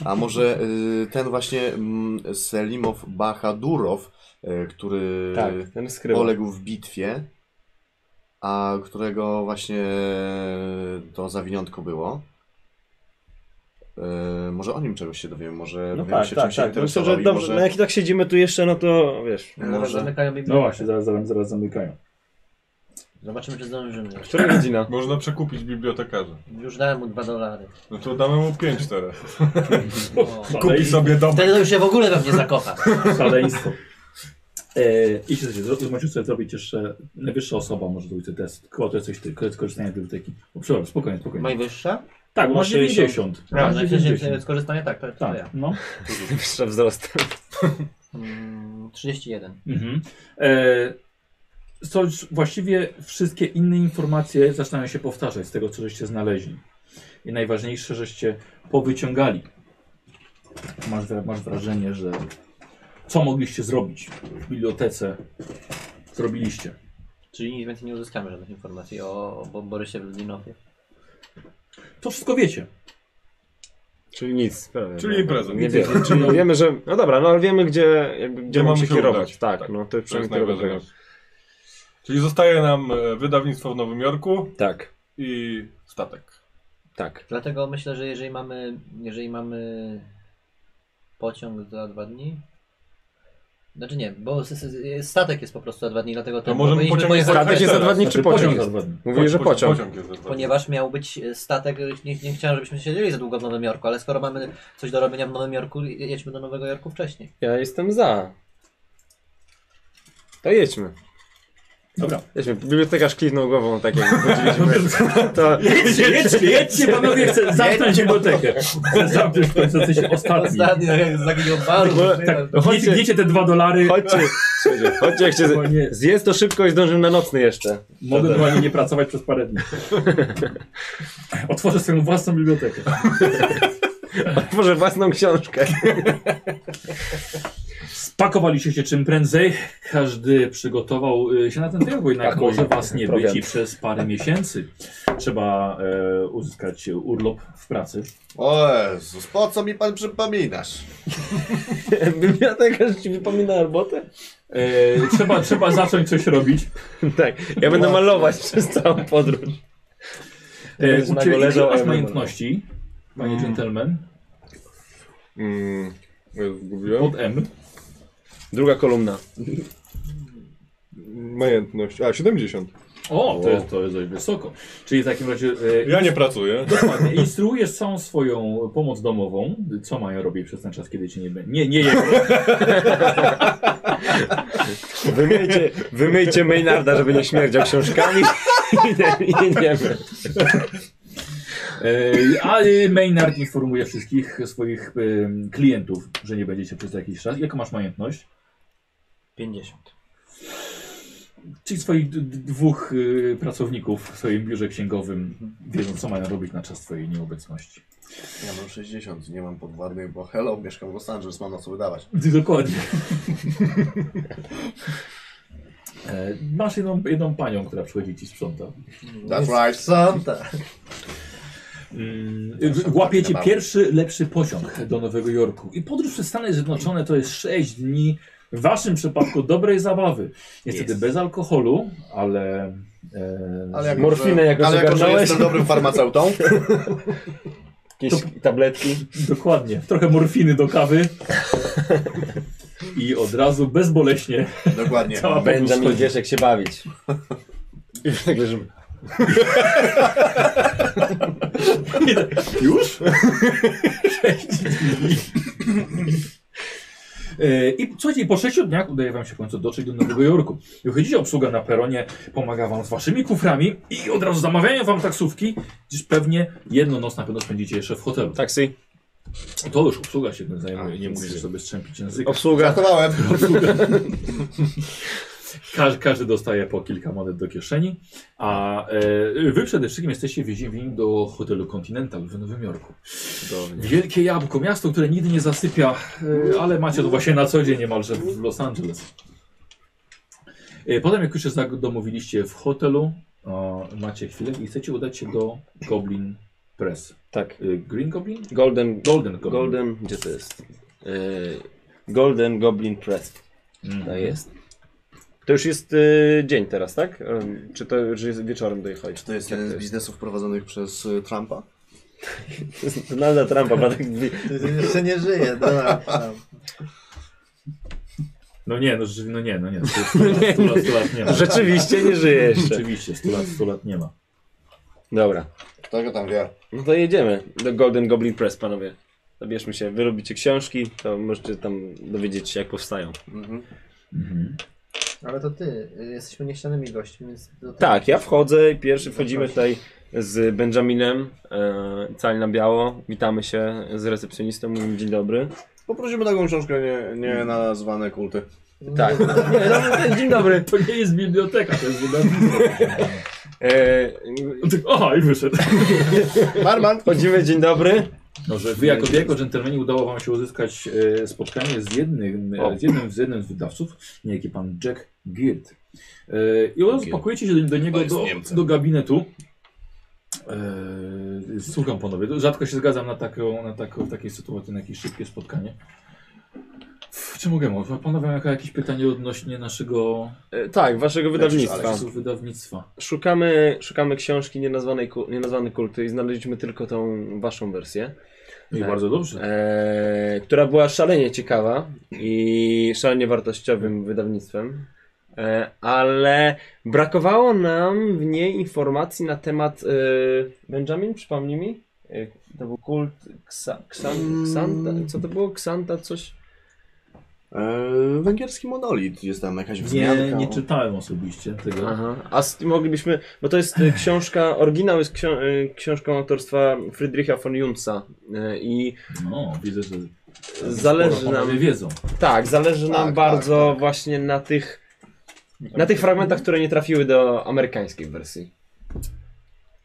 Speaker 5: A może y, ten właśnie mm, Selimow Bahadurow, y, który
Speaker 7: Tak, ten skryb.
Speaker 5: poległ w bitwie, a którego właśnie to zawiniątko było. Y, może o nim czegoś się dowiemy, może
Speaker 7: No
Speaker 5: będziemy
Speaker 7: tak,
Speaker 5: się
Speaker 7: tak,
Speaker 5: czymś się
Speaker 7: tak. Myślę, że
Speaker 5: interesowali,
Speaker 7: dobrze, no
Speaker 5: może...
Speaker 7: jak i tak siedzimy tu jeszcze, no to wiesz.
Speaker 3: Zaraz
Speaker 5: Może.
Speaker 3: zamykają
Speaker 1: No
Speaker 3: bibliotekę.
Speaker 1: właśnie, zaraz, zaraz, zaraz zamykają.
Speaker 3: Zobaczymy, czy zdążymy.
Speaker 7: Która godzina?
Speaker 6: Można przekupić bibliotekarza.
Speaker 3: Już dałem mu dwa dolary.
Speaker 6: No to damy mu pięć teraz.
Speaker 3: O.
Speaker 6: Kupi sobie dom.
Speaker 3: Wtedy to już się w ogóle we mnie zakocha.
Speaker 1: Szaleństwo. E, I się zrobić, możecie sobie zrobić jeszcze najwyższa osoba może zrobić ten test. Chyba to jesteś ty, skorzystanie z biblioteki. O, przepraszam, spokojnie, spokojnie.
Speaker 3: Najwyższa?
Speaker 1: Tak, masz
Speaker 7: 60.
Speaker 1: 90.
Speaker 3: No,
Speaker 1: Masz
Speaker 3: no, no,
Speaker 1: 90.
Speaker 3: skorzystanie tak, to, to ja.
Speaker 1: Tak, no.
Speaker 2: Wyższa wzrost.
Speaker 3: Mm, 31.
Speaker 1: Mhm. E, co, właściwie wszystkie inne informacje zaczynają się powtarzać z tego, co żeście znaleźli. I najważniejsze, żeście powyciągali. Masz, wra- masz wrażenie, że co mogliście zrobić w bibliotece, zrobiliście.
Speaker 3: Czyli nic więcej nie uzyskamy żadnych informacji o, o Borysie Ludinowie.
Speaker 1: To wszystko wiecie.
Speaker 2: Czyli nic. Prawie,
Speaker 6: Czyli
Speaker 2: no.
Speaker 6: impreza.
Speaker 2: Nie wiemy. Czyli no wiemy, że. No dobra, no ale wiemy, gdzie, jakby, gdzie mamy się kierować. Tak, no to jest
Speaker 6: To jest
Speaker 2: przynajmniej tyle dobrego.
Speaker 6: najważniejsze. Czyli zostaje nam e, wydawnictwo w Nowym Jorku
Speaker 2: Tak,
Speaker 6: i statek.
Speaker 2: tak.
Speaker 3: Dlatego myślę, że jeżeli mamy, jeżeli mamy pociąg za dwa dni. Znaczy nie, bo s- s- statek jest po prostu za dwa dni, dlatego ten,
Speaker 6: możemy
Speaker 3: powinniśmy
Speaker 6: pociąg
Speaker 3: pojechać-
Speaker 6: zabrać.
Speaker 2: Tak, Statek jest za dwa
Speaker 1: Znaczy,
Speaker 2: dni czy pociąg?
Speaker 1: za
Speaker 2: jest?
Speaker 1: dwa dni.
Speaker 2: Mówili, że pociąg.
Speaker 6: jest za dwa dni.
Speaker 3: Ponieważ miał być e, statek, nie, nie chciałem, żebyśmy siedzieli za długo w Nowym Jorku, ale skoro mamy coś do robienia w Nowym Jorku, je- jedźmy do Nowego Jorku wcześniej.
Speaker 2: Ja jestem za. To jedźmy.
Speaker 1: Dobra.
Speaker 2: Jedźmy. Bibliotekarz kiwnął głową tak jak chodziliśmy. To
Speaker 1: Jedźcie, jedźcie, jedźcie panowie, chcę zamknąć bibliotekę. Chcę zamknąć w końcu jesteś ostatni.
Speaker 3: Ostatnio jak zaginął bardzo.
Speaker 2: tak, no
Speaker 1: Gniecie,
Speaker 2: chodźcie,
Speaker 1: gniecie te dwa dolary.
Speaker 2: chodźcie. Słuchajcie, Chodźcie, jak się
Speaker 1: Bo nie-
Speaker 2: z... zjedz to szybko i zdążymy na nocny jeszcze.
Speaker 1: Mogę normalnie nie pracować przez parę dni. Otworzę swoją własną bibliotekę.
Speaker 2: Może własną książkę.
Speaker 1: Spakowaliście się czym prędzej. Każdy przygotował y, się na ten wyjazd, bo jednak
Speaker 2: Pakuj.
Speaker 1: może was nie być
Speaker 2: Prowiant.
Speaker 1: i przez parę miesięcy trzeba e, uzyskać urlop w pracy.
Speaker 5: O Jezus, po co mi pan przypominasz?
Speaker 7: Bibliotekarz ci wypomina robotę?
Speaker 1: E, trzeba, trzeba zacząć coś robić.
Speaker 2: Tak. Ja będę malować przez całą podróż.
Speaker 1: E,
Speaker 2: Będziesz nago
Speaker 1: uczyli
Speaker 2: leżał, a
Speaker 1: masz
Speaker 2: ja będę
Speaker 1: majątności, panie gentleman,
Speaker 6: Mm, ja zgubiłem.
Speaker 1: pod M.
Speaker 2: Druga kolumna.
Speaker 4: Majętność. A, 70.
Speaker 1: O, to jest, to jest dość wysoko. Czyli w takim razie e,
Speaker 4: Ja nie pracuję.
Speaker 1: Dokładnie. Instruujesz całą swoją pomoc domową, co mają robić przez ten czas, kiedy cię nie będzie. Nie, nie, jego.
Speaker 2: Wymyjcie, wymyjcie Maynarda, żeby nie śmierdział książkami i nie, i nie wiemy.
Speaker 1: E, A e, Maynard informuje wszystkich swoich em, klientów, że nie będziecie przez jakiś czas. Jaką masz majętność?
Speaker 7: 50.
Speaker 1: Czyli swoich d- d- dwóch y, pracowników w swoim biurze księgowym wiedzą, co mają robić na czas twojej nieobecności.
Speaker 5: Ja mam 60, nie mam podwładnej, bo hello, mieszkam w Los Angeles, mam na co wydawać.
Speaker 1: Dokładnie. E, Masz jedną, jedną panią, która przychodzi i ci sprząta.
Speaker 5: That's right, son.
Speaker 1: Mm, w- Łapiecie pierwszy lepszy pociąg do Nowego Jorku. I podróż przez Stany Zjednoczone to jest 6 dni w waszym przypadku dobrej zabawy. Niestety bez alkoholu, ale. E,
Speaker 5: Ale jako,
Speaker 2: Morfinę
Speaker 5: że,
Speaker 2: jakoś
Speaker 5: ale jako, że
Speaker 2: ogarnąłeś?
Speaker 5: jestem dobrym farmaceutą,
Speaker 2: Jakieś tabletki.
Speaker 1: Dokładnie. Trochę morfiny do kawy. I od razu bezboleśnie
Speaker 5: dokładnie.
Speaker 1: cała podróż
Speaker 2: Benjamin
Speaker 1: schodzi.
Speaker 2: wiesz jak się bawić. I nagle, żeby...
Speaker 1: Już? 6 dni. E, I słuchajcie, po 6 dniach udaje wam się w końcu dotrzeć do Nowego Jorku. Wychodzicie, obsługa na peronie pomaga wam z waszymi kuframi i od razu zamawiają wam taksówki, gdzież pewnie jedną noc na pewno spędzicie jeszcze w hotelu.
Speaker 2: Taksy.
Speaker 1: To już obsługa się tym zajmuje, nie musisz sobie strzępić języka.
Speaker 2: Obsługa.
Speaker 5: Ratowałem.
Speaker 1: Każ, każdy dostaje po kilka monet do kieszeni, a e, wy przede wszystkim jesteście więzieni do hotelu Continental w Nowym Jorku. Wielkie Jabłko, miasto, które nigdy nie zasypia, e, ale macie to właśnie na co dzień niemalże w Los Angeles. E, potem jak już się zadomowiliście w hotelu, e, macie chwilę i chcecie udać się do Goblin Press.
Speaker 2: Tak.
Speaker 1: E, Green Goblin?
Speaker 2: Golden...
Speaker 1: Golden Goblin.
Speaker 2: Golden... Gdzie to jest? Yy, Golden Goblin Press.
Speaker 1: Mhm.
Speaker 2: To jest. To już jest y, dzień teraz, tak? Ym, czy to już jest wieczorem dojechali?
Speaker 5: Czy to jest
Speaker 2: Jak
Speaker 5: jeden z
Speaker 2: to jest?
Speaker 5: biznesów prowadzonych przez y, Trumpa?
Speaker 2: Donalda Trumpa, ma tak
Speaker 3: Jeszcze nie żyje, dobra.
Speaker 1: No nie, no, rzeczywiście- no nie, no nie. to jest 100 lat, 100 lat, 100 lat nie ma.
Speaker 2: Rzeczywiście nie żyje jeszcze.
Speaker 1: Rzeczywiście, 100 lat, 100 lat nie ma.
Speaker 2: Dobra,
Speaker 5: Kto go tam wie?
Speaker 2: no to jedziemy do Golden Goblin Press, panowie. Zabierzmy się, wy lubicie książki, to możecie tam dowiedzieć się jak powstają.
Speaker 5: Mhm.
Speaker 1: Mhm.
Speaker 3: Ale to ty, y, jesteśmy niechcianymi gośćmi, więc... do tego-
Speaker 2: Tak, ja wchodzę i pierwszy wchodzimy tutaj z Benjaminem, e, cali na biało, witamy się z recepcjonistą, mówimy dzień dobry.
Speaker 5: Poprosimy taką książkę nie, nie nazwane kulty.
Speaker 2: Tak, Nie, no, dzień dobry.
Speaker 1: To nie jest biblioteka, to jest wydawnictwo.
Speaker 2: E,
Speaker 1: Aha, i wyszedł.
Speaker 5: Barman!
Speaker 2: wchodzimy, dzień dobry.
Speaker 1: No, że wy jako, jako dżentelmeni udało wam się uzyskać e, spotkanie z jednym, e, z jednym z jednym z wydawców, niejaki pan Jack Girt. E, I od razu pakujecie się do, do niego,
Speaker 5: jest
Speaker 1: do,
Speaker 5: Niemcem.
Speaker 1: do gabinetu. E, słucham panowie, rzadko się zgadzam na, taką, na taką, w takiej sytuacji, na jakieś szybkie spotkanie. W Czy mogę mówić? Panowie, jaka- jakieś pytanie odnośnie naszego
Speaker 2: E, tak, waszego wydawnictwa.
Speaker 1: procesu wydawnictwa?
Speaker 2: Szukamy, szukamy książki nienazwanej, ku- nienazwany kulty i znaleźliśmy tylko tą waszą wersję.
Speaker 1: No I
Speaker 2: Tak.
Speaker 1: bardzo dobrze.
Speaker 2: e, która była szalenie ciekawa i szalenie wartościowym wydawnictwem, e, ale brakowało nam w niej informacji na temat. E, Benjamin, przypomnij mi? E, to był kult ksa, ksan, Ksanta. Co to było? Ksanta coś?
Speaker 5: Eee, węgierski monolit, jest tam jakaś
Speaker 1: Nie,
Speaker 5: wzmianka.
Speaker 1: nie
Speaker 5: o-
Speaker 1: czytałem osobiście tego.
Speaker 2: Aha. A z, moglibyśmy. Bo to jest e, książka. Oryginał jest ksią, e, książką autorstwa Friedricha von Junsa. e, I
Speaker 1: No, widzę, że
Speaker 2: zależy
Speaker 1: sporo
Speaker 2: nam.
Speaker 1: panowie wiedzą.
Speaker 2: Tak, zależy nam
Speaker 5: Tak,
Speaker 2: bardzo
Speaker 5: tak, tak.
Speaker 2: właśnie na tych na tych fragmentach, które nie trafiły do amerykańskiej wersji.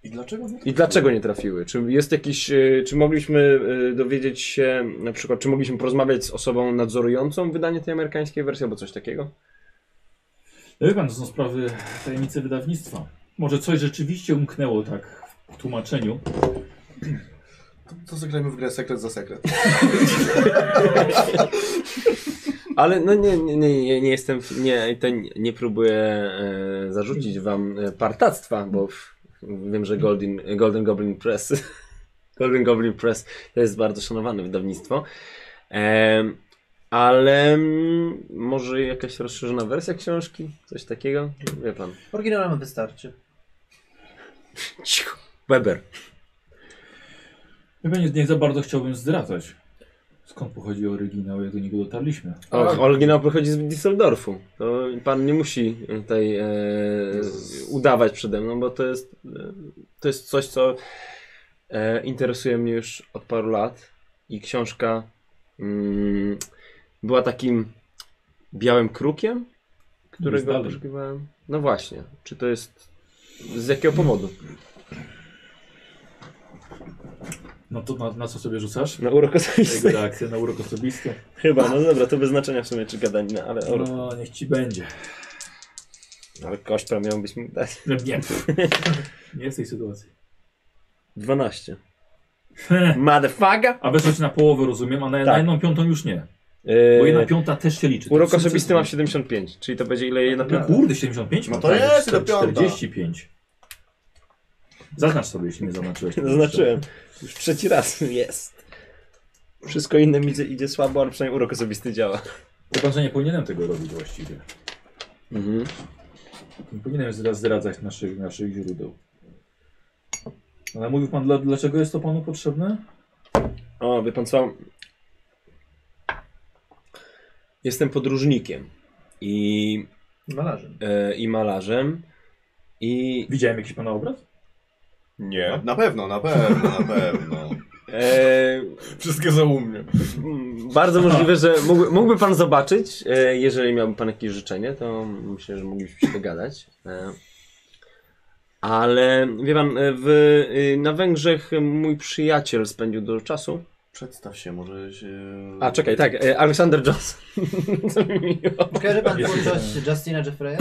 Speaker 5: I dlaczego nie?
Speaker 2: I dlaczego nie trafiły? Czy jest jakiś, y, czy mogliśmy y, dowiedzieć się, na przykład, czy mogliśmy porozmawiać z osobą nadzorującą wydanie tej amerykańskiej wersji, albo coś takiego?
Speaker 1: No Wie pan, to są sprawy tajemnicy wydawnictwa. Może coś rzeczywiście umknęło tak w tłumaczeniu.
Speaker 5: To zagrajmy w grę sekret za sekret.
Speaker 2: Ale no nie, nie, nie, nie, nie jestem, nie, to nie, nie próbuję e, zarzucić wam e, partactwa, bo w, wiem, że Golden, Golden Goblin Press Golden Goblin Press to jest bardzo szanowane wydawnictwo. Em, E, ale mm, może jakaś rozszerzona wersja książki? Coś takiego? Wie pan.
Speaker 3: Oryginał nam wystarczy.
Speaker 2: Cicho. Weber.
Speaker 1: Ja nie, nie za bardzo chciałbym zdradzać. Skąd pochodzi oryginał, jak do niego dotarliśmy?
Speaker 2: O, oryginał pochodzi z Düsseldorfu. To pan nie musi tutaj e, udawać przede mną, bo to jest, e, to jest coś, co e, interesuje mnie już od paru lat. I książka mm, była takim białym krukiem, którego
Speaker 1: Zdalnym.
Speaker 2: poszukiwałem. No właśnie, czy to jest z jakiego powodu?
Speaker 1: No to na, na co sobie rzucasz?
Speaker 2: Na urok
Speaker 1: Jego
Speaker 2: osobisty.
Speaker 1: reakcję na urok osobisty.
Speaker 2: No, Chyba, no dobra, to bez znaczenia w sumie, czy gadanina, ale urok.
Speaker 1: No, niech ci będzie.
Speaker 2: Ale kośpra miał być mi dać.
Speaker 1: Nie, nie. nie w tej sytuacji.
Speaker 2: 12. Motherfucker!
Speaker 1: A weszło ci na połowę, rozumiem, a na, na
Speaker 2: Tak.
Speaker 1: jedną piątą już nie. Bo jedna
Speaker 2: Yy,
Speaker 1: piąta też się liczy. Tak,
Speaker 2: urok
Speaker 1: To jest
Speaker 2: osobisty mam
Speaker 1: sukces.
Speaker 2: 75, czyli to będzie ile jedna
Speaker 1: No
Speaker 2: piąta?
Speaker 1: kurde, 75
Speaker 5: No
Speaker 1: mam,
Speaker 5: to
Speaker 1: tak,
Speaker 5: jest
Speaker 1: czter-
Speaker 5: to piąta.
Speaker 1: 45. Zaznacz sobie, jeśli nie zaznaczyłeś.
Speaker 2: Zaznaczyłem. Już trzeci raz jest. Wszystko inne mi idzie- idzie słabo, ale przynajmniej urok osobisty działa.
Speaker 1: Chyba, że nie powinienem tego robić właściwie.
Speaker 2: Mhm.
Speaker 1: Nie powinienem zdra- zdradzać naszych, naszych źródeł. Ale mówił pan, dla, dlaczego jest to panu potrzebne?
Speaker 2: O, wie pan co? Jestem podróżnikiem i,
Speaker 3: Malarzem.
Speaker 2: e, i malarzem i
Speaker 1: Widziałem jakiś pana obraz?
Speaker 4: Nie.
Speaker 5: Na pewno, na pewno, na pewno.
Speaker 2: e,
Speaker 4: Wszystkie za u mnie.
Speaker 2: Mm, Bardzo możliwe, że mógłby, mógłby pan zobaczyć. E, jeżeli miałby pan jakieś życzenie, to myślę, że moglibyśmy się dogadać. E, ale wie pan, e, w, e, na Węgrzech mój przyjaciel spędził dużo czasu.
Speaker 5: Przedstaw się, może się...
Speaker 2: A czekaj, tak, e, Alexander Johnson. Co mi miło.
Speaker 3: Kojarzy pan
Speaker 1: Jest
Speaker 3: twórczość Justina Jeffreya?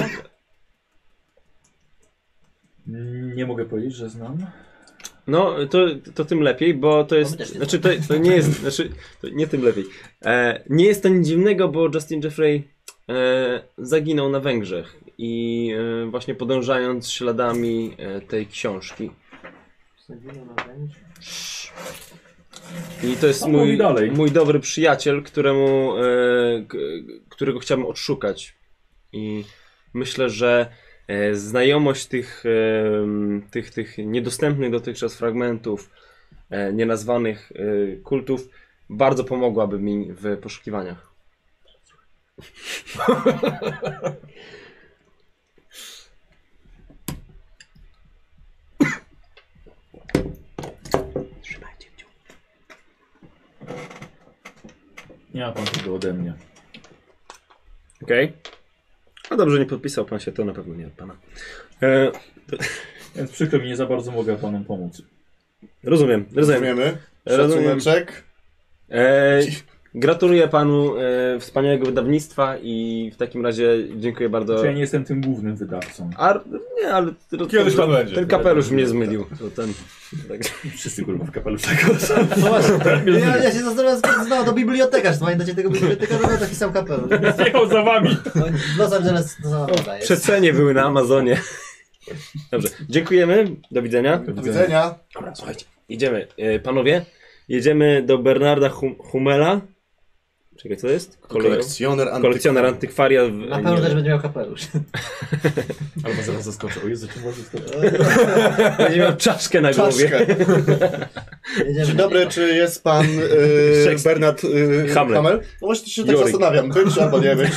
Speaker 1: Nie mogę powiedzieć, że znam.
Speaker 2: No, to, to tym lepiej, bo to
Speaker 3: my też
Speaker 2: jest.
Speaker 3: nie
Speaker 2: Znaczy, to, to nie jest. Znaczy, to nie tym lepiej. E, nie jest to nic dziwnego, bo Justin Jeffrey e, zaginął na Węgrzech i e, właśnie podążając śladami e, tej książki. I to jest
Speaker 1: No, mówi
Speaker 2: mój,
Speaker 1: dalej.
Speaker 2: mój dobry przyjaciel, któremu, e, k- którego chciałbym odszukać. I myślę, że e, znajomość tych, em, tych, tych niedostępnych dotychczas fragmentów, e, nienazwanych e, kultów, bardzo pomogłaby mi w poszukiwaniach.
Speaker 1: Nie ma pan tego ode mnie.
Speaker 2: Okej? No dobrze, nie podpisał pan się, to na pewno nie od pana. E,
Speaker 1: Więc przykro mi, nie za bardzo mogę panom pomóc.
Speaker 2: rozumiem, rozumiem.
Speaker 5: Rozumiemy?
Speaker 2: Rozumiem.
Speaker 5: Szacuneczek.
Speaker 2: E, gratuluję panu e, wspaniałego wydawnictwa i w takim razie dziękuję bardzo.
Speaker 1: Znaczy, ja nie jestem tym głównym wydawcą.
Speaker 2: Ar... Nie, ale to-
Speaker 4: Kiedyś
Speaker 2: to-
Speaker 4: pan będzie.
Speaker 2: Ten kapelusz mnie zmylił. Tak, To ten...
Speaker 1: Wszyscy kurwa w kapeluszach.
Speaker 3: No właśnie.
Speaker 1: Mnie
Speaker 3: Ja,
Speaker 1: zmylił.
Speaker 3: ja się zastanawiam, skąd znał do bibliotekarz. Pamiętacie tego bibliotekarza? No taki sam kapelusz.
Speaker 1: Jechał za wami.
Speaker 3: No, Los Angeles to sama woda jest.
Speaker 2: Przecenie były na Amazonie. Dobrze, dziękujemy. Do widzenia.
Speaker 5: Do widzenia.
Speaker 2: Dobra, słuchajcie. Idziemy. E, Panowie, jedziemy do Bernarda hum Humela. Czekaj, co jest? Kolego-
Speaker 5: Kolekcjoner antyk...
Speaker 2: Kolekcjoner antykwaria. W...
Speaker 3: Na pewno też będzie miał kapelusz.
Speaker 1: Albo zaraz zaskoczę. O Jezu, czym was zaskoczę?
Speaker 2: będzie miał czaszkę na głowie.
Speaker 5: Czaszkę.
Speaker 3: Jedziemy.
Speaker 5: Dzień dobry, czy jest pan e,
Speaker 2: Szekspir.
Speaker 5: Bernard e,
Speaker 2: Hamlet.
Speaker 5: Hamel? No właśnie się tak
Speaker 2: Jorik.
Speaker 5: zastanawiam, być albo nie być.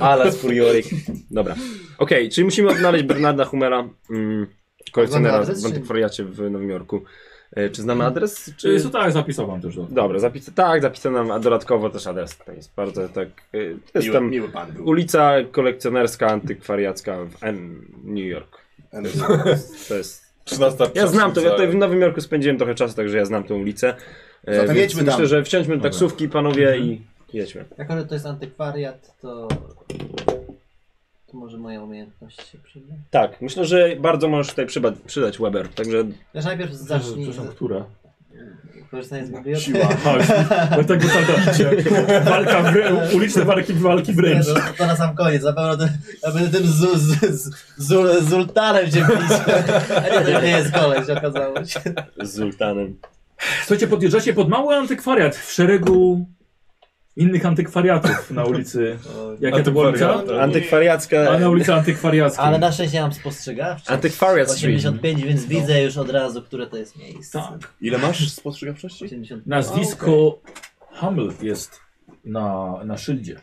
Speaker 2: Alas Furiorik. Dobra. Okej, czyli musimy odnaleźć Bernarda Humera, mm, kolekcjonera
Speaker 3: Znamy adres,
Speaker 2: w
Speaker 3: czy-
Speaker 2: antykwariacie w Nowym Jorku. E, czy znamy adres?
Speaker 1: Czy
Speaker 2: Czy...
Speaker 1: jest tak, zapisałam też do.
Speaker 2: Dobra, zapisa... tak, zapisano nam a dodatkowo też adres. To jest bardzo tak... e, to Jest
Speaker 5: Miły,
Speaker 2: tam
Speaker 5: miły pan był.
Speaker 2: ulica kolekcjonerska, antykwariacka w N New York. To jest...
Speaker 4: 13
Speaker 2: Ja znam to, ja tutaj w Nowym Jorku spędziłem trochę czasu, także ja znam tą ulicę. E,
Speaker 5: Zatem
Speaker 2: więc
Speaker 5: jedźmy tam.
Speaker 2: Myślę, że wsiądźmy do taksówki, panowie, i jedźmy.
Speaker 3: Jako, że to jest antykwariat, to... To może moja umiejętność się przyda.
Speaker 2: Tak, myślę, że bardzo możesz tutaj przyba- przydać Weber, także
Speaker 3: Wiesz, najpierw zacznij
Speaker 1: Przepraszam, która?
Speaker 3: korzystanie z biblioteki.
Speaker 5: Siła.
Speaker 1: A, już, bo tak wypada. Walka w, uliczne walki, walki
Speaker 3: Nie, no.
Speaker 1: wręcz.
Speaker 3: to, to na sam koniec, na pewno ten, ja będę tym zu, z, z, z, zultanem się bić. A nie, to nie jest koleś, okazało się.
Speaker 2: z Zultanem.
Speaker 1: Słuchajcie, podjeżdżacie pod mały antykwariat w szeregu innych antykwariatów na ulicy. Jak ja to była ulica?
Speaker 2: Antykwariacka.
Speaker 1: A na ulicy antykwariackiej.
Speaker 3: Ale na szczęście mam spostrzegawczość.
Speaker 2: Antyquariat Street.
Speaker 3: 85, więc widzę już od razu, które to jest miejsce.
Speaker 1: Tak.
Speaker 5: Ile masz spostrzegawczości?
Speaker 3: 80...
Speaker 1: Nazwisko
Speaker 3: O,
Speaker 1: Hamel jest na, na szyldzie.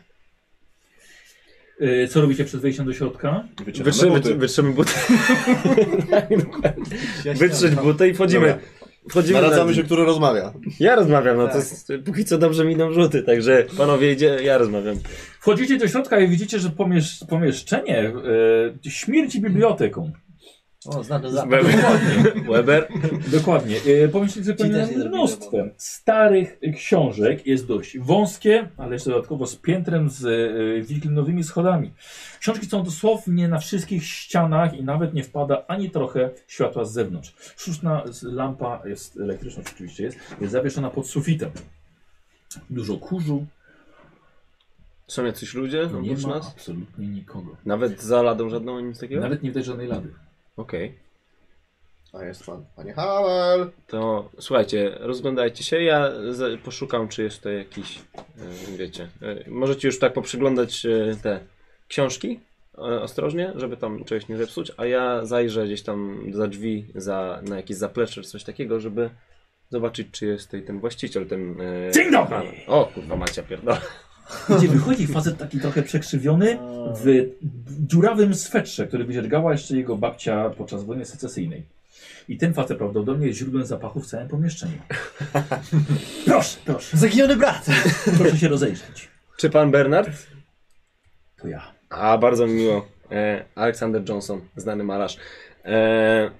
Speaker 1: Yy, Co robicie przed wejściem do środka?
Speaker 5: Wycieramy
Speaker 2: Wytrzymy,
Speaker 5: buty.
Speaker 2: wytrzymy buty.
Speaker 3: okej.
Speaker 2: Wytrzeć buty i wchodzimy.
Speaker 5: Dobra.
Speaker 2: Wchodzimy
Speaker 5: Naradzamy się, który rozmawia.
Speaker 2: Ja rozmawiam, no to
Speaker 3: Tak.
Speaker 2: jest, póki co dobrze mi idą rzuty, także panowie idzie, ja rozmawiam.
Speaker 1: Wchodzicie do środka i widzicie, że pomiesz, pomieszczenie yy, śmierci biblioteką.
Speaker 3: O, znaczy za...
Speaker 2: Weber.
Speaker 1: Dokładnie. E, Pomyślcie sobie
Speaker 3: Ci też
Speaker 1: nad
Speaker 3: nie zrobili
Speaker 1: mnóstwem
Speaker 3: remontu.
Speaker 1: starych książek. Jest dość wąskie, ale jeszcze dodatkowo z piętrem z e, wiklinowymi schodami. Książki są dosłownie na wszystkich ścianach i nawet nie wpada ani trochę światła z zewnątrz. Sztuczna z- lampa jest elektryczna, oczywiście jest, jest zawieszona pod sufitem. Dużo kurzu,
Speaker 2: Są jacyś ludzie
Speaker 1: No, nie
Speaker 2: oprócz
Speaker 1: ma
Speaker 2: nas?
Speaker 1: absolutnie nikogo.
Speaker 2: Nawet za ladą żadną nic takiego?
Speaker 1: Nawet nie widać żadnej lady.
Speaker 2: Okej.
Speaker 5: A jest pan. Panie Hawel!
Speaker 2: To słuchajcie, rozglądajcie się, ja za- poszukam czy jest to jakiś, e, wiecie, e, możecie już tak poprzyglądać e, te książki e, ostrożnie, żeby tam czegoś nie zepsuć, a ja zajrzę gdzieś tam za drzwi, za, na jakieś zaplecze czy coś takiego, żeby zobaczyć czy jest tutaj ten właściciel, ten... e,
Speaker 1: Dzień dobry!
Speaker 2: pan. O kurwa Macia pierdolę.
Speaker 1: Gdzie wychodzi facet taki trochę przekrzywiony w dziurawym swetrze, który wydziergała jeszcze jego babcia podczas wojny secesyjnej. I ten facet prawdopodobnie jest źródłem zapachu w całym pomieszczeniu. proszę, proszę,
Speaker 3: Zaginiony brat!
Speaker 1: proszę się rozejrzeć.
Speaker 2: Czy pan Bernard?
Speaker 1: To ja.
Speaker 2: A, bardzo mi miło. E, Aleksander Johnson, znany malarz. E,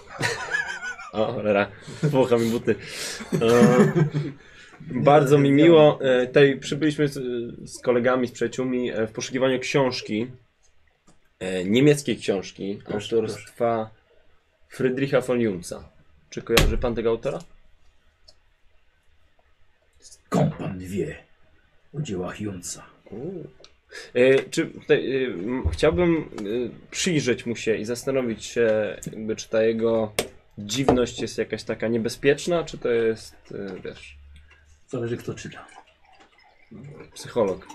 Speaker 2: o, cholera, włocha mi buty. E, bardzo mi miło. E, tutaj przybyliśmy z, z kolegami, z przyjaciółmi e, w poszukiwaniu książki, e, niemieckiej książki autorstwa Friedricha von Jungsa. Czy kojarzy pan tego autora?
Speaker 1: Skąd pan wie o dziełach Junca?
Speaker 2: E, Czy te, y, m, chciałbym y, przyjrzeć mu się i zastanowić się, jakby, czy ta jego dziwność jest jakaś taka niebezpieczna, czy to jest, y, wiesz,
Speaker 1: Zależy kto czyta.
Speaker 2: psycholog.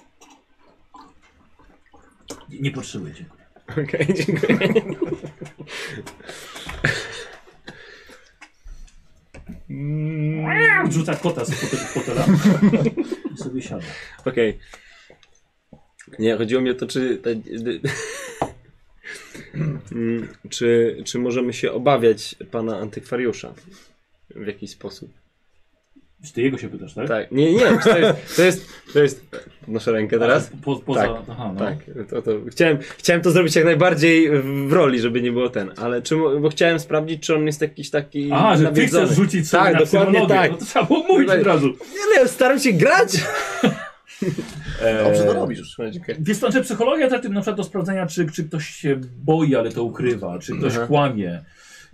Speaker 1: Nie, nie potrzebuję, dziękuję.
Speaker 2: Okej, dziękuję.
Speaker 1: Rzuca kota z fotel- fotela i sobie siada.
Speaker 2: Okej. Nie, chodziło mi o to, czy. Ta, d- Mm, czy, czy możemy się obawiać pana antykwariusza w jakiś sposób?
Speaker 1: Czy ty jego się pytasz, tak?
Speaker 2: Tak, nie, nie, czy to jest. To jest, to jest noszę rękę teraz.
Speaker 1: Po, poza,
Speaker 2: Tak,
Speaker 1: aha, no.
Speaker 2: Tak, to, to chciałem, chciałem to zrobić jak najbardziej w- w roli, żeby nie było ten, ale czy, mo- bo chciałem sprawdzić, czy on jest jakiś taki
Speaker 1: A, że ty
Speaker 2: nawiedzony.
Speaker 1: chcesz rzucić sobie
Speaker 2: Tak,
Speaker 1: na
Speaker 2: dokładnie
Speaker 1: psychologię.
Speaker 2: tak.
Speaker 1: No to trzeba było mówić
Speaker 2: Tutaj-
Speaker 1: od razu.
Speaker 2: Nie, no, ja staram się grać! Eee,
Speaker 5: Dobrze to robisz.
Speaker 1: Więc to, że psychologia to tym na przykład do sprawdzenia, czy, czy ktoś się boi, ale to ukrywa, czy ktoś
Speaker 2: Mhm.
Speaker 1: kłamie.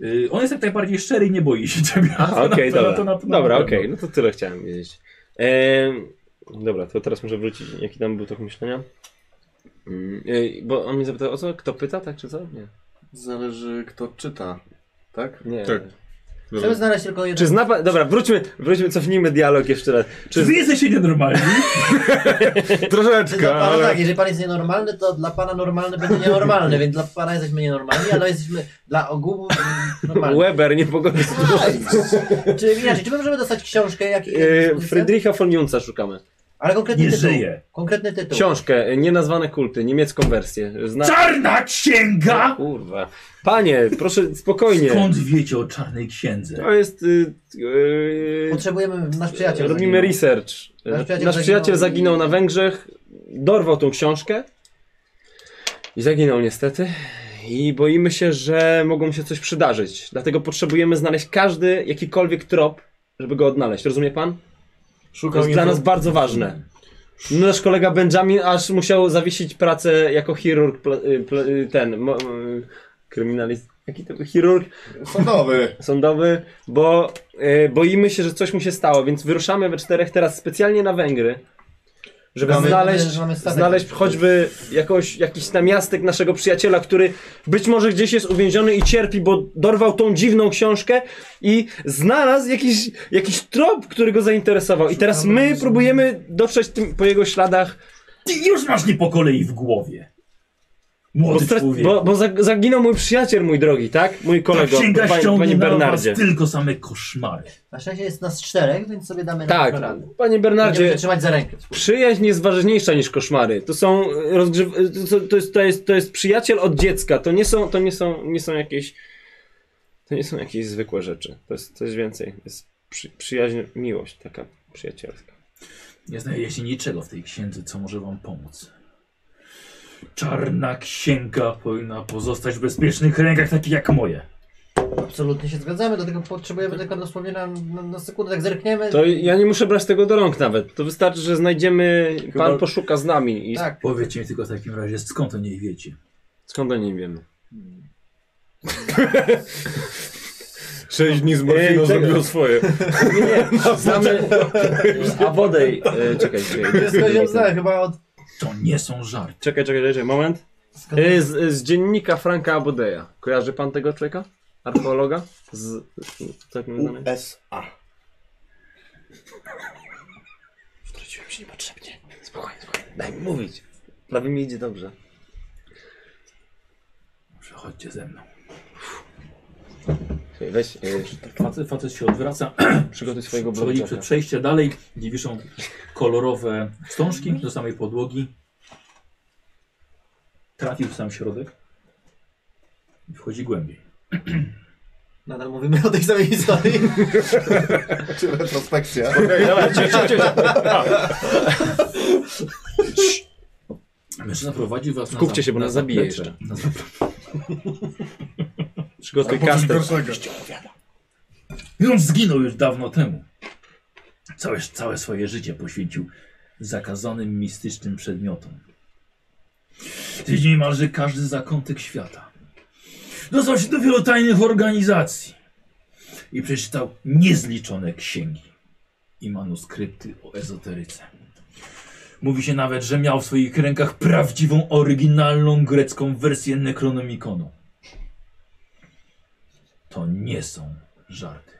Speaker 1: Y, on jest jak najbardziej szczery i nie boi się ciebie.
Speaker 2: Aha, okej,
Speaker 1: to-
Speaker 2: dobra,
Speaker 1: to na- to na
Speaker 2: dobra,
Speaker 1: pewno.
Speaker 2: okej, no to tyle chciałem wiedzieć. Em, dobra, to teraz muszę wrócić, jaki tam był tok myślenia? Mm, ej, bo on mnie zapytał, o co, kto pyta, tak czy co? Nie,
Speaker 5: Zależy kto czyta, tak?
Speaker 2: nie.
Speaker 6: Tak.
Speaker 3: Chcemy znaleźć tylko jeden...
Speaker 2: Czy zna pan, dobra, wróćmy, wróćmy, cofnijmy dialog jeszcze raz.
Speaker 1: Czy
Speaker 2: Czy
Speaker 1: wy jesteście nienormalni?
Speaker 3: Czy dla
Speaker 6: Troszeczkę,
Speaker 3: pana,
Speaker 6: ale...
Speaker 3: tak, jeżeli pan jest nienormalny, to dla pana normalny będzie nienormalny, więc dla pana jesteśmy nienormalni, ale jesteśmy dla ogółu mm, normalni.
Speaker 2: Weber nie pogodzi się
Speaker 3: Czy inaczej, czy my możemy dostać książkę? Jak,
Speaker 2: Yy, Friedricha von Junca szukamy.
Speaker 3: Ale konkretny
Speaker 1: Nie
Speaker 3: tytuł.
Speaker 1: żyje.
Speaker 3: Konkretny tytuł.
Speaker 2: Książkę, y, nienazwane kulty, niemiecką wersję. Zna... No,
Speaker 1: Czarna księga!
Speaker 2: Kurwa. Panie, proszę spokojnie.
Speaker 1: Skąd wiecie o czarnej księdze?
Speaker 2: To jest. y, y,
Speaker 3: Potrzebujemy, nasz przyjaciel.
Speaker 2: robimy
Speaker 3: zaginął.
Speaker 2: research.
Speaker 3: Nasz
Speaker 2: Nasz,
Speaker 3: przyjaciel
Speaker 2: przyjaciel
Speaker 3: zaginął
Speaker 2: zaginął
Speaker 3: i-
Speaker 2: na Węgrzech, dorwał tą książkę i zaginął niestety. I boimy się, że mogą się coś przydarzyć. Dlatego potrzebujemy znaleźć każdy, jakikolwiek trop, żeby go odnaleźć. Rozumie pan? To
Speaker 4: Szukam
Speaker 2: jest dla
Speaker 4: info-
Speaker 2: nas bardzo ważne. No, Nasz kolega Benjamin aż musiał zawiesić pracę jako chirurg, pla, y, pla, y, ten, mo, y, kryminalist, jaki to był? chirurg
Speaker 5: Sądowy!
Speaker 2: sądowy, bo e, y, boimy się, że coś mu się stało, więc wyruszamy we czterech teraz specjalnie na Węgry. Żeby
Speaker 5: Mamy-
Speaker 2: znaleźć,
Speaker 3: że mamy statek.
Speaker 2: znaleźć choćby jakąś, jakiś namiastek naszego przyjaciela, który być może gdzieś jest uwięziony i cierpi, bo dorwał tą dziwną książkę i znalazł jakiś, jakiś trop, który go zainteresował. I teraz my próbujemy dotrzeć tym, po jego śladach,
Speaker 1: Ty już masz nie po kolei w głowie.
Speaker 2: bo,
Speaker 1: Młody
Speaker 2: stra-
Speaker 1: człowiek.
Speaker 2: bo, bo zag- zaginął mój przyjaciel, mój drogi, tak? Mój kolego,
Speaker 1: Ta księga
Speaker 2: panie,
Speaker 1: ściągnęła
Speaker 2: panie Bernardzie.
Speaker 1: was tylko same koszmary.
Speaker 3: Na szczęście jest nas czterech, więc sobie damy
Speaker 2: Tak,
Speaker 3: na to radę.
Speaker 2: panie
Speaker 3: Będziemy się
Speaker 2: Bernardzie,
Speaker 3: trzymać za rękę.
Speaker 2: Przyjaźń jest ważniejsza niż koszmary. To są e, rozgrzew... e, to, to, jest, to, jest, to jest przyjaciel od dziecka. To nie są, to nie są, nie są jakieś. To nie są jakieś zwykłe rzeczy. To jest coś więcej. To jest przy, przyjaźń, miłość taka przyjacielska.
Speaker 1: Nie znajduje się niczego w tej księdze, co może wam pomóc. Czarna księga powinna pozostać w bezpiecznych rękach, takich jak moje.
Speaker 3: Absolutnie się zgadzamy, dlatego potrzebujemy tylko dosłownie na, na, na sekundę, tak zerkniemy.
Speaker 2: To ja nie muszę brać tego do rąk nawet. To wystarczy, że znajdziemy. Pan poszuka z nami i
Speaker 3: Tak.
Speaker 1: Powiedzcie mi tylko w takim razie, skąd o niej wiecie.
Speaker 2: skąd o nim wiemy.
Speaker 4: 6 dni z
Speaker 2: Ej,
Speaker 4: morfiną
Speaker 2: czekaj.
Speaker 4: zrobiło swoje. Znaczy-
Speaker 2: Nie, nie, znamy. A wodę. E, czekaj,
Speaker 3: Ja
Speaker 2: czekaj.
Speaker 3: znałem chyba od...
Speaker 1: To nie są żarty.
Speaker 2: Czekaj, czekaj, czekaj, moment.
Speaker 3: Mhm.
Speaker 2: Y, Z, z dziennika Franka Abodeja. Kojarzy pan tego człowieka? Archeologa? Z, z takim znanym?
Speaker 5: USA.
Speaker 2: Wtrąciłem się niepotrzebnie. Spokojnie, spokojnie. Daj mi mówić. Prawie mi idzie dobrze.
Speaker 1: Przechodźcie ze mną.
Speaker 2: Słuchaj, Weź, y,
Speaker 1: Facet, facet się odwraca,
Speaker 2: przygotuj swojego
Speaker 1: przechodzi przed
Speaker 2: blowjobka.
Speaker 1: przejście dalej, gdzie wiszą kolorowe wstążki do samej podłogi. Trafił w sam środek i wchodzi głębiej.
Speaker 3: Nadal mówimy o tej samej historii.
Speaker 5: Czy Znaczy retrospekcja?
Speaker 1: Mężczyzna prowadzi was na
Speaker 2: Skupcie
Speaker 1: zap-
Speaker 2: się, bo
Speaker 1: na
Speaker 2: nas zabije
Speaker 1: zaplecze.
Speaker 2: jeszcze.
Speaker 1: Na zaplecze.
Speaker 2: Przygotuj kastet.
Speaker 1: I on zginął już dawno temu. Całe, całe swoje życie poświęcił zakazanym mistycznym przedmiotom. Zwiedził niemalże każdy zakątek świata. Dostał się do wielu tajnych organizacji i przeczytał niezliczone księgi i manuskrypty o ezoteryce. Mówi się nawet, że miał w swoich rękach prawdziwą, oryginalną grecką wersję Necronomiconu. To nie są żarty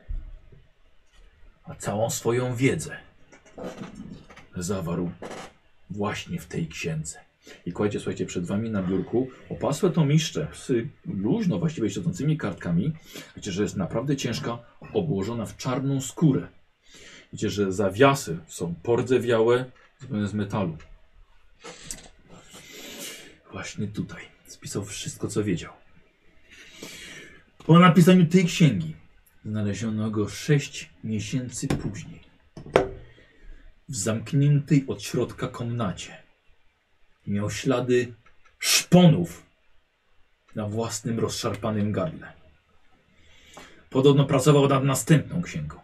Speaker 1: a całą swoją wiedzę zawarł właśnie w tej księdze. I kładzie, słuchajcie, przed wami na biurku opasłe to miszcze z luźno właściwie siedzącymi kartkami. Wiecie, że jest naprawdę ciężka, obłożona w czarną skórę. Wiecie, że zawiasy są pordzewiałe, zupełnie z metalu. Właśnie tutaj spisał wszystko, co wiedział. Po napisaniu tej księgi Znaleziono go sześć miesięcy później. W zamkniętej od środka komnacie. Miał ślady szponów na własnym rozszarpanym gardle. Podobno pracował nad następną księgą,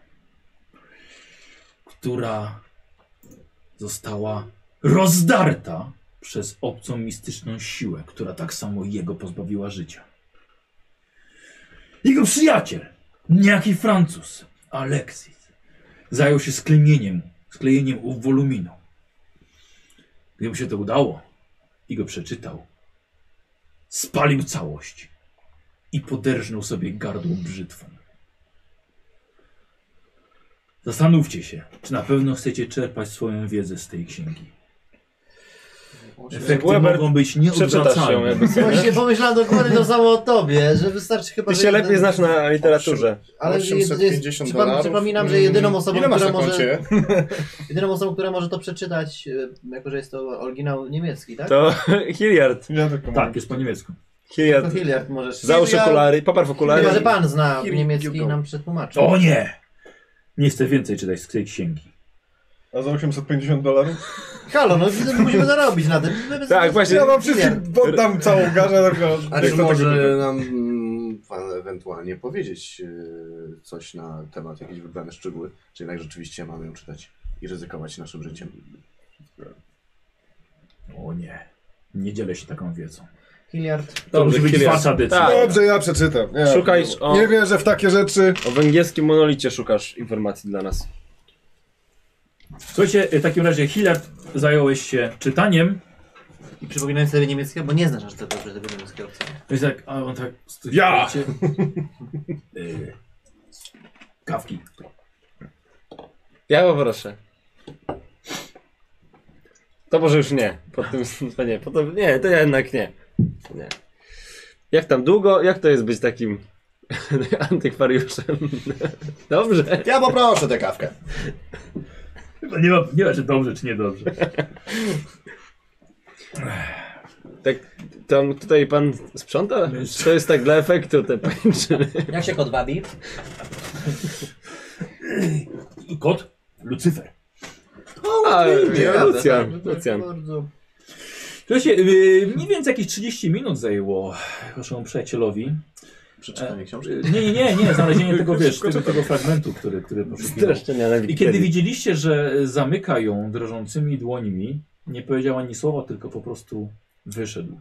Speaker 1: która została rozdarta przez obcą mistyczną siłę, która tak samo jego pozbawiła życia. Jego przyjaciel Niejaki Francuz, Alexis, zajął się sklejenieniem, sklejeniem ów woluminu. Gdy mu się to udało i go przeczytał, spalił całość i poderżnął sobie gardło brzytwą. Zastanówcie się, czy na pewno chcecie czerpać swoją wiedzę z tej księgi. Efekty
Speaker 2: Weber,
Speaker 1: mogą być
Speaker 2: Przeczytasz ją
Speaker 1: nieodwracalne.
Speaker 2: jakby sobie.
Speaker 3: Właśnie pomyślałem dokładnie to samo o tobie, że wystarczy chyba...
Speaker 2: Ty
Speaker 3: że
Speaker 2: się
Speaker 3: jeden-
Speaker 2: lepiej znasz na literaturze.
Speaker 3: Ale jest- jest-
Speaker 5: 850
Speaker 3: przypom-
Speaker 5: dolarów.
Speaker 3: Przypominam, że jedyną
Speaker 5: Mm,
Speaker 3: osobą,
Speaker 5: Ile masz
Speaker 3: która
Speaker 5: na
Speaker 3: może,
Speaker 5: koncie?
Speaker 3: jedyną osobą, która może to przeczytać, y, jako że jest to oryginał niemiecki, tak?
Speaker 2: To Hilliard.
Speaker 4: Ja tylko
Speaker 1: Tak, jest po niemiecku.
Speaker 3: To
Speaker 2: Hilliard.
Speaker 3: Hilliard możesz.
Speaker 2: Załóż
Speaker 3: Hilliard-
Speaker 2: okulary, poparł okulary.
Speaker 3: Chyba, że pan zna
Speaker 5: Here
Speaker 3: niemiecki
Speaker 5: you
Speaker 3: i
Speaker 5: go.
Speaker 3: nam przetłumaczy.
Speaker 1: O nie! Nie chcę więcej czytać z tej księgi.
Speaker 4: mówię. A za 850 dolarów?
Speaker 3: Halo, no musimy zarobić na tym.
Speaker 2: Tak, właśnie.
Speaker 4: Ja wam wszystkim oddam całą garzę, tylko...
Speaker 5: A
Speaker 4: nie
Speaker 5: czy
Speaker 4: chcę
Speaker 5: może
Speaker 4: tego-
Speaker 5: nam mm, pan ewentualnie powiedzieć yy, coś na temat, jakieś wybrane szczegóły? Czy jednak rzeczywiście mamy ją czytać i ryzykować naszym życiem?
Speaker 1: O nie. Nie dzielę się taką wiedzą.
Speaker 3: Hilliard.
Speaker 1: To musi być
Speaker 2: Hilliard.
Speaker 1: wasza decyzja.
Speaker 2: Tak.
Speaker 4: Dobrze, ja przeczytam. Nie,
Speaker 2: Szukaj
Speaker 6: no.
Speaker 2: o-
Speaker 4: Nie wierzę w takie rzeczy.
Speaker 2: O węgierskim monolicie szukasz informacji dla nas.
Speaker 1: Słuchajcie, w takim razie Hillard zająłeś się czytaniem.
Speaker 3: I przypominając sobie niemieckiego, bo nie znasz aż tak dobrze tego niemieckiego obca.
Speaker 1: To jest tak, a on tak...
Speaker 4: Ja!
Speaker 1: Y, Kawki.
Speaker 2: Ja poproszę. To może już nie. Po tym, to nie, po to, nie, to jednak nie. nie. Jak tam długo? Jak to jest być takim antykwariuszem? Dobrze.
Speaker 5: Ja poproszę tę kawkę.
Speaker 1: No nie, ma, nie ma, czy dobrze, czy niedobrze.
Speaker 2: Tak, tam tutaj pan sprząta? Czy to jest tak dla efektu te pańczyny?
Speaker 3: Jak się kot bawi?
Speaker 1: Kot? Lucyfer.
Speaker 2: A,
Speaker 5: Nie,
Speaker 3: No,
Speaker 2: Lucjan,
Speaker 5: tak,
Speaker 2: Lucjan.
Speaker 5: bardzo.
Speaker 1: Słuchajcie, y, mniej więcej jakieś 30 minut zajęło waszemu przyjacielowi.
Speaker 4: E.
Speaker 5: Przeczytanie książki.
Speaker 1: Y, Nie, nie, nie, nie, znalezienie tego, wiesz, tego, tego fragmentu, który, który poszukiwał.
Speaker 2: Straszczenia na
Speaker 1: I kiedy widzieliście, że zamyka ją drżącymi dłońmi, nie powiedział ani słowa, tylko po prostu wyszedł.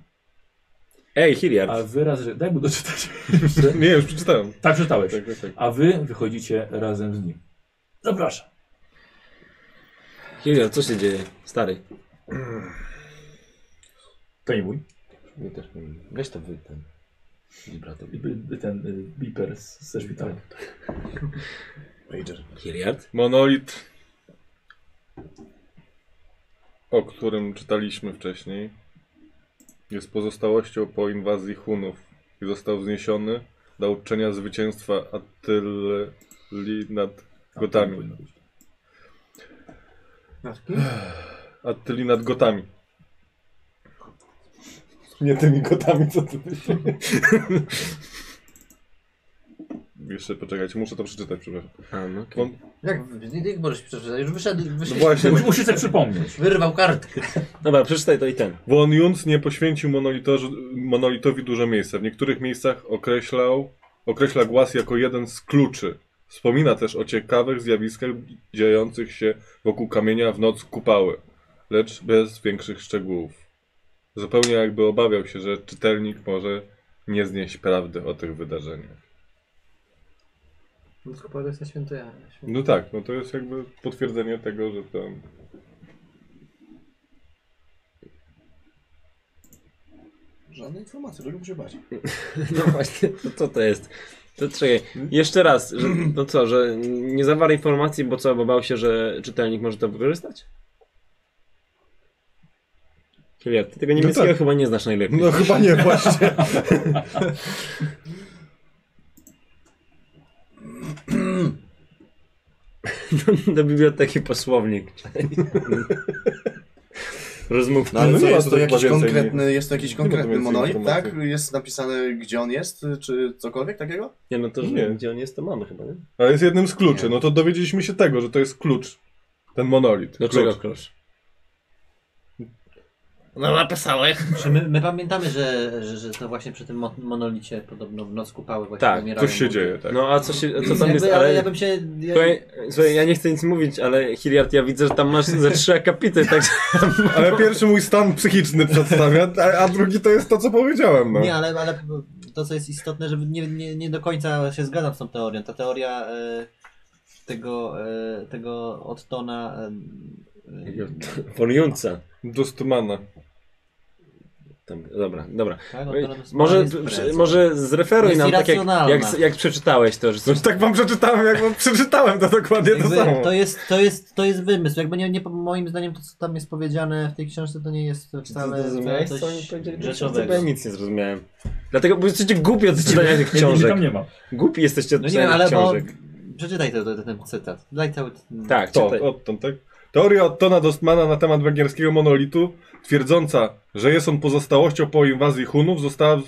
Speaker 2: Ej, Hilliard.
Speaker 1: A wyraz, że daj mu doczytać.
Speaker 4: Nie, już przeczytałem.
Speaker 1: tak przeczytałeś.
Speaker 4: Tak, tak, tak.
Speaker 1: A wy wychodzicie razem z nim. Zapraszam.
Speaker 2: Hilliard, co się dzieje? Stary.
Speaker 1: To nie mój.
Speaker 10: Nie też nie. Weź to wy ten. Vibrator.
Speaker 1: By- Ten y, beeper z- ze szpitala.
Speaker 5: Major.
Speaker 2: Hilliard?
Speaker 4: Monolit, o którym czytaliśmy wcześniej, jest pozostałością po inwazji Hunów i został wzniesiony dla uczczenia zwycięstwa Attyli nad
Speaker 1: Tam
Speaker 4: Gotami.
Speaker 1: powinno być.
Speaker 4: Attyli nad Gotami.
Speaker 10: Nie tymi gotami, co ty myślisz.
Speaker 4: Jeszcze poczekajcie, muszę to przeczytać, przepraszam.
Speaker 2: A, no, okej.
Speaker 4: Bo-
Speaker 3: Jak, jak możesz przeczytać? Już wyszedł,
Speaker 4: No
Speaker 3: wyszedł
Speaker 4: właśnie,
Speaker 1: Mus- Musisz tak, sobie przypomnieć.
Speaker 3: wyrwał kartkę.
Speaker 2: Dobra, przeczytaj to i ten.
Speaker 4: Von Junc nie poświęcił monolitorzy- monolitowi dużo miejsca. W niektórych miejscach określał, określa głaz jako jeden z kluczy. Wspomina też o ciekawych zjawiskach dziejących się wokół kamienia w noc kupały, lecz bez większych szczegółów. Zupełnie jakby obawiał się, że czytelnik może nie znieść prawdy o tych wydarzeniach.
Speaker 3: No to jest na święto ja.
Speaker 4: No tak, no to jest jakby potwierdzenie tego, że tam...
Speaker 5: Żadne informacje, czego się bać.
Speaker 2: No właśnie, to co to jest? To czekaj, jeszcze raz, że, no co, że nie zawarł informacji, bo co, bo bał się, że czytelnik może to wykorzystać? Chyba, ty tego niemieckiego
Speaker 4: tak.
Speaker 2: chyba nie znasz najlepiej.
Speaker 4: chyba nie, właśnie.
Speaker 2: Do biblioteki posłownik. Rozmów.
Speaker 5: No ale
Speaker 4: No
Speaker 5: co,
Speaker 4: nie ma
Speaker 5: jest to
Speaker 4: tutaj
Speaker 5: jakiś
Speaker 4: chyba więcej
Speaker 5: konkretny, jest to jakiś
Speaker 4: ma tu
Speaker 5: konkretny
Speaker 4: więcej
Speaker 5: monolit, tak?
Speaker 4: informacji.
Speaker 5: Jest napisane gdzie on jest, czy cokolwiek takiego?
Speaker 2: Nie, no to, że
Speaker 4: Nie.
Speaker 2: gdzie on jest, to mamy chyba, nie?
Speaker 4: Ale jest jednym z kluczy, no to dowiedzieliśmy się tego, że to jest klucz. Ten monolit.
Speaker 2: Do
Speaker 4: Klucz.
Speaker 2: czego klucz?
Speaker 10: No napisałeś.
Speaker 3: Czy my, my pamiętamy, że, że, że to właśnie przy tym mo- monolicie podobno w noc kupały właśnie
Speaker 2: Tak,
Speaker 3: umierają
Speaker 4: Coś się
Speaker 3: ludzie.
Speaker 4: dzieje, tak.
Speaker 2: No a co, się, co tam
Speaker 3: Jakby,
Speaker 2: jest,
Speaker 3: ale...
Speaker 2: ale...
Speaker 3: ja bym się... Ja...
Speaker 2: Słuchaj, słuchaj, ja nie chcę nic mówić, ale Hilliard, ja widzę, że tam masz ze trzy akapity, tak? także...
Speaker 4: Ale pierwszy mój stan psychiczny przedstawia, a, a drugi to jest to, co powiedziałem. No.
Speaker 3: Nie, ale, ale to co jest istotne, że nie, nie, nie do końca się zgadzam z tą teorią. Ta teoria e, tego, e, tego Ottona... E,
Speaker 2: Von Junca.
Speaker 4: Dostumana.
Speaker 2: Tam, dobra, dobra.
Speaker 3: tak, Ottona to jest-
Speaker 2: Może,
Speaker 3: jest prezes.
Speaker 2: może zreferuj
Speaker 3: Jest
Speaker 2: nam tak jak,
Speaker 3: irracjonalna.
Speaker 2: jak, jak przeczytałeś to, że
Speaker 4: No, tak wam przeczytałem, jak wam przeczytałem, to dokładnie to
Speaker 3: Jakby
Speaker 4: samo.
Speaker 3: to, jest, to, jest, to jest wymysł. Jakby nie, nie, moim zdaniem to, co tam jest powiedziane w tej książce, to nie jest wcale
Speaker 2: Zrozumiałeś, co oni
Speaker 3: coś
Speaker 2: powiedzieli?
Speaker 3: rzeczowego.
Speaker 2: Ja nic nie zrozumiałem. Dlatego, bo jesteście głupi od czytania tych
Speaker 1: Nie,
Speaker 2: książek.
Speaker 1: tam nie ma.
Speaker 2: Głupi jesteście od
Speaker 3: No nie wiem,
Speaker 2: czytania
Speaker 3: ale
Speaker 2: tych
Speaker 3: bo...
Speaker 2: książek.
Speaker 3: Przeczytaj to, to, ten cytat. Daj cały...
Speaker 2: Tak,
Speaker 4: To,
Speaker 2: czytaj.
Speaker 4: odtąd, tak? Teoria Ottona Dostmana na temat węgierskiego monolitu, twierdząca, że jest on pozostałością po inwazji Hunów, została w-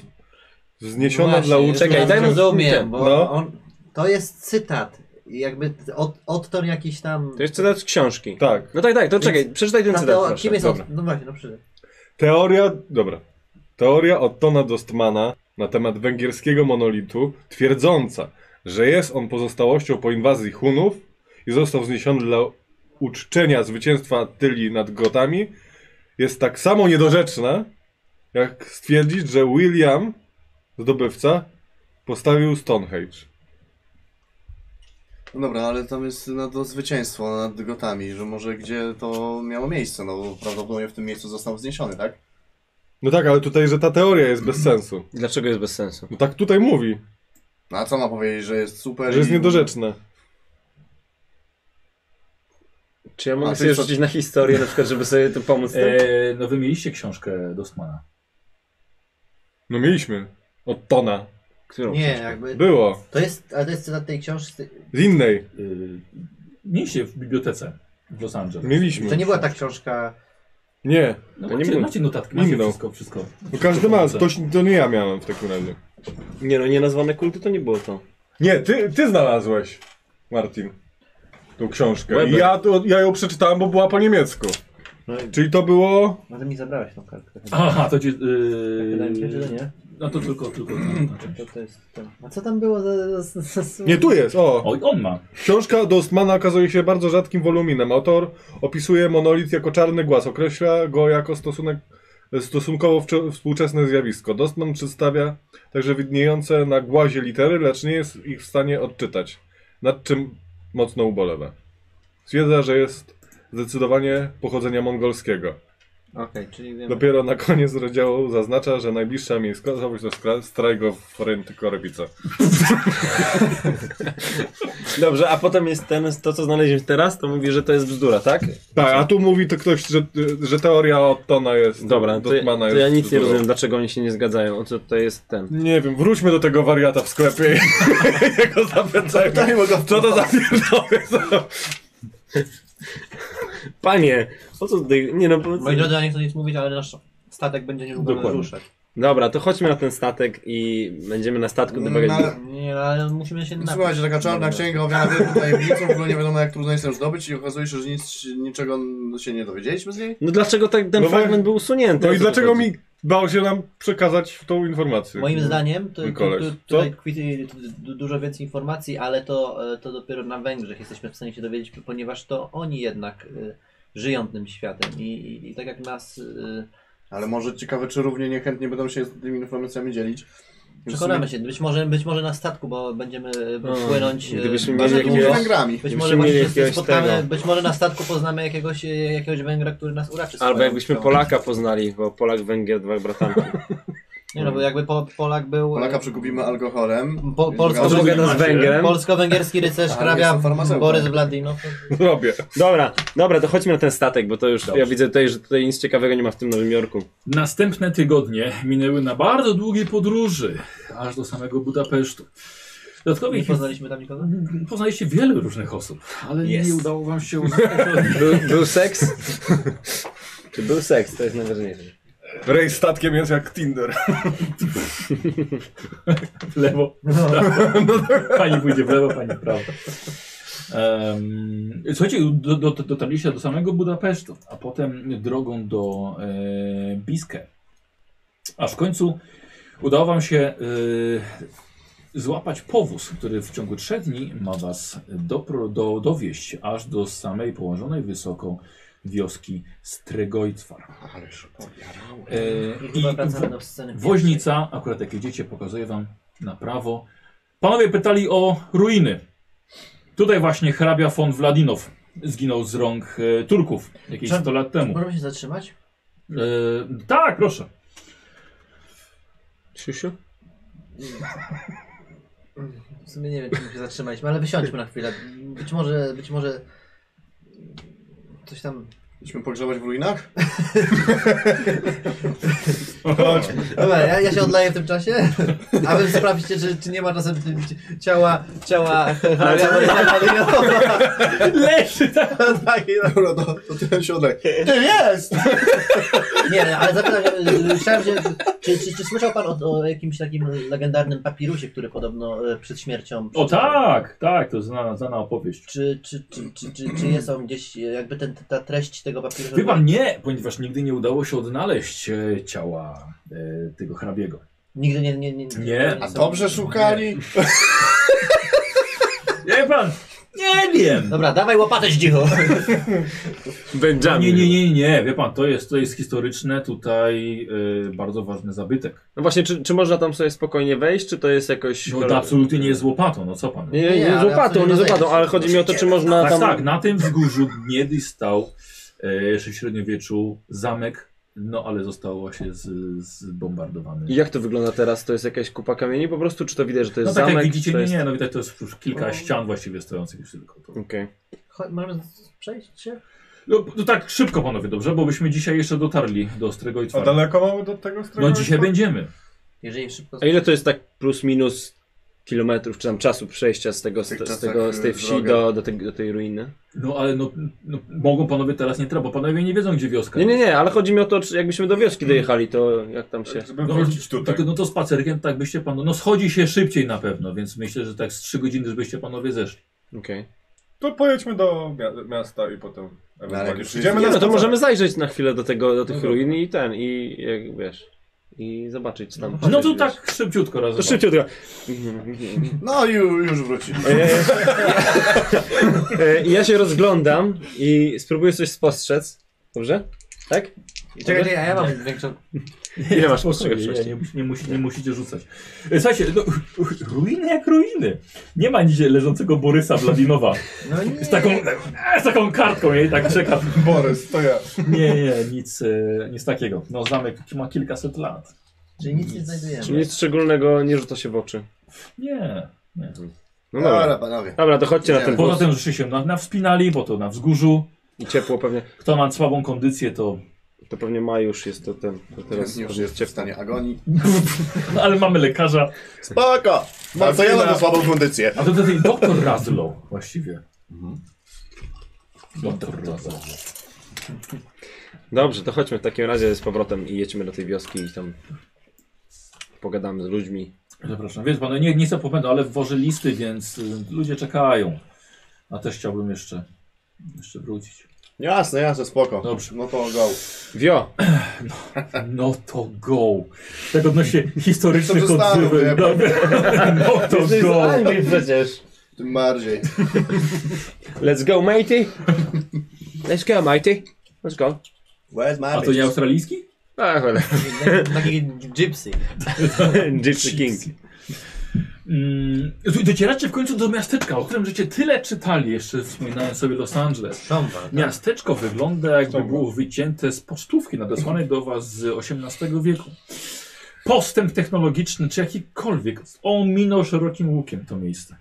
Speaker 4: wzniesiona
Speaker 3: No Właśnie,
Speaker 4: dla
Speaker 3: już
Speaker 4: uczenia.
Speaker 2: Czekaj,
Speaker 3: to
Speaker 2: daj mu-
Speaker 3: Rozumiem, bo
Speaker 4: No.
Speaker 3: on, to jest cytat. Jakby od, odton jakiś tam...
Speaker 2: To jest cytat z książki.
Speaker 4: Tak.
Speaker 2: No tak, tak, to czekaj, przeczytaj ten
Speaker 3: Ta
Speaker 2: cytat
Speaker 3: teo-
Speaker 2: proszę.
Speaker 3: kim jest
Speaker 4: dobra.
Speaker 3: od... No właśnie, no przyszedł.
Speaker 4: Teoria, dobra. Teoria Ottona Dostmana na temat węgierskiego monolitu, twierdząca, że jest on pozostałością po inwazji Hunów i został zniesiony dla uczczenia zwycięstwa Tyli nad Gotami, jest tak samo niedorzeczna, jak stwierdzić, że William, zdobywca, postawił Stonehenge.
Speaker 5: No dobra, ale tam jest na do zwycięstwo nad gotami, że może gdzie to miało miejsce, no bo prawdopodobnie w tym miejscu został zniesiony, tak?
Speaker 4: No tak, ale tutaj, że ta teoria jest bez sensu.
Speaker 11: Dlaczego jest bez sensu?
Speaker 4: No tak tutaj mówi,
Speaker 5: No a co ma powiedzieć, że jest super
Speaker 4: że jest
Speaker 5: i-
Speaker 4: niedorzeczna.
Speaker 11: Czy ja
Speaker 5: A,
Speaker 11: mogę
Speaker 5: to
Speaker 11: sobie
Speaker 5: jest-
Speaker 11: rzucić na historię, na przykład, żeby sobie to pomóc?
Speaker 2: tak?
Speaker 11: E...
Speaker 1: E, no wy mieliście książkę Dostmana.
Speaker 4: No mieliśmy. Od Tona.
Speaker 11: Którą?
Speaker 3: Nie, jakby.
Speaker 4: Było.
Speaker 3: To jest, ale to jest cytat tej książki.
Speaker 4: Z innej.
Speaker 1: E, mieliście w bibliotece w Los Angeles.
Speaker 3: To
Speaker 4: Mieliśmy.
Speaker 3: nie była ta książka.
Speaker 4: Nie.
Speaker 1: No,
Speaker 11: To nie
Speaker 1: macie,
Speaker 11: było.
Speaker 1: macie notatki, macie
Speaker 4: Minął.
Speaker 1: wszystko, wszystko.
Speaker 4: No każdy ma, to, to nie ja miałem w takim razie.
Speaker 2: Nie no, nienazwane kulty to nie było to.
Speaker 4: Nie, ty, ty znalazłeś, Martin, tą książkę. I
Speaker 2: Weber.
Speaker 4: ja, to- ja ją przeczytałem, bo była po niemiecku.
Speaker 3: No i
Speaker 4: Czyli to było...
Speaker 3: no to mi zabrałeś tą kartkę. Tak,
Speaker 1: Aha, to ci...
Speaker 3: Wydaje mi się, że
Speaker 1: Yy,
Speaker 3: nie.
Speaker 1: no to tylko, tylko. ta- ta część.
Speaker 3: To, to jest ten. A co tam było za. za, za, za...
Speaker 4: Nie, tu jest, o.
Speaker 1: Oj, on ma.
Speaker 4: Książka Dostmana okazuje się bardzo rzadkim woluminem. Autor opisuje monolit jako czarny głaz, określa go jako stosunek, stosunkowo wczo- współczesne zjawisko. Dostman przedstawia także widniejące na głazie litery, lecz nie jest ich w stanie odczytać, nad czym mocno ubolewa. Stwierdza, że jest zdecydowanie pochodzenia mongolskiego.
Speaker 3: Okej, czyli wiem.
Speaker 4: Dopiero na koniec rozdziału zaznacza, że najbliższa miejscowość to skra- Strajgo w Renty Korebice.
Speaker 2: Dobrze, a potem jest ten, to co znaleźliśmy teraz, to mówi, że to jest bzdura, tak?
Speaker 4: Tak, a tu mówi to ktoś, że, że teoria od Tona jest.
Speaker 2: Dobra, to,
Speaker 4: Dotmana
Speaker 2: to ja
Speaker 4: jest
Speaker 2: nic nie
Speaker 4: dużo.
Speaker 2: rozumiem, dlaczego oni się nie zgadzają, o co to jest ten.
Speaker 4: Nie wiem, wróćmy do tego wariata w sklepie i jego zapytajmy.
Speaker 5: Dajmy go w
Speaker 4: Co to za pierdolę są?
Speaker 2: Panie, o co tutaj, nie no, po co...
Speaker 3: Moi drodzy, ja nie chcę nic mówić, ale nasz statek będzie niedługo
Speaker 1: Dokładnie.
Speaker 3: ruszać.
Speaker 2: Dobra, to chodźmy na ten statek i będziemy na statku domawiać.
Speaker 5: Na-
Speaker 3: Nie, No, ale musimy się napić.
Speaker 5: No Słuchajcie, taka czarna
Speaker 3: Dobra.
Speaker 5: księga owiana wielką tajemnicą, którą nie wiadomo jak trudno jest ją zdobyć i okazuje się, że nic, niczego się nie dowiedzieliśmy z niej.
Speaker 2: No dlaczego tak ten
Speaker 4: No bo-
Speaker 2: fragment był usunięty?
Speaker 4: No
Speaker 2: O
Speaker 4: i
Speaker 2: co tu
Speaker 4: dlaczego
Speaker 2: chodzi?
Speaker 4: mi dało się nam przekazać tą informację?
Speaker 3: Moim zdaniem to,
Speaker 4: Mój
Speaker 3: tu-
Speaker 4: koleś.
Speaker 3: tu- tutaj kwitnie du- du- dużo więcej informacji, ale to, e, to dopiero na Węgrzech jesteśmy w stanie się dowiedzieć, ponieważ to oni jednak e, żyją tym światem i, i, i tak jak nas e,
Speaker 5: Ale może ciekawe, czy równie niechętnie będą się tymi informacjami dzielić.
Speaker 3: przekonamy się, być może, być może na statku, bo będziemy e,
Speaker 2: No,
Speaker 3: płynąć. e,
Speaker 2: gdybyśmy
Speaker 5: Może
Speaker 2: mieli
Speaker 5: tu z
Speaker 2: jakiegoś-
Speaker 5: Węgrami.
Speaker 3: Być
Speaker 2: Gdybyśmy
Speaker 3: może, właśnie
Speaker 2: mieli
Speaker 3: się
Speaker 2: jakiegoś
Speaker 3: spotkamy,
Speaker 2: tego.
Speaker 3: być może na statku poznamy jakiegoś, e, jakiegoś Węgra, który nas uraczy. swoją
Speaker 2: Albo jakbyśmy
Speaker 3: krwią.
Speaker 2: Polaka poznali, bo Polak, Węgier, dwa bratanki.
Speaker 3: Nie no, bo jakby po, Polak był...
Speaker 5: Polaka przekupimy alkoholem.
Speaker 3: Po- Polska- Tak,
Speaker 5: Albo
Speaker 3: Albo
Speaker 2: nas
Speaker 5: macie.
Speaker 2: Węgrem.
Speaker 3: Polsko-węgierski rycerz
Speaker 5: Ale
Speaker 3: hrabia
Speaker 5: jestem farmaceutą.
Speaker 3: Borys Wladinow.
Speaker 4: Robię.
Speaker 2: Dobra, dobra, to chodźmy na ten statek, bo to już
Speaker 1: Dobrze.
Speaker 2: ja widzę tutaj, że tutaj nic ciekawego nie ma w tym Nowym Jorku.
Speaker 1: Następne tygodnie minęły na bardzo długiej podróży, aż do samego Budapesztu. Dodatkowo
Speaker 3: Nie
Speaker 1: ich-
Speaker 3: poznaliśmy tam nikogo?
Speaker 1: poznaliście wiele różnych osób, ale nie
Speaker 2: Jest.
Speaker 1: udało wam się uznać.
Speaker 2: Był, był seks? Czy był seks? To jest najważniejsze.
Speaker 4: Rejs statkiem jest jak Tinder.
Speaker 1: w lewo. Pani pójdzie w lewo, pani w prawo. Em, słuchajcie, do, do, dotarliście do samego Budapesztu, a potem drogą do e, Biskę. Aż w końcu udało wam się e, złapać powóz, który w ciągu trzech dni ma was dopro, do, dowieść aż do samej położonej wysoko wioski Strygojtwar.
Speaker 5: Ale szybko.
Speaker 1: E,
Speaker 3: I
Speaker 1: i
Speaker 3: chyba wracamy do sceny.
Speaker 1: Woźnica, akurat jak jedziecie, pokazuję wam na prawo. Panowie pytali o ruiny. Tutaj właśnie hrabia von Wladinow zginął z rąk e, Turków jakieś
Speaker 3: Czemu?
Speaker 1: 100 lat temu. E,
Speaker 3: Możemy się zatrzymać?
Speaker 1: tak, proszę.
Speaker 2: Siusiu?
Speaker 3: W sumie nie wiem, czy my się zatrzymaliśmy, ale wysiądźmy na chwilę. Być może, być może... Coś tam...
Speaker 5: Idźmy pogrzebać w ruinach?
Speaker 3: Dobra, ja, ja się odlaję w tym czasie, a wy sprawdźcie, czy, czy nie ma czasem ci- ciała... ciała... hrabia Borysa Wladinowa.
Speaker 1: Leży tak.
Speaker 5: tak, dobra, to, to tyle się odlej. Ty jest!
Speaker 3: Nie, no, ale zapytam, e, chciałem się, czy, czy, czy słyszał pan o, o jakimś takim legendarnym papirusie, który podobno e, przed śmiercią...
Speaker 1: O tak, tak, to znana, znana opowieść.
Speaker 3: Czy, czy, czy, czy, czy, czy jest on gdzieś, e, jakby ten, ta treść tego papieru...
Speaker 1: Wie pan, nie, ponieważ nigdy nie udało się odnaleźć e, ciała e, tego hrabiego.
Speaker 3: Nigdy nie... Nie, nie,
Speaker 1: Nie,
Speaker 5: A dobrze szukali?
Speaker 1: Wie pan, Nie wiem.
Speaker 3: Dobra, dawaj łopatę zdzicho.
Speaker 2: Benjamin.
Speaker 1: No Nie, nie, nie, nie, wie pan, to jest, to jest historyczne tutaj y, bardzo ważny zabytek.
Speaker 2: No właśnie, czy, czy można tam sobie spokojnie wejść, czy to jest jakoś...
Speaker 1: No to absolutnie nie jest łopatą, no co pan.
Speaker 2: Nie, nie,
Speaker 3: Nie,
Speaker 2: nie z
Speaker 3: ale
Speaker 2: łopatą, nie
Speaker 3: absolutnie
Speaker 2: z łopatą,
Speaker 3: wejść.
Speaker 2: ale chodzi mi o to, czy można
Speaker 1: Tak,
Speaker 2: tam...
Speaker 1: tak, na tym wzgórzu niegdyś stał e, jeszcze w średniowieczu zamek, no ale został właśnie z- zbombardowany.
Speaker 2: I jak to wygląda teraz? To jest jakaś kupa kamieni po prostu, czy to widać, że to jest
Speaker 1: No tak
Speaker 2: zamek?
Speaker 1: jak widzicie,
Speaker 2: czy to
Speaker 1: nie,
Speaker 2: jest...
Speaker 1: nie, no widać to jest już kilka
Speaker 4: No.
Speaker 1: ścian właściwie stojących już tylko. To.
Speaker 2: Okej.
Speaker 3: Chodź, Możemy przejść się?
Speaker 1: No, no tak szybko panowie, dobrze, bo byśmy dzisiaj jeszcze dotarli do Ostrego i
Speaker 4: A
Speaker 1: Twardego.
Speaker 4: daleko mamy do tego
Speaker 1: No
Speaker 4: strony?
Speaker 1: dzisiaj będziemy.
Speaker 3: Jeżeli szybko...
Speaker 2: A ile to jest tak plus minus kilometrów, czy tam czasu przejścia z tego, z,
Speaker 5: tych
Speaker 2: z,
Speaker 5: czasach,
Speaker 2: tego, z tej
Speaker 5: y,
Speaker 2: wsi
Speaker 5: drogę.
Speaker 2: do, do, tej, do tej ruiny?
Speaker 1: No ale no, no mogą panowie teraz nie trzeba, bo panowie nie wiedzą gdzie wioska.
Speaker 2: Nie, nie, nie, ale chodzi mi o to, czy jakbyśmy do wioski dojechali, to jak tam się...
Speaker 4: Tak, Żeby
Speaker 1: No,
Speaker 4: wrócić tutaj.
Speaker 1: Tak, no to spacerkiem tak byście panowie, no schodzi się szybciej na pewno, więc myślę, że tak z 3 godziny już byście panowie zeszli.
Speaker 2: Okej.
Speaker 4: To pojedźmy do mia- miasta i potem
Speaker 2: No,
Speaker 5: jak
Speaker 4: ewentualnie
Speaker 5: już
Speaker 4: przyjdziemy
Speaker 2: Nie,
Speaker 4: na
Speaker 2: no to
Speaker 4: spacer.
Speaker 2: możemy zajrzeć na chwilę do tego, do tych
Speaker 4: No dobra.
Speaker 2: ruin i ten, i jak wiesz, i zobaczyć co tam.
Speaker 1: No to
Speaker 2: wiesz.
Speaker 1: tak szybciutko raz.
Speaker 2: To szybciutko.
Speaker 5: No i ju- już wróci.
Speaker 2: E, I ja się rozglądam i spróbuję coś spostrzec. Dobrze? Tak?
Speaker 3: Czekaj, czekaj, a ja mam większą...
Speaker 2: Ile
Speaker 1: Spokojnie,
Speaker 2: masz spostrzegawczości?
Speaker 1: nie, nie, musi- nie, musi, nie musicie rzucać. E, Słuchajcie, no, ruiny jak ruiny. Nie ma nigdzie leżącego Borysa Wladinowa.
Speaker 3: No nie.
Speaker 1: Z taką, e, z taką kartką jej tak czeka.
Speaker 4: Borys, to ja.
Speaker 1: Nie, nie, nic, e, nic takiego. No zamek ma kilkaset lat.
Speaker 3: Czyli nic
Speaker 2: Czyli
Speaker 3: nie znajdujemy.
Speaker 2: nic szczególnego nie rzuca się w oczy.
Speaker 1: Nie, nie.
Speaker 2: No dobra.
Speaker 5: Dobra, panowie.
Speaker 2: Dobra, to chodźcie na ten
Speaker 1: Poza
Speaker 2: wóz
Speaker 1: tym, że się na, na wspinali, bo to na wzgórzu.
Speaker 2: i ciepło pewnie.
Speaker 1: Kto ma słabą kondycję, to...
Speaker 2: To pewnie ma już jest to ten. To teraz
Speaker 5: Teraz już jest w stanie agonii.
Speaker 1: No ale mamy lekarza.
Speaker 5: Spoko! Ma, No, to ja mam słabą kondycję.
Speaker 1: A to tutaj doktor Razlo właściwie. Doktor Razlo.
Speaker 2: Dobrze, to chodźmy w takim razie z powrotem i jedźmy do tej wioski i tam pogadamy z ludźmi.
Speaker 1: Zapraszam. Więc panu, nie, nie chcę popędu, ale wwożę listy, więc y, ludzie czekają. A też chciałbym jeszcze, jeszcze wrócić.
Speaker 5: Jasne, jasne, spoko.
Speaker 1: Dobrze.
Speaker 5: No to go.
Speaker 2: Wio!
Speaker 1: No to go. Tak odnośnie historycznych
Speaker 5: Dobrze stanął,
Speaker 1: odzywy.
Speaker 5: nie?
Speaker 1: No, no to go.
Speaker 2: przecież!
Speaker 5: Tym bardziej.
Speaker 2: Let's go, matey! Let's go, matey! Let's go.
Speaker 5: Where's my
Speaker 1: A to nie australijski?
Speaker 2: A, cholera.
Speaker 3: Taki gypsy.
Speaker 2: Gypsy King.
Speaker 1: Mm, d- docieracie w końcu do miasteczka, o którym żeście tyle czytali, jeszcze wspominałem sobie Los Angeles.
Speaker 3: Szamba.
Speaker 1: Miasteczko wygląda jakby było wycięte z pocztówki nadesłanej do was z XVIII wieku. Postęp technologiczny, czy jakikolwiek, ominął szerokim łukiem to miejsce.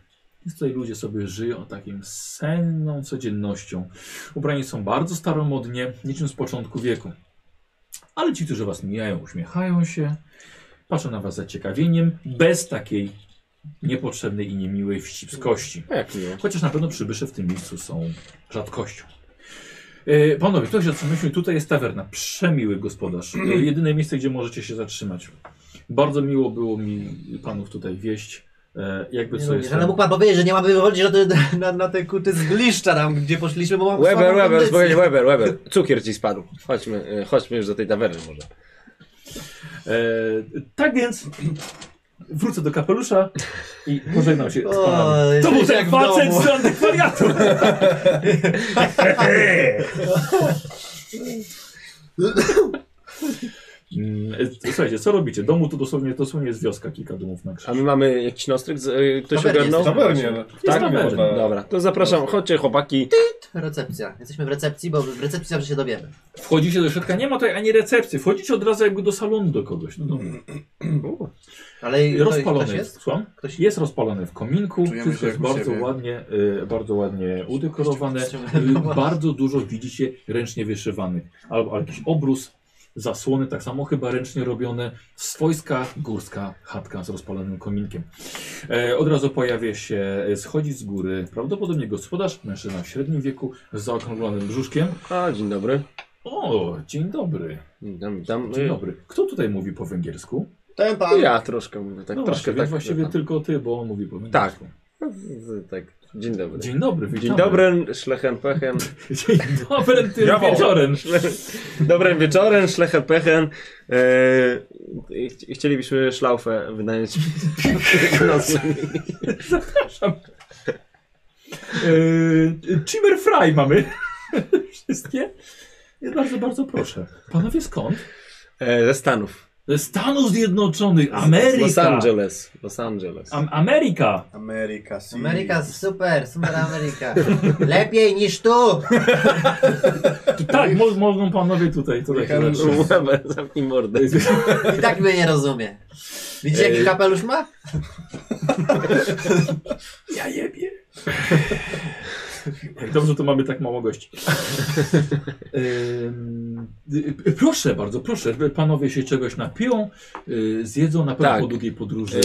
Speaker 1: Więc tutaj ludzie sobie żyją takim senną codziennością. Ubrani są bardzo staromodnie, niczym z początku wieku. Ale ci, którzy was mijają, uśmiechają się, patrzą na was z zaciekawieniem, bez takiej niepotrzebnej i niemiłej wścibskości.
Speaker 2: A Jak miło.
Speaker 1: Chociaż na pewno przybysze w tym miejscu są rzadkością. E, panowie, to się co myślmy, tutaj jest tawerna. Przemiły gospodarz. E, jedyne miejsce, gdzie możecie się zatrzymać. Bardzo miło było mi panów tutaj wieść. E, jakby
Speaker 3: Nie
Speaker 1: co
Speaker 3: lubisz,
Speaker 1: jest.
Speaker 3: ale mógł pan powiedzieć, że nie mamy wychodzić na te, na, na te kurty z gliszcza tam, gdzie poszliśmy, bo mam
Speaker 2: Weber,
Speaker 3: słabą
Speaker 2: Weber,
Speaker 3: kondycję.
Speaker 2: spokojnie, Weber, Weber. Cukier ci spadł. Chodźmy, e, chodźmy już do tej tawerny może.
Speaker 1: E, tak więc wrócę do kapelusza i pożegnam się z panami.
Speaker 3: O,
Speaker 1: To był ten
Speaker 3: jesteś jak w
Speaker 1: facet
Speaker 3: domu.
Speaker 1: z antykwariatu! Mm, e, Słuchajcie, co robicie? Domu to dosłownie, dosłownie jest wioska, kilka domów na
Speaker 2: A
Speaker 1: krzyż.
Speaker 2: my mamy jakiś nostryk? Z, e, ktoś
Speaker 3: Tawernie
Speaker 2: ogarnął?
Speaker 4: W tawernie.
Speaker 1: Jest
Speaker 2: Tak,
Speaker 1: tawerna.
Speaker 4: można.
Speaker 2: Dobra, to zapraszam. Chodźcie chłopaki.
Speaker 3: Recepcja. Jesteśmy w recepcji, bo w recepcji zawsze się dowiemy.
Speaker 1: Wchodzicie do środka, nie ma tutaj ani recepcji. Wchodzicie od razu jakby do salonu do kogoś. Do domu.
Speaker 3: Ale ktoś
Speaker 1: Rozpalony
Speaker 3: jest?
Speaker 1: jest. Słucham?
Speaker 3: Ktoś
Speaker 1: Jest rozpalony w kominku,
Speaker 5: Czujemy
Speaker 1: wszystko
Speaker 5: się
Speaker 1: jest
Speaker 5: jak u
Speaker 1: bardzo
Speaker 5: siebie.
Speaker 1: ładnie, y, bardzo ładnie udekorowane.
Speaker 3: Kościół-
Speaker 1: Y, bardzo dużo widzicie ręcznie wyszywanych. Albo jakiś obrus, zasłony, tak samo chyba ręcznie robione. Swojska górska chatka z rozpalonym kominkiem. E, od razu pojawia się, e, schodzi z góry, prawdopodobnie gospodarz, mężczyzna w średnim wieku, z zaokrąglonym brzuszkiem.
Speaker 2: A, dzień dobry.
Speaker 1: O, dzień dobry.
Speaker 2: Tam, tam,
Speaker 1: Dzień dobry. Kto tutaj mówi po węgiersku?
Speaker 5: Ten
Speaker 2: No
Speaker 5: pan.
Speaker 2: ja troszkę mówię, tak
Speaker 1: no właśnie,
Speaker 2: troszkę tak.
Speaker 1: więc właściwie
Speaker 2: tak.
Speaker 1: tylko ty, bo on mówi po węgiersku.
Speaker 2: tak. Dzień dobry. Dzień,
Speaker 1: Dzień dobry, witamy.
Speaker 2: dobry, szlechem pechem.
Speaker 1: Dzień Tak, dobry, ty
Speaker 4: Brawo.
Speaker 1: wieczorem.
Speaker 2: Dobrym wieczorem, szlechem pechem. Eee, i chci- i chcielibyśmy szlaufę wynająć. Nocny.
Speaker 1: Yy, Chimmer Fry mamy. Wszystkie. Ja bardzo, bardzo proszę. Panowie skąd?
Speaker 2: E, ze Stanów.
Speaker 1: Ze Stanów Zjednoczonych,
Speaker 2: Z-
Speaker 1: Ameryka.
Speaker 2: Z Los Angeles. Los Angeles.
Speaker 1: Am Ameryka.
Speaker 5: Ameryka, si.
Speaker 3: Ameryka super, super Ameryka. Lepiej niż tu!
Speaker 1: I tak, mo mogą panowie tutaj. tutaj
Speaker 5: Michał-
Speaker 1: zobaczyć.
Speaker 2: Łebę, Zamknij mordę.
Speaker 3: I tak mnie nie rozumie. Widzicie jaki kapelusz ma?
Speaker 1: ja jebie. Jak Dobrze, to mamy tak mało gości. Ym, y, y, proszę bardzo, proszę, panowie się czegoś napiją, y, zjedzą na pewno
Speaker 2: Tak.
Speaker 1: po długiej podróży.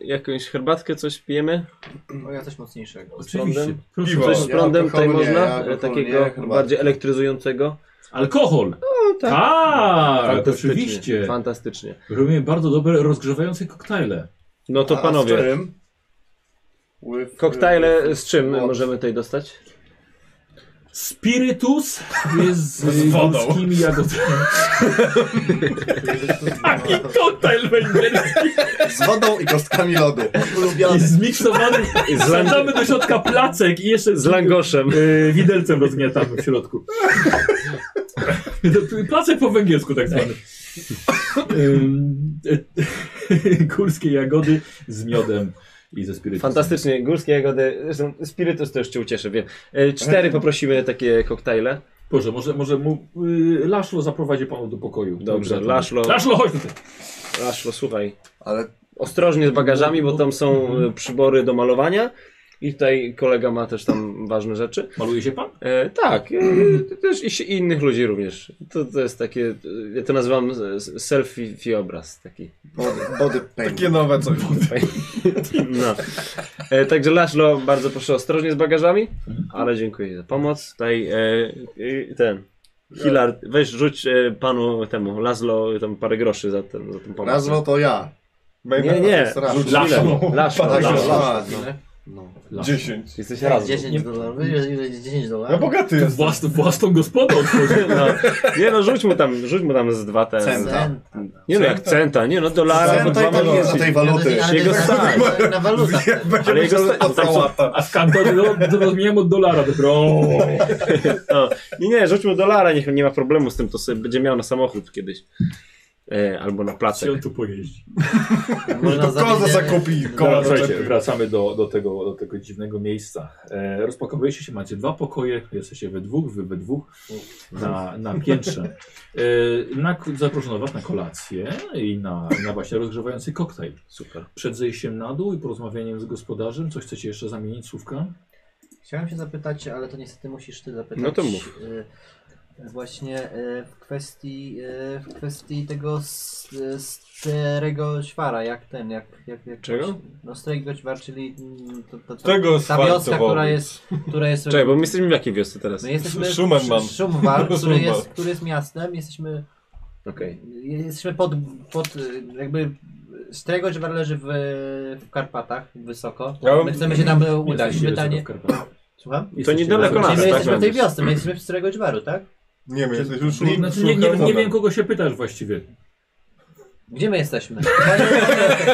Speaker 2: Yy, jakąś herbatkę, coś pijemy?
Speaker 3: No ja coś mocniejszego.
Speaker 1: Oczywiście.
Speaker 2: prądem?
Speaker 1: Proszę,
Speaker 4: Piwo.
Speaker 2: Coś
Speaker 1: proszę.
Speaker 2: z prądem tutaj
Speaker 5: alkoholu nie,
Speaker 2: można?
Speaker 5: alkoholu
Speaker 2: E, Takiego
Speaker 5: nie, herbaty.
Speaker 2: bardziej elektryzującego?
Speaker 1: Alkohol!
Speaker 2: tak.
Speaker 1: tak, oczywiście.
Speaker 2: Fantastycznie.
Speaker 1: Robimy bardzo dobre, rozgrzewające koktajle.
Speaker 2: No to panowie,
Speaker 5: With,
Speaker 2: koktajle z czym
Speaker 5: What?
Speaker 2: możemy tutaj dostać?
Speaker 1: Spirytus jest z,
Speaker 4: Z wodą.
Speaker 1: górskimi jagodami. Taki koktajl węgierski
Speaker 5: Z wodą i kostkami lodu.
Speaker 1: I
Speaker 5: Ulubiony.
Speaker 1: zmiksowany.
Speaker 2: I Z, lang
Speaker 1: Wsadzamy do środka placek i jeszcze
Speaker 2: z langoszem.
Speaker 1: Yy, widelcem rozgniatamy w środku. To- Placek po węgiersku tak zwany. Ym, e, Górskie jagody z miodem i ze spirytusem.
Speaker 2: Fantastycznie, górskie jagody. Zresztą Spirytus też cię ucieszy, wiem. E, Cztery poprosimy takie koktajle.
Speaker 1: Boże, może, może mu yy, Laszlo zaprowadzi panu do pokoju.
Speaker 2: Dobrze,
Speaker 1: to-
Speaker 2: Laszlo,
Speaker 1: Laszlo, chodź tutaj.
Speaker 2: Laszlo, słuchaj.
Speaker 5: Ale
Speaker 2: Ostrożnie z bagażami, bo tam są e, przybory do malowania. I tutaj kolega ma też tam ważne rzeczy.
Speaker 1: Maluje się pan?
Speaker 2: E, tak, e, też i, się- i innych ludzi również. To, to jest takie, e, ja to nazywam e, selfie obraz taki.
Speaker 5: body, body paint.
Speaker 4: Takie nowe coś.
Speaker 2: No. E, także Laszlo, bardzo proszę ostrożnie z bagażami, ale dziękuję za pomoc. Tutaj e, e, ten, Hilard, weź rzuć e, panu temu, Laszlo tam parę groszy za, ten, za tą pomoc.
Speaker 5: Razlo to ja.
Speaker 2: Nie, nie,
Speaker 5: Rzuć
Speaker 1: Laszlo.
Speaker 2: Laszlo,
Speaker 5: Tak,
Speaker 2: Laszlo.
Speaker 5: Laszlo. No.
Speaker 1: Laszlo.
Speaker 4: 10.
Speaker 2: Jesteś razem.
Speaker 3: 10 dolarów. Widzisz, 10
Speaker 4: Ja
Speaker 3: dolarów.
Speaker 4: bogaty jest.
Speaker 1: Własną, własną gospodę otworzył.
Speaker 2: No. Nie no, rzuć mu tam, rzuć mu tam z dwa te.
Speaker 5: Cen.
Speaker 2: Nie no, jak centa, nie no, dolara,
Speaker 5: Ale
Speaker 2: bo
Speaker 5: tutaj
Speaker 2: dwa
Speaker 5: tam nie
Speaker 2: może-
Speaker 5: jest tej waluty.
Speaker 3: Ale to
Speaker 2: Jego
Speaker 3: jest
Speaker 2: stan.
Speaker 3: na- na- na walutach.
Speaker 2: Ale jego, bo tam są,
Speaker 1: A w kantonie no, to rozmieniam od dolara dopiero.
Speaker 2: No, nie, nie, rzuć mu dolara, niech nie ma problemu z tym, to sobie będzie miał na samochód kiedyś. E, albo
Speaker 1: Czy
Speaker 2: na
Speaker 1: on
Speaker 2: placek.
Speaker 1: tu pojeździ?
Speaker 3: Można
Speaker 4: To koza
Speaker 3: zamienić-
Speaker 4: zakupi.
Speaker 1: Dobra,
Speaker 4: Koła
Speaker 1: słuchajcie,
Speaker 4: zaczepi.
Speaker 1: wracamy do, do, tego, do tego dziwnego miejsca. E, rozpakowujecie się, macie dwa pokoje, jesteście we dwóch, wy we dwóch na, na piętrze. E, na, zaproszono was na kolację i na, na właśnie rozgrzewający koktajl.
Speaker 2: Super.
Speaker 1: Przed zejściem na dół i porozmawianiem z gospodarzem, coś chcecie jeszcze zamienić słówka?
Speaker 3: Chciałem się zapytać, ale to niestety musisz ty zapytać.
Speaker 2: No to mów.
Speaker 3: y, Właśnie y, w kwestii, y, w kwestii tego s- y, starego świara, jak ten, jak... jak, jak
Speaker 2: Czego?
Speaker 3: No starego świara, czyli mm, to, to, to,
Speaker 4: Tego
Speaker 3: ta wioska, która jest... Która jest
Speaker 2: Czekaj, bo my jesteśmy w jakiej wiosce teraz?
Speaker 3: My jesteśmy
Speaker 4: Szumen mam.
Speaker 3: Szumwal, który
Speaker 4: Szumen.
Speaker 3: jest, który jest miastem, jesteśmy
Speaker 2: Okej.
Speaker 3: Jesteśmy pod, pod y, jakby Stregoć leży w, w Karpatach, wysoko.
Speaker 4: Ja bym-
Speaker 3: My chcemy się tam y, udać.
Speaker 1: Jesteście
Speaker 3: Pytanie.
Speaker 1: wysoko w Karpatach.
Speaker 3: Słucham?
Speaker 2: To
Speaker 1: Jesteście
Speaker 2: niedaleko
Speaker 1: wysoko.
Speaker 2: nas,
Speaker 3: Czyli
Speaker 2: tak?
Speaker 3: my jesteśmy w tej
Speaker 2: będziesz.
Speaker 3: wiosce, my jesteśmy w Stregoć Baru, tak?
Speaker 4: Nie wiem, jesteś już
Speaker 1: Znaczy, nie, nie, nie wiem, kogo się pytasz właściwie.
Speaker 3: Gdzie my jesteśmy?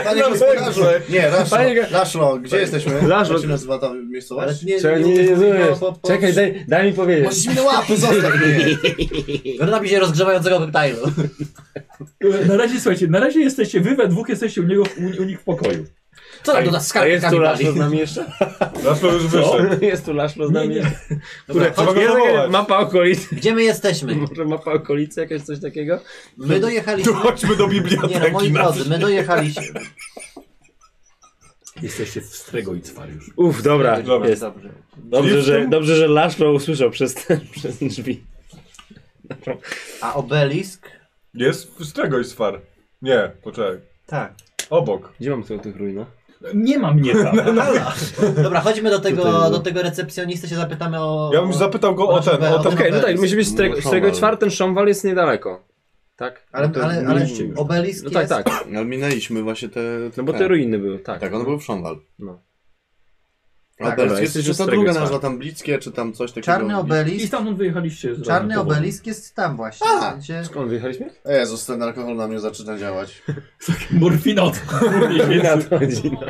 Speaker 5: Panie gospodarzu. Nie, Laszlo. Laszlo, gdzie jesteśmy?
Speaker 2: Laszlo.
Speaker 5: Jak się nazywa ta miejscowość?
Speaker 3: nie,
Speaker 2: Czekaj, nie, nie, nie,
Speaker 3: mówimy
Speaker 2: nie.
Speaker 3: o- po- po-
Speaker 2: Czekaj, daj, daj mi powiedzieć.
Speaker 5: Możesz mi na łapy zostać.
Speaker 3: Robi się rozgrzewającego koktajlu.
Speaker 1: E, Na razie, słuchajcie, na razie jesteście, wy we dwóch jesteście u, niego, u, u nich w pokoju.
Speaker 3: Co tam do nas
Speaker 2: A jest
Speaker 3: skarbnikami
Speaker 2: tu Laszlo
Speaker 3: wali?
Speaker 2: z nami jeszcze?
Speaker 4: Zaszło już wyszedł.
Speaker 2: Jest tu Laszlo z nami
Speaker 1: Nie,
Speaker 2: jeszcze? Kurde,
Speaker 4: trzeba go
Speaker 2: jest
Speaker 4: zawołać.
Speaker 2: jakaś mapa okolicy.
Speaker 3: Gdzie my jesteśmy?
Speaker 2: Może mapa okolicy, jakieś coś takiego?
Speaker 3: My
Speaker 4: Tu
Speaker 3: dojechaliśmy...
Speaker 4: chodźmy do
Speaker 3: Nie no, moi
Speaker 4: biblioteki. na-
Speaker 3: drodzy, my dojechaliśmy.
Speaker 1: Jesteście w Strego i Cwariusz.
Speaker 2: Uff, dobra,
Speaker 4: Dobra.
Speaker 2: jest.
Speaker 3: Dobrze.
Speaker 2: Dobrze, że, dobrze, że Laszlo usłyszał przez, te, przez drzwi.
Speaker 3: A obelisk?
Speaker 4: Jest z czegoś swar. Nie, poczekaj.
Speaker 3: Tak.
Speaker 4: Obok.
Speaker 2: Gdzie mam tu tych no? ruinach?
Speaker 1: Nie ma mnie tam.
Speaker 3: Halo. Dobra, chodźmy do tego,
Speaker 2: Tutaj- no.
Speaker 3: do tego recepcjonisty, się zapytamy o...
Speaker 4: Ja bym
Speaker 3: o...
Speaker 4: zapytał go o ten, o ten.
Speaker 2: Okej, no tak, musi być z
Speaker 5: Szomwal.
Speaker 2: tego, z tego czwartym Szomwal jest niedaleko. Tak?
Speaker 3: Ale,
Speaker 5: to
Speaker 3: ale, ale
Speaker 2: mieliście już.
Speaker 3: obelisk
Speaker 2: No tak,
Speaker 3: jest...
Speaker 2: tak.
Speaker 5: No minęliśmy właśnie te...
Speaker 2: No bo te ruiny były, tak.
Speaker 5: Tak, one były w Szonwal.
Speaker 2: No.
Speaker 5: A
Speaker 2: dobra,
Speaker 5: teraz jest
Speaker 2: jesteśmy
Speaker 5: czy
Speaker 2: z
Speaker 5: ta
Speaker 2: Strego
Speaker 5: druga
Speaker 2: Cwar.
Speaker 5: nazwa tam Blickie, czy tam coś takiego?
Speaker 3: Czarny
Speaker 1: I
Speaker 3: obelisk,
Speaker 1: stamtąd wyjechaliście. z
Speaker 3: czarny
Speaker 1: powodu.
Speaker 3: obelisk jest tam właśnie.
Speaker 5: A!
Speaker 3: Gdzie...
Speaker 2: Skąd wyjechaliśmy?
Speaker 5: Jezus, ten alkohol na mnie zaczyna działać.
Speaker 1: Morfina od
Speaker 2: Na to chodzi, no.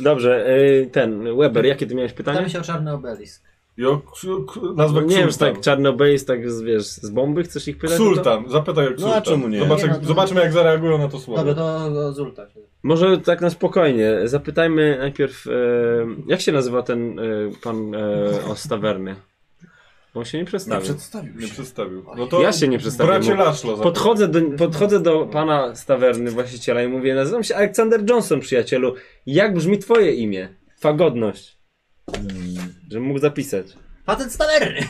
Speaker 2: Dobrze, e, ten Weber, jakie ty miałeś pytanie?
Speaker 3: Pytamy się o czarny obelisk.
Speaker 4: I o ksu- k- nazwę
Speaker 2: nie wiem, czy
Speaker 4: Ksultan.
Speaker 2: tak czarnobejs, tak z- wiesz, z bomby chcesz ich pytać? o to? No,
Speaker 4: Ksultan, zapytaj o Ksultan.
Speaker 5: a czemu nie?
Speaker 4: Zobacz,
Speaker 3: Nie,
Speaker 4: jak,
Speaker 3: no to-
Speaker 4: zobaczmy jak zareagują na to słowo.
Speaker 3: Dobra, to o Zulta. się-
Speaker 2: Może tak na spokojnie. Zapytajmy najpierw, e, jak się nazywa ten e, pan e, o z tawerny? On się nie
Speaker 5: Nie
Speaker 2: przedstawił.
Speaker 5: przedstawił
Speaker 4: Nie
Speaker 5: się.
Speaker 4: przedstawił. No to
Speaker 2: Ja się nie przedstawiłem.
Speaker 4: Bracie Laszlo. Pod...
Speaker 2: Podchodzę do, podchodzę do pana z tawerny, właściciela i mówię, nazywam się Aleksander Johnson, przyjacielu. Jak brzmi twoje imię? Fagodność. Żebym mógł zapisać.
Speaker 3: Patent z tawerny!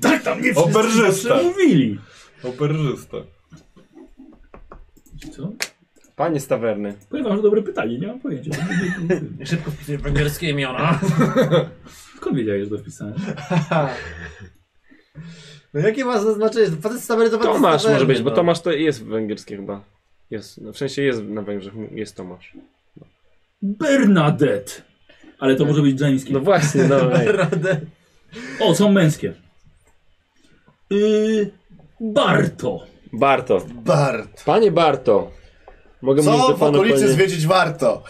Speaker 1: Tak tam nie
Speaker 4: Oberżysta.
Speaker 1: zawsze mówili.
Speaker 4: Operzysta.
Speaker 1: Co?
Speaker 2: Panie z tawerny.
Speaker 1: Powiem wam, że dobre pytanie, nie mam pojęcia.
Speaker 3: Szybko wpisuję w angielskie imiona.
Speaker 1: Skąd wiedziałeś, że to wpisałem?
Speaker 3: Tak. No jakie ma znaczenie? Facet z tawerny to facet z
Speaker 2: Tomasz
Speaker 3: tawerny,
Speaker 2: może być, bo
Speaker 3: no.
Speaker 2: Tomasz to jest węgierskie chyba. Jest, no, w sensie jest na Węgrzech, jest Tomasz.
Speaker 1: Bernadette. Ale to może być żeńskie.
Speaker 2: No właśnie, no. ej.
Speaker 3: Radę.
Speaker 1: O, są męskie. Yy, Barto.
Speaker 2: Barto.
Speaker 5: Bart.
Speaker 2: Panie Barto. Mogę mówić
Speaker 5: Co
Speaker 2: do
Speaker 5: w
Speaker 2: pana
Speaker 5: okolicy
Speaker 2: panie...
Speaker 5: zwiedzić warto?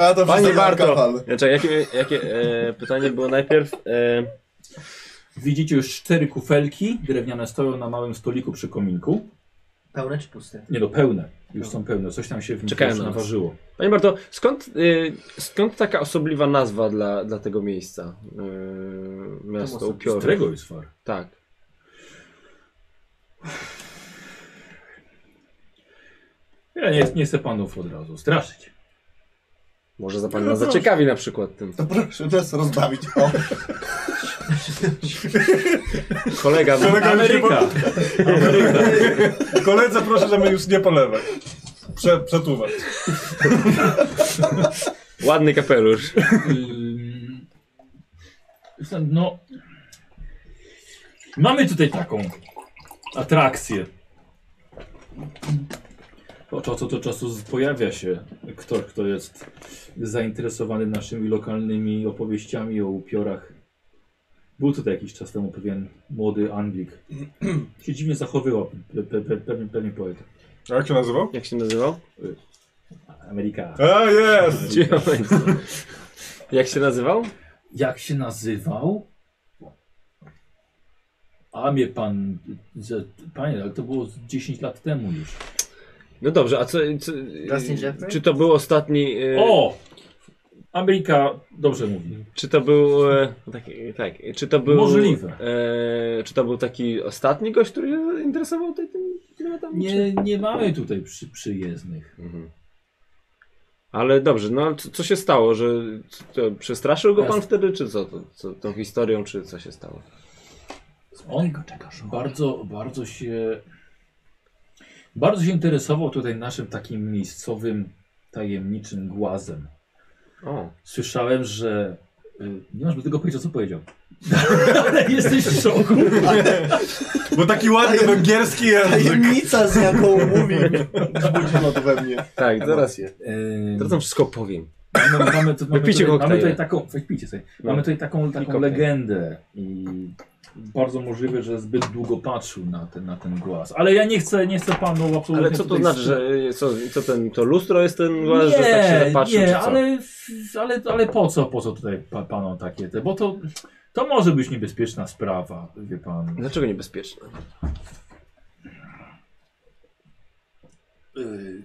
Speaker 5: A to
Speaker 2: Panie
Speaker 5: wszystko
Speaker 2: Barto.
Speaker 5: alkohol.
Speaker 2: Znaczy, jakie, jakie e, pytanie było najpierw? E,
Speaker 1: Widzicie już cztery kufelki drewniane stoją na małym stoliku przy kominku.
Speaker 3: Pełne czy puste?
Speaker 1: Nie, no pełne. Już są pełne. Coś tam się w nich
Speaker 2: Czekają
Speaker 1: już
Speaker 2: na nas.
Speaker 1: naważyło.
Speaker 2: panie Barto, skąd, e, skąd taka osobliwa nazwa dla, dla tego miejsca? E, miasto
Speaker 3: Tomasowi.
Speaker 1: Z
Speaker 2: Upioru.
Speaker 1: którego jest far?
Speaker 2: Tak.
Speaker 1: Ja nie, nie chcę panów od razu straszyć.
Speaker 2: Może za
Speaker 5: No
Speaker 2: pana
Speaker 5: proszę.
Speaker 2: zaciekawi na przykład tym.
Speaker 5: To proszę nas rozbawić. O,
Speaker 2: Kolega,
Speaker 1: Ameryka.
Speaker 4: Koledze proszę, żeby już nie polewać. Prze, przetłumacz.
Speaker 2: ładny kapelusz.
Speaker 1: Ym, No. Mamy tutaj taką atrakcję. Od czasu do czasu z- pojawia się ktoś, kto jest zainteresowany naszymi lokalnymi opowieściami o upiorach. Był tutaj jakiś czas temu pewien młody Anglik. się dziwnie zachowywał, pe, pe, pe, pewnie, pewnie poeta.
Speaker 4: A jak się nazywał?
Speaker 2: Jak się nazywał?
Speaker 1: Ameryka.
Speaker 4: A, jest!
Speaker 2: Gdzie on jest? Jak się nazywał?
Speaker 1: Jak się nazywał? A mnie pan. z- Panie, ale to było z 10 lat temu już.
Speaker 2: No dobrze, a co... co e,
Speaker 3: Dustin Jeffrey?
Speaker 2: czy to był ostatni... e,
Speaker 1: O! Ameryka dobrze mówi.
Speaker 2: Czy to był. e, Tak, e, tak. Czy to był.
Speaker 1: Możliwe.
Speaker 2: E, czy to był taki ostatni gość, który się interesował ty- tym klimatami? Czy...
Speaker 1: Nie, nie mamy tutaj przy, przyjezdnych.
Speaker 2: Mhm. Ale dobrze, no ale co, co się stało? Że c- to, przestraszył go pan
Speaker 1: Jasne.
Speaker 2: wtedy, czy co? To, co? Tą historią, czy co się stało?
Speaker 1: On bardzo, bardzo się. Bardzo się interesował tutaj naszym takim miejscowym, tajemniczym głazem.
Speaker 2: O,
Speaker 1: Słyszałem, że. y, Nie masz do tego pojęcia, co powiedział. Ale jesteś w szoku.
Speaker 4: Bo taki ładny węgierski język.
Speaker 5: tajemnica z jaką mówi. Zbudziło to we mnie.
Speaker 2: tak, zaraz.
Speaker 5: Emocje.
Speaker 1: Ym,
Speaker 2: Teraz wam wszystko opowiem.
Speaker 1: Mamy, No, mamy, tu, mamy,
Speaker 2: Wypijcie
Speaker 1: tutaj, mamy
Speaker 2: koktajle.
Speaker 1: tutaj taką, wypijcie sobie.
Speaker 2: No.
Speaker 1: Mamy tutaj taką, taką
Speaker 2: koktajl.
Speaker 1: legendę i bardzo możliwe, że zbyt długo patrzył na ten, na ten głaz. Ale ja nie chcę, nie chcę panu absolutnie.
Speaker 2: Ale co to
Speaker 1: tutaj-
Speaker 2: znaczy, że e, co, co ten, to lustro jest ten głaz,
Speaker 1: nie,
Speaker 2: że tak się zapatrzył, czy
Speaker 1: nie,
Speaker 2: co?
Speaker 1: ale, ale, ale po co, po co tutaj pa, panom takie te, bo to, to może być niebezpieczna sprawa, wie pan.
Speaker 2: Dlaczego niebezpieczne?
Speaker 1: Yy,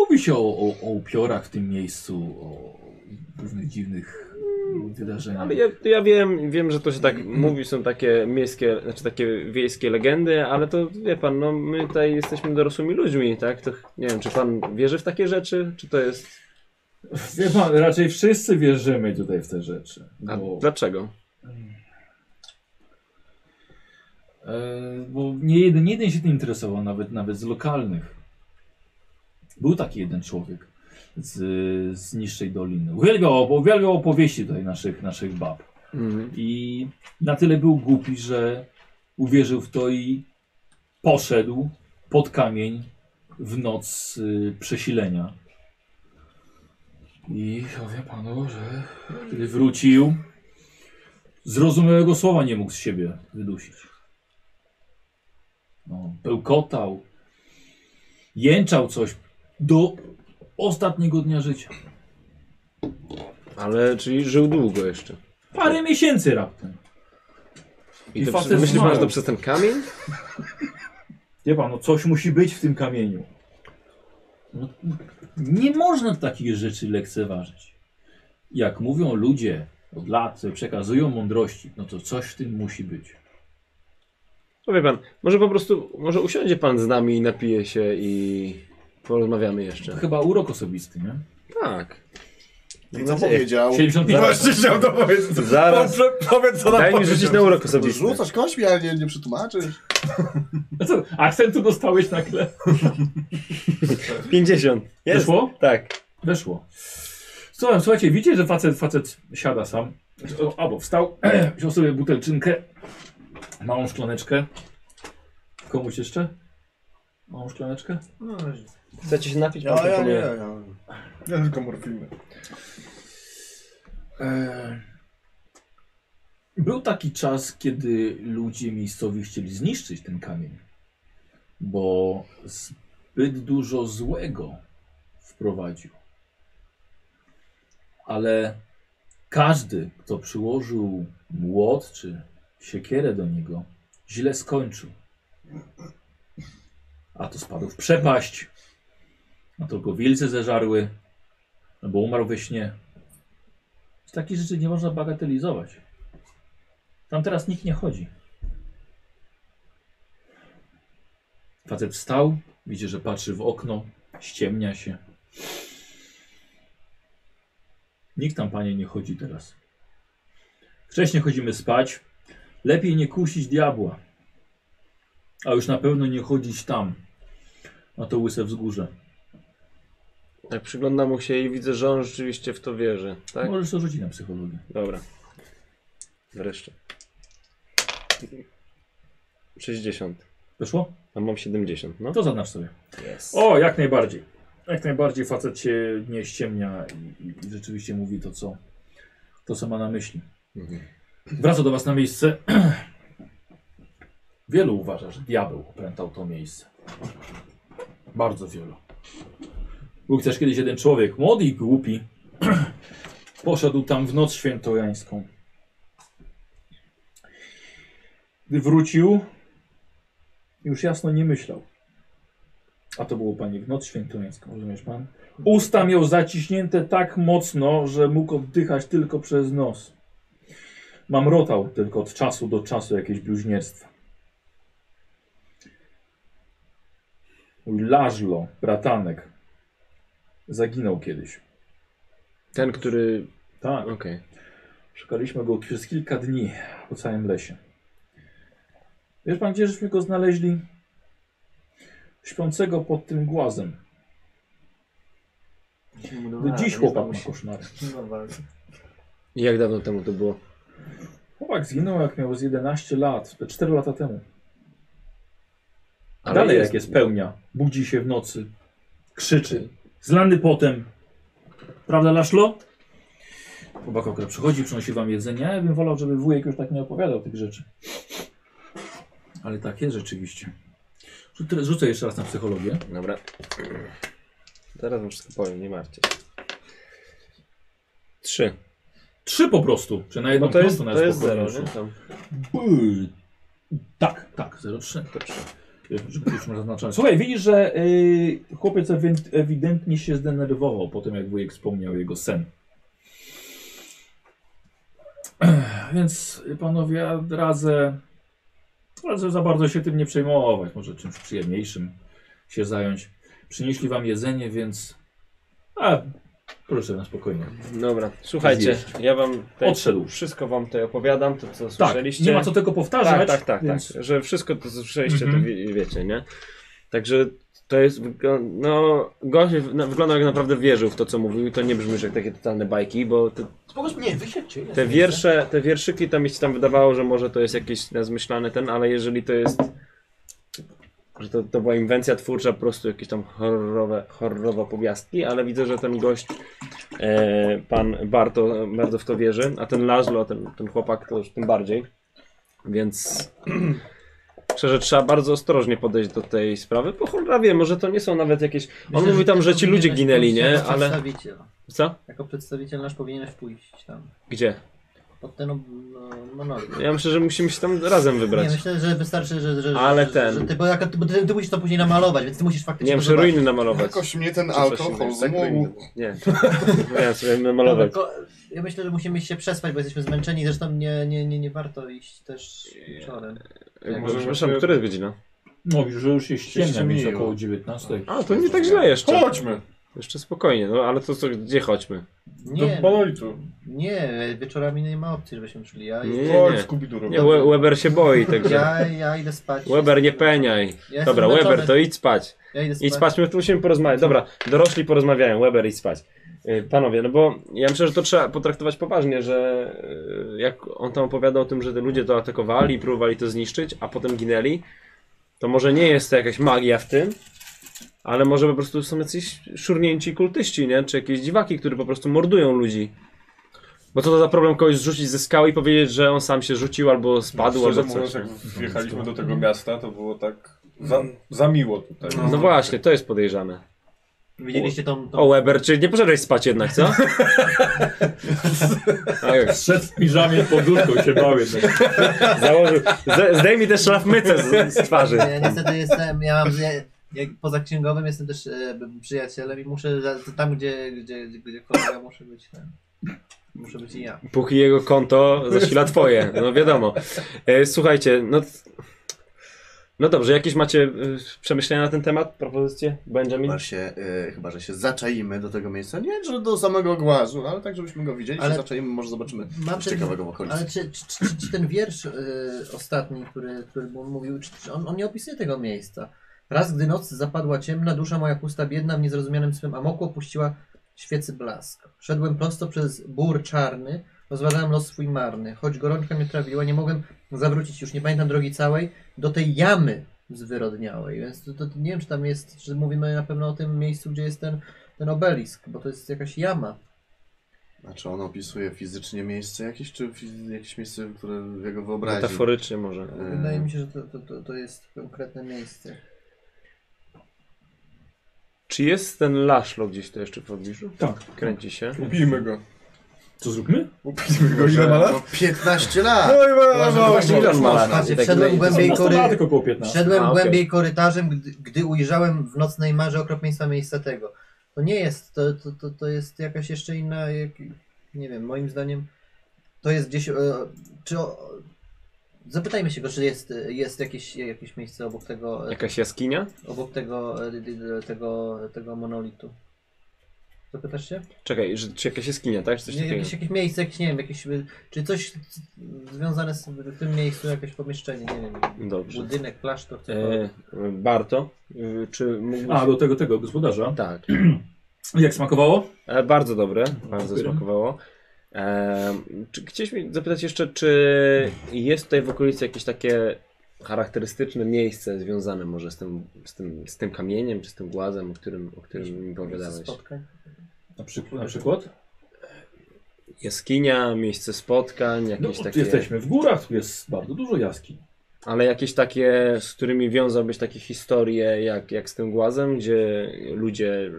Speaker 1: Mówi się o, o, o upiorach w tym miejscu, o różnych dziwnych wydarzeniach.
Speaker 2: Ale ja, ja wiem, wiem, że to się tak mówi, są takie miejskie, znaczy takie wiejskie legendy, ale to wie pan, no my tutaj jesteśmy dorosłymi ludźmi, tak? To ch- nie wiem, czy pan wierzy w takie rzeczy, czy to jest.
Speaker 1: Wie pan, raczej wszyscy wierzymy tutaj w te rzeczy.
Speaker 2: A
Speaker 1: Bo,
Speaker 2: dlaczego?
Speaker 1: e, bo nie, jeden, nie jeden się tym interesował, nawet, nawet z lokalnych. Był taki jeden człowiek z, z niższej doliny. Uwielbiał, opo- uwielbiał opowieści tutaj naszych, naszych bab.
Speaker 2: Mhm.
Speaker 1: I na tyle był głupi, że uwierzył w to i poszedł pod kamień w noc y, przesilenia. I powiem panu, że kiedy wrócił, zrozumiałego słowa nie mógł z siebie wydusić. No, bełkotał, jęczał coś do ostatniego dnia życia.
Speaker 2: Ale, czyli żył długo jeszcze.
Speaker 1: Parę miesięcy raptem.
Speaker 2: I,
Speaker 1: I
Speaker 2: to
Speaker 1: facet
Speaker 2: przez, myślisz,
Speaker 1: zmarł.
Speaker 2: masz to przez ten kamień?
Speaker 1: Wie pan, no coś musi być w tym kamieniu. No, nie można takich rzeczy lekceważyć. Jak mówią ludzie od lat, że przekazują mądrości, no to coś w tym musi być.
Speaker 2: No wie pan, może po prostu, może usiądzie pan z nami i napije się i porozmawiamy
Speaker 1: To
Speaker 2: jeszcze.
Speaker 1: chyba urok osobisty, nie?
Speaker 2: Tak.
Speaker 5: I co No, powiedział?
Speaker 1: 75
Speaker 4: Właśnie chciałem to powiedzieć.
Speaker 2: Zaraz.
Speaker 4: Poprze- Powiedz co
Speaker 2: Daj mi rzucić na urok osobisty.
Speaker 5: Rzucasz kośmi, ale nie, nie przetłumaczysz.
Speaker 1: A No co, akcentu dostałeś na kle?
Speaker 2: 50. Jest.
Speaker 1: Weszło?
Speaker 2: Tak.
Speaker 1: Weszło. Słuchaj, słuchajcie, widzicie, że facet, facet siada sam. Znaczy, o, Albo wstał, wziął sobie butelczynkę, małą szklaneczkę. Komuś jeszcze? Małą szklaneczkę?
Speaker 2: Chcecie się napić? Pan
Speaker 5: Ja, ja, nie,
Speaker 2: proponuje.
Speaker 5: ja.
Speaker 4: Ja tylko morfiny.
Speaker 1: E, Był taki czas, kiedy ludzie miejscowi chcieli zniszczyć ten kamień, bo zbyt dużo złego wprowadził. Ale każdy, kto przyłożył młot czy siekierę do niego, źle skończył. A to spadł w przepaść, a to go wilce zeżarły, albo umarł we śnie. Takich rzeczy nie można bagatelizować. Tam teraz nikt nie chodzi. Facet wstał, widzi, że patrzy w okno, ściemnia się. Nikt tam, panie, nie chodzi teraz. Wcześniej chodzimy spać. Lepiej nie kusić diabła. A już na pewno nie chodzić tam, na to łyse wzgórze.
Speaker 2: Tak, przyglądam mu się i widzę, że on rzeczywiście w to wierzy. Tak?
Speaker 1: Możesz to rzucić na psychologię.
Speaker 2: Dobra. Wreszcie. 60.
Speaker 1: Wyszło?
Speaker 2: A mam 70, no.
Speaker 1: To zaznacz sobie.
Speaker 2: Yes.
Speaker 1: O, jak najbardziej. Jak najbardziej facet się nie ściemnia i, i, i rzeczywiście mówi to co, to, co ma na myśli.
Speaker 2: Mhm.
Speaker 1: Wraca do was na miejsce. Wielu uważa, że diabeł opętał to miejsce. Bardzo wielu. Był też kiedyś jeden człowiek, młody i głupi, poszedł tam w noc świętojańską. Gdy wrócił, już jasno nie myślał. A to było panie w noc świętojańską, rozumiesz pan? Usta miał zaciśnięte tak mocno, że mógł oddychać tylko przez nos. Mamrotał tylko od czasu do czasu jakieś bluźnierstwa. Mój Lażlo, bratanek, zaginął kiedyś.
Speaker 2: Ten, który...
Speaker 1: Tak.
Speaker 2: Okej.
Speaker 1: Szukaliśmy go przez kilka dni po całym lesie. Wiesz pan, gdzie żeśmy go znaleźli? Śpiącego pod tym głazem. Do
Speaker 3: No,
Speaker 1: dziś chłopak ma koszmary.
Speaker 2: I Jak dawno temu to było?
Speaker 1: Chłopak zginął jak miał z 11 lat, te 4 lata temu.
Speaker 2: Ale
Speaker 1: Dalej
Speaker 2: jest-
Speaker 1: jak jest pełnia, budzi się w nocy, krzyczy, zlany potem. Prawda Laszlo? Chłopak akurat przychodzi, przynosi wam jedzenie. Ja bym wolał, żeby wujek już tak nie opowiadał tych rzeczy. Ale tak jest rzeczywiście. Rzucę- Rzucę jeszcze raz na psychologię.
Speaker 2: Dobra. Zaraz wam wszystko powiem, nie martwcie się. Trzy.
Speaker 1: Trzy po prostu, czy na jedną
Speaker 2: Bo to jest,
Speaker 1: na
Speaker 2: to jest zero, nie? Tam.
Speaker 1: Yy, Tak, tak, 0,3. Yy, Żeby już miał zaznaczone. Słuchaj, widzisz, że yy, chłopiec ewi- ewidentnie się zdenerwował po tym, jak wujek wspomniał jego sen. Ech, Więc y, panowie, ja radzę, radzę za bardzo się tym nie przejmować. Może czymś przyjemniejszym się zająć. Przynieśli wam jedzenie, więc. A, proszę na spokojnie.
Speaker 2: Dobra, słuchajcie, ja wam tutaj,
Speaker 1: Odszedł.
Speaker 2: wszystko wam tutaj opowiadam, to co
Speaker 1: Tak,
Speaker 2: słyszeliście.
Speaker 1: nie ma co tego powtarzać.
Speaker 2: Tak, tak, tak,
Speaker 1: więc...
Speaker 2: tak. Że wszystko to, co słyszeliście,
Speaker 1: Mhm.
Speaker 2: to wie, wiecie, nie? Także to jest. wygl- No, gość w- no, wyglądał jak naprawdę wierzył w to, co mówił, i to nie brzmi jak takie totalne bajki, bo te,
Speaker 3: Spokojnie, nie, wysiedźcie. jest
Speaker 2: te
Speaker 3: miejsce.
Speaker 2: wiersze, te wierszyki tam mi się tam wydawało, że może to jest jakiś zmyślany ten, ale jeżeli to jest. Że to, to była inwencja twórcza, po prostu jakieś tam horrorowe, horrorowe opowiastki, ale widzę, że ten gość, e, pan Barto, bardzo w to wierzy, a ten Laszlo, ten, ten chłopak, to już tym bardziej. Więc Szczerze, trzeba bardzo ostrożnie podejść do tej sprawy. Po cholera wie, może to nie są nawet jakieś... On mówi tam, że ci ludzie ginęli, nie? Ale...
Speaker 3: Przedstawiciel.
Speaker 2: Co?
Speaker 3: Jako przedstawiciel nasz powinieneś pójść tam.
Speaker 2: Gdzie?
Speaker 3: Pod ten ob- no, monolog.
Speaker 2: Ja myślę, że musimy się tam razem
Speaker 3: Nie,
Speaker 2: wybrać.
Speaker 3: myślę, że wystarczy, że, że,
Speaker 2: Ale
Speaker 3: że,
Speaker 2: ten-
Speaker 3: Że ty, bo jak, ty, bo ty, ty musisz to później namalować, więc ty musisz faktycznie
Speaker 2: Nie wiem,
Speaker 3: to
Speaker 2: że
Speaker 3: zobaczyć.
Speaker 2: ruiny namalować.
Speaker 5: Jakoś mnie ten
Speaker 2: Czy coś
Speaker 5: alkohol
Speaker 2: innego. Tak,
Speaker 5: zmógł.
Speaker 2: Nie, ja sobie
Speaker 3: Dobra,
Speaker 2: namalować.
Speaker 3: ko- ja myślę, że musimy się przespać, bo jesteśmy zmęczeni. Zresztą nie, nie, nie, nie warto iść też wieczorem.
Speaker 2: Jakby, Przepraszam, która jest godzina?
Speaker 1: No już, już się ściemnia,
Speaker 4: ściemniło.
Speaker 1: więc około 19.
Speaker 2: A, to nie tak źle jeszcze.
Speaker 4: Chodźmy!
Speaker 2: Jeszcze spokojnie, no ale to co, gdzie chodźmy?
Speaker 4: Do
Speaker 3: Nie,
Speaker 4: monolitu.
Speaker 3: nie, wieczorami nie ma opcji, żebyśmy szli. Ja,
Speaker 2: Nie,
Speaker 4: Chodź,
Speaker 2: nie.
Speaker 4: Skubidu
Speaker 2: Nie, We- Weber się boi, także...
Speaker 3: ja, ja idę spać.
Speaker 2: Weber, nie peniaj.
Speaker 3: Ja jestem
Speaker 2: Dobra,
Speaker 3: zmęczony.
Speaker 2: Weber, to idź spać.
Speaker 3: Ja idę spać.
Speaker 2: Idź spać, my tu musimy porozmawiać. Dobra, dorośli porozmawiają, Weber, idź spać. Y, Panowie, no bo ja myślę, że to trzeba potraktować poważnie, że y, jak on tam opowiadał o tym, że te ludzie to atakowali, próbowali to zniszczyć, a potem ginęli, to może nie jest to jakaś magia w tym, ale może po prostu są jacyś szurnięci kultyści, nie? Czy jakieś dziwaki, które po prostu mordują ludzi. Bo co to za problem kogoś zrzucić ze skały i powiedzieć, że on sam się rzucił albo spadł,
Speaker 4: Szczerze
Speaker 2: albo coś.
Speaker 4: mówiąc, jak wjechaliśmy do tego miasta, to było tak za, za miło tutaj.
Speaker 2: No właśnie, to jest podejrzane.
Speaker 3: Widzieliście tą... tą...
Speaker 2: O Weber, czyli nie poszedłeś spać jednak, co? Oj,
Speaker 1: Szedł w piżamie pod dudką się no. bał jednak.
Speaker 2: założył. Z, zdejmij też szlafmycę z, z twarzy.
Speaker 3: Ja niestety jestem, ja mam... Ja, jak poza księgowym jestem też e, przyjacielem i muszę za- tam, gdzie, gdzie, gdzie kolega muszę być. Ten, muszę być i ja.
Speaker 2: Póki jego konto zasila twoje, no wiadomo. E, słuchajcie, no... No dobrze, jakieś macie e, przemyślenia na ten temat, propozycje, Benjamin?
Speaker 5: Chyba, się, e, chyba, że się zaczaimy do tego miejsca. Nie, że do samego głazu, ale tak, żebyśmy go widzieli, ale...
Speaker 3: Ale-
Speaker 5: się zaczaimy, może zobaczymy
Speaker 3: Mam
Speaker 5: coś
Speaker 3: ten-
Speaker 5: ciekawego w okolicy.
Speaker 3: Ale czy, czy, czy, czy ten wiersz y, ostatni, który, który mu mówił, czy, czy on, on nie opisuje tego miejsca? Raz, gdy noc zapadła ciemna, dusza moja pusta, biedna, w niezrozumianym swym amoku opuściła świecy blask. Szedłem prosto przez bór czarny, rozważałem los swój marny. Choć gorączka mnie trawiła, nie mogłem zawrócić już, nie pamiętam drogi całej, do tej jamy zwyrodniałej. Więc to, to nie wiem, czy tam jest, czy mówimy na pewno o tym miejscu, gdzie jest ten, ten obelisk, bo to jest jakaś jama.
Speaker 5: A czy Znaczy, on opisuje fizycznie miejsce jakieś, czy fiz- jakieś miejsce, które w jego wyobraźni?
Speaker 2: Metaforycznie może.
Speaker 5: E,
Speaker 3: Wydaje mi się, że to, to, to, to jest konkretne miejsce.
Speaker 2: Czy jest ten Laszlo gdzieś tu jeszcze w pobliżu?
Speaker 1: Tak.
Speaker 2: Kręci się.
Speaker 4: Kupijmy go.
Speaker 1: Co zróbmy?
Speaker 4: Kupijmy go. Ile ma
Speaker 5: No
Speaker 4: lat?
Speaker 5: 15 lat!
Speaker 4: No i ma-
Speaker 5: Boże,
Speaker 4: ma-
Speaker 2: Właśnie
Speaker 4: ma-
Speaker 2: ile on ma lat?
Speaker 3: Patrzcie,
Speaker 2: I tak
Speaker 3: wszedłem
Speaker 2: dalej.
Speaker 3: głębiej,
Speaker 1: Są
Speaker 3: kory...
Speaker 1: nastolatek około 15.
Speaker 3: wszedłem
Speaker 2: No, A, okej.
Speaker 3: głębiej korytarzem, gdy, gdy ujrzałem w nocnej marze okropieństwa miejsca tego. To nie jest, to, to, to, to jest jakaś jeszcze inna, jak... nie wiem, moim zdaniem to jest gdzieś, e, czy o... Zapytajmy się go, czy jest, jest jakieś, jakieś miejsce obok tego, e,
Speaker 2: Jakaś jaskinia?
Speaker 3: obok tego, e, d- d- tego, tego monolitu. Zapytasz się?
Speaker 2: Czekaj, że, czy jakaś jaskinia, tak? Czy coś
Speaker 3: Nie,
Speaker 2: takiego?
Speaker 3: jakieś, jakieś miejsce, jakieś, nie wiem, jakieś, y, czy coś c- związane z w tym miejscu, jakieś pomieszczenie, nie wiem,
Speaker 2: Dobrze.
Speaker 3: budynek, klasztor, cokolwiek.
Speaker 2: E, Barto, y, czy mógłbyś...
Speaker 1: A, do tego, tego gospodarza.
Speaker 2: tak.
Speaker 1: Jak smakowało?
Speaker 2: E, bardzo dobre, bardzo
Speaker 1: Dziękuję.
Speaker 2: smakowało. E, czy, chcieliśmy zapytać jeszcze, czy jest tutaj w okolicy jakieś takie charakterystyczne miejsce związane może z tym, z tym, z tym kamieniem, czy z tym głazem, o którym, o którym mi
Speaker 3: Miejsce
Speaker 2: opowiadałeś?
Speaker 3: spotkań.
Speaker 1: Na, przyk- na przykład?
Speaker 2: Jaskinia, miejsce spotkań,
Speaker 1: No,
Speaker 2: jakieś
Speaker 1: tu
Speaker 2: takie...
Speaker 1: Jesteśmy w górach, tu jest bardzo dużo jaskiń.
Speaker 2: Ale jakieś takie, z którymi wiązałbyś takie historie jak, jak z tym głazem, gdzie ludzie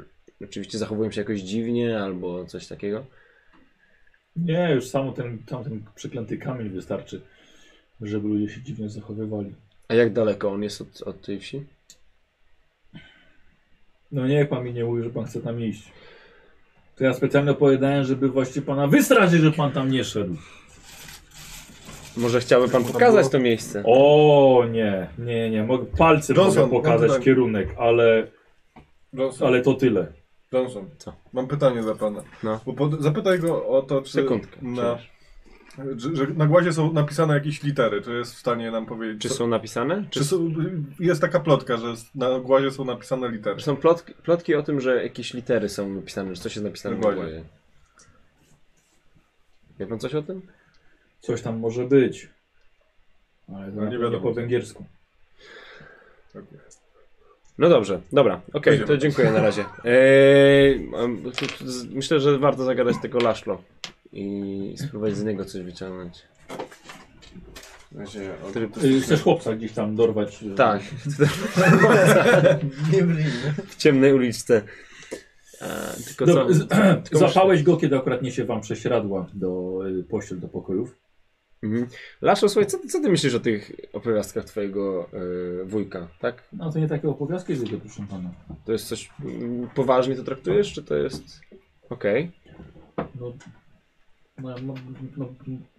Speaker 2: oczywiście zachowują się jakoś dziwnie albo coś takiego?
Speaker 1: Nie, już samo ten, tam ten przeklęty kamień wystarczy, żeby ludzie się dziwnie zachowywali.
Speaker 2: A jak daleko on jest od, od tej wsi?
Speaker 1: No niech pan mi nie mówi, że pan chce tam iść. To ja specjalnie opowiadałem, żeby właśnie pana wystraszyć, że pan tam nie szedł.
Speaker 2: Może chciałby pan pokazać to miejsce?
Speaker 1: O nie, nie, nie, mogę, palcem
Speaker 4: Dawson,
Speaker 1: mogę pokazać
Speaker 4: mam pytanie.
Speaker 1: kierunek, ale,
Speaker 4: Johnson,
Speaker 1: ale to tyle.
Speaker 4: Johnson.
Speaker 2: Co?
Speaker 4: Mam pytanie za pana.
Speaker 2: No.
Speaker 4: Bo pod, zapytaj go o to, czy
Speaker 2: Sekundkę.
Speaker 4: na, że, że na głazie są napisane jakieś litery. Czy jest w stanie nam powiedzieć?
Speaker 2: Czy
Speaker 4: co-
Speaker 2: są napisane? Czy,
Speaker 4: Czy są, jest taka plotka, że s- na głazie są napisane litery.
Speaker 2: czy są plotki, plotki o tym, że jakieś litery są napisane, że coś jest napisane w
Speaker 4: Dokładnie.
Speaker 2: głowie? Wie pan coś o tym?
Speaker 1: Coś tam może być. Ale to
Speaker 4: No nie
Speaker 1: nie
Speaker 4: wiadomo.
Speaker 1: po węgiersku.
Speaker 2: No dobrze, dobra, okej,
Speaker 4: Idziemy.
Speaker 2: to dziękuję na razie. Eee, m- tu- tu z- myślę, że warto zagadać tego Laszlo i spróbować z niego coś wyciągnąć.
Speaker 5: Ja się od-
Speaker 1: Y, Chcesz chłopca gdzieś tam dorwać. y,
Speaker 2: Tak.
Speaker 3: Nie blin.
Speaker 2: w ciemnej uliczce. E, tylko co?
Speaker 1: Dobra, z-
Speaker 2: tylko muszę-
Speaker 1: Zapałeś go, kiedy akurat niesie wam prześcieradła do y, pościel, do pokojów.
Speaker 2: Mhm. Laszo, słuchaj, co, co ty myślisz o tych opowiastkach twojego e, wujka, tak?
Speaker 1: No to nie takie opowiastki zwykle, proszę pana.
Speaker 2: To jest coś, mm, poważnie to traktujesz, czy to jest... Okej,
Speaker 1: No, no, no, no,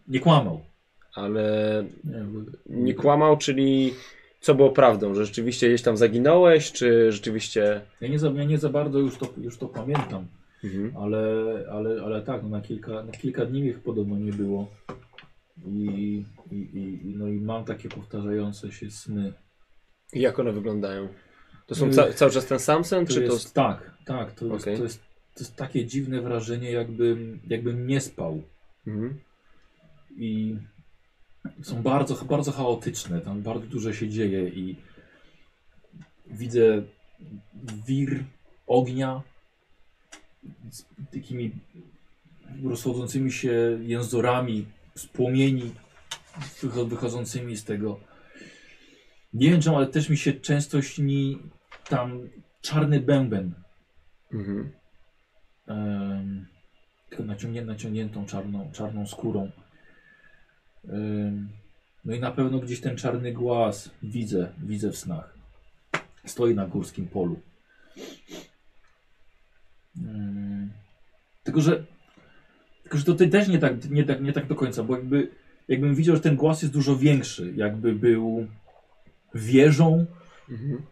Speaker 1: nie kłamał.
Speaker 2: ale
Speaker 1: Nie, bo-
Speaker 2: nie kłamał, czyli co było prawdą, że rzeczywiście gdzieś tam zaginąłeś, czy rzeczywiście...
Speaker 1: Ja nie za, ja nie za bardzo już to, już to pamiętam,
Speaker 2: Mhm.
Speaker 1: ale, ale, ale tak, no na, kilka, na kilka dni ich podobno nie było. I, i, i, i- no i mam takie powtarzające się sny.
Speaker 2: I Jak one wyglądają? To są ca cały czas ten sam sen,
Speaker 1: To
Speaker 2: czy
Speaker 1: jest, Tak, tak, to jest,
Speaker 2: Okej.
Speaker 1: to, jest, to jest takie dziwne wrażenie, jakbym, jakbym nie spał.
Speaker 2: to... Mhm.
Speaker 1: i są bardzo, bardzo chaotyczne. Tam bardzo dużo się dzieje i widzę wir ognia z takimi rozchodzącymi się jęzorami z płomieni wycho- wychodzącymi z tego. Nie wiem czemu, ale też mi się często śni tam czarny bęben.
Speaker 2: Mhm.
Speaker 1: Em, taką naciągnię, naciągniętą czarną, czarną skórą. Em, no i na pewno gdzieś ten czarny głaz widzę, widzę w snach. Stoi na górskim polu. Em, Mm. tylko, że, tylko, że to ty też nie tak, nie, tak, nie tak do końca, bo jakby, jakbym widział, że ten głaz jest dużo większy, jakby był wieżą,
Speaker 2: Mhm.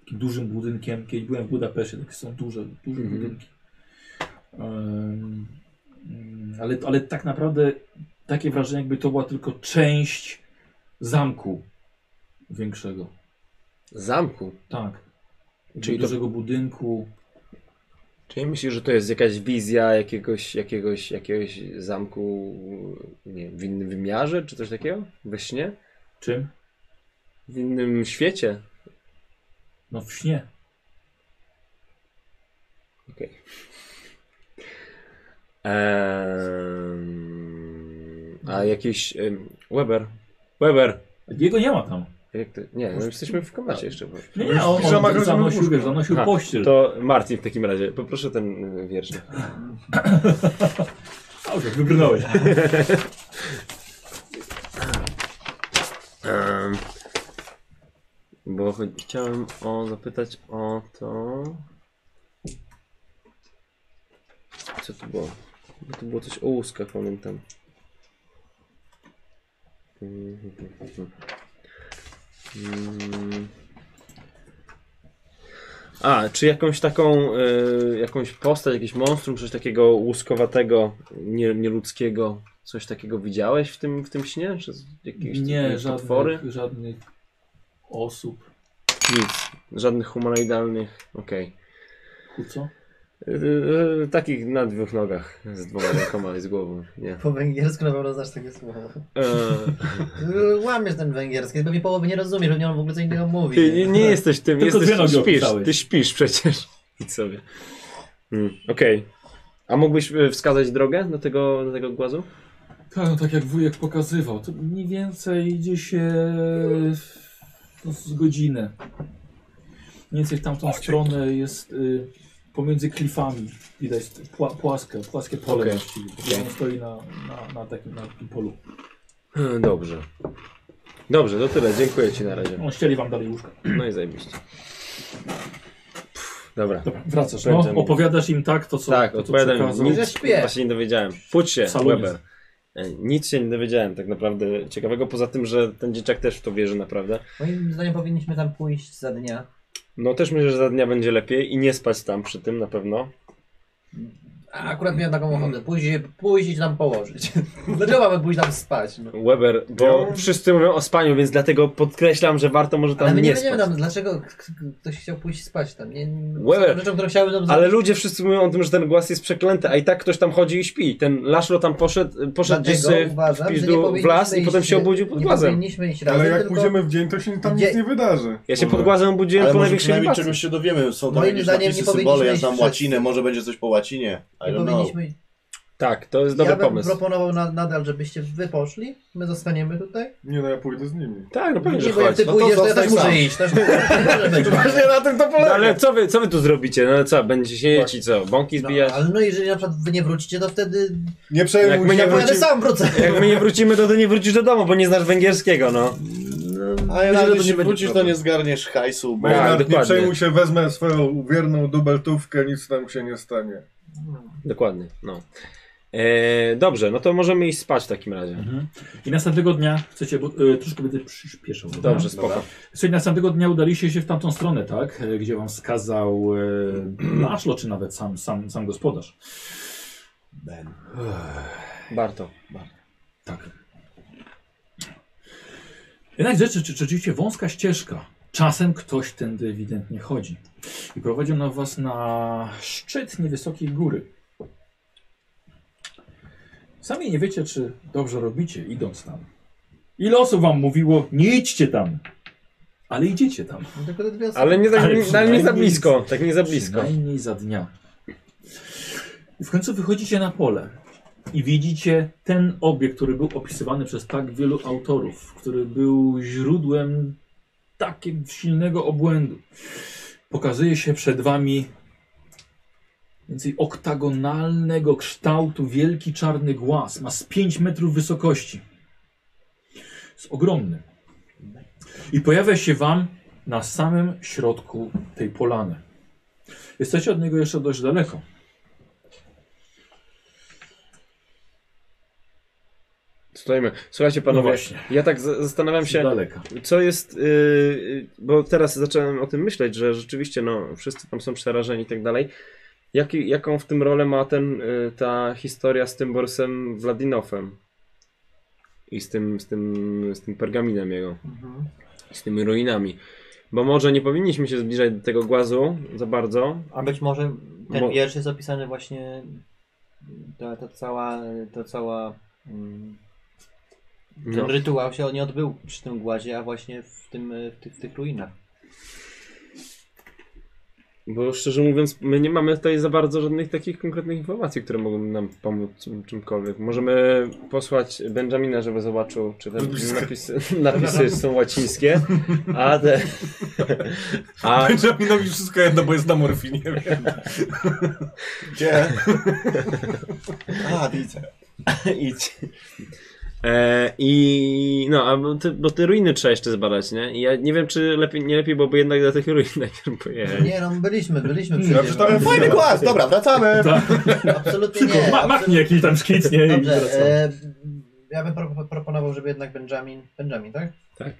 Speaker 1: takim dużym budynkiem. Kiedyś byłem w Budapeszcie, takie są duże, duże
Speaker 2: Mhm.
Speaker 1: budynki. Ym, ym, ale, ale tak naprawdę takie wrażenie, jakby to była tylko część zamku większego.
Speaker 2: Zamku?
Speaker 1: Tak.
Speaker 2: Czyli
Speaker 1: Czyli
Speaker 2: to-
Speaker 1: dużego budynku.
Speaker 2: Czyli myślisz, że to jest jakaś wizja jakiegoś, jakiegoś, jakiegoś zamku nie, wiem, w innym wymiarze, czy coś takiego? We śnie?
Speaker 1: Czym?
Speaker 2: W innym świecie?
Speaker 1: No w śnie.
Speaker 2: Okej. Ehm, a jakiś... em, Weber. Weber!
Speaker 1: Jego nie ma tam.
Speaker 2: Jak to? Nie, no jesteśmy w komnacie jeszcze. bo-
Speaker 1: Nie, nie, on,
Speaker 4: piżamach
Speaker 1: on
Speaker 4: rozumiem
Speaker 1: zanosił,
Speaker 4: łóżko.
Speaker 1: wiesz, zanosił
Speaker 2: Aha,
Speaker 1: pościel. To...
Speaker 2: Tak. To Martin w takim razie, poproszę ten y, wiersz.
Speaker 1: Dobrze, wybrnąłeś.
Speaker 2: Em, Bo cho- chciałem o, zapytać o to. Co to było? Bo to było coś o łuskach, pamiętam. Mhm, mhm, mhm. Mm. A, czy jakąś taką, y, jakąś postać, jakieś monstrum, coś takiego łuskowatego, nie, nieludzkiego, coś takiego widziałeś w tym, w tym śnie? Czy z- jakieś
Speaker 1: Nie,
Speaker 2: jakieś potwory?
Speaker 1: żadnych, żadnych osób.
Speaker 2: Nic, żadnych humanoidalnych, okej.
Speaker 1: Ku co?
Speaker 2: Yy, yy, takich na dwóch nogach, z dwoma rękoma i z głową, nie.
Speaker 3: Po węgiersku na pewno znasz takie słowo.
Speaker 2: Eee,
Speaker 3: Ty Łamiesz ten węgierski, pewnie połowy nie rozumiesz, pewnie on w ogóle co innego mówi.
Speaker 2: ty nie jesteś tym,
Speaker 1: Tylko dwie
Speaker 2: jesteś,
Speaker 1: nogi
Speaker 2: śpisz,
Speaker 1: opisałeś.
Speaker 2: ty śpisz przecież. Idź sobie. Mm, okej. A mógłbyś yy, wskazać drogę do tego, do tego głazu?
Speaker 1: Tak, no tak jak wujek pokazywał, to mniej więcej idzie się no, z godzinę. Mniej więcej w tamtą stronę jest y, pomiędzy klifami. Widać pła, płaskie, płaskie pole
Speaker 2: Okej.
Speaker 1: właściwie.
Speaker 2: Okej.
Speaker 1: On stoi na, na, na, takim, na takim polu.
Speaker 2: Yy, Dobrze. Dobrze, to tyle, dziękuję ci na razie.
Speaker 1: On ścieli wam dalej łóżka.
Speaker 2: No i zajebiście. Pff, Dobra.
Speaker 1: Dobra, wracasz. No,
Speaker 2: Będziemy.
Speaker 1: opowiadasz im tak, to co
Speaker 2: Tak,
Speaker 1: to, co
Speaker 2: odpowiadam.
Speaker 1: przekazał.
Speaker 2: Nic
Speaker 3: Że śpię.
Speaker 2: chyba się nie dowiedziałem. Pójdź się,
Speaker 1: W salonie.
Speaker 2: Weber. E, Nic się nie dowiedziałem tak naprawdę ciekawego, poza tym, że ten dzieciak też w to wierzy naprawdę.
Speaker 3: Moim zdaniem powinniśmy tam pójść za dnia.
Speaker 2: No też myślę, że za dnia będzie lepiej i nie spać tam przy tym na pewno.
Speaker 3: A akurat miałem taką ochotę, pójść, pójść i tam położyć. Dlaczego mamy pójść tam spać? No?
Speaker 2: Weber, bo wszyscy mówią o spaniu, więc dlatego podkreślam, że warto może tam
Speaker 3: Ale my nie
Speaker 2: nie
Speaker 3: będziemy
Speaker 2: spać.
Speaker 3: tam, dlaczego k- k- ktoś chciał pójść spać tam? Nie,
Speaker 2: Łe.
Speaker 3: rzeczą, którą chciałbym tam
Speaker 2: Ale ludzie wszyscy mówią o tym, że ten głaz jest przeklęty, a i tak ktoś tam chodzi i śpi. Ten Laszlo tam poszedł, e, poszedł gdzieś sobie w pizdu w las i potem się obudził pod
Speaker 3: Nie
Speaker 2: głazem.
Speaker 3: powinniśmy iść razem,
Speaker 4: Ale jak
Speaker 3: tylko
Speaker 4: pójdziemy w dzień, to się tam
Speaker 3: Gdzie-
Speaker 4: nic nie wydarzy.
Speaker 2: Ja się pod
Speaker 4: Dobra.
Speaker 2: głazem obudziłem
Speaker 5: Ale
Speaker 2: po
Speaker 5: może
Speaker 2: największej
Speaker 5: przynajmniej
Speaker 2: libacji.
Speaker 5: czegoś się dowiemy. Są tam
Speaker 3: Moim
Speaker 5: jakieś
Speaker 3: zdaniem nie
Speaker 5: napisy,
Speaker 3: powinniśmy
Speaker 5: symbole, ja
Speaker 3: iść
Speaker 5: znam
Speaker 3: wszyscy.
Speaker 5: łacinę, może będzie coś po łacinie. I
Speaker 3: nie
Speaker 5: don't know.
Speaker 3: powinniśmy...
Speaker 2: Tak, to jest dobry
Speaker 3: ja bym
Speaker 2: pomysł.
Speaker 3: proponował na, nadal, żebyście wy poszli, my zostaniemy tutaj.
Speaker 6: Nie no, ja pójdę z nimi.
Speaker 2: Tak, no pewnie, że
Speaker 3: Nie, bo jak
Speaker 2: chodź.
Speaker 3: ty
Speaker 5: no to
Speaker 3: pójdziesz, to ja
Speaker 5: zostań
Speaker 3: też muszę
Speaker 5: sam.
Speaker 3: iść. Też muszę być.
Speaker 2: Właśnie na tym to polega. No, ale co wy, co wy tu zrobicie? No co, będziecie siedzieć i co, bąki
Speaker 3: No,
Speaker 2: zbijać?
Speaker 3: ale no jeżeli na przykład wy nie wrócicie, to wtedy
Speaker 4: Nie
Speaker 2: Jak my
Speaker 4: przejmuj
Speaker 2: nie
Speaker 4: się.
Speaker 3: ja będę sam wrócę.
Speaker 2: Jak my nie wrócimy, to ty nie wrócisz do domu, bo nie znasz węgierskiego, no.
Speaker 5: A
Speaker 2: Myślę, że to
Speaker 5: jeżeli
Speaker 2: nie
Speaker 5: się
Speaker 2: będzie
Speaker 5: wrócisz, to
Speaker 2: problem.
Speaker 5: nie zgarniesz hajsu, bo...
Speaker 2: Tak,
Speaker 6: Bernard, nie
Speaker 2: dokładnie.
Speaker 6: przejmuj się, wezmę swoją wierną dubeltówkę, nic nam się nie stanie.
Speaker 2: Dokładnie, no. E, dobrze, no to możemy iść spać w takim razie.
Speaker 1: Mhm. I następnego dnia chcecie, bo y, troszkę będę przyspieszał. dobra?
Speaker 2: Dobrze, spoko.
Speaker 1: Słuchaj, następnego dnia udaliście się w tamtą stronę, tak? E, Gdzie wam skazał e, Laszlo, czy nawet sam, sam, sam gospodarz.
Speaker 2: Barto.
Speaker 1: Tak. Jednak rzeczy, czy, rzeczywiście wąska ścieżka. Czasem ktoś tędy ewidentnie chodzi. I prowadził na was na szczyt niewysokiej góry. Sami nie wiecie, czy dobrze robicie, idąc tam. Ile osób wam mówiło, nie idźcie tam. Ale idziecie tam.
Speaker 3: No Tylko te dwie osoby.
Speaker 2: Ale nie, tak,
Speaker 1: Ale
Speaker 2: nie, ale nie
Speaker 1: przynajmniej-
Speaker 2: za blisko, tak nie za blisko.
Speaker 1: Przynajmniej za dnia. I w końcu wychodzicie na pole i widzicie ten obiekt, który był opisywany przez tak wielu autorów, który był źródłem takiego silnego obłędu. Pokazuje się przed wami więcej oktagonalnego kształtu wielki czarny głaz. Ma z 5 metrów wysokości. Jest ogromny. I pojawia się wam na samym środku tej polany. Jesteście od niego jeszcze dość daleko.
Speaker 2: Stoimy. Słuchajcie panowie,
Speaker 1: No właśnie.
Speaker 2: ja tak za- zastanawiam się,
Speaker 1: Daleka.
Speaker 2: Co jest, yy, yy, bo teraz zacząłem o tym myśleć, że rzeczywiście no, wszyscy tam są przerażeni i tak dalej. Jaki, jaką w tym rolę ma ten, yy, ta historia z tym Borsem Wladinowem i z tym, z tym, z tym pergaminem jego,
Speaker 3: Mhm.
Speaker 2: z tymi ruinami. Bo może nie powinniśmy się zbliżać do tego głazu za bardzo.
Speaker 3: A być może ten
Speaker 2: Bo-
Speaker 3: wiersz jest opisany właśnie ta, ta cała, ta cała mm, ten
Speaker 2: No.
Speaker 3: rytuał się nie odbył przy tym głazie, a właśnie w, tym, y, w, tych, w tych ruinach.
Speaker 2: Bo szczerze mówiąc, my nie mamy tutaj za bardzo żadnych takich konkretnych informacji, które mogą nam pomóc czym- czymkolwiek. Możemy posłać Benjamina, żeby zobaczył, czy te napisy, napisy są łacińskie, a te... A,
Speaker 4: Benjaminowi wszystko jedno, bo jest na morfinie.
Speaker 5: Gdzie? A, widzę.
Speaker 2: idź. E, I no, a bo, ty, bo te ruiny trzeba jeszcze zbadać, nie? I ja nie wiem, czy lepiej, nie lepiej byłoby jednak do tych ruin najpierw pojechać.
Speaker 3: Nie no, byliśmy,
Speaker 2: Hmm.
Speaker 3: byliśmy
Speaker 4: Ja
Speaker 3: przecież.
Speaker 4: przeczytałem
Speaker 5: Fajny głaz, dobra, wracamy.
Speaker 3: Absolutnie
Speaker 1: Tylko
Speaker 3: nie.
Speaker 1: No, ma, machnie jakiś tam szkic, nie? I
Speaker 3: Dobrze,
Speaker 1: wraca.
Speaker 3: e, ja bym pro, proponował, żeby jednak Benjamin, Benjamin, tak?
Speaker 2: Tak.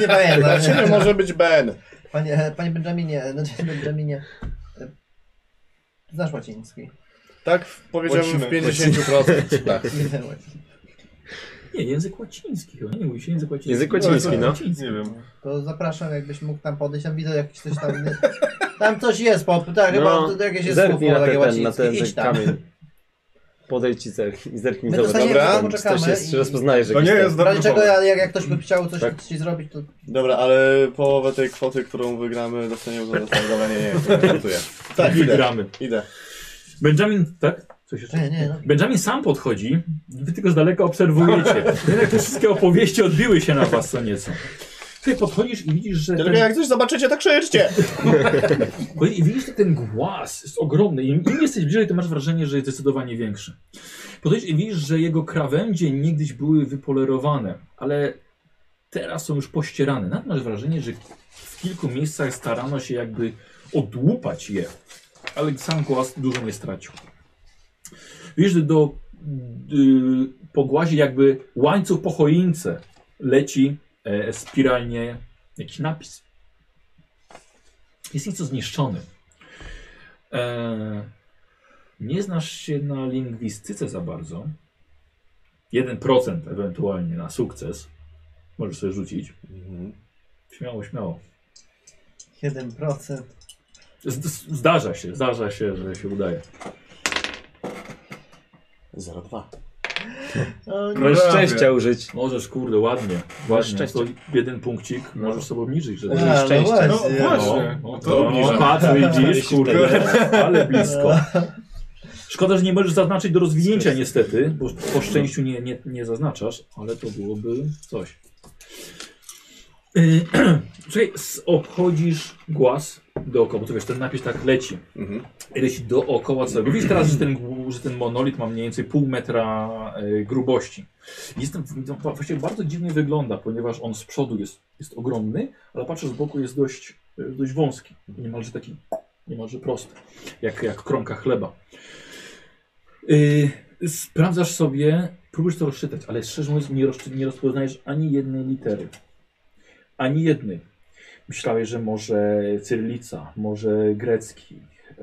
Speaker 3: nie pamiętam.
Speaker 5: Dla ciebie Znaczy, no może być Ben.
Speaker 3: Panie, panie Benjaminie, znaczy Benjaminie, e, znasz łaciński.
Speaker 5: Tak powiedziałbym w
Speaker 4: Łacinek.
Speaker 5: 50%. Tak.
Speaker 1: Nie, język łaciński chyba. Nie mówi się język łaciński.
Speaker 2: Język łaciński, no.
Speaker 1: Łaciński.
Speaker 4: Nie wiem.
Speaker 3: To zapraszam, jakbyś mógł tam podejść, tam widzę jakieś coś tam... Tam coś jest, po, tak,
Speaker 2: No,
Speaker 3: chyba to jakieś jest słówko
Speaker 2: Zerknij na
Speaker 3: takie
Speaker 2: ten, ten, na
Speaker 3: łacińskie,
Speaker 2: ten, ten
Speaker 3: idź tam.
Speaker 2: kamień. Podejdź i zerk- i zerknij.
Speaker 3: My
Speaker 2: Zobacz,
Speaker 3: dostaniemy,
Speaker 5: dobra,
Speaker 3: to
Speaker 2: Czy
Speaker 3: poczekamy.
Speaker 2: Ktoś jest,
Speaker 3: i-
Speaker 2: czy rozpoznajesz
Speaker 4: To nie
Speaker 2: jakiś
Speaker 4: jest
Speaker 3: W razie
Speaker 4: dobry
Speaker 3: czego,
Speaker 4: pomysł.
Speaker 3: ja, jak, jak ktoś by chciał coś
Speaker 2: Tak.
Speaker 3: ci zrobić, to
Speaker 5: Dobra, ale połowę tej kwoty, którą wygramy, dostaniemy za dostawę. Dobra, nie, nie, nie, żartuję.
Speaker 1: Tak,
Speaker 5: Tak, idę.
Speaker 1: wygramy.
Speaker 5: Idę.
Speaker 1: Benjamin, tak? Coś jeszcze?
Speaker 3: Nie, nie, no.
Speaker 1: Benjamin sam podchodzi, wy tylko z daleka obserwujecie. Jednak te wszystkie opowieści odbiły się na was co nieco. Ty podchodzisz i widzisz, że
Speaker 5: Tylko
Speaker 1: ten,
Speaker 5: jak coś zobaczycie, to krzyczcie.
Speaker 1: i widzisz, że ten głaz jest ogromny. Im, Im jesteś bliżej, to masz wrażenie, że jest zdecydowanie większy. Podchodzisz i widzisz, że jego krawędzie niegdyś były wypolerowane, ale teraz są już pościerane. Nawet masz wrażenie, że w kilku miejscach starano się jakby odłupać je, ale sam głaz dużo nie stracił. Widzisz, że do yy, po głazie jakby łańcuch po choince leci e, spiralnie jakiś napis. Jest nieco zniszczony. Eee, nie znasz się na lingwistyce za bardzo. 1% ewentualnie na sukces. Możesz sobie rzucić. Śmiało, śmiało.
Speaker 3: 1%.
Speaker 1: Z- z- Zdarza się, zdarza się, że się udaje.
Speaker 5: 0,2.
Speaker 3: No, nie.
Speaker 2: Możesz szczęścia użyć.
Speaker 1: Możesz, kurde, ładnie. Ładnie. To jeden punkcik możesz sobie obniżyć. Że
Speaker 3: A, no
Speaker 2: szczęścia.
Speaker 4: No
Speaker 3: właśnie.
Speaker 4: właśnie.
Speaker 1: No, no,
Speaker 4: to
Speaker 1: to
Speaker 4: obniżam.
Speaker 1: patrz, widzisz, kurde, ale blisko. Szkoda, że nie możesz zaznaczyć do rozwinięcia niestety, bo po szczęściu nie, nie, nie zaznaczasz, ale to byłoby coś. Yy, Słuchaj, s- obchodzisz głaz dookoła, bo to wiesz, ten napis tak leci.
Speaker 5: Mhm.
Speaker 1: Leci dookoła całego. Widzisz teraz, że ten, gł- że ten monolit ma mniej więcej pół metra e, grubości. Jestem, no, wa- właściwie bardzo dziwnie wygląda, ponieważ on z przodu jest, jest ogromny, ale patrzę z boku jest dość, e, dość wąski. Niemalże taki, niemalże prosty. Jak, jak kromka chleba. Y, sprawdzasz sobie, próbujesz to rozczytać, ale szczerze mówiąc nie, rozczy, nie rozpoznajesz ani jednej litery. Ani jednej. Myślałeś, że może cyrylica, może grecki, e,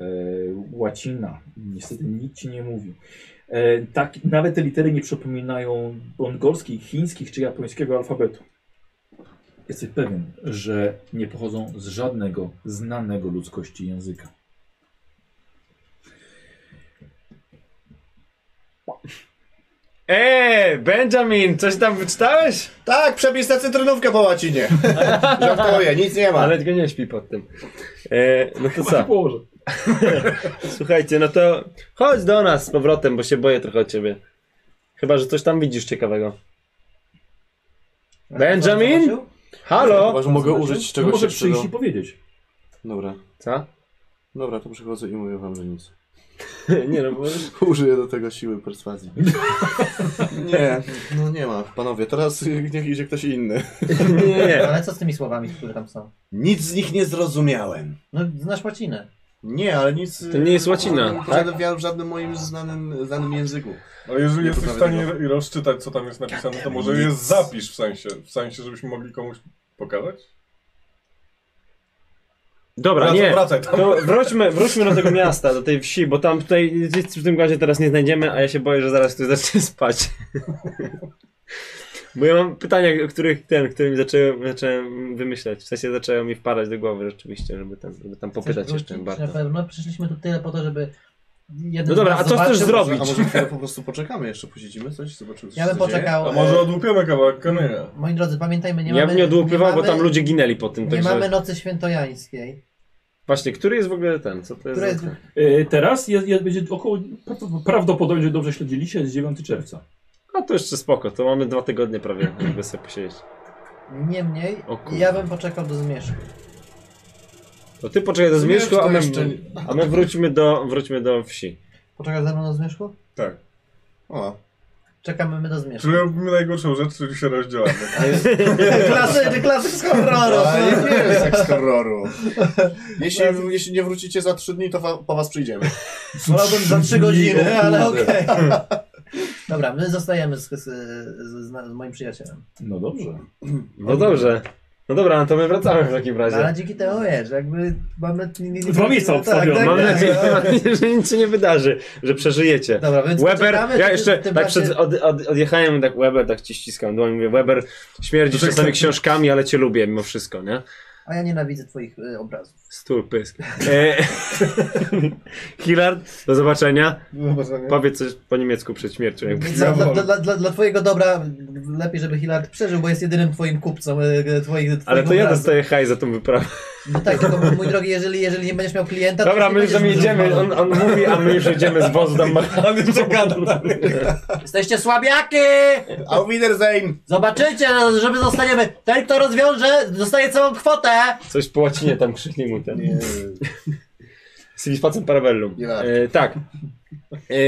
Speaker 1: łacina. Niestety nic ci nie mówi. E, tak, nawet te litery nie przypominają mongolskich, chińskich czy japońskiego alfabetu. Jesteś pewien, że nie pochodzą z żadnego znanego ludzkości języka.
Speaker 2: Eee, Benjamin, coś tam wyczytałeś?
Speaker 5: Tak, przepis na cytrynówkę po łacinie. No, Żartuję, nic nie ma.
Speaker 7: Ale go nie śpi pod tym. E, no to co?
Speaker 1: Położę.
Speaker 7: Słuchajcie, no to chodź do nas z powrotem, bo się boję trochę o ciebie. Chyba, że coś tam widzisz ciekawego. Benjamin? Halo?
Speaker 5: Chyba, że mogę użyć
Speaker 1: No
Speaker 5: czegoś
Speaker 1: może
Speaker 5: jeszcze
Speaker 1: przyjść
Speaker 5: do...
Speaker 1: i powiedzieć.
Speaker 5: Dobra,
Speaker 7: Co?
Speaker 5: dobra, to przychodzę i mówię wam, że nic.
Speaker 7: Nie no, bo...
Speaker 5: Użyję do tego siły perswazji. nie, no nie ma. Panowie, teraz y, niech idzie ktoś inny.
Speaker 7: Nie, nie, nie.
Speaker 3: Ale co z tymi słowami, które tam są?
Speaker 5: Nic z nich nie zrozumiałem.
Speaker 3: No, znasz łacinę.
Speaker 5: Nie, ale nic... y,
Speaker 2: To nie jest łacina,
Speaker 5: w żadnym-
Speaker 2: tak?
Speaker 5: W żadnym, w żadnym moim znanym, znanym języku.
Speaker 6: Ale jeżeli
Speaker 5: Nie
Speaker 6: jesteś w
Speaker 5: poprawię
Speaker 6: stanie ro- rozczytać, co tam jest napisane,
Speaker 2: Tak,
Speaker 6: to może je zapisz w sensie, w sensie, żebyśmy mogli komuś pokazać?
Speaker 7: Dobra,
Speaker 6: Wracaj,
Speaker 7: nie.
Speaker 6: wracaj tam.
Speaker 7: To wróćmy, wróćmy do tego miasta, do tej wsi, bo tam tutaj nic w tym gazie teraz nie znajdziemy, a ja się boję, że zaraz tu zacznie spać. Bo ja mam pytania, o których ten, którymi zacząłem, zacząłem wymyślać. W sensie zaczęło mi wpadać do głowy rzeczywiście, żeby tam, żeby tam popytać
Speaker 3: Chcesz
Speaker 7: jeszcze
Speaker 3: wrócić?
Speaker 7: bardziej.
Speaker 3: Na pewno przyszliśmy tu tyle po to, żeby. Jeden
Speaker 7: No dobra,
Speaker 3: z nas
Speaker 7: a co chcesz
Speaker 3: zobaczył.
Speaker 7: zrobić?
Speaker 5: A może chwilę po prostu poczekamy jeszcze, posiedzimy coś, zobaczymy co
Speaker 3: Ja bym
Speaker 5: się dzieje?
Speaker 3: poczekał.
Speaker 6: A może
Speaker 3: e,
Speaker 6: odłupiemy kawałek kamienia?
Speaker 3: Moi drodzy, pamiętajmy, nie
Speaker 2: ja
Speaker 3: mamy.
Speaker 2: bym nie odłupywał, bo
Speaker 3: mamy-
Speaker 2: tam ludzie ginęli po tym,
Speaker 3: Nie
Speaker 2: także...
Speaker 3: mamy nocy świętojańskiej.
Speaker 2: Właśnie, który jest w ogóle ten? Co to jest?
Speaker 3: Która
Speaker 2: za
Speaker 3: jest-
Speaker 2: ten?
Speaker 1: E, Teraz jest, jest, będzie około, prawdopodobnie, że dobrze śledziliście, jest 9 czerwca.
Speaker 2: A to jeszcze spoko, to mamy dwa tygodnie prawie, żeby sobie posiedzieć.
Speaker 3: Niemniej,
Speaker 2: O kurde.
Speaker 3: ja bym poczekał do zmierzchu.
Speaker 2: To ty poczekaj do
Speaker 5: Nie wiem,
Speaker 2: zmierzchu,
Speaker 5: czy to
Speaker 2: a my,
Speaker 5: jeszcze-
Speaker 2: a my wróćmy, do, wróćmy do wsi.
Speaker 3: Poczekasz ze mną do zmierzchu?
Speaker 6: Tak.
Speaker 5: O,
Speaker 3: Czekamy my do zmierzchu.
Speaker 6: Czyli robimy najgorszą rzecz, czyli się rozdzielamy.
Speaker 3: Klasyk, klasyk z horroru.
Speaker 5: ale nie jest jak z horroru. Jeśli, jeśli nie wrócicie za trzy dni, to wa, po was przyjdziemy.
Speaker 3: Wolałbym za trzy godziny, ale
Speaker 1: kurde.
Speaker 3: okej. Dobra, my zostajemy z, z, z, z moim przyjacielem.
Speaker 1: No dobrze.
Speaker 2: No dobrze. No dobra, no to my wracamy w takim
Speaker 3: No, ale
Speaker 2: razie.
Speaker 3: dzięki temu wiesz, jakby mamy. nie- nie- nie-
Speaker 1: Dwa miejsca
Speaker 3: tak,
Speaker 1: obstawione,
Speaker 3: tak,
Speaker 2: Mam
Speaker 3: tak,
Speaker 2: nadzieję,
Speaker 3: tak.
Speaker 2: że nic się nie wydarzy, że przeżyjecie.
Speaker 3: Dobra, więc
Speaker 2: Weber,
Speaker 3: poczekamy,
Speaker 2: ja
Speaker 3: czy
Speaker 2: jeszcze
Speaker 3: w tym
Speaker 2: tak
Speaker 3: czasie-
Speaker 2: przed, od, od, odjechałem, tak Weber, tak ci ściskam dłoń, mówię, Weber, śmierdzisz
Speaker 6: To tak
Speaker 2: czasami
Speaker 6: tak-
Speaker 2: książkami, ale cię lubię mimo wszystko, nie?
Speaker 3: A ja nienawidzę twoich y, obrazów.
Speaker 2: Stół pysk. E, Hilard, do zobaczenia.
Speaker 6: Do zobaczenia.
Speaker 2: Powiedz coś po niemiecku przed śmiercią. Jakby.
Speaker 3: Dla, dla, dla, dla, dla twojego dobra lepiej, żeby Hilard przeżył, bo jest jedynym twoim kupcą e, e, twoich,
Speaker 2: Ale
Speaker 3: twoich
Speaker 2: to ja
Speaker 3: obrazów.
Speaker 2: dostaję haj za tą wyprawę.
Speaker 3: No tak, tylko mój drogi, jeżeli, jeżeli nie będziesz miał klienta... to
Speaker 2: Dobra,
Speaker 3: nie
Speaker 2: my już tam
Speaker 3: będziesz
Speaker 2: jedziemy,
Speaker 3: dużo
Speaker 2: on, on mówi, a my już jedziemy z wozu tam machamy, co gada
Speaker 3: Jesteście słabiaki!
Speaker 5: Auf Wiedersehen!
Speaker 3: Zobaczycie, żeby zostaniemy... Ten, kto rozwiąże, dostaje całą kwotę!
Speaker 2: Coś po łacinie tam krzyknie mu ten.
Speaker 5: Nie,
Speaker 2: Silispacem parabellum.
Speaker 5: Nie warto.
Speaker 2: E, tak. E,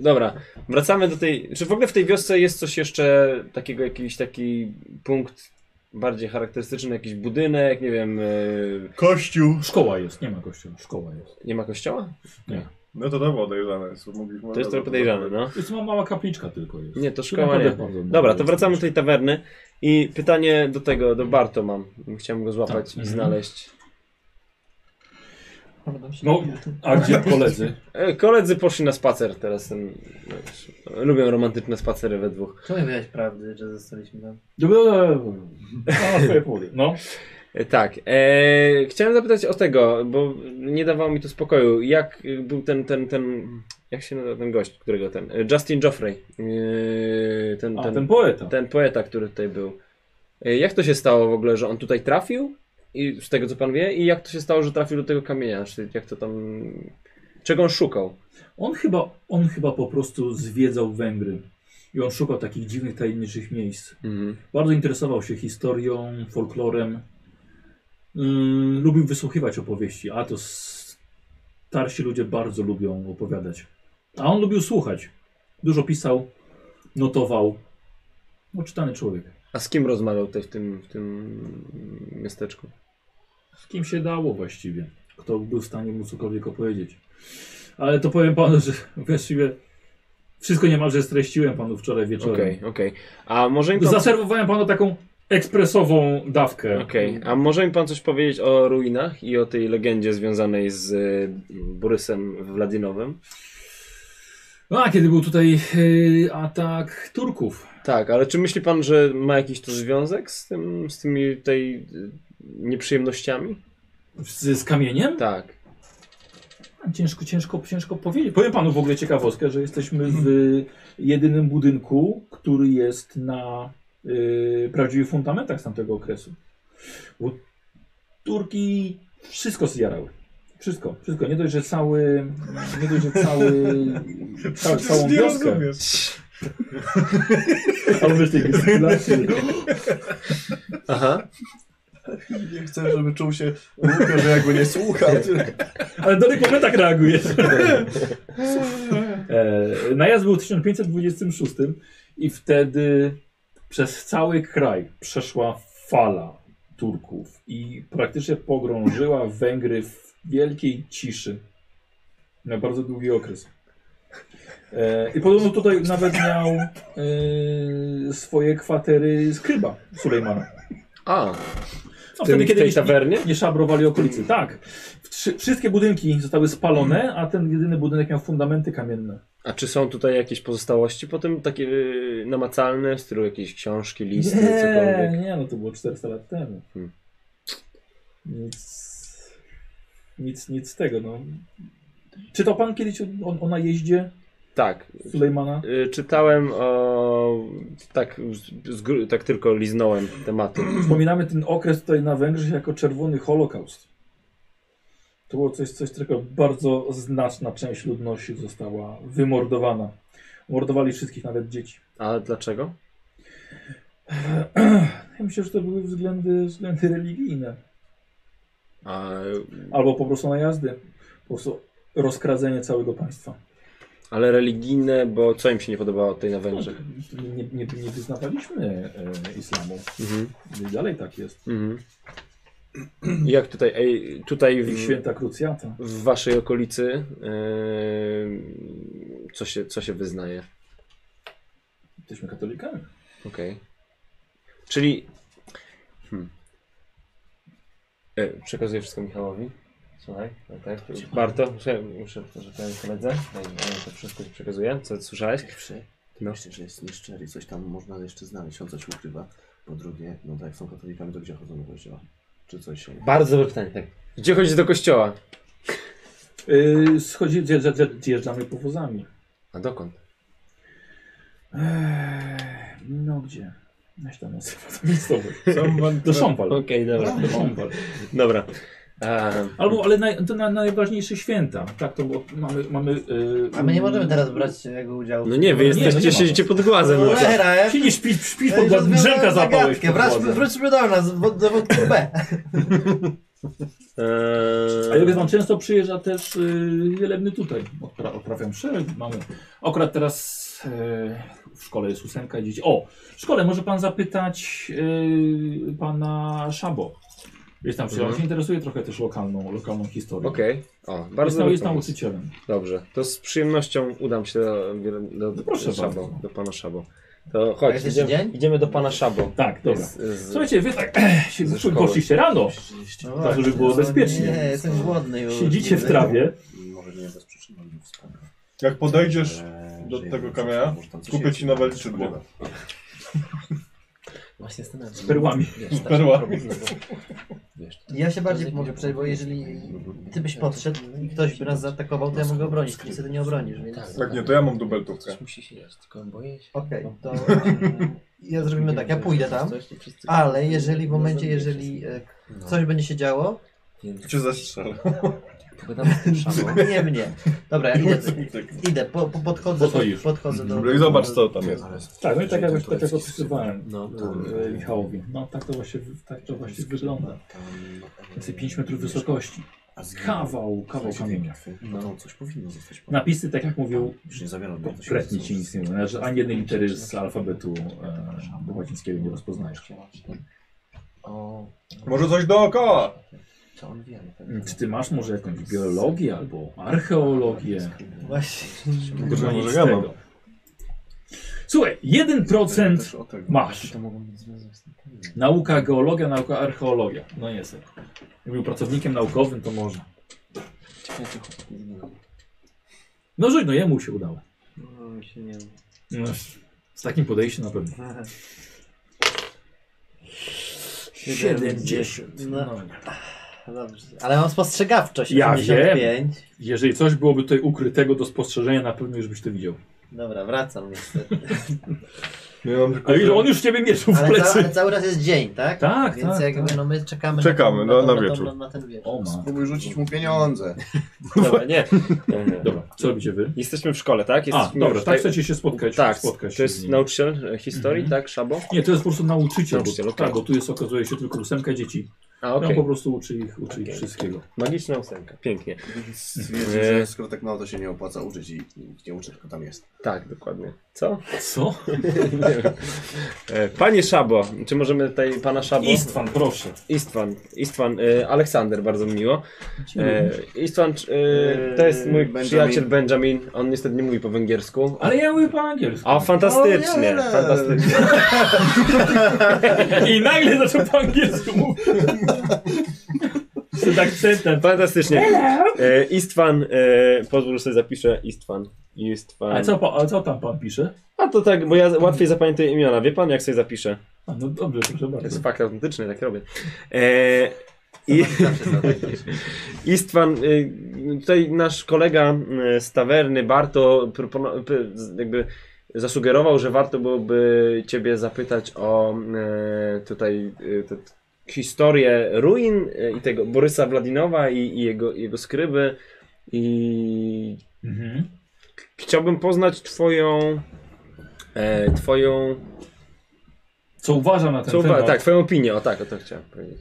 Speaker 2: dobra, wracamy do tej. Czy w ogóle w tej wiosce jest coś jeszcze takiego, jakiś taki punkt bardziej charakterystyczny, jakiś budynek, nie wiem, e,
Speaker 5: Kościół!
Speaker 1: Szkoła jest, nie ma kościoła, szkoła jest.
Speaker 2: nie ma kościoła?
Speaker 6: No to to podejrzane jest. Mogliśmy
Speaker 2: To jest trochę podejrzane, no.
Speaker 1: To jest ma- mała kapliczka tylko jest.
Speaker 2: Nie, to szkoła
Speaker 1: Naprawdę
Speaker 2: nie.
Speaker 1: bardzo mała
Speaker 2: Dobra, to
Speaker 1: jest.
Speaker 2: wracamy do tej tawerny i pytanie do tego, do Barto mam. Chciałem go złapać
Speaker 1: Tak,
Speaker 2: i
Speaker 1: mhm.
Speaker 2: znaleźć.
Speaker 1: No, a gdzie koledzy?
Speaker 2: E, Koledzy poszli na spacer teraz. Ten, wiesz, lubią romantyczne spacery we dwóch.
Speaker 3: Czemu nie mówiłeś prawdy, że zostaliśmy no? tam?
Speaker 1: A, swoje powody. No,
Speaker 2: E, Tak. E, chciałem zapytać o tego, bo nie dawało mi to spokoju. Jak y, był ten, ten, ten, jak się nazywa ten gość, którego ten, e, Justin Joffrey. E, ten,
Speaker 1: a
Speaker 2: ten,
Speaker 1: ten poeta.
Speaker 2: ten poeta, który tutaj był. E, jak to się stało w ogóle, że on tutaj trafił? I z tego co pan wie? I jak to się stało, że trafił do tego kamienia? Czy jak to tam, czego on szukał?
Speaker 1: On chyba, on chyba po prostu zwiedzał Węgry. I on szukał takich dziwnych, tajemniczych miejsc.
Speaker 2: Mhm.
Speaker 1: Bardzo interesował się historią, folklorem. Mm, lubił wysłuchiwać opowieści, a to s- starsi ludzie bardzo lubią opowiadać. A on lubił słuchać. Dużo pisał, notował. No, czytany człowiek.
Speaker 2: A z kim rozmawiał tutaj w tym, w tym miasteczku?
Speaker 1: Z kim się dało właściwie. Kto był w stanie mu cokolwiek opowiedzieć. Ale to powiem panu, że właściwie wszystko niemalże streściłem panu wczoraj wieczorem.
Speaker 2: Okej, okej. A może mi pan...
Speaker 1: Zaserwowałem panu taką ekspresową dawkę.
Speaker 2: Okej, a może mi pan coś powiedzieć o ruinach i o tej legendzie związanej z y, Borysem Wladinowym?
Speaker 1: No, A kiedy był tutaj e, atak Turków.
Speaker 2: Tak, ale czy myśli pan, że ma jakiś to związek z tym, z tymi tej y, nieprzyjemnościami?
Speaker 1: Z, z kamieniem?
Speaker 2: Tak.
Speaker 1: Ciężko, ciężko, ciężko powiedzieć. Powiem panu w ogóle ciekawostkę, że jesteśmy w jedynym budynku, który jest na y, prawdziwych fundamentach z tamtego okresu. Bo Turki wszystko zjarały. Wszystko, wszystko. Nie dość, że cały, nie dość, że cały, ca, całą wioskę. Ale wiesz, tej gestykulacji.
Speaker 2: Aha.
Speaker 5: Nie chcę, żeby czuł się głupio, że jakby nie słuchał.
Speaker 1: Ale do tak tych momentach reagujesz. E, najazd był w 1526 i wtedy przez cały kraj przeszła fala Turków i praktycznie pogrążyła Węgry w wielkiej ciszy na bardzo długi okres. E, I podobno tutaj nawet miał e, swoje kwatery skryba Sulejmana.
Speaker 2: A,
Speaker 1: No,
Speaker 2: w, tym,
Speaker 1: wtedy,
Speaker 2: w
Speaker 1: kiedy
Speaker 2: tej
Speaker 1: nie-
Speaker 2: tawernie? Mm.
Speaker 1: nie szabrowali okolicy. Tak. W Trzy, wszystkie budynki zostały spalone, a ten jedyny budynek miał fundamenty kamienne.
Speaker 2: A czy są tutaj jakieś pozostałości potem takie y, namacalne, w stylu jakieś książki, listy,
Speaker 1: nie,
Speaker 2: cokolwiek?
Speaker 1: nie, no to było 400 lat temu.
Speaker 2: Hmm.
Speaker 1: Nic, nic, nic z tego, no. Czytał pan kiedyś o, o, o najeździe
Speaker 2: Tak.
Speaker 1: Sulejmana?
Speaker 2: Y, Czytałem o... Tak, z, z, gru- tak tylko liznąłem tematy.
Speaker 1: Wspominamy ten okres tutaj na Węgrzech jako czerwony holokaust. To było coś, coś, tylko bardzo znaczna część ludności została wymordowana. Mordowali wszystkich, nawet dzieci.
Speaker 2: A dlaczego?
Speaker 1: Ja myślę, że to były względy, względy religijne.
Speaker 2: A,
Speaker 1: Albo po prostu najazdy. Po prostu rozkradzenie całego państwa.
Speaker 2: ale religijne, bo co im się nie podobało tutaj na Węgrzech?
Speaker 1: Nie, No, nie, nie wyznawaliśmy e, islamu.
Speaker 2: Mhm.
Speaker 1: I dalej tak jest.
Speaker 2: Mhm. I Jak tutaj, ej, tutaj
Speaker 1: I
Speaker 2: w,
Speaker 1: święta krucjata.
Speaker 2: w waszej okolicy yy, co, się, co się wyznaje?
Speaker 1: Jesteśmy katolikami.
Speaker 2: Okej. Czyli. Hmm. E, przekazuję wszystko Michałowi. Słuchaj, no tak. Warto, muszę, muszę że powiem koledze. Daj, ja to wszystko ci przekazuję, co słyszałeś.
Speaker 5: Pierwsze,
Speaker 2: No.
Speaker 5: myślę, że jest nieszczery, coś tam można jeszcze znaleźć, on coś ukrywa. Po drugie, no tak, jak są katolikami, to gdzie chodzą do kościoła? Czy coś się...
Speaker 2: Bardzo dobre pytanie, tak. Gdzie chodzisz do kościoła?
Speaker 1: Yy, schodzi, zje- zje- zje- zjeżdżamy powozami.
Speaker 2: A dokąd?
Speaker 1: Ech, no gdzie? Jak się tam nazywa to miejscowość?
Speaker 6: Sam wam
Speaker 5: No
Speaker 1: Do Szompal.
Speaker 2: Okej, dobra.
Speaker 1: Do Szompal.
Speaker 2: Dobra. Ehm,
Speaker 1: Albo, ale naj, to na, najważniejsze święta. Tak, to było, mamy... mamy yy,
Speaker 3: A my nie możemy teraz brać jego udziału.
Speaker 2: no nie, wy
Speaker 1: no nie
Speaker 2: jesteście,
Speaker 1: ma.
Speaker 2: siedzicie pod głazem. No,
Speaker 3: Cholera, e?
Speaker 1: Siedzisz, śpisz, śpisz
Speaker 3: Ja
Speaker 1: pod
Speaker 3: już
Speaker 1: głową,
Speaker 3: rozwiązałem
Speaker 1: drzemka zapałeś
Speaker 3: zagadkę.
Speaker 1: pod
Speaker 3: Wraćmy-
Speaker 1: głowę.
Speaker 3: Wróćmy do nas, bo- do wątku B.
Speaker 2: E,
Speaker 1: A ja wie pan, często przyjeżdża też yy, wielebny tutaj. Odpra odprawiam szereg, mamy. Akurat teraz yy, w szkole jest ósemka i dzieci. O, w szkole może pan zapytać yy, pana Szabo. Jest tam, mhm. on się interesuje trochę też lokalną, lokalną historią.
Speaker 2: Okej. O,
Speaker 1: Bardzo jest,
Speaker 2: bardzo
Speaker 1: tam- jest
Speaker 2: dobry pomysł.
Speaker 1: nauczycielem.
Speaker 2: Dobrze, to z przyjemnością udam się do, do, do,
Speaker 1: No Proszę
Speaker 2: szabo,
Speaker 1: bardzo.
Speaker 2: do pana Szabo. To chodź,
Speaker 3: Jest jeszcze
Speaker 2: idziemy,
Speaker 3: dzień?
Speaker 2: idziemy do pana Szabo.
Speaker 1: Tak, dobra.
Speaker 2: Z, z,
Speaker 1: Słuchajcie, wy tak się
Speaker 2: ze szkoły.
Speaker 1: poszliście rano,
Speaker 3: No
Speaker 1: tak żeby było
Speaker 3: Nie,
Speaker 1: bezpiecznie.
Speaker 3: jestem głodny już.
Speaker 1: Siedzicie w trawie.
Speaker 5: Może nie bez przyczyny, ale wspomnę.
Speaker 4: Jak podejdziesz,
Speaker 5: Eee,
Speaker 4: do
Speaker 5: że
Speaker 4: tego
Speaker 5: jest-
Speaker 4: kamienia,
Speaker 5: może tam coś
Speaker 4: kupię
Speaker 5: jest,
Speaker 4: ci nowe
Speaker 5: coś
Speaker 4: skrzydło.
Speaker 5: ukrywa.
Speaker 2: Właśnie zastanawiam się.
Speaker 1: Z perłami.
Speaker 5: Wiesz, tak,
Speaker 4: perłami.
Speaker 5: wiesz.
Speaker 3: Ja się bardziej mogę przejść, bo jeżeli ty byś podszedł i ktoś by nas zaatakował, to ja mogę obronić, ty się wtedy nie obronisz, więc...
Speaker 4: Jak nie, to ja mam dubeltówkę.
Speaker 2: musi się jeść, tylko boję się.
Speaker 3: Okej, to ja zrobimy tak, ja pójdę tam, ale jeżeli w momencie, jeżeli e, coś będzie się działo, Więc
Speaker 5: Cię zastrzelę.
Speaker 3: pogadamy z tym szamą. Nie mnie. Dobra, ja idę, idę po, po, podchodzę,
Speaker 1: Po co idziesz?
Speaker 3: podchodzę do...
Speaker 4: Dobra, i zobacz, co tam jest.
Speaker 1: Tak, no i tak jak, tak jak opisywałem
Speaker 3: No,
Speaker 1: e, Michałowi. No tak to właśnie, tak to właśnie wygląda. Więcej 5 metrów wysokości.
Speaker 5: e, A z-
Speaker 1: Kawał, kawał kamienia.
Speaker 5: No to coś powinno zostać. po-
Speaker 1: Napisy, tak jak mówił,
Speaker 5: Już nie zawieram tego, to się
Speaker 1: kompletnie
Speaker 5: zepsuło.
Speaker 1: ci nic nie mówią. Że ani jednej litery z alfabetu e, łacińskiego nie rozpoznajesz.
Speaker 3: O,
Speaker 4: Może coś dookoła.
Speaker 3: co on wie? na pewno.
Speaker 1: Czy ty masz może jakąś biologię albo archeologię?
Speaker 3: Właśnie.
Speaker 1: Dużo
Speaker 4: może
Speaker 1: nic
Speaker 4: ja
Speaker 1: z
Speaker 4: mam.
Speaker 1: tego. Słuchaj, 1%
Speaker 5: Też o
Speaker 4: tak.
Speaker 5: tego.
Speaker 1: masz.
Speaker 3: To mogą mieć związek z tym.
Speaker 1: Nauka geologia, nauka archeologia. No nie sobie. Jakby był pracownikiem naukowym, to może. No rzuć, no jemu się udało.
Speaker 3: No, mi się nie...
Speaker 1: No, z takim podejściem na pewno. 70.
Speaker 3: No,
Speaker 1: No nie.
Speaker 3: dobrze. Ale mam spostrzegawczość,
Speaker 1: Ja
Speaker 3: 85.
Speaker 1: Jeżeli coś byłoby tutaj ukrytego do spostrzeżenia, na pewno już byś to widział.
Speaker 3: Dobra, wracam niestety.
Speaker 4: Ja mam tylko-
Speaker 1: Ale ile on już ciebie mierzył w
Speaker 3: Ale, ca ale
Speaker 1: plecy.
Speaker 3: cały raz jest dzień, tak?
Speaker 1: Tak,
Speaker 3: Więc
Speaker 1: tak,
Speaker 3: jakby
Speaker 1: tak.
Speaker 3: no my czekamy,
Speaker 4: Czekamy,
Speaker 3: na,
Speaker 4: no,
Speaker 3: tą-
Speaker 4: na
Speaker 3: tą-
Speaker 4: wieczór.
Speaker 3: Na, ten wieczór.
Speaker 1: O ma.
Speaker 5: Spróbuj rzucić mu pieniądze.
Speaker 2: Dobra, nie. nie, nie.
Speaker 1: Dobra, co robicie wy?
Speaker 2: Jesteśmy w szkole, tak?
Speaker 1: A,
Speaker 2: Jesteśmy
Speaker 1: dobra,
Speaker 2: w
Speaker 1: tak
Speaker 2: tej-
Speaker 1: chcecie się spotkać.
Speaker 2: Tak,
Speaker 1: spotkać
Speaker 2: to
Speaker 1: się z
Speaker 2: jest
Speaker 1: nim.
Speaker 2: nauczyciel e, historii,
Speaker 1: Mhm.
Speaker 2: tak? Szabo?
Speaker 1: Nie, to jest po prostu nauczyciel,
Speaker 2: Nauczyciel,
Speaker 1: bo,
Speaker 2: okej.
Speaker 1: tak, bo tu jest okazuje się tylko ósemka dzieci.
Speaker 2: A,
Speaker 1: Okay.
Speaker 2: okej.
Speaker 1: On po prostu uczy ich, uczy ich
Speaker 2: Okej.
Speaker 1: wszystkiego.
Speaker 2: Magiczna ósemka. Pięknie.
Speaker 5: Stwierdził, że skoro tak mało, to się nie opłaca uczyć i nikt nie uczy, tylko tam jest.
Speaker 2: Tak, dokładnie. Co?
Speaker 1: Co?
Speaker 2: Nie wiem. E, Panie Szabo, czy możemy tutaj pana Szabo?
Speaker 1: Istvan, proszę.
Speaker 2: Istvan, Istvan, e, Aleksander, bardzo mi miło. E, Istvan, c- e, to jest mój
Speaker 5: Benjamin.
Speaker 2: przyjaciel Benjamin, on niestety nie mówi po węgiersku.
Speaker 1: Ale ja mówię po angielsku.
Speaker 2: A fantastycznie,
Speaker 5: O, nie.
Speaker 2: fantastycznie.
Speaker 1: I nagle zaczął po angielsku mówić. Z akcentem.
Speaker 2: Fantastycznie. E, Istvan, e, pozwól, że sobie zapiszę Istvan. Istvan.
Speaker 1: Ale co, pa- ale co tam pan pisze?
Speaker 2: A to tak, bo ja łatwiej zapamiętuję imiona. Wie pan, jak sobie zapiszę?
Speaker 1: A, no dobrze, proszę
Speaker 2: To
Speaker 1: bardzo.
Speaker 2: jest fakt autentyczny, tak robię. E, i, Istvan, y, tutaj nasz kolega y, z tawerny Barto propono- p- z- jakby zasugerował, że warto byłoby ciebie zapytać o e, tutaj e, te, historię ruin e, i tego Borysa Wladinowa i, i jego, jego skryby i
Speaker 1: Mhm.
Speaker 2: chciałbym poznać twoją e, twoją
Speaker 1: Co uważam na ten
Speaker 2: co, uwa-
Speaker 1: temat?
Speaker 2: tak, twoją opinię, o tak, o to chciałem powiedzieć.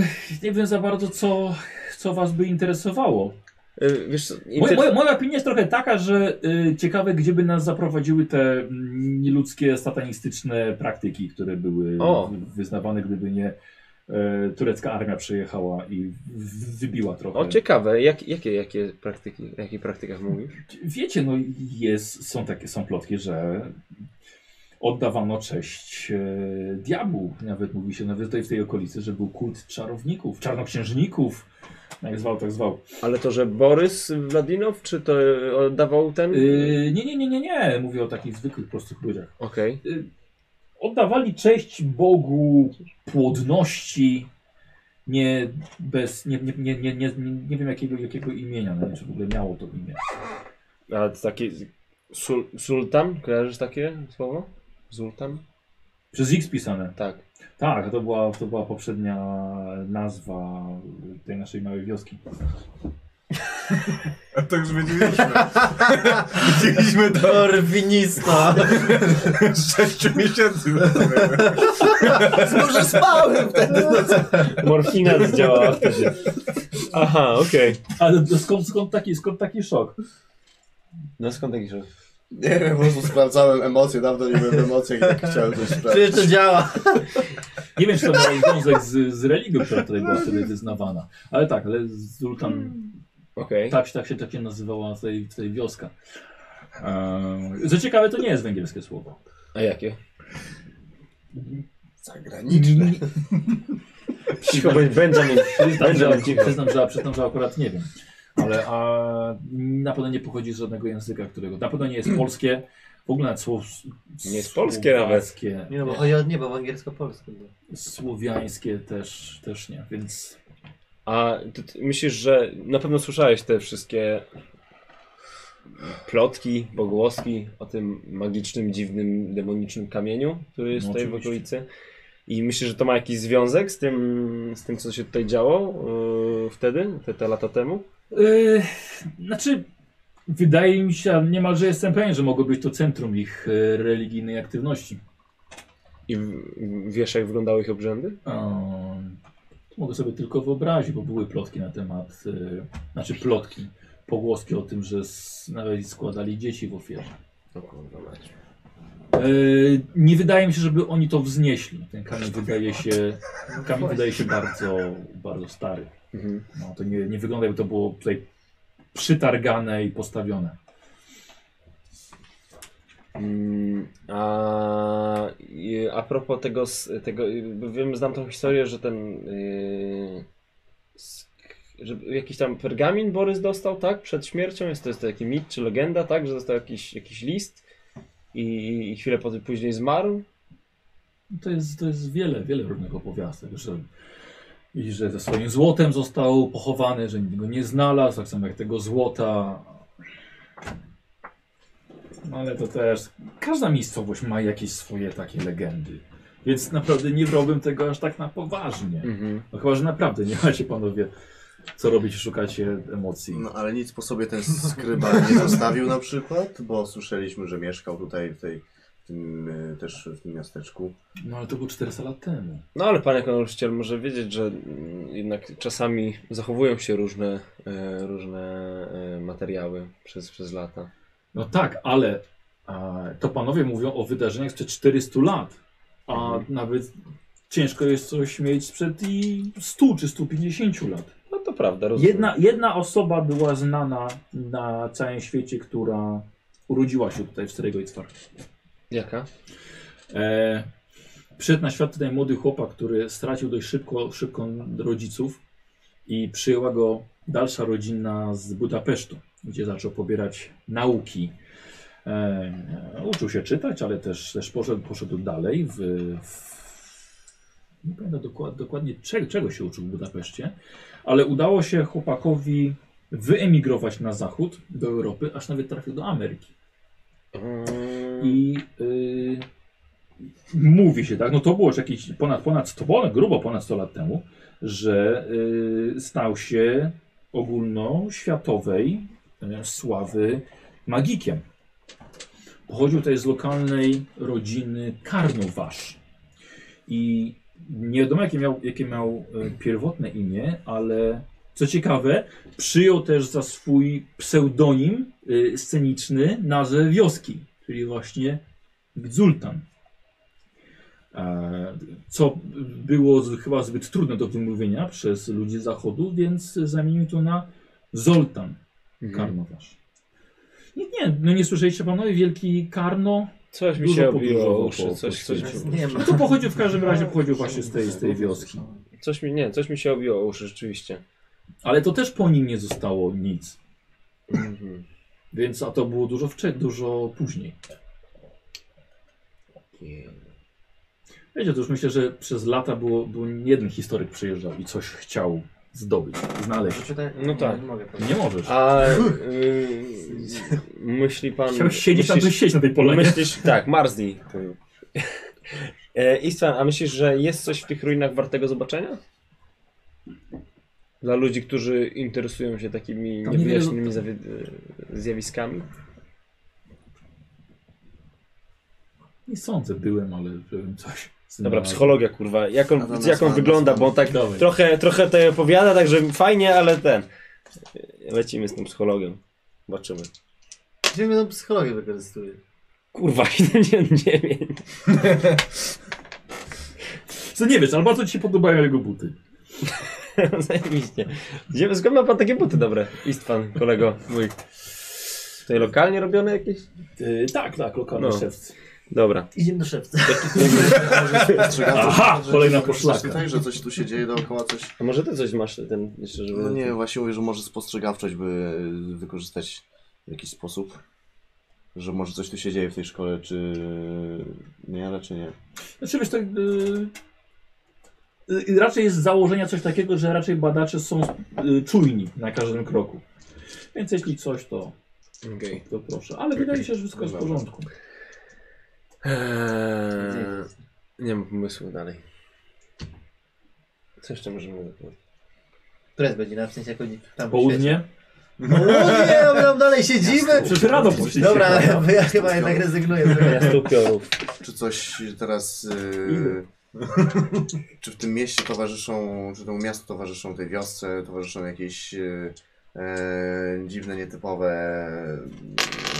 Speaker 1: Ech, nie wiem za bardzo, co, co was by interesowało.
Speaker 2: Y, Wiesz, co,
Speaker 1: Moja,
Speaker 2: inter-
Speaker 1: moja, moja opinia jest trochę taka, że y, ciekawe, gdzie by nas zaprowadziły te mm, nieludzkie, satanistyczne praktyki, które były
Speaker 2: O.
Speaker 1: w- wyznawane, gdyby nie e, turecka armia przejechała i w- wybiła trochę.
Speaker 2: O, ciekawe, jak, jakie, jakie praktyki, o jakich praktykach mówisz?
Speaker 1: Wiecie, no jest, są takie są plotki, że oddawano cześć e, diabłu. Nawet mówi się nawet tutaj w tej okolicy, że był kult czarowników, czarnoksiężników. Jak zwał, tak zwał.
Speaker 2: Ale to, że Borys Wladinow, czy to e, oddawał ten?
Speaker 1: Y, nie, nie, nie, nie, nie. Mówię o takich zwykłych, prostych ludziach.
Speaker 2: Okej.
Speaker 1: oddawali cześć Bogu płodności. Nie bez. Nie, nie, nie, nie, nie, nie, nie wiem jakiego, jakiego imienia, no, nie, czy w ogóle miało to imię.
Speaker 2: A to taki z- sul, sultan, kojarzysz takie słowo? Zultan?
Speaker 1: Przez X pisane.
Speaker 2: Tak.
Speaker 1: Tak, to była, to była poprzednia nazwa tej naszej małej wioski.
Speaker 4: A tak to już wiedzieliśmy.
Speaker 5: Widzieliśmy to
Speaker 3: Korwinista!
Speaker 4: 6 miesięcy.
Speaker 3: Może spałem wtedy!
Speaker 2: Morfina zdziałała wtedy. Aha, okej.
Speaker 1: Ale to skąd, skąd, taki, skąd taki szok?
Speaker 2: No skąd taki szok?
Speaker 5: Nie wiem, po prostu sprawdzałem emocje, dawno nie byłem w emocjach i tak chciałem coś sprawdzić.
Speaker 3: Przecież to działa.
Speaker 1: Nie wiem, czy to miało związek z, z religią, która tutaj była wtedy wyznawana. Ale tak, ale Zultan
Speaker 2: Okej.
Speaker 1: tak, tak się tak się nazywała tutaj, tutaj wioska. Ehm, Co ciekawe, to nie jest węgierskie słowo.
Speaker 2: A jakie?
Speaker 5: Zagraniczne.
Speaker 2: Cicho, bądź Benjamin.
Speaker 1: Przyznam, że,
Speaker 2: Benjamin, cicho.
Speaker 1: przyznam, że, przyznam, że akurat nie wiem. Ale a, na pewno nie pochodzi z żadnego języka, którego. Na pewno nie jest polskie. W ogóle nawet słow,
Speaker 2: Nie jest polskie nawet.
Speaker 1: słowackie,
Speaker 3: Nie no, bo chodzi o niebo, bo angielsko-polskie. było.
Speaker 1: Słowiańskie też, też nie, więc.
Speaker 2: A ty, ty myślisz, że na pewno słyszałeś te wszystkie plotki, pogłoski o tym magicznym, dziwnym, demonicznym kamieniu, który jest
Speaker 1: No,
Speaker 2: tutaj w
Speaker 1: oczywiście.
Speaker 2: okolicy. I myślisz, że to ma jakiś związek z tym, z tym co się tutaj działo? y, wtedy, te, te lata temu?
Speaker 1: Yy, znaczy, wydaje mi się, a niemalże jestem pewien, że mogło być to centrum ich e, religijnej aktywności.
Speaker 2: I w- wiesz, jak wyglądały ich obrzędy?
Speaker 1: Um, mogę sobie tylko wyobrazić, bo były plotki na temat, yy, znaczy plotki, pogłoski o tym, że s- nawet składali dzieci w ofierze. Yy, nie wydaje mi się, żeby oni to wznieśli. Ten kamień wydaje się, kamień wydaje się bardzo, bardzo stary.
Speaker 12: Mhm.
Speaker 1: No, to nie, nie wygląda, jakby to było tutaj przytargane i postawione.
Speaker 2: Mm, A, i a propos tego, s- tego, y, bo wiem, znam tą historię, że ten, y, sk- że jakiś tam pergamin Borys dostał, tak, przed śmiercią, jest to, jest to jakiś mit czy legenda, tak, że dostał jakiś, jakiś list i, i chwilę potem później zmarł.
Speaker 1: To jest, to jest wiele, wiele różnych opowiastek, że, i że ze swoim złotem został pochowany, że nikt go nie znalazł, tak samo jak tego złota. No ale to też, każda miejscowość ma jakieś swoje takie legendy, więc naprawdę nie brałbym tego aż tak na poważnie.
Speaker 12: Mhm.
Speaker 1: No chyba, że naprawdę nie macie panowie co robić, szukacie emocji.
Speaker 5: No ale nic po sobie ten skryba nie zostawił na przykład, bo słyszeliśmy, że mieszkał tutaj w tej, w tym, y, też w tym miasteczku.
Speaker 1: No ale to było 400 lat temu.
Speaker 2: No ale pan jako nauczyciel może wiedzieć, że mm, jednak czasami zachowują się różne, e, różne e, materiały przez, przez lata.
Speaker 1: No tak, ale e, to panowie mówią o wydarzeniach sprzed 400 lat, a nawet ciężko jest coś mieć sprzed i 100 czy 150 lat.
Speaker 2: No to prawda, rozumiem.
Speaker 1: Jedna, jedna osoba była znana na całym świecie, która urodziła się tutaj w Strejgojcwar.
Speaker 2: Jaka?
Speaker 1: E, przyszedł na świat tutaj młody chłopak, który stracił dość szybko, szybko rodziców i przyjęła go dalsza rodzina z Budapesztu, gdzie zaczął pobierać nauki. E, e, uczył się czytać, ale też, też poszedł, poszedł dalej w, w nie pamiętam dokład, dokładnie czego, czego się uczył w Budapeszcie, ale udało się chłopakowi wyemigrować na zachód do Europy, aż nawet trafił do Ameryki
Speaker 2: Mhm.
Speaker 1: i y, mówi się, tak, no to było już jakieś ponad, ponad 100, ponad, grubo ponad 100 lat temu, że y, stał się ogólnoświatowej y, sławy magikiem. Pochodził tutaj z lokalnej rodziny Karnowasz. I nie wiadomo, jakie miał, jakie miał y, pierwotne imię, ale co ciekawe, przyjął też za swój pseudonim y, sceniczny nazwę wioski, czyli właśnie Gdzultan. E, Co było z- chyba zbyt trudne do wymówienia przez ludzi z zachodu, więc zamienił to na Zoltan
Speaker 2: Mhm.
Speaker 1: Karnowasz. Nie, nie, no nie słyszeliście panowie, wielki Karno.
Speaker 2: Coś mi
Speaker 1: Dużo
Speaker 2: się obiło
Speaker 1: podróżował
Speaker 2: uszy,
Speaker 1: po-
Speaker 2: coś,
Speaker 1: po
Speaker 2: coś,
Speaker 1: świecie.
Speaker 2: mi-
Speaker 13: Nie ma.
Speaker 1: No to pochodził w każdym razie pochodził właśnie z tej, z tej wioski.
Speaker 2: coś mi, nie, coś mi się obiło uszy, rzeczywiście.
Speaker 1: Ale to też po nim nie zostało nic.
Speaker 2: Mhm.
Speaker 1: Więc a to było dużo wcze- dużo później. Wiecie, to już myślę, że przez lata było, był nie jeden historyk przyjeżdżał i coś chciał zdobyć, znaleźć.
Speaker 2: No tak.
Speaker 3: Mogę
Speaker 1: Nie możesz.
Speaker 2: A y, myśli pan...
Speaker 1: Chciałeś siedzieć na
Speaker 2: myślisz-
Speaker 1: tym siedzieć na tej polanie.
Speaker 2: Myślisz, tak, Marsdi. Ty. E, Istvan, a myślisz, że jest coś w tych ruinach wartego zobaczenia? Dla ludzi, którzy interesują się takimi
Speaker 1: Tam niewiele-
Speaker 2: niewyjaśnionymi zawi- e, zjawiskami?
Speaker 1: Nie sądzę, byłem, ale byłem coś.
Speaker 2: Dobra,
Speaker 1: No.
Speaker 2: psychologia kurwa, jak on,
Speaker 5: Adam
Speaker 2: jak on
Speaker 5: Nasman,
Speaker 2: wygląda,
Speaker 5: Nasman.
Speaker 2: bo on tak
Speaker 1: Dawaj.
Speaker 2: trochę, trochę to opowiada, także fajnie, ale ten. Lecimy z tym psychologiem. Zobaczymy.
Speaker 3: Gdzie mnie tam psychologię wykorzystuje?
Speaker 2: Kurwa, nie, nie wiem.
Speaker 1: Co nie wiesz, ale bardzo ci się podobają jego buty.
Speaker 2: Zajebiście. Gdzie, skąd ma pan takie buty dobre? Istvan, kolego mój. Tutaj lokalnie robione jakieś? Yy,
Speaker 1: tak, tak, lokalny
Speaker 2: No.
Speaker 1: szewc.
Speaker 2: Dobra.
Speaker 3: Idziemy do szewca.
Speaker 1: Aha, kolejna poszlaka.
Speaker 5: Słyszałeś, że coś tu się dzieje dookoła, coś...
Speaker 2: A może ty coś masz ten jeszcze, żeby...
Speaker 5: No nie, właśnie mówię, że może spostrzegawczość by y, wykorzystać w jakiś sposób. Że może coś tu się dzieje w tej szkole, czy... Nie, raczej nie.
Speaker 1: Znaczy wiesz, tak, y, y, raczej jest z założenia coś takiego, że raczej badacze są y, czujni na każdym kroku. Więc jeśli coś, to,
Speaker 2: Okej.
Speaker 1: to proszę. Ale wydaje się, że wszystko jest w porządku.
Speaker 2: Eee, nie mam pomysłu dalej. Co jeszcze możemy zrobić?
Speaker 3: Która jest godzina? W sensie jako dzi- tam
Speaker 1: Południe.
Speaker 3: Południe, no my tam dalej siedzimy.
Speaker 1: Przecież rano poszliście.
Speaker 3: Dobra, ale ja chyba jednak rezygnuję z tego.
Speaker 2: Miasto upiorów.
Speaker 5: Czy coś teraz... Yy, czy w tym mieście towarzyszą, czy temu miastu towarzyszą, tej wiosce towarzyszą jakieś yy, e, dziwne, nietypowe e,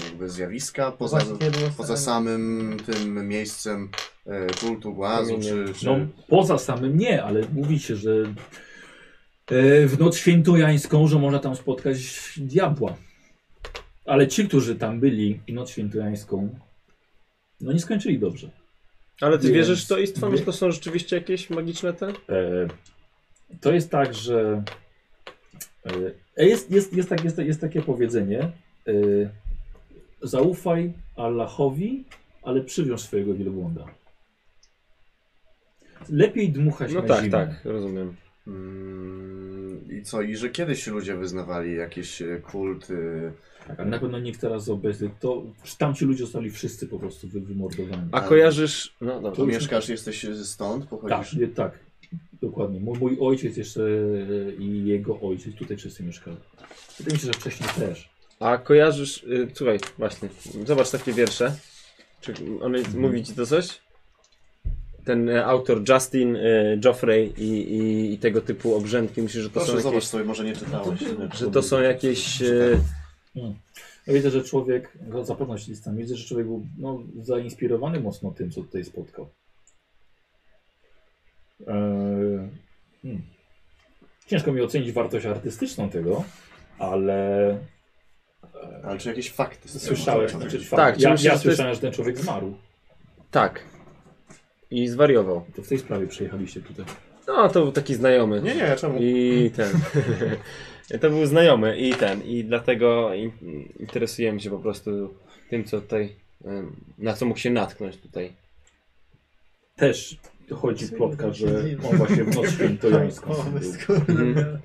Speaker 5: jakby zjawiska? Poza,
Speaker 3: Właśnie było
Speaker 5: poza
Speaker 3: same-
Speaker 5: samym tym miejscem e, kultu, głazu, czy... czy...
Speaker 1: No, poza samym nie, ale mówi się, że e, w noc świętojańską, że można tam spotkać diabła. Ale ci, którzy tam byli w noc świętojańską, no nie skończyli dobrze.
Speaker 2: Ale ty
Speaker 1: Więc-
Speaker 2: wierzysz w to istwa? Że to są rzeczywiście jakieś magiczne te?
Speaker 1: E, to jest tak, że e, jest, jest, jest, tak, jest, jest takie powiedzenie e, zaufaj Allahowi, ale przywiąż swojego wielbłąda. Lepiej dmuchać
Speaker 2: No
Speaker 1: na
Speaker 2: tak,
Speaker 1: zimę.
Speaker 2: tak, rozumiem.
Speaker 5: Mm, I co, i że kiedyś ludzie wyznawali jakieś e, kulty.
Speaker 1: Tak, ale na pewno nikt teraz obecny. To tamci ludzie zostali wszyscy po prostu wy, wymordowani.
Speaker 2: A kojarzysz... No dobra.
Speaker 5: Tu mieszkasz, jesteś e, stąd,
Speaker 1: tak,
Speaker 5: pochodzisz.
Speaker 1: nie, tak. Dokładnie. Mój, mój ojciec jeszcze e, i jego ojciec tutaj wszyscy mieszkali. Wydaje mi się, że wcześniej też.
Speaker 2: A kojarzysz, y, słuchaj, właśnie, zobacz takie wiersze. Czy on
Speaker 5: Mhm.
Speaker 2: jest, mówi ci to coś? Ten e, autor Justin, y, Joffrey i, i, i tego typu obrzędki, myślę, że to
Speaker 5: Proszę,
Speaker 2: są
Speaker 5: zobacz
Speaker 2: jakieś,
Speaker 5: sobie, może nie czytałeś. e,
Speaker 2: że to są jakieś e,
Speaker 1: Ja widzę, że człowiek, no, zapewne się tam widzę, że człowiek był no, zainspirowany mocno tym, co tutaj spotkał. E, hmm. Ciężko mi ocenić wartość artystyczną tego, ale
Speaker 5: Ale czy jakieś fakty? z tego
Speaker 1: słyszałem.
Speaker 5: można
Speaker 1: Znaczy,
Speaker 5: powiedzieć?
Speaker 1: fakt,
Speaker 2: Tak, czy
Speaker 1: ja,
Speaker 2: myślisz,
Speaker 1: ja
Speaker 2: że to jest-
Speaker 1: słyszałem, że ten człowiek zmarł.
Speaker 2: tak. I zwariował.
Speaker 1: To w tej sprawie przyjechaliście tutaj.
Speaker 2: No, to był taki znajomy.
Speaker 5: Nie, nie, czemu?
Speaker 2: I ten. to był znajomy i ten. I dlatego in, interesujemy się po prostu tym, co tutaj, em, na co mógł się natknąć tutaj.
Speaker 1: Też chodzi plotka, że on właśnie w noc świętojańską. był.
Speaker 3: Pomysł,
Speaker 5: Mhm.
Speaker 3: kurde.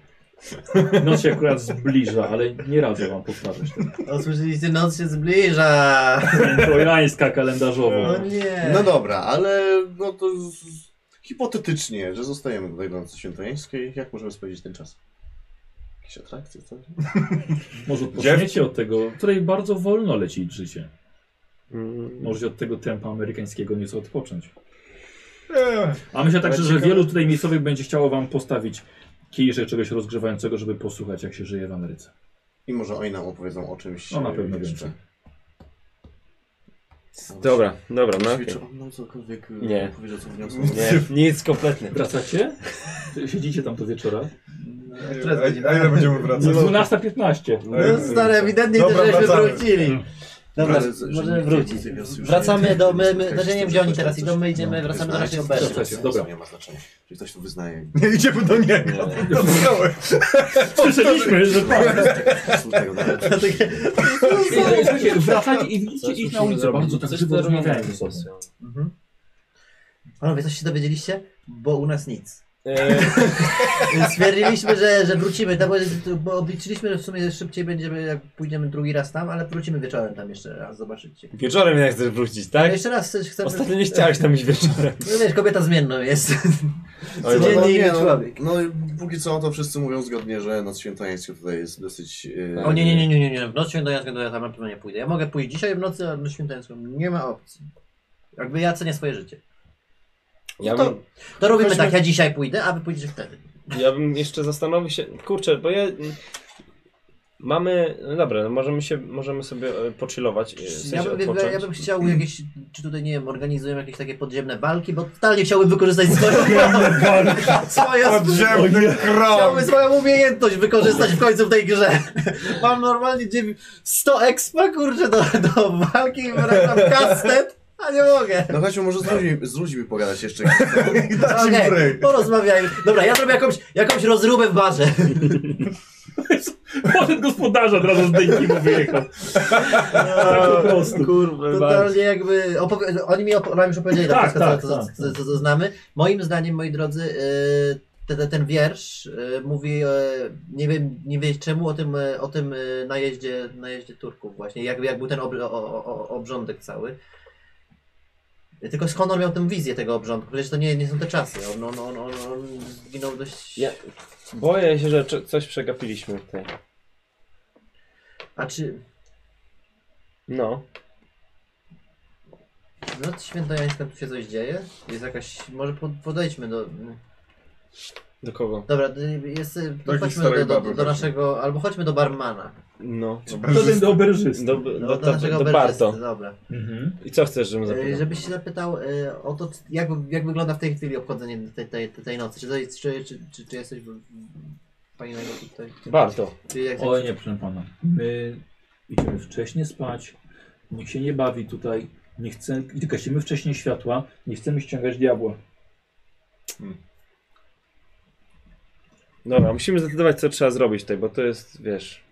Speaker 1: Noc się akurat zbliża, ale nie radzę wam powtarzać tego.
Speaker 3: O, słyszeliście, noc się zbliża.
Speaker 1: Świętojańska kalendarzowa.
Speaker 3: O nie.
Speaker 5: No dobra, ale no to z... z- hipotetycznie, że zostajemy tutaj do nocy świętojańskiej, jak możemy spędzić ten czas? Jakieś atrakcje, co?
Speaker 1: Może odpoczniecie od tego, której bardzo wolno leci życie.
Speaker 2: Mm.
Speaker 1: Możecie od tego tempa amerykańskiego nieco odpocząć. A myślę także, że wielu tutaj miejscowych będzie chciało wam postawić kieliszek czegoś rozgrzewającego, żeby posłuchać jak się żyje w Ameryce.
Speaker 5: I może oni nam opowiedzą o czymś
Speaker 1: No na
Speaker 5: e,
Speaker 1: pewno
Speaker 5: jeszcze.
Speaker 1: więcej.
Speaker 2: Dobra, dobra, no.
Speaker 5: Czy
Speaker 2: okej.
Speaker 5: czy on nam cokolwiek e,
Speaker 2: Nie.
Speaker 5: powiedział, co wniosło?
Speaker 2: Nie, nic kompletnie.
Speaker 1: Wracacie? Siedzicie tam do wieczora?
Speaker 3: Która jest
Speaker 4: A-
Speaker 3: godzina?
Speaker 4: A ile będziemy wracać?
Speaker 1: 12.15.
Speaker 3: No stary, ewidentnie
Speaker 4: Dobra,
Speaker 3: to żeśmy
Speaker 4: wracamy.
Speaker 3: wrócili. Dobra,
Speaker 5: Mhm. Wracamy, że
Speaker 3: możemy
Speaker 5: nie
Speaker 3: wrócić.
Speaker 5: tej wiosny już nie
Speaker 3: Wracamy do... My,
Speaker 5: jest.
Speaker 3: my, znaczy nie wiem gdzie oni teraz idą, my idziemy,
Speaker 5: No,
Speaker 3: wracamy do naszej
Speaker 5: wyznaje, czy
Speaker 3: oberzy.
Speaker 5: coś,
Speaker 1: Dobra.
Speaker 5: co Nie ma znaczenia. Czy ktoś tu wyznaje.
Speaker 4: Nie idziemy do niego.
Speaker 1: Słyszeliśmy, że tak.
Speaker 5: Są tego dalej.
Speaker 1: Słuchajcie, Wracacie i widzicie ich na ulicy, bardzo tak
Speaker 2: Coś
Speaker 1: żywo
Speaker 2: tu robią.
Speaker 1: rozmawiają ze sobą.
Speaker 3: Mhm. Panowie, coś się dowiedzieliście? Bo u nas nic.
Speaker 2: E,
Speaker 3: Więc stwierdziliśmy, że, że wrócimy, no bo, bo obliczyliśmy, że w sumie szybciej będziemy, jak pójdziemy drugi raz tam, ale wrócimy wieczorem tam jeszcze raz, zobaczycie.
Speaker 14: Wieczorem jednak chcesz wrócić,
Speaker 3: Ale
Speaker 14: tak?
Speaker 3: jeszcze raz chcesz- chcemy...
Speaker 14: Ostatnio nie chciałeś tam iść wieczorem.
Speaker 3: No wiesz, kobieta zmienną jest.
Speaker 5: No,
Speaker 3: Codziennie
Speaker 5: no, nie,
Speaker 3: inny
Speaker 5: no,
Speaker 3: człowiek.
Speaker 5: No i póki co to wszyscy mówią zgodnie, że noc świętojańska tutaj jest dosyć... e,
Speaker 3: O nie, nie, nie, nie, nie, nie. W noc świętojańską to ja tam na pewno nie pójdę. Ja mogę pójść dzisiaj w nocy, ale w noc świętojańską nie ma opcji. Jakby ja cenię swoje życie.
Speaker 2: ja,
Speaker 3: No to-
Speaker 2: bym,
Speaker 3: To robimy
Speaker 5: Chodźmy.
Speaker 3: tak, ja dzisiaj pójdę, a wy pójdziecie wtedy.
Speaker 2: ja bym jeszcze zastanowił się. Kurczę, bo ja. Mamy. No dobra, no możemy się, możemy sobie e, pochillować. e, W sensie Mm.
Speaker 3: Ja bym,
Speaker 2: odpocząć.
Speaker 3: ja bym chciał jakieś, czy tutaj nie wiem, organizują jakieś takie podziemne walki, bo totalnie chciałbym wykorzystać swoją, swoją,
Speaker 4: Podziemny
Speaker 3: chciałbym
Speaker 4: kram.
Speaker 3: swoją umiejętność wykorzystać w końcu w tej grze. Mam normalnie dziewię- 100 expa, kurczę, do, do walki i wracam kastet, a nie mogę.
Speaker 5: No chodźmy, może z ludźmi, z ludźmi pogadać jeszcze. chwilę.
Speaker 4: Dać im
Speaker 3: Okej,
Speaker 4: break.
Speaker 3: porozmawiajmy. Dobra, ja zrobię jakąś, jakąś rozróbę w barze.
Speaker 1: Potem gospodarza od razu z dynki mu wyjechał. Tak po prostu.
Speaker 3: Totalnie jakby. Opowi- oni mi op- nam już opowiedzieli to
Speaker 1: Tak,
Speaker 3: wszystko,
Speaker 1: tak,
Speaker 3: co, co,
Speaker 1: tak,
Speaker 3: co, co, co znamy. Moim zdaniem, moi drodzy, yy, te, te, ten wiersz yy, mówi, yy, nie, wiem, nie wiem czemu, o tym, yy, o tym yy, najeździe, najeździe Turków właśnie, jak, jak był ten ob- o, o, o, obrządek cały. Tylko skąd on miał tę wizję tego obrządku? Przecież to nie, nie są te czasy. On, on, on, on, on zginął dość...
Speaker 7: Ja boję się, że czo- coś przegapiliśmy tutaj.
Speaker 3: A czy...
Speaker 7: No.
Speaker 3: No świętojańska tu się coś dzieje? Jest jakaś... Może po- podejdźmy do...
Speaker 7: Do kogo?
Speaker 3: Dobra, y, jest... y, To
Speaker 4: Takich
Speaker 3: chodźmy do,
Speaker 4: starych
Speaker 3: do,
Speaker 4: babek
Speaker 3: do
Speaker 4: właśnie.
Speaker 3: naszego... Albo chodźmy do barmana.
Speaker 7: No.
Speaker 1: To ten do oberżysty.
Speaker 7: Do,
Speaker 3: No,
Speaker 7: do, do,
Speaker 3: do
Speaker 7: do,
Speaker 3: naszego
Speaker 7: do
Speaker 3: Bergesta,
Speaker 7: Barto.
Speaker 3: Dobra.
Speaker 1: Mhm.
Speaker 7: I co chcesz, żebym
Speaker 3: Y,
Speaker 7: zapytał?
Speaker 3: Żebyś się zapytał y, o to, c- jak, jak wygląda w tej chwili obchodzenie tej, tej, tej nocy. Czy, to jest, czy, czy, czy, czy jesteś w- w- fajnego tutaj?
Speaker 7: Barto.
Speaker 3: Czy jak
Speaker 1: Oj nie, proszę pana. My idziemy wcześniej spać. Nikt się nie bawi tutaj. Nie chcemy, gasimy wcześniej światła. Nie chcemy ściągać diabła.
Speaker 7: Dobra, musimy zdecydować, co trzeba zrobić tutaj, bo to jest, wiesz...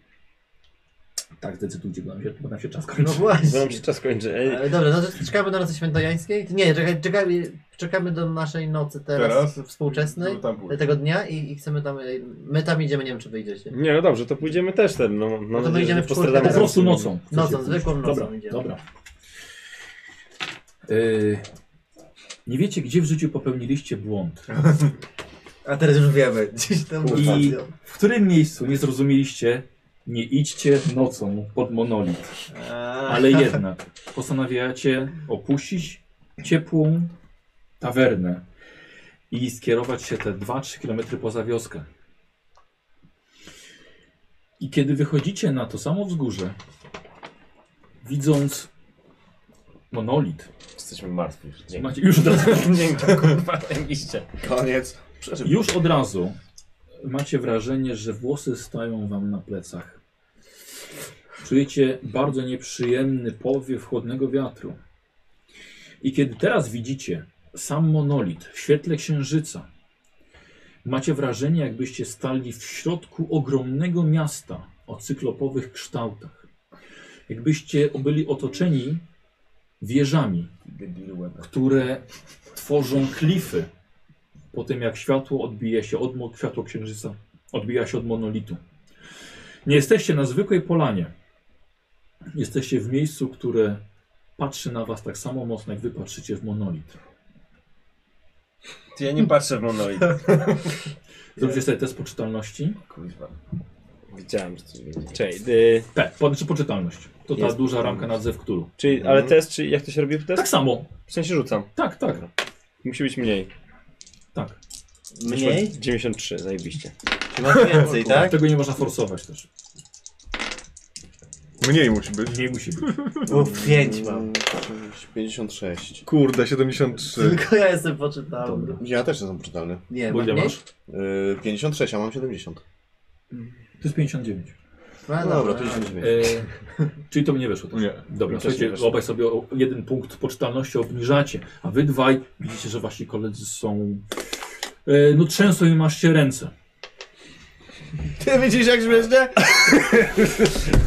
Speaker 1: Tak, zdecydujcie, bo nam się, bo nam się czas
Speaker 3: No
Speaker 1: kończy.
Speaker 7: Bo
Speaker 3: właśnie.
Speaker 7: nam się czas kończy. Ej,
Speaker 3: Ale Dobra, no to czekamy do nocy świętojańskiej? Nie, czekaj, czekamy, czekamy do naszej nocy teraz, współczesnej,
Speaker 4: No tam pójdę.
Speaker 3: tego dnia i, i chcemy tam, y, my tam idziemy, nie wiem czy wyjdziecie.
Speaker 7: Nie, no dobrze, to pójdziemy też ten, no, mam
Speaker 3: No to my
Speaker 7: nadzieję, że
Speaker 3: idziemy
Speaker 7: nie
Speaker 3: w czwórkę
Speaker 7: postradamy
Speaker 1: Po
Speaker 3: teraz.
Speaker 1: prostu
Speaker 7: sensu.
Speaker 1: nocą.
Speaker 3: Nocą, zwykłą nocą
Speaker 1: Dobra,
Speaker 3: idziemy.
Speaker 1: dobra. Y, nie wiecie, gdzie w życiu popełniliście błąd.
Speaker 15: A teraz już wiemy. Gdzieś tam
Speaker 1: I w którym miejscu nie zrozumieliście, nie idźcie nocą pod monolit. Ale jednak postanawiacie opuścić ciepłą tawernę i skierować się te 2-3 km poza wioskę. I kiedy wychodzicie na to samo wzgórze, widząc monolit,
Speaker 2: Jesteśmy martwi. Dzięki.
Speaker 1: macie już od razu,
Speaker 2: Dzięki, kurwa, iście.
Speaker 5: Koniec. Przeżył.
Speaker 1: już od razu macie wrażenie, że włosy stają wam na plecach. Czujecie bardzo nieprzyjemny powiew chłodnego wiatru. I kiedy teraz widzicie sam monolit w świetle księżyca, macie wrażenie, jakbyście stali w środku ogromnego miasta o cyklopowych kształtach. Jakbyście byli otoczeni wieżami, które tworzą klify po tym, jak światło odbije się od mo- światło księżyca, odbija się od monolitu. Nie jesteście na zwykłej polanie. Jesteście w miejscu, które patrzy na was tak samo mocno, jak wy patrzycie w monolit.
Speaker 2: Ty, ja nie patrzę w monoid.
Speaker 1: Zróbcie sobie test poczytalności.
Speaker 2: Kurwa.
Speaker 7: Widziałem, że coś Czyli, y,
Speaker 1: P, po- znaczy poczytalność. To ta
Speaker 7: Jest
Speaker 1: duża ramka na zew Cthulhu.
Speaker 7: czyli
Speaker 2: Mhm.
Speaker 7: ale test, czy jak to się robi w
Speaker 1: Tak
Speaker 7: test?
Speaker 1: samo.
Speaker 7: W sensie rzucam.
Speaker 1: Tak, tak,
Speaker 7: Musi być mniej.
Speaker 1: tak.
Speaker 7: Wyszło
Speaker 15: Mniej?
Speaker 7: 93, zajebiście.
Speaker 15: Czy masz więcej, tak?
Speaker 1: Tego nie można forsować też.
Speaker 4: Mniej musi być.
Speaker 1: Nie musi być.
Speaker 15: Bo pięć mam.
Speaker 5: 56.
Speaker 4: Kurde, 73.
Speaker 3: Tylko ja jestem poczytałem.
Speaker 1: Dobra.
Speaker 5: Ja też jestem poczytalny.
Speaker 3: Nie,
Speaker 1: Bo
Speaker 3: masz
Speaker 1: ile
Speaker 3: mniej?
Speaker 1: masz?
Speaker 5: Yy, 56, a mam 70.
Speaker 1: To jest 59.
Speaker 3: No,
Speaker 5: No dobra, to 59.
Speaker 1: E, czyli to mi nie wyszło. Też.
Speaker 4: Nie.
Speaker 1: Dobra,
Speaker 5: Mi też nie
Speaker 1: słuchajcie,
Speaker 5: wyszło.
Speaker 1: obaj sobie o jeden punkt poczytalności obniżacie, a wy dwaj widzicie, że wasi koledzy są... E, no trzęsą im aż się ręce.
Speaker 5: Ty widzisz jak śmiesznie?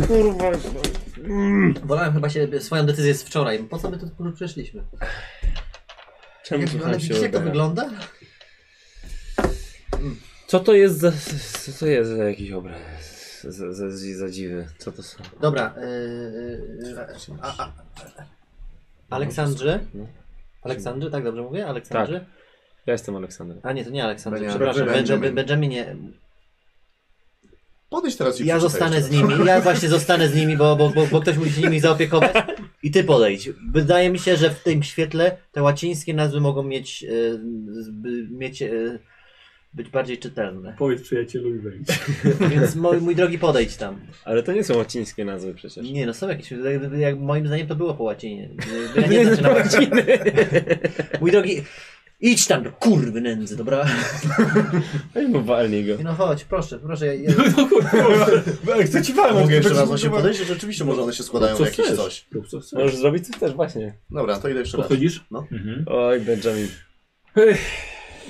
Speaker 7: Kurwa.
Speaker 3: no. Wolałem chyba się swoją decyzję z wczoraj. Po co my tu przyszliśmy?
Speaker 7: Czemu
Speaker 3: Jak, ale
Speaker 7: słucham się
Speaker 3: widzicie jak to
Speaker 7: Robera?
Speaker 3: wygląda?
Speaker 7: Co to jest za, co to jest za jakiś obraz? Za, za, za, za dziwy. Co to są?
Speaker 3: Dobra, e, yy, a, a, a, Aleksandrze?
Speaker 7: No.
Speaker 3: Aleksandrze, tak dobrze mówię? Aleksandrze?
Speaker 7: Ja jestem Aleksander.
Speaker 3: A nie, to nie Aleksandrze,
Speaker 5: Benjamin.
Speaker 3: przepraszam. Benjamin.
Speaker 5: Benjamin.
Speaker 3: Benjamin. Benjaminie,
Speaker 5: Podejdź teraz i
Speaker 3: ja
Speaker 5: przeczytaj
Speaker 3: zostanę
Speaker 5: jeszcze.
Speaker 3: z nimi, ja właśnie zostanę z nimi, bo, bo, bo, bo ktoś musi się nimi zaopiekować. I ty podejdź. Wydaje mi się, że w tym świetle te łacińskie nazwy mogą mieć, e, zby- mieć e, być bardziej czytelne.
Speaker 1: Powiedz przyjacielu i wejdź.
Speaker 3: Więc mój, mój drogi podejdź tam.
Speaker 7: Ale to nie są łacińskie nazwy przecież.
Speaker 3: Nie no, są jakieś, jak- jak moim zdaniem to było po łacinie. Ja nie znam się na łacinie. Mój drogi, idź tam do kurwy nędzy, dobra?
Speaker 7: Ej, mu walnij go.
Speaker 3: No chodź, proszę, proszę, ja, ja,
Speaker 1: No
Speaker 4: Chcę ci walnąć.
Speaker 5: Mogę jeszcze
Speaker 4: tak
Speaker 5: raz na siebie
Speaker 4: zbudowa-
Speaker 5: podejść, że rzeczywiście może one się składają w
Speaker 1: Co
Speaker 5: jakieś
Speaker 1: chcesz?
Speaker 5: coś.
Speaker 1: Rób co chcesz.
Speaker 7: Możesz zrobić coś też, właśnie.
Speaker 5: Dobra, to idę jeszcze raz.
Speaker 1: Podchodzisz?
Speaker 5: No.
Speaker 1: Mhm.
Speaker 7: Oj, Benjamin.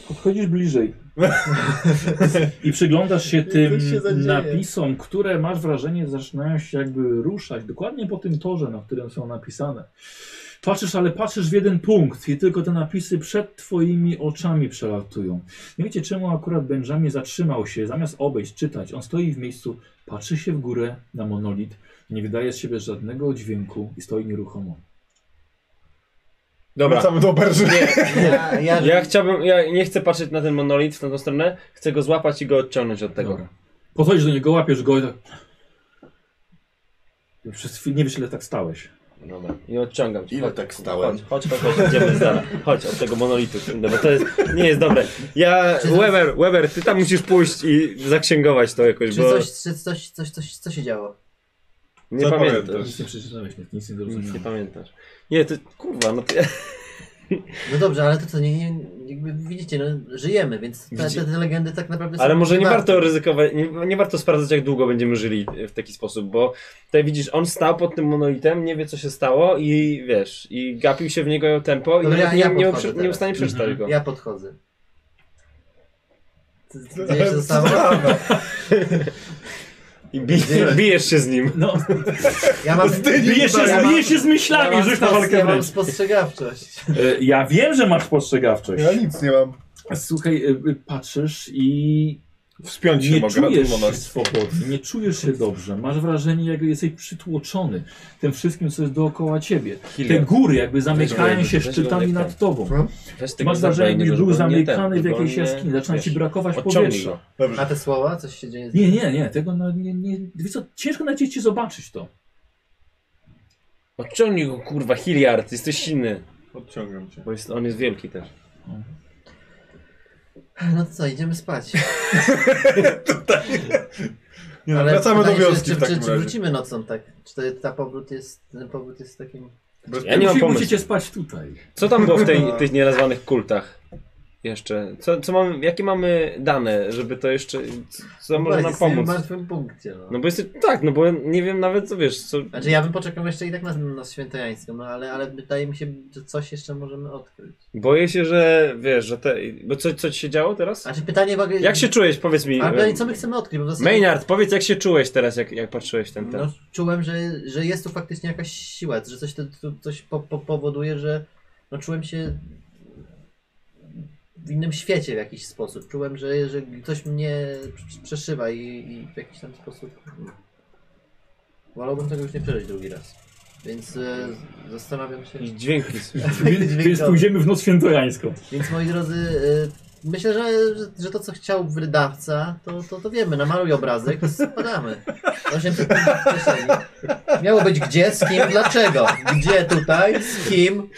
Speaker 1: Podchodzisz bliżej. I przyglądasz się tym
Speaker 3: się zadzieje.
Speaker 1: napisom, które masz wrażenie zaczynają się jakby ruszać dokładnie po tym torze, na którym są napisane. Patrzysz, ale patrzysz w jeden punkt i tylko te napisy przed twoimi oczami przelatują. Nie wiecie czemu akurat Benjamin zatrzymał się, zamiast obejść, czytać. On stoi w miejscu, patrzy się w górę na monolit, nie wydaje z siebie żadnego dźwięku i stoi nieruchomo.
Speaker 16: Dobra.
Speaker 4: Wracamy do oberży.
Speaker 17: Ja, ja,
Speaker 2: No Ja chciałbym, ja nie chcę patrzeć na ten monolit w tą stronę, chcę go złapać i go odciągnąć od tego.
Speaker 1: Dobra. Podchodzisz do niego, łapiesz go i tak... Przez chwilę nie wiesz, ile tak stałeś.
Speaker 2: Dobra. I odciągam. cię.
Speaker 5: Ile
Speaker 2: Chodź,
Speaker 5: tak
Speaker 2: kurwa,
Speaker 5: stałem?
Speaker 2: Chodź, chodź, chodź, idziemy z dala. Chodź od tego monolitu, kurde, bo to jest, nie jest dobre. Ja, Weber, Weber, ty tam musisz pójść i zaksięgować to jakoś,
Speaker 3: Czy
Speaker 2: bo
Speaker 3: coś, czy coś, coś, coś, co się działo?
Speaker 2: nie
Speaker 4: Co
Speaker 2: pamiętasz.
Speaker 4: pamiętasz?
Speaker 1: Nic nie przeczytałeś, nic, nic nie
Speaker 2: Nic nie
Speaker 1: zrozumiałem.
Speaker 2: pamiętasz. Nie, to, kurwa, no to ja...
Speaker 3: No dobrze, ale to co, nie, nie, jakby widzicie, no, żyjemy, więc te,
Speaker 2: Widzi-
Speaker 3: te, te legendy tak naprawdę są
Speaker 2: Ale może nie
Speaker 3: niewarte.
Speaker 2: warto ryzykować, nie, nie warto sprawdzać, jak długo będziemy żyli w taki sposób, bo tutaj widzisz, on stał pod tym monolitem, nie wie, co się stało i wiesz, i gapił się w niego tempo i
Speaker 3: No
Speaker 2: nawet
Speaker 3: ja-
Speaker 2: nie,
Speaker 3: ja
Speaker 2: nie, był
Speaker 3: podchodzę
Speaker 2: przy- nie
Speaker 3: teraz.
Speaker 2: był w stanie przeczytać
Speaker 1: Mhm.
Speaker 2: go.
Speaker 3: Ja podchodzę. Co- co Dzieje się zostało?
Speaker 2: I bi, bijesz się z nim.
Speaker 1: No,
Speaker 3: Ja mam...
Speaker 1: bijesz się,
Speaker 3: ja
Speaker 1: z-
Speaker 3: mam-
Speaker 1: bijesz się z myślami,
Speaker 3: ja mam
Speaker 1: rzuć na
Speaker 3: spos-
Speaker 1: walkę
Speaker 3: Ja
Speaker 1: wręcz.
Speaker 3: mam spostrzegawczość.
Speaker 1: E, Ja wiem, że masz spostrzegawczość.
Speaker 4: Ja nic nie mam.
Speaker 1: Słuchaj, e, patrzysz i
Speaker 4: Wspiąć się
Speaker 1: nie
Speaker 4: mogę na
Speaker 1: czujesz
Speaker 4: ten
Speaker 1: się
Speaker 4: moment.
Speaker 1: swobodnie, nie czujesz się dobrze. Masz wrażenie, jakby jesteś przytłoczony tym wszystkim, co jest dookoła ciebie. Te góry jakby zamykają
Speaker 2: Weź
Speaker 1: się
Speaker 2: go, weź
Speaker 1: szczytami
Speaker 2: go,
Speaker 1: nad
Speaker 2: tak.
Speaker 1: tobą.
Speaker 2: Weź
Speaker 1: Masz wrażenie, jakby był zamykany w jakiejś jaskini. Zaczyna ci brakować powietrza.
Speaker 3: A te słowa? Coś się dzieje? z-
Speaker 1: Nie, nie, nie, tego na, nie, nie. Wiesz co, ciężko na dzieci zobaczyć to.
Speaker 2: Odciągnij go, kurwa, Hilliard, jesteś silny.
Speaker 4: Odciągam cię.
Speaker 2: Bo jest, on jest wielki też.
Speaker 3: No to co, idziemy spać.
Speaker 4: Nie, no, wracamy do
Speaker 3: pytanie, czy-
Speaker 4: wioski
Speaker 3: czy,
Speaker 4: w
Speaker 3: czy,
Speaker 4: takim
Speaker 3: czy
Speaker 4: razie.
Speaker 3: wrócimy nocą tak? Czy to, ta powrót jest, ten powrót jest takim...
Speaker 4: Bez
Speaker 2: Ja nie mam
Speaker 1: Musi-
Speaker 2: pomysłu.
Speaker 1: Musicie spać tutaj.
Speaker 2: Co tam było w tej, tych nienazwanych kultach? Jeszcze. Co, co mam, jakie mamy dane, żeby to jeszcze. co- Co może
Speaker 3: Właśnie,
Speaker 2: nam
Speaker 3: jesteśmy
Speaker 2: pomóc?
Speaker 3: w martwym punkcie, no.
Speaker 2: No bo jest. Tak, no bo nie wiem nawet co wiesz, co.
Speaker 3: Znaczy ja bym poczekał jeszcze i tak na, na świętojańską, no ale, ale wydaje mi się, że coś jeszcze możemy odkryć.
Speaker 2: Boję się, że wiesz, że te. Bo co, co ci się działo teraz?
Speaker 3: Znaczy pytanie w ogóle...
Speaker 2: Jak się czułeś, powiedz mi.
Speaker 3: Ale
Speaker 2: em,
Speaker 3: co my chcemy odkryć? Bo w zasadzie...
Speaker 2: Maynard, powiedz jak się czułeś teraz, jak, jak patrzyłeś ten ten.
Speaker 3: No, czułem, że, że jest tu faktycznie jakaś siła, że coś, to, to, coś po, po, powoduje, że no, czułem się w innym świecie w jakiś sposób. Czułem, że, że ktoś mnie prz- przeszywa i, i w jakiś tam sposób. Wolałbym tego już nie przeżyć drugi raz. Więc e, zastanawiam się.
Speaker 2: I Dźwięki.
Speaker 1: Więc, więc pójdziemy w noc świętojańską.
Speaker 3: Więc moi drodzy, e, myślę, że, że, że to co chciał wydawca, to, to, to wiemy. Namaluj obrazek i spadamy. 800 kieszeni. Miało być gdzie, z kim, dlaczego? Gdzie tutaj, z kim?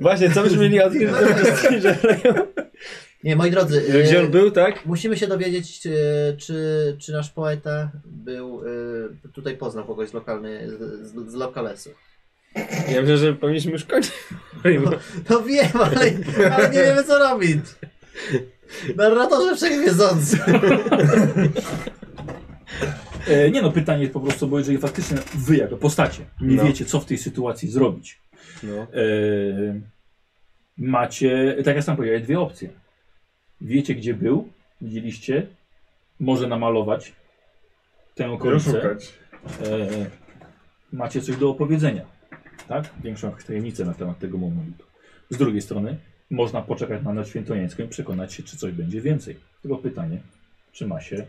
Speaker 2: Właśnie, co byśmy mieli odkryć?
Speaker 3: Nie, moi drodzy,
Speaker 2: Że Gdzie on
Speaker 3: e,
Speaker 2: był, tak?
Speaker 3: musimy się dowiedzieć, e, czy, czy nasz poeta był, e, tutaj poznał kogoś z, lokalny, z, z- z lokalesu.
Speaker 2: Ja myślę, że powinniśmy już kończyć.
Speaker 3: No wiem, ale, ale nie wiemy co robić. Narratorze wszechwiedzący.
Speaker 1: E, nie no, pytanie jest po prostu, bo jeżeli faktycznie wy jako postacie nie
Speaker 2: No.
Speaker 1: wiecie, co w tej sytuacji zrobić,
Speaker 2: No.
Speaker 1: e, macie, tak jak sam powiedziałem, dwie opcje. Wiecie, gdzie był, widzieliście, może namalować tę
Speaker 4: Już
Speaker 1: okolicę.
Speaker 4: szukać.
Speaker 1: E, macie coś do opowiedzenia, tak? Większą tajemnicę na temat tego momentu. Z drugiej strony, można poczekać na noc świętojańską i przekonać się, czy coś będzie więcej. Tylko pytanie, czy ma się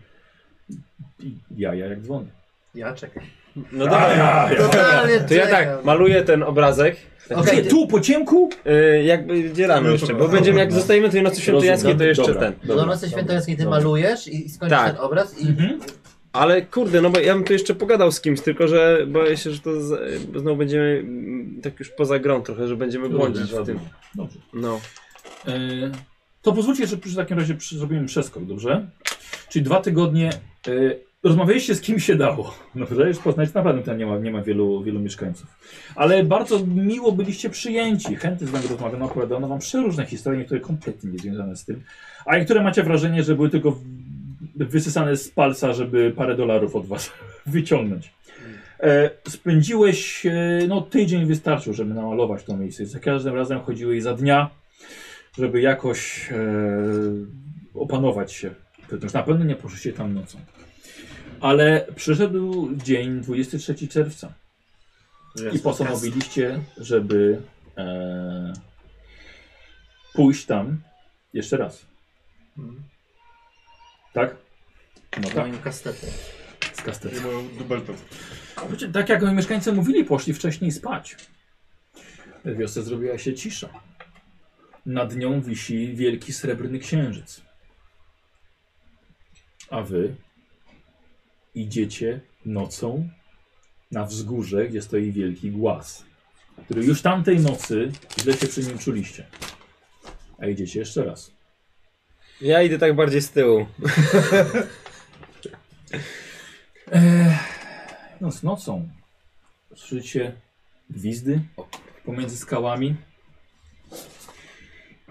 Speaker 1: jaja jak dzwony.
Speaker 3: Ja czekam.
Speaker 2: No dobra.
Speaker 3: Totalnie
Speaker 2: To ja
Speaker 3: czekam.
Speaker 2: tak, maluję ten obrazek.
Speaker 3: Okej,
Speaker 1: Gdzie, tu, po ciemku?
Speaker 2: Yy, jakby dzieramy jeszcze, bo będziemy, jak zostajemy tej nocy świętojańskiej, to jeszcze ten.
Speaker 3: Do Nocy Świętojańskiej ty malujesz i i skończysz
Speaker 2: Tak.
Speaker 3: ten obraz i
Speaker 1: Mhm.
Speaker 2: Ale kurde, no bo ja bym tu jeszcze pogadał z kimś, tylko że boję się, że to z, bo znowu będziemy mm, tak już poza grą trochę, że będziemy błądzić w tym.
Speaker 1: Dobrze.
Speaker 2: No.
Speaker 1: E, to pozwólcie, że przy takim razie przy, zrobimy przeskok, dobrze? Czyli dwa tygodnie e, rozmawialiście z kim się dało. Dobrze, już poznać naprawdę tam nie ma, nie ma wielu, wielu mieszkańców. Ale bardzo miło byliście przyjęci. Chętnie z nami rozmawiano, opowiadano wam przeróżne historie, niektóre kompletnie niezwiązane z tym. A niektóre macie wrażenie, że były tylko w- wysysane z palca, żeby parę dolarów od was wyciągnąć. E, spędziłeś, e, no tydzień wystarczył, żeby namalować to miejsce. Za każdym razem chodziłeś za dnia, żeby jakoś e, opanować się. Przecież na pewno nie poszliście tam nocą. Ale przyszedł dzień 23 czerwca i postanowiliście, żeby e, pójść tam jeszcze raz.
Speaker 3: Mhm.
Speaker 1: Tak? No tak,
Speaker 3: moim kastetem.
Speaker 1: z kastetem.
Speaker 4: I moją dubeltę.
Speaker 1: Znaczy, tak jak moi mieszkańcy mówili, poszli wcześniej spać. W wiosce zrobiła się cisza. Nad nią wisi wielki srebrny księżyc. A wy idziecie nocą na wzgórze, gdzie stoi wielki głaz, który już tamtej nocy źle się przy nim czuliście. A idziecie jeszcze raz.
Speaker 2: Ja idę tak bardziej z tyłu.
Speaker 1: No z nocą słyszycie gwizdy pomiędzy skałami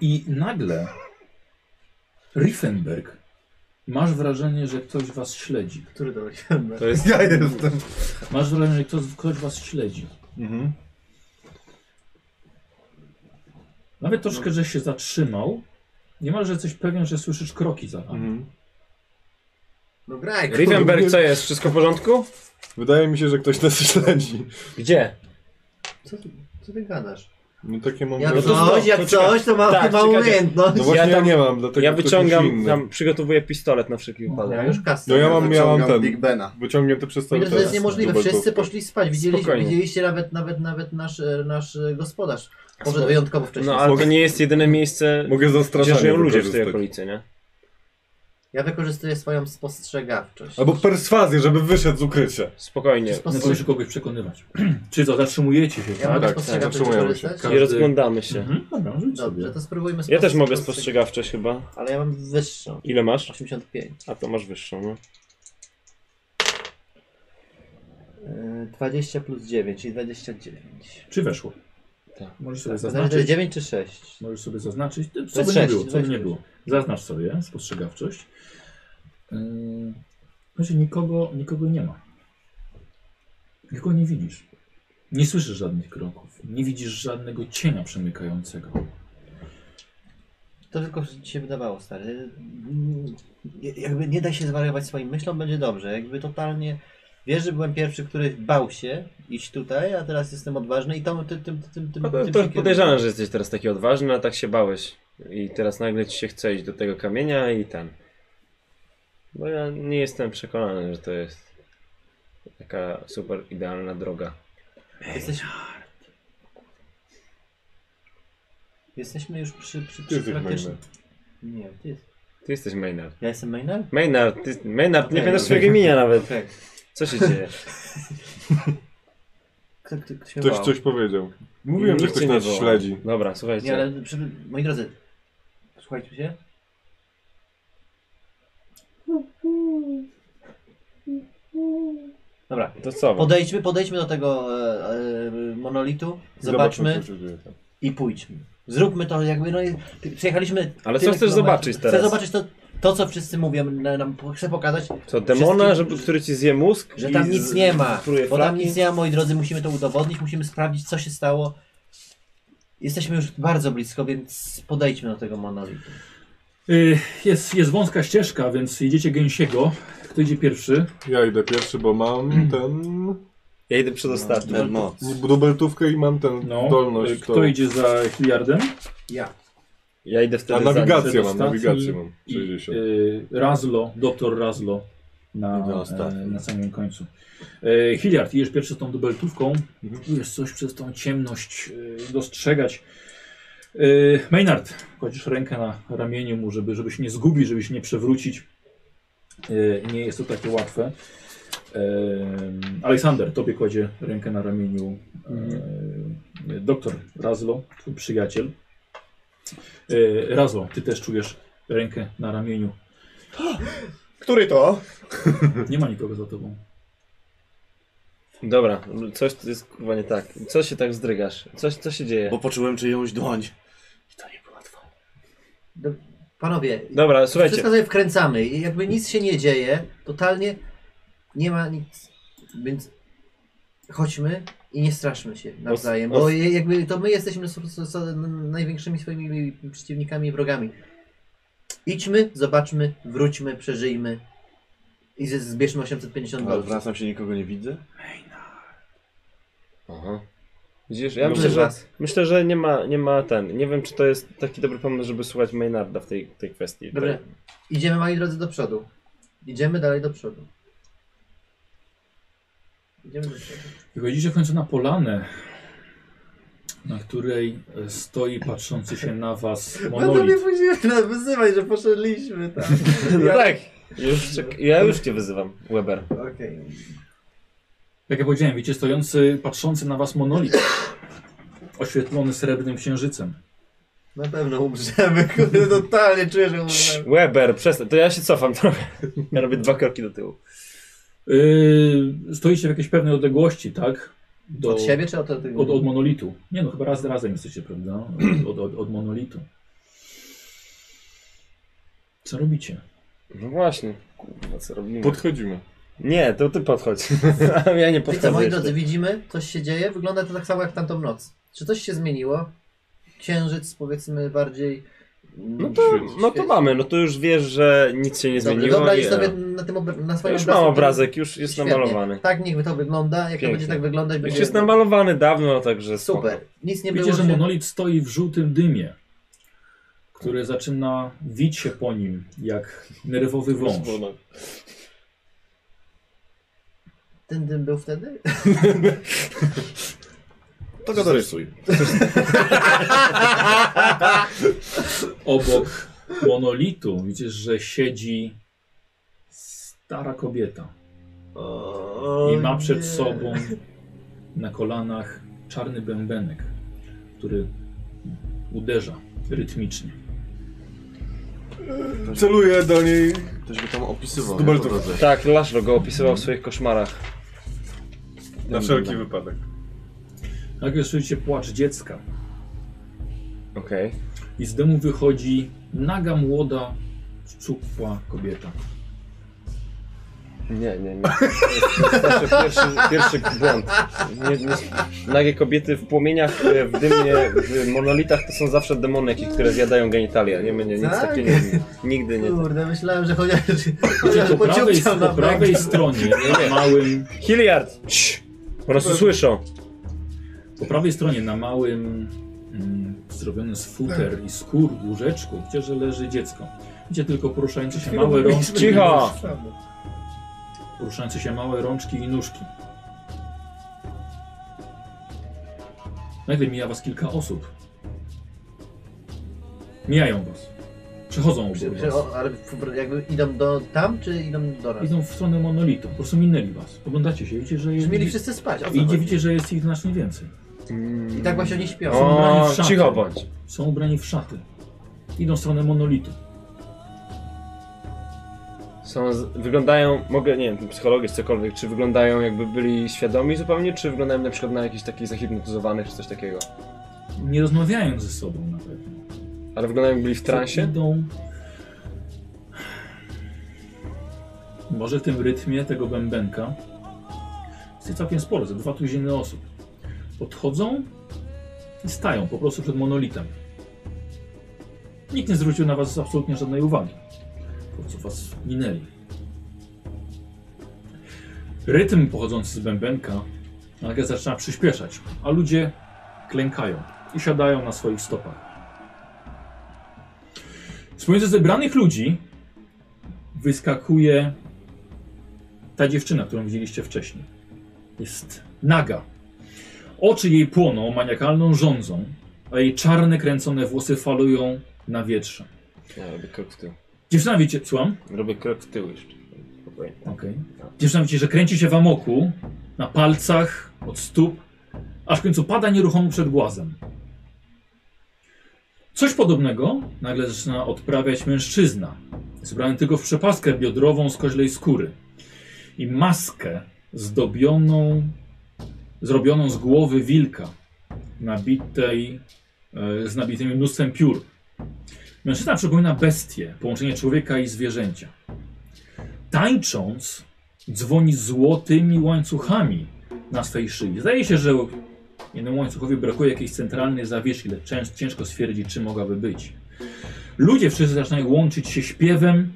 Speaker 1: i nagle Riefenberg masz wrażenie, że ktoś was śledzi.
Speaker 3: Który dobry.
Speaker 2: To jest
Speaker 4: Ja jestem.
Speaker 1: Masz wrażenie, że ktoś, ktoś was śledzi.
Speaker 4: Mhm.
Speaker 1: Nawet troszkę, że się zatrzymał. Niemalże jesteś pewien, że słyszysz kroki za nami.
Speaker 4: Mhm.
Speaker 3: No graj, kurwa.
Speaker 2: Riefenberg, co jest? Wszystko w porządku?
Speaker 4: Wydaje mi się, że ktoś nas śledzi.
Speaker 2: Gdzie?
Speaker 3: Co ty, co ty gadasz?
Speaker 4: No takie mam
Speaker 3: Jak
Speaker 4: wrażenie-
Speaker 3: coś, jak
Speaker 2: poczekaj.
Speaker 3: coś, to ma
Speaker 2: Tak,
Speaker 3: chyba
Speaker 2: czekajcie.
Speaker 4: No
Speaker 3: umiejętność.
Speaker 4: właśnie ja,
Speaker 2: tam-
Speaker 4: nie mam, dlatego
Speaker 2: Ja
Speaker 4: ktoś musi
Speaker 2: wyciągam,
Speaker 4: inny.
Speaker 2: tam przygotowuję pistolet na wszelki wypadek.
Speaker 3: Ja już kasę.
Speaker 4: No Tak, ja mam, ja mam
Speaker 5: Wyciągam
Speaker 4: ten.
Speaker 5: Big Bena.
Speaker 4: Wyciągnięte przez cały
Speaker 3: Wiesz, to jest niemożliwe.
Speaker 4: dubeltówkę.
Speaker 3: Wszyscy poszli spać. Widzieliście,
Speaker 2: Spokojnie.
Speaker 3: widzieliście nawet, nawet, nawet nasz, e, nasz e, gospodarz. Może wyjątkowo wcześniej.
Speaker 2: No ale to nie jest jedyne miejsce,
Speaker 4: Mogę
Speaker 2: gdzie
Speaker 4: zastraszanie
Speaker 2: żyją ludzie w tej
Speaker 4: wykorzystać.
Speaker 2: okolicy, nie?
Speaker 3: Ja wykorzystuję swoją spostrzegawczość.
Speaker 4: Albo perswazję, żeby wyszedł z ukrycia.
Speaker 2: Spokojnie.
Speaker 1: No
Speaker 3: Spostrzeg...
Speaker 1: musisz kogoś przekonywać. Czy to zatrzymujecie
Speaker 2: No
Speaker 1: się,
Speaker 3: Ja
Speaker 1: tak?
Speaker 3: mogę
Speaker 4: tak,
Speaker 3: spostrzegawczość
Speaker 4: zatrzymujemy się.
Speaker 3: wykorzystać?
Speaker 2: I rozglądamy się.
Speaker 1: Mhm, dobra, rzuć
Speaker 3: Dobrze,
Speaker 1: sobie.
Speaker 3: to spróbujmy
Speaker 2: Ja też
Speaker 3: spostrzeg-
Speaker 2: mogę spostrzegawczość chyba.
Speaker 3: Ale ja mam wyższą.
Speaker 2: Ile masz?
Speaker 3: 85.
Speaker 2: A to masz wyższą, no.
Speaker 3: E, 20 plus 9, czyli 29.
Speaker 1: Czy weszło?
Speaker 2: Tak.
Speaker 1: Możesz sobie
Speaker 3: Znaczy, to jest
Speaker 1: zaznaczyć.
Speaker 3: 9 czy 6?
Speaker 1: Możesz sobie zaznaczyć. Ty- Co
Speaker 3: jest
Speaker 1: by nie
Speaker 3: sześć,
Speaker 1: było, co by
Speaker 3: sześć.
Speaker 1: nie było. Zaznacz sobie spostrzegawczość. Yy, Znaczy nikogo, nikogo nie ma. Nikogo nie widzisz. Nie słyszysz żadnych kroków. Nie widzisz żadnego cienia przemykającego.
Speaker 3: To tylko ci się wydawało, stary. Mm, Jakby nie da się zwariować swoim myślom, będzie dobrze. Jakby totalnie. Wiesz, że byłem pierwszy, który bał się iść tutaj, a teraz jestem odważny i tą, tym, tym, tym, tym,
Speaker 2: No
Speaker 3: tym
Speaker 2: to,
Speaker 3: się
Speaker 2: to
Speaker 3: kieruję.
Speaker 2: podejrzane, że jesteś teraz taki odważny, a tak się bałeś. I teraz nagle ci się chce iść do tego kamienia i ten. Bo ja nie jestem przekonany, że to jest taka super idealna droga.
Speaker 3: Jesteś... Jesteśmy już przy, przy,
Speaker 4: Ty
Speaker 3: przy
Speaker 4: jesteś
Speaker 3: praktycznym.
Speaker 4: Maynard.
Speaker 3: Nie, ty jest...
Speaker 2: Ty jesteś Maynard.
Speaker 3: Ja jestem Maynard?
Speaker 2: Maynard, ty, Maynard nie
Speaker 3: Okej.
Speaker 2: pamiętasz swojego imienia nawet.
Speaker 3: Okej.
Speaker 2: Co się dzieje?
Speaker 3: Kto, kto, kto się
Speaker 4: Ktoś
Speaker 3: wołał?
Speaker 4: coś powiedział. Mówiłem, że
Speaker 2: Nikt
Speaker 4: ktoś
Speaker 2: cię nie
Speaker 4: nas
Speaker 2: woła.
Speaker 4: śledzi.
Speaker 2: Dobra, słuchajcie.
Speaker 3: Nie, ale przy... moi drodzy, słuchajcie się. Dobra,
Speaker 2: To co?
Speaker 3: podejdźmy, podejdźmy do tego e, e, monolitu, zobaczmy
Speaker 4: co się dzieje tam.
Speaker 3: i pójdźmy. Zróbmy to jakby, no i ty- przyjechaliśmy...
Speaker 2: Ale co
Speaker 3: tyle
Speaker 2: chcesz
Speaker 3: kilometrów.
Speaker 2: zobaczyć teraz?
Speaker 3: Chcę zobaczyć to, to co wszyscy mówią, na- nam chcę pokazać,
Speaker 2: Co, demona,
Speaker 3: Wszystkim-
Speaker 2: żeby, który ci zje mózg?
Speaker 3: że
Speaker 2: i
Speaker 3: tam
Speaker 2: z-
Speaker 3: nic nie ma.
Speaker 2: truje
Speaker 3: Bo tam
Speaker 2: flaki?
Speaker 3: nic nie ma, moi drodzy, musimy to udowodnić, musimy sprawdzić, co się stało. Jesteśmy już bardzo blisko, więc podejdźmy do tego monolitu.
Speaker 1: Y, Jest, jest wąska ścieżka, więc idziecie gęsiego. Kto idzie pierwszy?
Speaker 4: Ja idę pierwszy, bo mam ten.
Speaker 2: Ja idę przedostatni.
Speaker 5: Ten moc.
Speaker 4: dubeltówkę i mam ten
Speaker 1: No.
Speaker 4: zdolność.
Speaker 1: Y,
Speaker 4: tą-
Speaker 1: Kto idzie za Hilliardem?
Speaker 2: Ja idę
Speaker 4: A
Speaker 2: wtedy za nim.
Speaker 4: nawigację mam,
Speaker 1: Przedostatni
Speaker 4: nawigację mam.
Speaker 1: I
Speaker 4: 60.
Speaker 1: y, Razlo, doktor Razlo na,
Speaker 5: Idę ostatni.
Speaker 1: e, na samym końcu. E, Hilliard, idziesz pierwszy z tą dubeltówką. Próbujesz coś przez tą ciemność e, dostrzegać. E, Maynard, kładziesz rękę na ramieniu mu, żeby, żeby się nie zgubić, żeby się nie przewrócić. E, nie jest to takie łatwe. E, Aleksander, tobie kładzie rękę na ramieniu e, doktor Razlo, twój przyjaciel. E, Razlo, ty też czujesz rękę na ramieniu.
Speaker 5: Który to?
Speaker 1: Nie ma nikogo za tobą.
Speaker 2: Dobra, coś tu jest kurwa nie tak. Co się tak zdrygasz? Coś, co się dzieje?
Speaker 5: Bo poczułem czyjąś dłoń. I to nie była twoja.
Speaker 3: Do, panowie,
Speaker 2: Dobra, No, słuchajcie.
Speaker 3: wszystko sobie wkręcamy. I Jakby nic się nie dzieje, totalnie nie ma nic. Więc chodźmy i nie straszmy się nawzajem,
Speaker 2: os-
Speaker 3: bo je- jakby to my jesteśmy s- s- s- największymi swoimi przeciwnikami i wrogami. Idźmy, zobaczmy, wróćmy, przeżyjmy i z- zbierzmy 850
Speaker 5: Ale
Speaker 3: dolarów.
Speaker 5: wracam się, nikogo nie widzę.
Speaker 2: Aha. No Widzisz, ja
Speaker 3: Lubię
Speaker 2: myślę, że,
Speaker 3: was.
Speaker 2: myślę, że nie ma, nie ma ten. Nie wiem, czy to jest taki dobry pomysł, żeby słuchać Maynarda w tej, tej kwestii.
Speaker 3: Dobra.
Speaker 2: Tak.
Speaker 3: Idziemy, moi drodzy, do przodu. Idziemy dalej do przodu. Idziemy do przodu.
Speaker 1: Wychodzicie w końcu na polanę. na której e, stoi patrzący się na was
Speaker 3: No to mnie
Speaker 1: monolit.
Speaker 3: później nas wyzywać, że poszedliśmy tam.
Speaker 2: No tak. Już, czek- ja już cię wyzywam, Weber.
Speaker 3: Okej.
Speaker 1: Jak ja powiedziałem, widzicie stojący, patrzący na was monolit. Oświetlony srebrnym księżycem.
Speaker 3: Na pewno umrzemy, kurde, totalnie czuję, że
Speaker 2: Cii,
Speaker 3: umrzemy.
Speaker 2: Weber, przestań. To ja się cofam trochę. Ja robię dwa kroki do tyłu.
Speaker 1: Yy, stoicie w jakiejś pewnej odległości, tak? Do,
Speaker 3: Od siebie czy od tego?
Speaker 1: Od, od monolitu. Nie no, chyba raz razem jesteście, prawda? Od, od, od monolitu. Co robicie?
Speaker 2: No właśnie. Kurwa, co
Speaker 1: e,
Speaker 2: robimy?
Speaker 18: Podchodzimy.
Speaker 2: Nie, to ty podchodź. ja nie
Speaker 3: Wiecie,
Speaker 2: podchodzę.
Speaker 3: moi
Speaker 2: jeszcze.
Speaker 3: drodzy, widzimy, coś się dzieje, wygląda to tak samo jak tamtą noc. Czy coś się zmieniło? Księżyc, powiedzmy, bardziej...
Speaker 2: No to, no to mamy, no to już wiesz, że nic się nie
Speaker 3: Dobrze,
Speaker 2: zmieniło.
Speaker 3: dobra, idź
Speaker 2: nie.
Speaker 3: sobie na, tym obra- na
Speaker 2: Ja
Speaker 3: swoim
Speaker 2: już mam obrazek, już jest
Speaker 3: Świetnie.
Speaker 2: namalowany.
Speaker 3: Tak, niech to wygląda, jak to
Speaker 2: Pięknie.
Speaker 3: będzie tak wyglądać,
Speaker 2: Już
Speaker 3: będzie...
Speaker 2: jest namalowany dawno, także spoko.
Speaker 3: Super, nic nie
Speaker 1: Wiecie,
Speaker 3: było.
Speaker 1: że
Speaker 3: się-
Speaker 1: monolit stoi w żółtym dymie, który zaczyna wić się po nim jak nerwowy wąż.
Speaker 3: Ten dym był wtedy?
Speaker 5: To go dorysuj.
Speaker 1: Obok monolitu widzisz, że siedzi stara kobieta
Speaker 3: O,
Speaker 1: i ma
Speaker 3: nie.
Speaker 1: przed sobą na kolanach czarny bębenek, który uderza rytmicznie.
Speaker 4: Celuję do niej.
Speaker 5: Ktoś by tam opisywał.
Speaker 4: Dubel
Speaker 5: nie?
Speaker 4: to-
Speaker 5: Po drodze.
Speaker 2: Tak, Laszlo go opisywał w swoich koszmarach.
Speaker 4: Na wszelki wypadek.
Speaker 1: Nagle Tak słyszycie płacz dziecka
Speaker 2: Okej.
Speaker 1: i z dymu wychodzi naga młoda, szczupła kobieta.
Speaker 2: Nie, nie, nie. To jest nasz Pierwszy, pierwszy błąd. Nie, nie. Nagie kobiety w płomieniach, e, w dymie, w monolitach to są zawsze demoneki, które zjadają genitalia. Nie będzie nic
Speaker 3: Tak?
Speaker 2: takiego. Nigdy nie.
Speaker 3: Kurde, myślałem, że chociaż...
Speaker 1: Widzicie,
Speaker 3: że
Speaker 1: Znaczy, po prawej,
Speaker 3: pociągnął
Speaker 1: po
Speaker 3: na
Speaker 1: prawej stronie, na małym,
Speaker 2: Hilliard! Cii! Po prostu słyszą.
Speaker 1: po prawej stronie, na małym mm, zrobionym z futer i skór łóżeczku, gdzie że leży dziecko. Gdzie tylko poruszające się małe rączki,
Speaker 2: Cicho!
Speaker 1: poruszające się małe rączki i nóżki. Nagle mija No was kilka osób. Mijają was. Przechodzą obok was.
Speaker 3: Że, o, ale w- jakby idą do tam, czy idą do nas?
Speaker 1: Idą w stronę monolitu, po prostu minęli was. Oglądacie się, widzicie, że
Speaker 3: Że
Speaker 1: jest,
Speaker 3: mieli wszyscy spać. o co
Speaker 1: i
Speaker 3: chodzi?
Speaker 1: widzicie, że jest ich znacznie więcej.
Speaker 3: I tak właśnie oni śpią.
Speaker 2: O, cicho bądź.
Speaker 1: Są ubrani w szaty. Idą w stronę monolitu.
Speaker 2: Są, z- wyglądają, mogę, nie wiem, psychologię czy cokolwiek, czy wyglądają jakby byli świadomi zupełnie, czy wyglądają na przykład na jakichś takich zahipnotyzowanych, czy coś takiego.
Speaker 1: Nie rozmawiają ze sobą na pewno.
Speaker 2: Ale wyglądają jakby byli w transie?
Speaker 1: Idą... Może w tym rytmie tego bębenka jest ich całkiem sporo, ze dwa tuziny osób. Podchodzą i stają po prostu przed monolitem. Nikt nie zwrócił na was absolutnie żadnej uwagi. Po prostu was minęli. Rytm pochodzący z bębenka nagle zaczyna przyspieszać, a ludzie klękają i siadają na swoich stopach. Spomiędzy zebranych ludzi wyskakuje ta dziewczyna, którą widzieliście wcześniej. Jest naga. Oczy jej płoną maniakalną żądzą, a jej czarne, kręcone włosy falują na wietrze.
Speaker 2: Ja robię krok w tył.
Speaker 1: Dziewczyna wiecie, słucham?
Speaker 2: Robię krok w tył jeszcze. Spokojnie.
Speaker 1: Okej. Dziewczyna widzicie, że kręci się w amoku, na palcach, od stóp, aż w końcu pada nieruchomo przed głazem. Coś podobnego nagle zaczyna odprawiać mężczyzna, zbrany tylko w przepaskę biodrową z koźlej skóry i maskę zdobioną, zrobioną z głowy wilka, nabitej, e, z nabitym mnóstwem piór. Mężczyzna przypomina bestię, połączenie człowieka i zwierzęcia tańcząc, dzwoni złotymi łańcuchami na swej szyi. Zdaje się, że jednemu łańcuchowi brakuje jakiejś centralnej zawieszki, lecz cięż- ciężko stwierdzić, czy mogłaby być. Ludzie wszyscy zaczynają łączyć się śpiewem,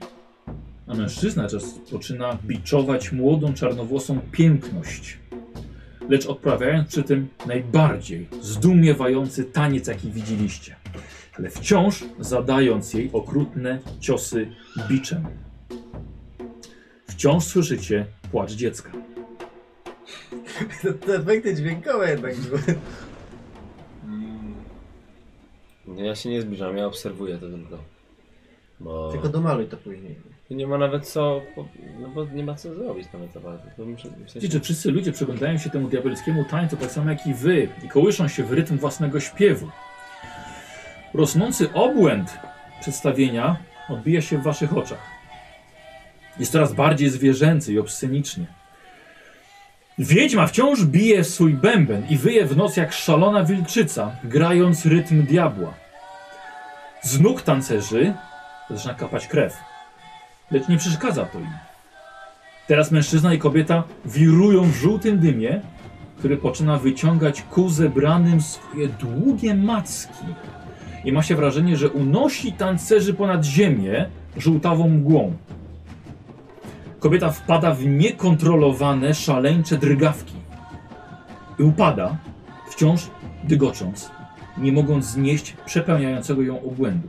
Speaker 1: a mężczyzna czas zaczyna biczować młodą, czarnowłosą piękność, lecz odprawiając przy tym najbardziej zdumiewający taniec, jaki widzieliście, ale wciąż zadając jej okrutne ciosy biczem. Wciąż słyszycie płacz dziecka.
Speaker 3: Te efekty dźwiękowe jednak były.
Speaker 2: No Ja się nie zbliżam, ja obserwuję to tylko. Bo
Speaker 3: Tylko domaluj to później.
Speaker 2: nie ma nawet co. po- No bo nie ma co zrobić nawet naprawdę. To muszę, w sensie-
Speaker 1: Widzicie, że wszyscy ludzie przyglądają się temu diabelskiemu tańcu tak samo jak i wy i kołyszą się w rytm własnego śpiewu. Rosnący obłęd przedstawienia odbija się w waszych oczach. Jest coraz bardziej zwierzęcy i obscenicznie. Wiedźma wciąż bije w swój bęben i wyje w noc jak szalona wilczyca, grając rytm diabła. Z nóg tancerzy zaczyna kapać krew, lecz nie przeszkadza to im. Teraz mężczyzna i kobieta wirują w żółtym dymie, który poczyna wyciągać ku zebranym swoje długie macki. I ma się wrażenie, że unosi tancerzy ponad ziemię żółtawą mgłą. Kobieta wpada w niekontrolowane, szaleńcze drgawki. I upada, wciąż dygocząc, nie mogąc znieść przepełniającego ją obłędu.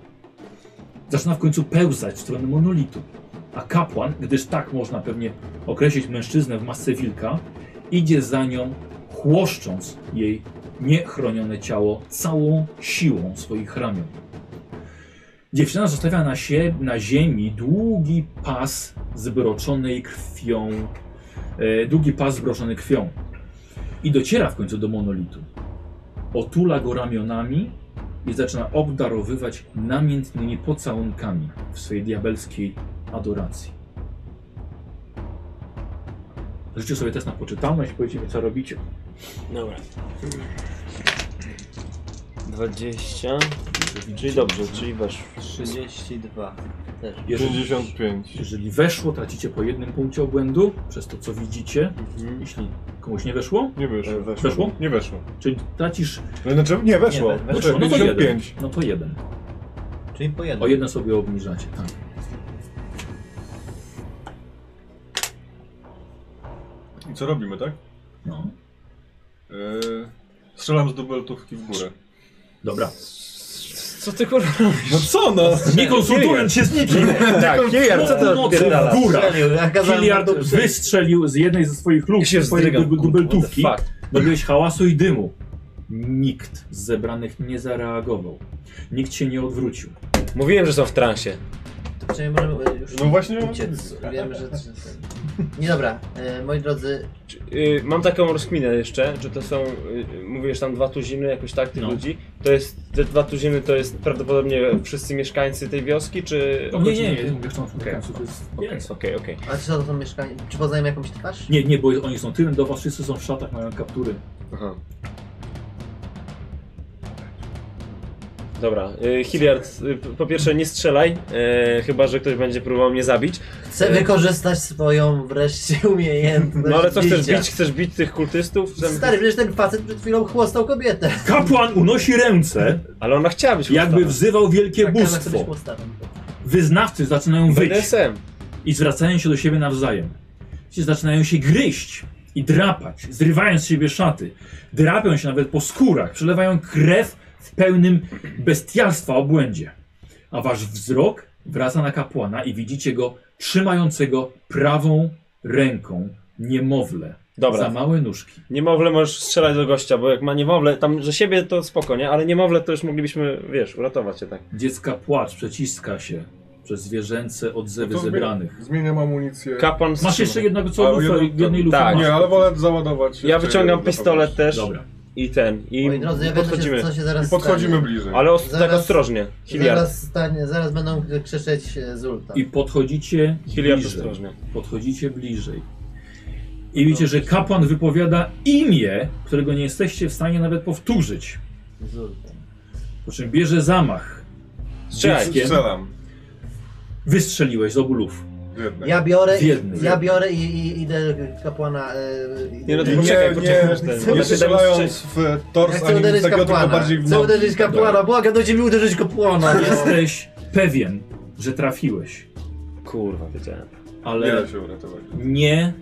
Speaker 1: Zaczyna w końcu pełzać w stronę monolitu a kapłan, gdyż tak można pewnie określić mężczyznę w masce wilka, idzie za nią, chłoszcząc jej niechronione ciało całą siłą swoich ramion. Dziewczyna zostawia na, sie, na ziemi długi pas zbroczonej krwią, e, długi pas zbroczony krwią i dociera w końcu do monolitu. Otula go ramionami i zaczyna obdarowywać namiętnymi pocałunkami w swojej diabelskiej adoracji. Życzę sobie test na poczytalność, powiedzcie mi co robicie.
Speaker 2: Dobra. 20. Czyli dobrze, czyli weszło.
Speaker 19: 32. Też.
Speaker 1: Jeżeli,
Speaker 4: 65.
Speaker 1: jeżeli weszło, tracicie po jednym punkcie obłędu, przez to co widzicie. Jeśli komuś nie weszło,
Speaker 4: Nie wyszło.
Speaker 20: E, weszło.
Speaker 1: weszło,
Speaker 4: Nie weszło.
Speaker 1: czyli tracisz,
Speaker 4: Znaczy, nie weszło.
Speaker 3: Nie, we-
Speaker 4: Znaczy,
Speaker 1: weszło, no to jeden.
Speaker 4: 55.
Speaker 1: No to jeden.
Speaker 3: Czyli po jednym.
Speaker 1: O jeden sobie obniżacie, tak.
Speaker 4: I co robimy, tak?
Speaker 1: No.
Speaker 4: Yy, strzelam z dubeltówki w górę.
Speaker 1: Dobra.
Speaker 2: Co ty kurwa robisz?
Speaker 4: No co no?
Speaker 1: Nie konsultując się z nikim.
Speaker 21: Tak, Kiejar, co to
Speaker 1: Północy
Speaker 21: odpierdala?
Speaker 1: w górach.
Speaker 3: Ja kazałem
Speaker 1: Hilliard
Speaker 3: to przejść.
Speaker 1: wystrzelił z jednej ze swoich lub
Speaker 2: Ja się
Speaker 1: swojej
Speaker 2: wzdrygam,
Speaker 1: dub-
Speaker 2: kurwa,
Speaker 1: dubeltówki.
Speaker 2: what the
Speaker 1: Dobiłeś hałasu i dymu. Nikt z zebranych nie zareagował. Nikt się nie odwrócił.
Speaker 21: Mówiłem, że są w transie.
Speaker 3: To przynajmniej możemy e, już
Speaker 4: No właśnie.
Speaker 3: uciec. Wiemy, że... że- Nie dobra, e, moi drodzy,
Speaker 2: Y, mam taką rozkminę jeszcze, że to są, y, mówisz tam dwa tuziny, jakoś tak tych
Speaker 1: No.
Speaker 2: ludzi. To jest, te dwa tuziny to jest prawdopodobnie wszyscy mieszkańcy tej wioski, czy...
Speaker 1: Nie, nie, nie. Mówię, że są w
Speaker 2: Okej,
Speaker 1: końcu, to jest-
Speaker 2: Okej, okej, okej.
Speaker 3: a czy to są mieszkanie? Czy poznajemy jakąś twarz?
Speaker 1: Nie, nie, bo oni są tyłem do was, wszyscy są w szatach, mają kaptury.
Speaker 20: Aha.
Speaker 2: Dobra, y, Hilliard, y, p- po pierwsze nie strzelaj, y, chyba że ktoś będzie próbował mnie zabić. No,
Speaker 3: Chcę wykorzystać swoją wreszcie umiejętność
Speaker 2: No ale co chcesz
Speaker 3: bicia.
Speaker 2: bić? Chcesz bić tych kultystów? Chcę-
Speaker 3: Stary, przecież ten facet przed chwilą chłostał kobietę. Tak,
Speaker 1: Kapłan unosi ręce,
Speaker 2: Ale ona chciała być
Speaker 1: jakby
Speaker 2: kultystą.
Speaker 1: wzywał wielkie
Speaker 3: Tak, Karla chce być
Speaker 1: bóstwo.
Speaker 3: chłostawą.
Speaker 1: Wyznawcy zaczynają wyć.
Speaker 2: BDSM.
Speaker 1: i zwracają się do siebie nawzajem. Ci Zaczynają się gryźć i drapać, zrywając z siebie szaty. Drapią się nawet po skórach, przelewają krew w pełnym bestialstwa obłędzie. A wasz wzrok wraca na kapłana i widzicie go trzymającego prawą ręką niemowlę za
Speaker 2: Dobra,
Speaker 1: małe nóżki.
Speaker 2: niemowlę możesz strzelać do gościa, bo jak ma niemowlę, tam, że siebie to spoko, nie? Ale niemowlę to już moglibyśmy, wiesz, uratować się tak.
Speaker 1: Dziecka płacz przeciska się przez zwierzęce odzewy
Speaker 4: No To zmie-
Speaker 1: zebranych.
Speaker 4: Zmieniam amunicję.
Speaker 2: Kapłan
Speaker 1: Masz
Speaker 2: wstrzymuje.
Speaker 1: jeszcze jednego co?
Speaker 4: A, jeden-
Speaker 1: w jednej lufy
Speaker 2: tak.
Speaker 1: masz.
Speaker 4: Nie, ale wolę załadować.
Speaker 2: Ja
Speaker 4: jeszcze
Speaker 2: wyciągam
Speaker 4: jeden
Speaker 2: pistolet też
Speaker 1: Dobra.
Speaker 2: i ten, i
Speaker 3: Moi drodzy, ja wiem, co się,
Speaker 2: podchodzimy.
Speaker 3: co się zaraz
Speaker 4: I podchodzimy
Speaker 3: stanie.
Speaker 4: bliżej.
Speaker 2: Ale os- tak
Speaker 3: Zaraz-
Speaker 2: ostrożnie, Hilliard.
Speaker 3: Zaraz, stanie, zaraz będą krzyczeć e, Zulta.
Speaker 1: I podchodzicie
Speaker 2: Hilliard
Speaker 1: bliżej.
Speaker 2: ostrożnie.
Speaker 1: Podchodzicie bliżej. I widzicie, że kapłan wypowiada imię, którego nie jesteście w stanie nawet powtórzyć.
Speaker 3: Zulta.
Speaker 1: Po czym bierze zamach.
Speaker 2: Strzelaj.
Speaker 1: Dzieckiem.
Speaker 4: Strzelam.
Speaker 1: Wystrzeliłeś z obu luf.
Speaker 4: Z jednej.
Speaker 3: Ja biorę,
Speaker 1: W jednym.
Speaker 3: ja biorę i, i idę kapłana. E,
Speaker 2: Nie no to
Speaker 4: Nie,
Speaker 2: poczekaj,
Speaker 4: nie,
Speaker 2: poczekaj.
Speaker 4: nie,
Speaker 2: aż ten-
Speaker 4: nie,
Speaker 2: aż ten dam
Speaker 4: strzelając
Speaker 2: strzelić.
Speaker 4: w tors,
Speaker 3: ja chcę
Speaker 4: ani nic
Speaker 3: uderzyć
Speaker 4: takiego, tylko
Speaker 3: kapłana.
Speaker 4: bardziej w
Speaker 3: Chcę
Speaker 4: nogi.
Speaker 3: uderzyć kapłana, błagam, dajcie mi uderzyć kapłana. no.
Speaker 1: Jesteś pewien, że trafiłeś,
Speaker 2: Kurwa, wiedziałem.
Speaker 4: Nie
Speaker 1: ale
Speaker 4: da się uratować.
Speaker 1: nie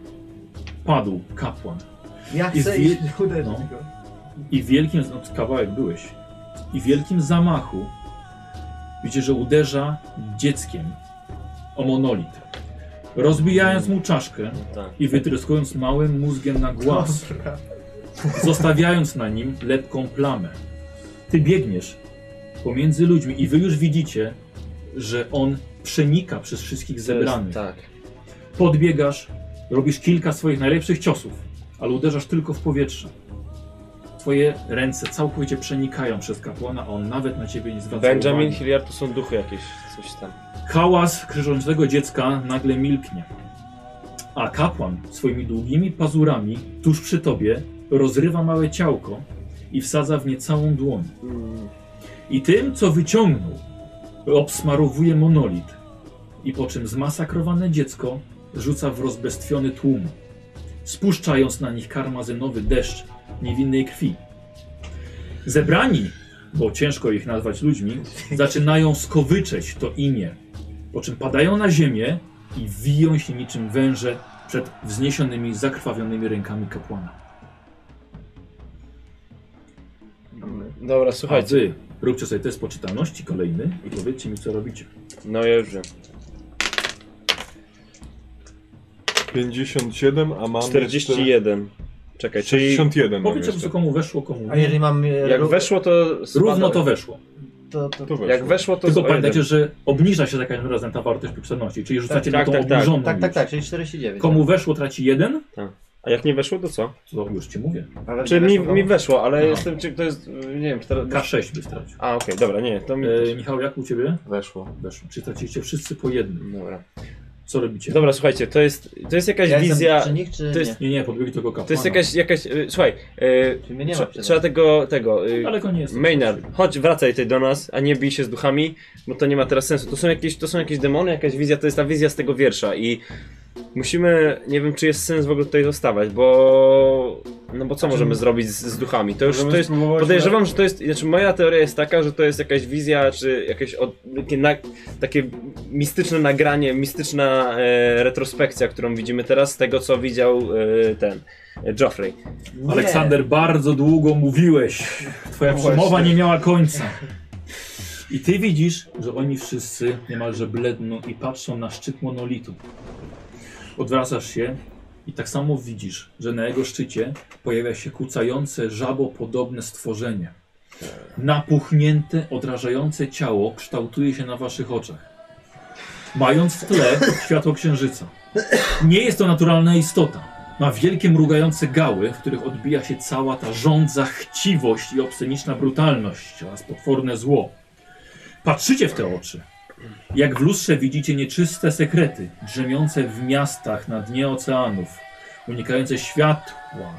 Speaker 1: padł kapłan.
Speaker 3: Ja chcę
Speaker 1: I
Speaker 3: iść
Speaker 1: zje-
Speaker 3: uderzyć
Speaker 1: no.
Speaker 3: go.
Speaker 1: I w wielkim, no kawałek byłeś, i w wielkim zamachu widzicie, że uderza dzieckiem o monolit. Rozbijając mu czaszkę,
Speaker 2: No tak.
Speaker 1: i wytryskując małym mózgiem na głaz, zostawiając na nim lepką plamę. Ty biegniesz, pomiędzy ludźmi i wy już widzicie, że on przenika przez wszystkich zebranych.
Speaker 2: Tak.
Speaker 1: Podbiegasz, robisz kilka swoich najlepszych ciosów, ale uderzasz tylko w powietrze. Twoje ręce całkowicie przenikają przez kapłana, a on nawet na ciebie nie zwraca
Speaker 2: Benjamin
Speaker 1: uwagi.
Speaker 2: Hilliard to są duchy jakieś, coś tam.
Speaker 1: Hałas krzyczącego dziecka nagle milknie. A kapłan swoimi długimi pazurami tuż przy tobie rozrywa małe ciałko i wsadza w nie całą dłoń. I tym, co wyciągnął, obsmarowuje monolit. I po czym zmasakrowane dziecko rzuca w rozbestwiony tłum, spuszczając na nich karmazynowy deszcz niewinnej krwi. Zebrani, bo ciężko ich nazwać ludźmi, zaczynają skowyczeć to imię, po czym padają na ziemię i wiją się niczym węże przed wzniesionymi, zakrwawionymi rękami kapłana.
Speaker 2: Dobra,
Speaker 1: A
Speaker 2: słuchajcie.
Speaker 1: wy róbcie sobie test poczytalności kolejny i powiedzcie mi, co robicie.
Speaker 2: No ja już wiem.
Speaker 4: 57, a mam
Speaker 2: 41. Czekaj,
Speaker 4: Jeszcze...
Speaker 2: czyli
Speaker 4: 61 mam
Speaker 1: Powiedzcie,
Speaker 4: jeszcze.
Speaker 1: co komu weszło, komu
Speaker 3: A
Speaker 1: nie.
Speaker 3: jeżeli mam... e,
Speaker 2: jak
Speaker 3: ró-
Speaker 2: weszło to... spada-
Speaker 1: Równo to weszło.
Speaker 3: To, to,
Speaker 4: To
Speaker 2: Jak weszło to...
Speaker 1: Tylko
Speaker 2: z- o jeden.
Speaker 1: pamiętajcie, że obniża się za każdym razem ta wartość poczytalności, czyli rzucacie
Speaker 2: tak,
Speaker 1: na tą
Speaker 2: tak, tak.
Speaker 1: obniżoną
Speaker 3: tak, tak,
Speaker 1: już.
Speaker 3: tak, czyli 49.
Speaker 1: Komu weszło, traci jeden.
Speaker 2: A jak nie weszło to co?
Speaker 1: Co już ci mówię.
Speaker 3: Ale
Speaker 2: Czy
Speaker 3: nie
Speaker 2: Znaczy, mi,
Speaker 3: weszło komu?
Speaker 2: mi weszło, ale
Speaker 1: Aha.
Speaker 2: jestem... Czy to jest... Nie wiem, 40...
Speaker 1: K6 by stracił.
Speaker 2: A okej, dobra, nie, to mi...
Speaker 1: E, Michał, jak u ciebie?
Speaker 5: Weszło.
Speaker 1: Weszło. Czy traciliście wszyscy po jednym?
Speaker 2: Dobra.
Speaker 1: Co robicie?
Speaker 2: Dobra, słuchajcie, to jest, to jest jakaś
Speaker 3: Ja jestem
Speaker 2: wizja...
Speaker 3: przy nich, czy
Speaker 2: to jest-
Speaker 3: nie?
Speaker 1: Nie, nie, podbiegli tylko kapłana.
Speaker 2: To jest jakaś, jakaś... y, Słuchaj, y,
Speaker 3: Czyli mnie nie ma
Speaker 2: trze-
Speaker 3: przy nas.
Speaker 2: trzeba tego... tego y,
Speaker 1: Daleko nie jest.
Speaker 2: Maynard, chodź, wracaj tutaj do nas, a nie bij się z duchami, bo to nie ma teraz sensu. To są jakieś, to są jakieś demony, jakaś wizja, to jest ta wizja z tego wiersza i musimy, nie wiem czy jest sens w ogóle tutaj zostawać, bo no bo co możemy zrobić z, z duchami? To już to jest, podejrzewam, że to jest, znaczy moja teoria jest taka, że to jest jakaś wizja, czy jakieś od, takie, na, takie mistyczne nagranie, mistyczna e, retrospekcja, którą widzimy teraz z tego co widział e, ten e, Joffrey.
Speaker 3: Nie.
Speaker 1: Aleksander, bardzo długo mówiłeś. Twoja przemowa nie miała końca. I ty widzisz, że oni wszyscy niemalże bledną i patrzą na szczyt monolitu. Odwracasz się i tak samo widzisz, że na jego szczycie pojawia się kucające żabopodobne stworzenie. Napuchnięte, odrażające ciało kształtuje się na waszych oczach, mając w tle światło księżyca. Nie jest to naturalna istota. Ma wielkie mrugające gały, w których odbija się cała ta żądza, chciwość i obsceniczna brutalność oraz potworne zło. Patrzycie w te oczy. Jak w lustrze widzicie nieczyste sekrety, drzemiące w miastach na dnie oceanów, unikające światła,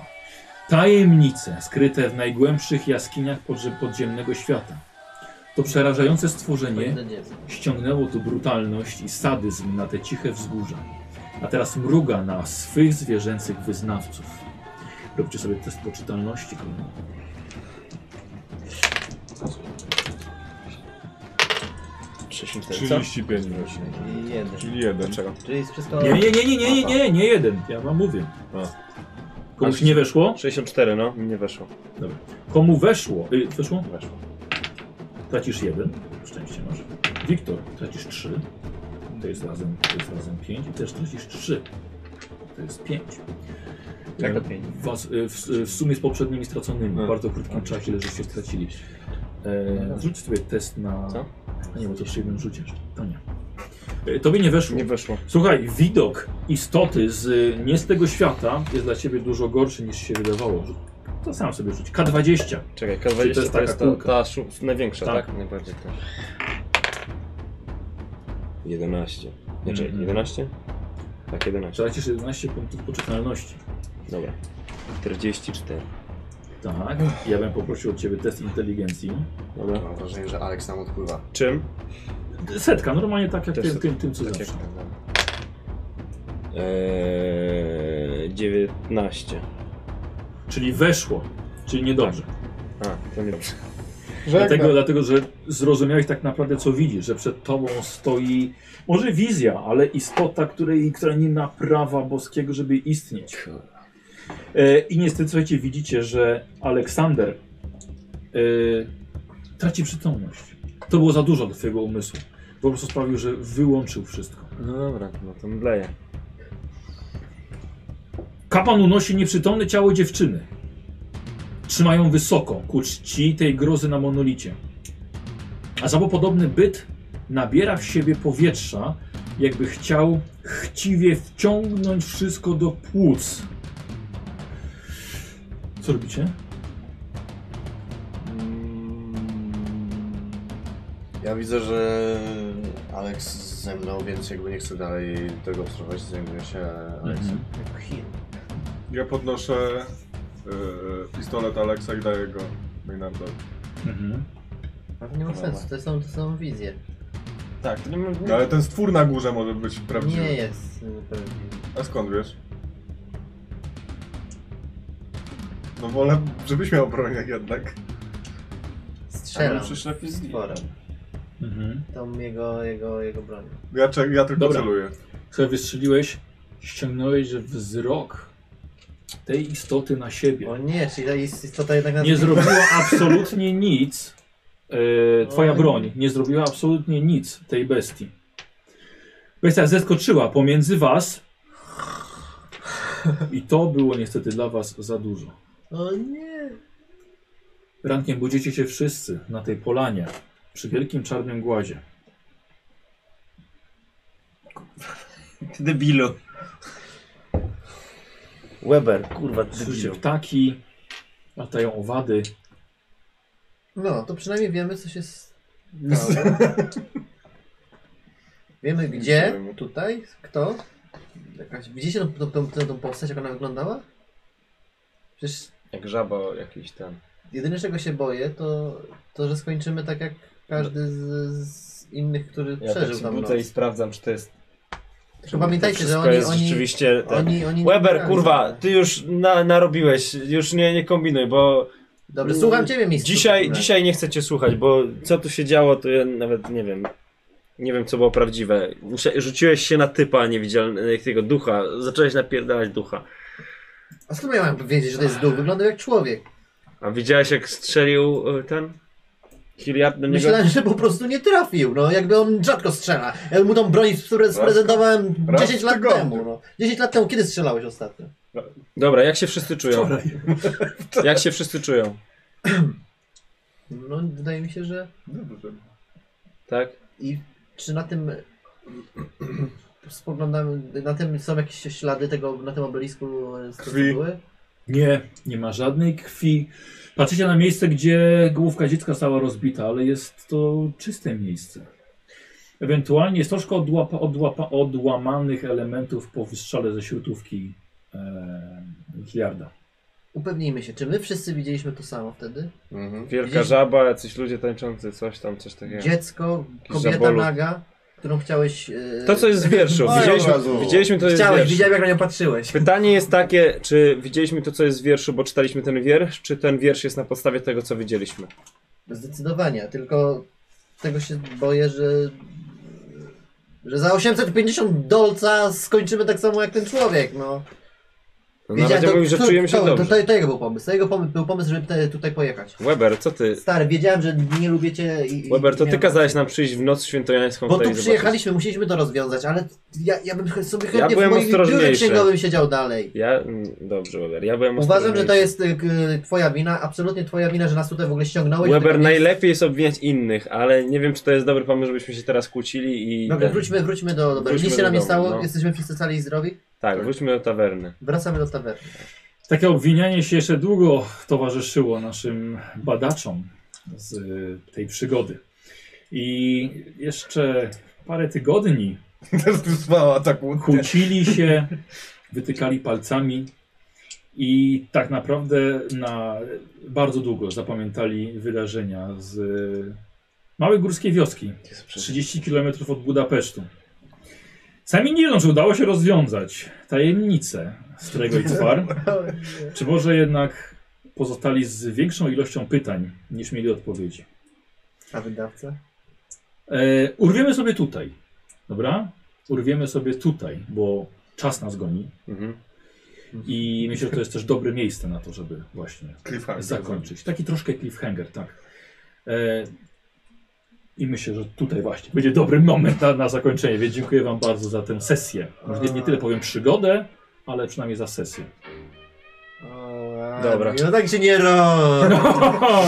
Speaker 1: tajemnice skryte w najgłębszych jaskiniach podzie- podziemnego świata. To przerażające stworzenie
Speaker 3: Jeden jest.
Speaker 1: ściągnęło tu brutalność i sadyzm na te ciche wzgórza. A teraz mruga na swych zwierzęcych wyznawców. Róbcie sobie test poczytalności. kochani.
Speaker 2: Czy
Speaker 4: 35 weszło.
Speaker 3: I Jeden.
Speaker 4: Czyli jeden.
Speaker 2: Czego?
Speaker 3: Czyli jest wszystko...
Speaker 1: Nie, nie, nie, nie, nie, nie, nie, nie jeden. Ja wam mówię. Komuś nie weszło?
Speaker 2: 64, no, mi nie weszło.
Speaker 1: Komu weszło? Y, weszło? Weszło. Tracisz jeden. Szczęście masz. Wiktor, tracisz trzy. To jest razem, to jest razem pięć. I też tracisz trzy. To jest pięć.
Speaker 3: Jak to pięć?
Speaker 1: Was, y, w, y, w sumie z poprzednimi straconymi. W bardzo krótkim czasie, ile żeście stracili. E, rzuć sobie test na...
Speaker 2: Co?
Speaker 1: A nie, bo to przy jednym rzucie jeszcze. To nie. E, tobie nie weszło.
Speaker 2: Nie weszło.
Speaker 1: Słuchaj, widok istoty z y, nie z tego świata jest dla ciebie dużo gorszy niż się wydawało. To sam sobie rzuć. K20. Czyli
Speaker 2: Czekaj, K20
Speaker 1: to
Speaker 2: to
Speaker 1: jest
Speaker 2: jest,
Speaker 1: taka
Speaker 2: ta,
Speaker 1: kulka.
Speaker 2: ta szu- największa,
Speaker 1: Tak.
Speaker 2: tak? Najbardziej ta. 11. Nie, czekaj,
Speaker 1: Mhm.
Speaker 2: 11? Znaczy, Tak, 11.
Speaker 1: Tracisz 11 punktów poczytalności.
Speaker 2: Dobra. 44.
Speaker 1: Tak. Ja bym poprosił od ciebie test inteligencji.
Speaker 2: Dobra.
Speaker 5: Mam wrażenie, że Alex nam odpływa.
Speaker 2: Czym?
Speaker 1: Setka, normalnie tak jak
Speaker 2: Też
Speaker 1: tym,
Speaker 2: setka.
Speaker 1: tym, tym, co
Speaker 2: Tak jak
Speaker 1: zawsze.
Speaker 2: tam. Eee, 19.
Speaker 1: Czyli weszło. Czyli niedobrze.
Speaker 2: Tak. A, to nie dobrze.
Speaker 1: Dlatego, dlatego, że zrozumiałeś tak naprawdę, co widzisz, że przed tobą stoi może wizja, ale istota, której, która nie ma prawa boskiego, żeby istnieć. E, I niestety, słuchajcie, widzicie, że Aleksander e, traci przytomność. To było za dużo do twojego umysłu. Po prostu sprawił, że wyłączył wszystko.
Speaker 2: No dobra, no to mdleję.
Speaker 1: Kapan unosi nieprzytomne ciało dziewczyny. Trzymają wysoko, ku czci tej grozy na monolicie. A żabopodobny byt nabiera w siebie powietrza, jakby chciał chciwie wciągnąć wszystko do płuc. Co robicie?
Speaker 5: Ja widzę, że Alex ze mną, więc jakby nie chcę dalej tego obserwować, zajmuję się Alexem.
Speaker 4: tak- Ja podnoszę yy, pistolet Alexa i daję go Maynardowi.
Speaker 1: Mhm.
Speaker 3: Ale to nie ma sensu, to są, to są wizje.
Speaker 2: Tak, to nie ma-
Speaker 4: No, Ale ten stwór na górze może być prawdziwy.
Speaker 3: Nie jest y, prawdziwy.
Speaker 4: A skąd wiesz? No wolę, żebyś miał broń jednak.
Speaker 2: Ale
Speaker 3: Strzelam
Speaker 2: przecież lepiej
Speaker 3: z
Speaker 2: z-
Speaker 3: tworem.
Speaker 1: Mhm.
Speaker 3: Tą jego, jego, jego bronią.
Speaker 4: Ja, cze- ja tylko
Speaker 1: Dobra.
Speaker 4: celuję.
Speaker 1: Słuchaj, wystrzeliłeś, ściągnąłeś wzrok tej istoty na siebie.
Speaker 3: O nie, czyli ta ist- istota jednak nas
Speaker 1: Nie zrobiła absolutnie nic. E, twoja broń nie zrobiła absolutnie nic tej bestii. Bestia zeskoczyła pomiędzy was. I to było niestety dla was za dużo.
Speaker 3: O nie.
Speaker 1: Rankiem budzicie się wszyscy na tej polanie przy wielkim czarnym głazie.
Speaker 2: Ty debilu. Weber, kurwa, ty
Speaker 1: Słyszycie
Speaker 2: debilu.
Speaker 1: ptaki, latają owady.
Speaker 3: No, to przynajmniej wiemy, co się stało. wiemy gdzie, tutaj, kto. Jakaś, widzicie tą, tą, tą, tą, tą postać, jak ona wyglądała? Przecież
Speaker 2: Jak żaba jakiś tam.
Speaker 3: jedyne, czego się boję, to, to że skończymy tak jak każdy z, z innych, który
Speaker 2: Ja tak
Speaker 3: przeżył
Speaker 2: się
Speaker 3: tam noc.
Speaker 2: budzę i sprawdzam, czy to jest...
Speaker 3: Tylko pamiętajcie, że
Speaker 2: wszystko
Speaker 3: oni,
Speaker 2: jest
Speaker 3: oni,
Speaker 2: rzeczywiście... ten-
Speaker 3: oni, oni... nie
Speaker 2: Weber,
Speaker 3: wygrali.
Speaker 2: kurwa, ty już na, narobiłeś, już nie, nie kombinuj, bo
Speaker 3: Dobrze, słucham ciebie, mistrzu.
Speaker 2: dzisiaj, dzisiaj nie chcę cię słuchać, bo co tu się działo, to ja nawet nie wiem. Nie wiem, co było prawdziwe. Musia- Rzuciłeś się na typa niewidzialnego, tego ducha, zacząłeś napierdalać ducha.
Speaker 3: A skąd ja mam wiedzieć, że to jest duch? Wyglądał jak człowiek.
Speaker 2: A widziałeś, jak strzelił y, ten? Hilliard do niego?
Speaker 3: Myślałem, że po prostu nie trafił, no jakby on rzadko strzela. Ja mu tą broń spre- sprezentowałem
Speaker 4: raz
Speaker 3: 10
Speaker 4: w
Speaker 3: lat
Speaker 4: tygodniu.
Speaker 3: temu, no. 10 lat temu, kiedy strzelałeś ostatnio?
Speaker 2: Dobra, jak się wszyscy czują? Jak się wszyscy czują?
Speaker 3: No, wydaje mi się, że...
Speaker 4: No,
Speaker 2: Tak?
Speaker 3: I czy na tym... Spoglądamy, na tym są jakieś ślady tego, na tym obelisku e, z tego, co
Speaker 4: Krwi.
Speaker 3: były?
Speaker 1: Nie, nie ma żadnej krwi. Patrzycie na miejsce, gdzie główka dziecka została rozbita, ale jest to czyste miejsce. Ewentualnie jest troszkę odłapa, odłapa, odłamanych elementów po wystrzale ze śrutówki e, Hilliarda.
Speaker 3: Upewnijmy się, czy my wszyscy widzieliśmy to samo wtedy?
Speaker 5: Mhm.
Speaker 2: Wielka
Speaker 3: Widzisz?
Speaker 2: żaba, jacyś ludzie tańczący, coś tam, coś takiego.
Speaker 3: Dziecko, kobieta
Speaker 2: zabolów.
Speaker 3: naga, którą chciałeś... e,
Speaker 2: To, co jest z wierszu.
Speaker 5: Oj,
Speaker 2: Widzieliśmy,
Speaker 5: obrazu.
Speaker 2: widzieliśmy to, co jest z
Speaker 3: Chciałeś,
Speaker 2: wierszu.
Speaker 3: widziałem jak na nią patrzyłeś.
Speaker 2: Pytanie jest takie, czy widzieliśmy to, co jest z wierszu, bo czytaliśmy ten wiersz, czy ten wiersz jest na podstawie tego, co widzieliśmy?
Speaker 3: Zdecydowanie, tylko tego się boję, że. że za 850 dolca skończymy tak samo jak ten człowiek, no.
Speaker 2: No, na
Speaker 3: Widziałem,
Speaker 2: razie
Speaker 3: to-
Speaker 2: mówił, że
Speaker 3: to-
Speaker 2: czujemy się
Speaker 3: to,
Speaker 2: dobrze.
Speaker 3: To, to, to jego był pomysł, to jego pomysł, był pomysł, żeby tutaj, tutaj pojechać.
Speaker 2: Weber, co ty?
Speaker 3: Stary, wiedziałem, że nie lubicie i... i
Speaker 2: Weber, to
Speaker 3: i
Speaker 2: ty
Speaker 3: miałem-
Speaker 2: kazałeś nam przyjść w noc świętojańską
Speaker 3: Bo
Speaker 2: tutaj
Speaker 3: tu
Speaker 2: i
Speaker 3: przyjechaliśmy, musieliśmy to rozwiązać, ale ja, ja bym ch- sobie chętnie
Speaker 2: byłem
Speaker 3: w moim biurze
Speaker 2: ostrożniejszy.
Speaker 3: księgowym siedział dalej.
Speaker 2: Ja... mm, Dobrze, Weber, ja byłem
Speaker 3: Uważam, że to
Speaker 2: ostrożniejszy.
Speaker 3: jest y, k- twoja wina, absolutnie twoja wina, że nas tutaj w ogóle ściągnąłeś. do
Speaker 2: Weber,
Speaker 3: tego miejsca.
Speaker 2: najlepiej jest obwiniać innych, ale nie wiem, czy to jest dobry pomysł, żebyśmy się teraz kłócili i...
Speaker 3: Dobra,
Speaker 2: ten-
Speaker 3: wróćmy, wróćmy do... Dobra,
Speaker 2: Wróćmy
Speaker 3: nic
Speaker 2: do
Speaker 3: się nam nie
Speaker 2: domu,
Speaker 3: stało,
Speaker 2: no.
Speaker 3: jesteśmy wszyscy cali i zdrowi.
Speaker 2: Tak, wróćmy do tawerny.
Speaker 3: Wracamy do tawerny.
Speaker 1: Takie obwinianie się jeszcze długo towarzyszyło naszym badaczom z y, tej przygody. I jeszcze parę tygodni
Speaker 22: Teraz tu spała tak łódkę.
Speaker 1: kłócili się, wytykali palcami i tak naprawdę na bardzo długo zapamiętali wydarzenia z e, małej górskiej wioski, 30 km od Budapesztu. Sami nie wiedzą, czy udało się rozwiązać tajemnicę Strego i Twar, czy może jednak pozostali z większą ilością pytań niż mieli odpowiedzi.
Speaker 3: A wydawca?
Speaker 1: E, urwiemy sobie tutaj, dobra? Urwiemy sobie tutaj, bo czas nas goni.
Speaker 2: Mhm.
Speaker 1: I myślę, że to jest też dobre miejsce na to, żeby
Speaker 2: Tak,
Speaker 1: właśnie
Speaker 4: Cliffhanger. no.
Speaker 1: zakończyć. Taki troszkę cliffhanger, tak. E, I myślę, że tutaj właśnie będzie dobry moment na, na zakończenie, więc dziękuję Wam bardzo za tę sesję. Może nie, nie tyle powiem przygodę, ale przynajmniej za sesję.
Speaker 3: O,
Speaker 2: Dobra.
Speaker 3: No tak się nie robi.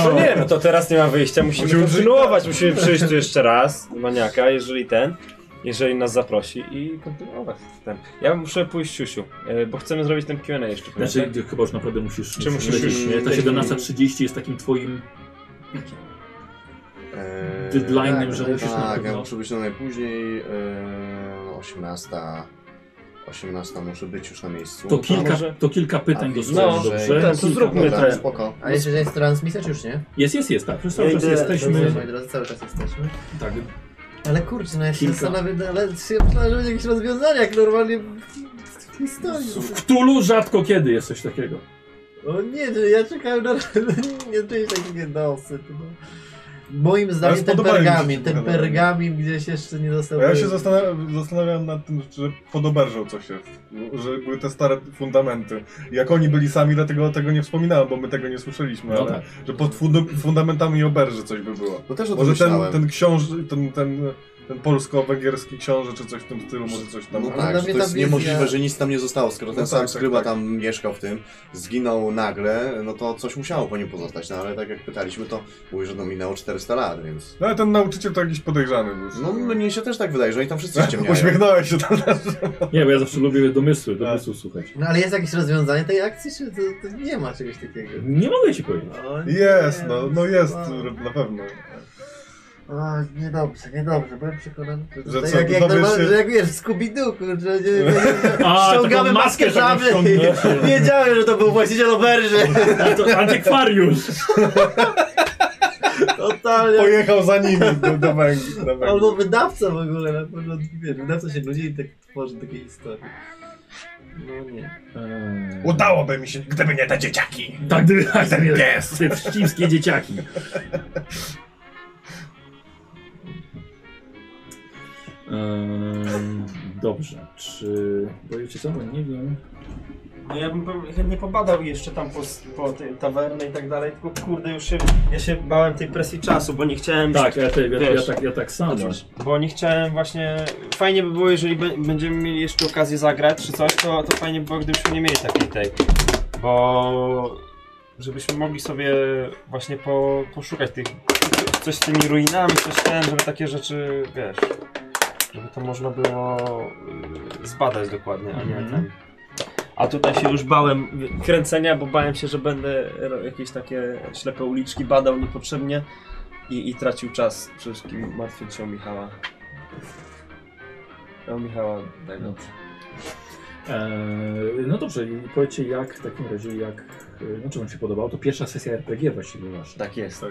Speaker 2: No nie, no to teraz nie ma wyjścia, musimy,
Speaker 4: Musimy
Speaker 2: kontynuować, musimy przyjść tu jeszcze raz, do maniaka, jeżeli ten, jeżeli nas zaprosi i kontynuować ten. Ja muszę pójść siusiu, e, bo chcemy zrobić ten Q&A jeszcze,
Speaker 1: Znaczy,
Speaker 2: znaczy,
Speaker 1: gdzie chyba już naprawdę musisz.
Speaker 2: Czy musisz
Speaker 1: lecieć,
Speaker 2: już-
Speaker 1: nie? Ta 17.30 jest takim twoim
Speaker 5: Eee,
Speaker 1: deadline'em,
Speaker 5: tak,
Speaker 1: że musisz na
Speaker 5: Tak, ja
Speaker 1: pewno.
Speaker 5: muszę być no najpóźniej eee, no 18. 18 muszę być już na miejscu.
Speaker 1: To kilka,
Speaker 2: może-
Speaker 1: to kilka pytań
Speaker 5: A,
Speaker 1: do
Speaker 5: widzę,
Speaker 1: no,
Speaker 5: że-
Speaker 1: dobrze?
Speaker 2: tak, to
Speaker 1: Kilka-
Speaker 2: zróbmy
Speaker 5: Dobra,
Speaker 2: te-
Speaker 5: spoko.
Speaker 3: A jeszcze jest transmisja, czy już nie?
Speaker 1: Jest, jest, jest, tak. Przez cały
Speaker 2: Ja
Speaker 1: czas
Speaker 2: idę-
Speaker 3: Dobrze,
Speaker 1: jesteśmy.
Speaker 3: moi drodzy, cały czas jesteśmy.
Speaker 1: Tak,
Speaker 3: Ale kurczę, no ja się
Speaker 1: Kilka.
Speaker 3: zastanawiam, no, ale się myślałem, że będzie jakieś rozwiązanie, jak normalnie w- w historii.
Speaker 1: w Ktulu rzadko kiedy jest coś takiego.
Speaker 3: O nie, no ja czekałem na... nie czuję takiego dosyć. No. Moim
Speaker 4: Ale
Speaker 3: zdaniem ten
Speaker 4: spodobały mi się
Speaker 3: pergamin,
Speaker 4: te
Speaker 3: ten
Speaker 4: pogadania.
Speaker 3: pergamin gdzieś jeszcze nie
Speaker 4: A
Speaker 3: został...
Speaker 4: ja się zastanawiam, zastanawiam nad tym, że pod oberżą coś jest. Że były te stare fundamenty. Jak oni byli sami, dlatego tego nie wspominałem, bo my tego nie słyszeliśmy,
Speaker 1: No
Speaker 4: ale
Speaker 1: tak.
Speaker 4: że pod funda- fundamentami oberży coś by było.
Speaker 5: No też o tym
Speaker 4: Może
Speaker 5: myślałem.
Speaker 4: ten, ten książ, ten, ten, ten polsko-węgierski książę, czy coś w tym stylu, może coś tam.
Speaker 5: No
Speaker 3: Ale
Speaker 5: tak,
Speaker 3: dla
Speaker 5: że
Speaker 3: mnie
Speaker 5: to
Speaker 3: ta
Speaker 5: jest
Speaker 3: wizja-
Speaker 5: niemożliwe, że nic tam nie zostało, skoro ten
Speaker 4: No
Speaker 5: sam
Speaker 4: tak, tak,
Speaker 5: skryba
Speaker 4: tak.
Speaker 5: tam mieszkał w tym, zginął nagle, no to coś musiało po nim pozostać, no ale tak jak pytaliśmy, to mówił, że no minęło 400 lat, więc...
Speaker 4: No ale ten nauczyciel to jakiś podejrzany był.
Speaker 5: No mnie się też tak wydaje, że oni tam wszyscy ściemniają.
Speaker 4: Uśmiechnąłeś się tam.
Speaker 1: tak. Nie, bo ja zawsze lubię domysły,
Speaker 2: Tak.
Speaker 1: domysłów słuchać.
Speaker 3: No ale jest jakieś rozwiązanie tej akcji, czy to, to nie ma czegoś takiego?
Speaker 1: Nie mogę ci powiedzieć.
Speaker 3: O nie,
Speaker 4: Jest, no, no jest,
Speaker 3: O,
Speaker 4: na pewno.
Speaker 3: o, niedobrze, niedobrze, byłem przekonany, że,
Speaker 4: Że
Speaker 3: tutaj
Speaker 4: co,
Speaker 3: jak, jak,
Speaker 4: dowiesz
Speaker 3: normal,
Speaker 4: się-
Speaker 3: że jak wiesz, w Scooby-Doo, kurczę, nie, nie, nie,
Speaker 1: A,
Speaker 3: ściągamy
Speaker 1: taką maskę
Speaker 3: maskę
Speaker 1: taką
Speaker 3: żaby i wiedziałem, że to był właściciel oberży.
Speaker 1: A to antykwariusz!
Speaker 3: Totalnie.
Speaker 4: Pojechał za nimi do, do Węg- do Węgier.
Speaker 3: Albo wydawca w ogóle, na pewno, wiesz, wydawca się nudzi i tak tworzy takie historie. No nie.
Speaker 1: Eee.
Speaker 4: Udałoby mi się, gdyby nie te dzieciaki.
Speaker 1: Tak, gdyby tak tam jest. Te wścibskie dzieciaki. Ehm, dobrze, czy... Bo wiecie co, no nie wiem.
Speaker 2: no ja bym po- chętnie pobadał jeszcze tam po, po tej tawerny i tak dalej, tylko kurde już się, ja się bałem tej presji czasu, bo nie chciałem...
Speaker 1: Tak, ja, te, ja, ja,
Speaker 2: Wiesz.
Speaker 1: tak, ja tak samo.
Speaker 2: Bo nie chciałem właśnie. Fajnie by było, jeżeli be- będziemy mieli jeszcze okazję zagrać czy coś, to, to fajnie by było, gdybyśmy nie mieli takiej tej. Bo żebyśmy mogli sobie właśnie po, poszukać tych. coś z tymi ruinami, coś ten, żeby takie rzeczy, wiesz. Żeby to można było y, zbadać dokładnie, a nie
Speaker 1: Mhm.
Speaker 2: ten. A tutaj się już bałem y, kręcenia, bo bałem się, że będę ro- jakieś takie ślepe uliczki badał niepotrzebnie i, i tracił czas. Przede wszystkim martwiąc się o Michała. O Michała tego.
Speaker 1: Dobrze. Eee, no dobrze, i powiedzcie jak w takim razie, jak, e, no czy wam się podobało, to pierwsza sesja RPG właściwie wasza.
Speaker 2: Tak jest.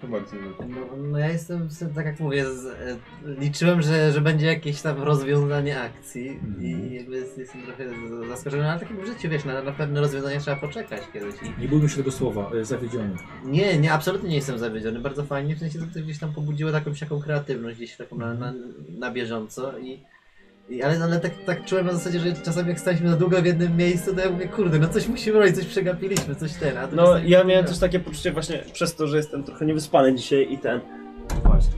Speaker 4: To Marcin mówi.
Speaker 3: No, no ja jestem, z- tak jak mówię, z, e, liczyłem, że, że będzie jakieś tam rozwiązanie akcji
Speaker 1: Mhm.
Speaker 3: i jakby jest- jestem trochę z- zaskoczony, ale tak jak w życiu, wiesz, na, na pewne rozwiązanie trzeba poczekać kiedyś. I
Speaker 1: Nie bójmy się tego słowa, e, zawiedziony.
Speaker 3: nie, nie, absolutnie nie jestem zawiedziony, bardzo fajnie, w sensie to też gdzieś tam pobudziło taką taką kreatywność, gdzieś taką na, na, na bieżąco i... I, ale ale tak, tak czułem na zasadzie, że czasami jak staliśmy za długo w jednym miejscu, to ja mówię, kurde, no coś musimy robić, coś przegapiliśmy, coś ten, a
Speaker 2: No ja miałem też takie poczucie właśnie przez to, że jestem trochę niewyspany dzisiaj i ten. Właśnie.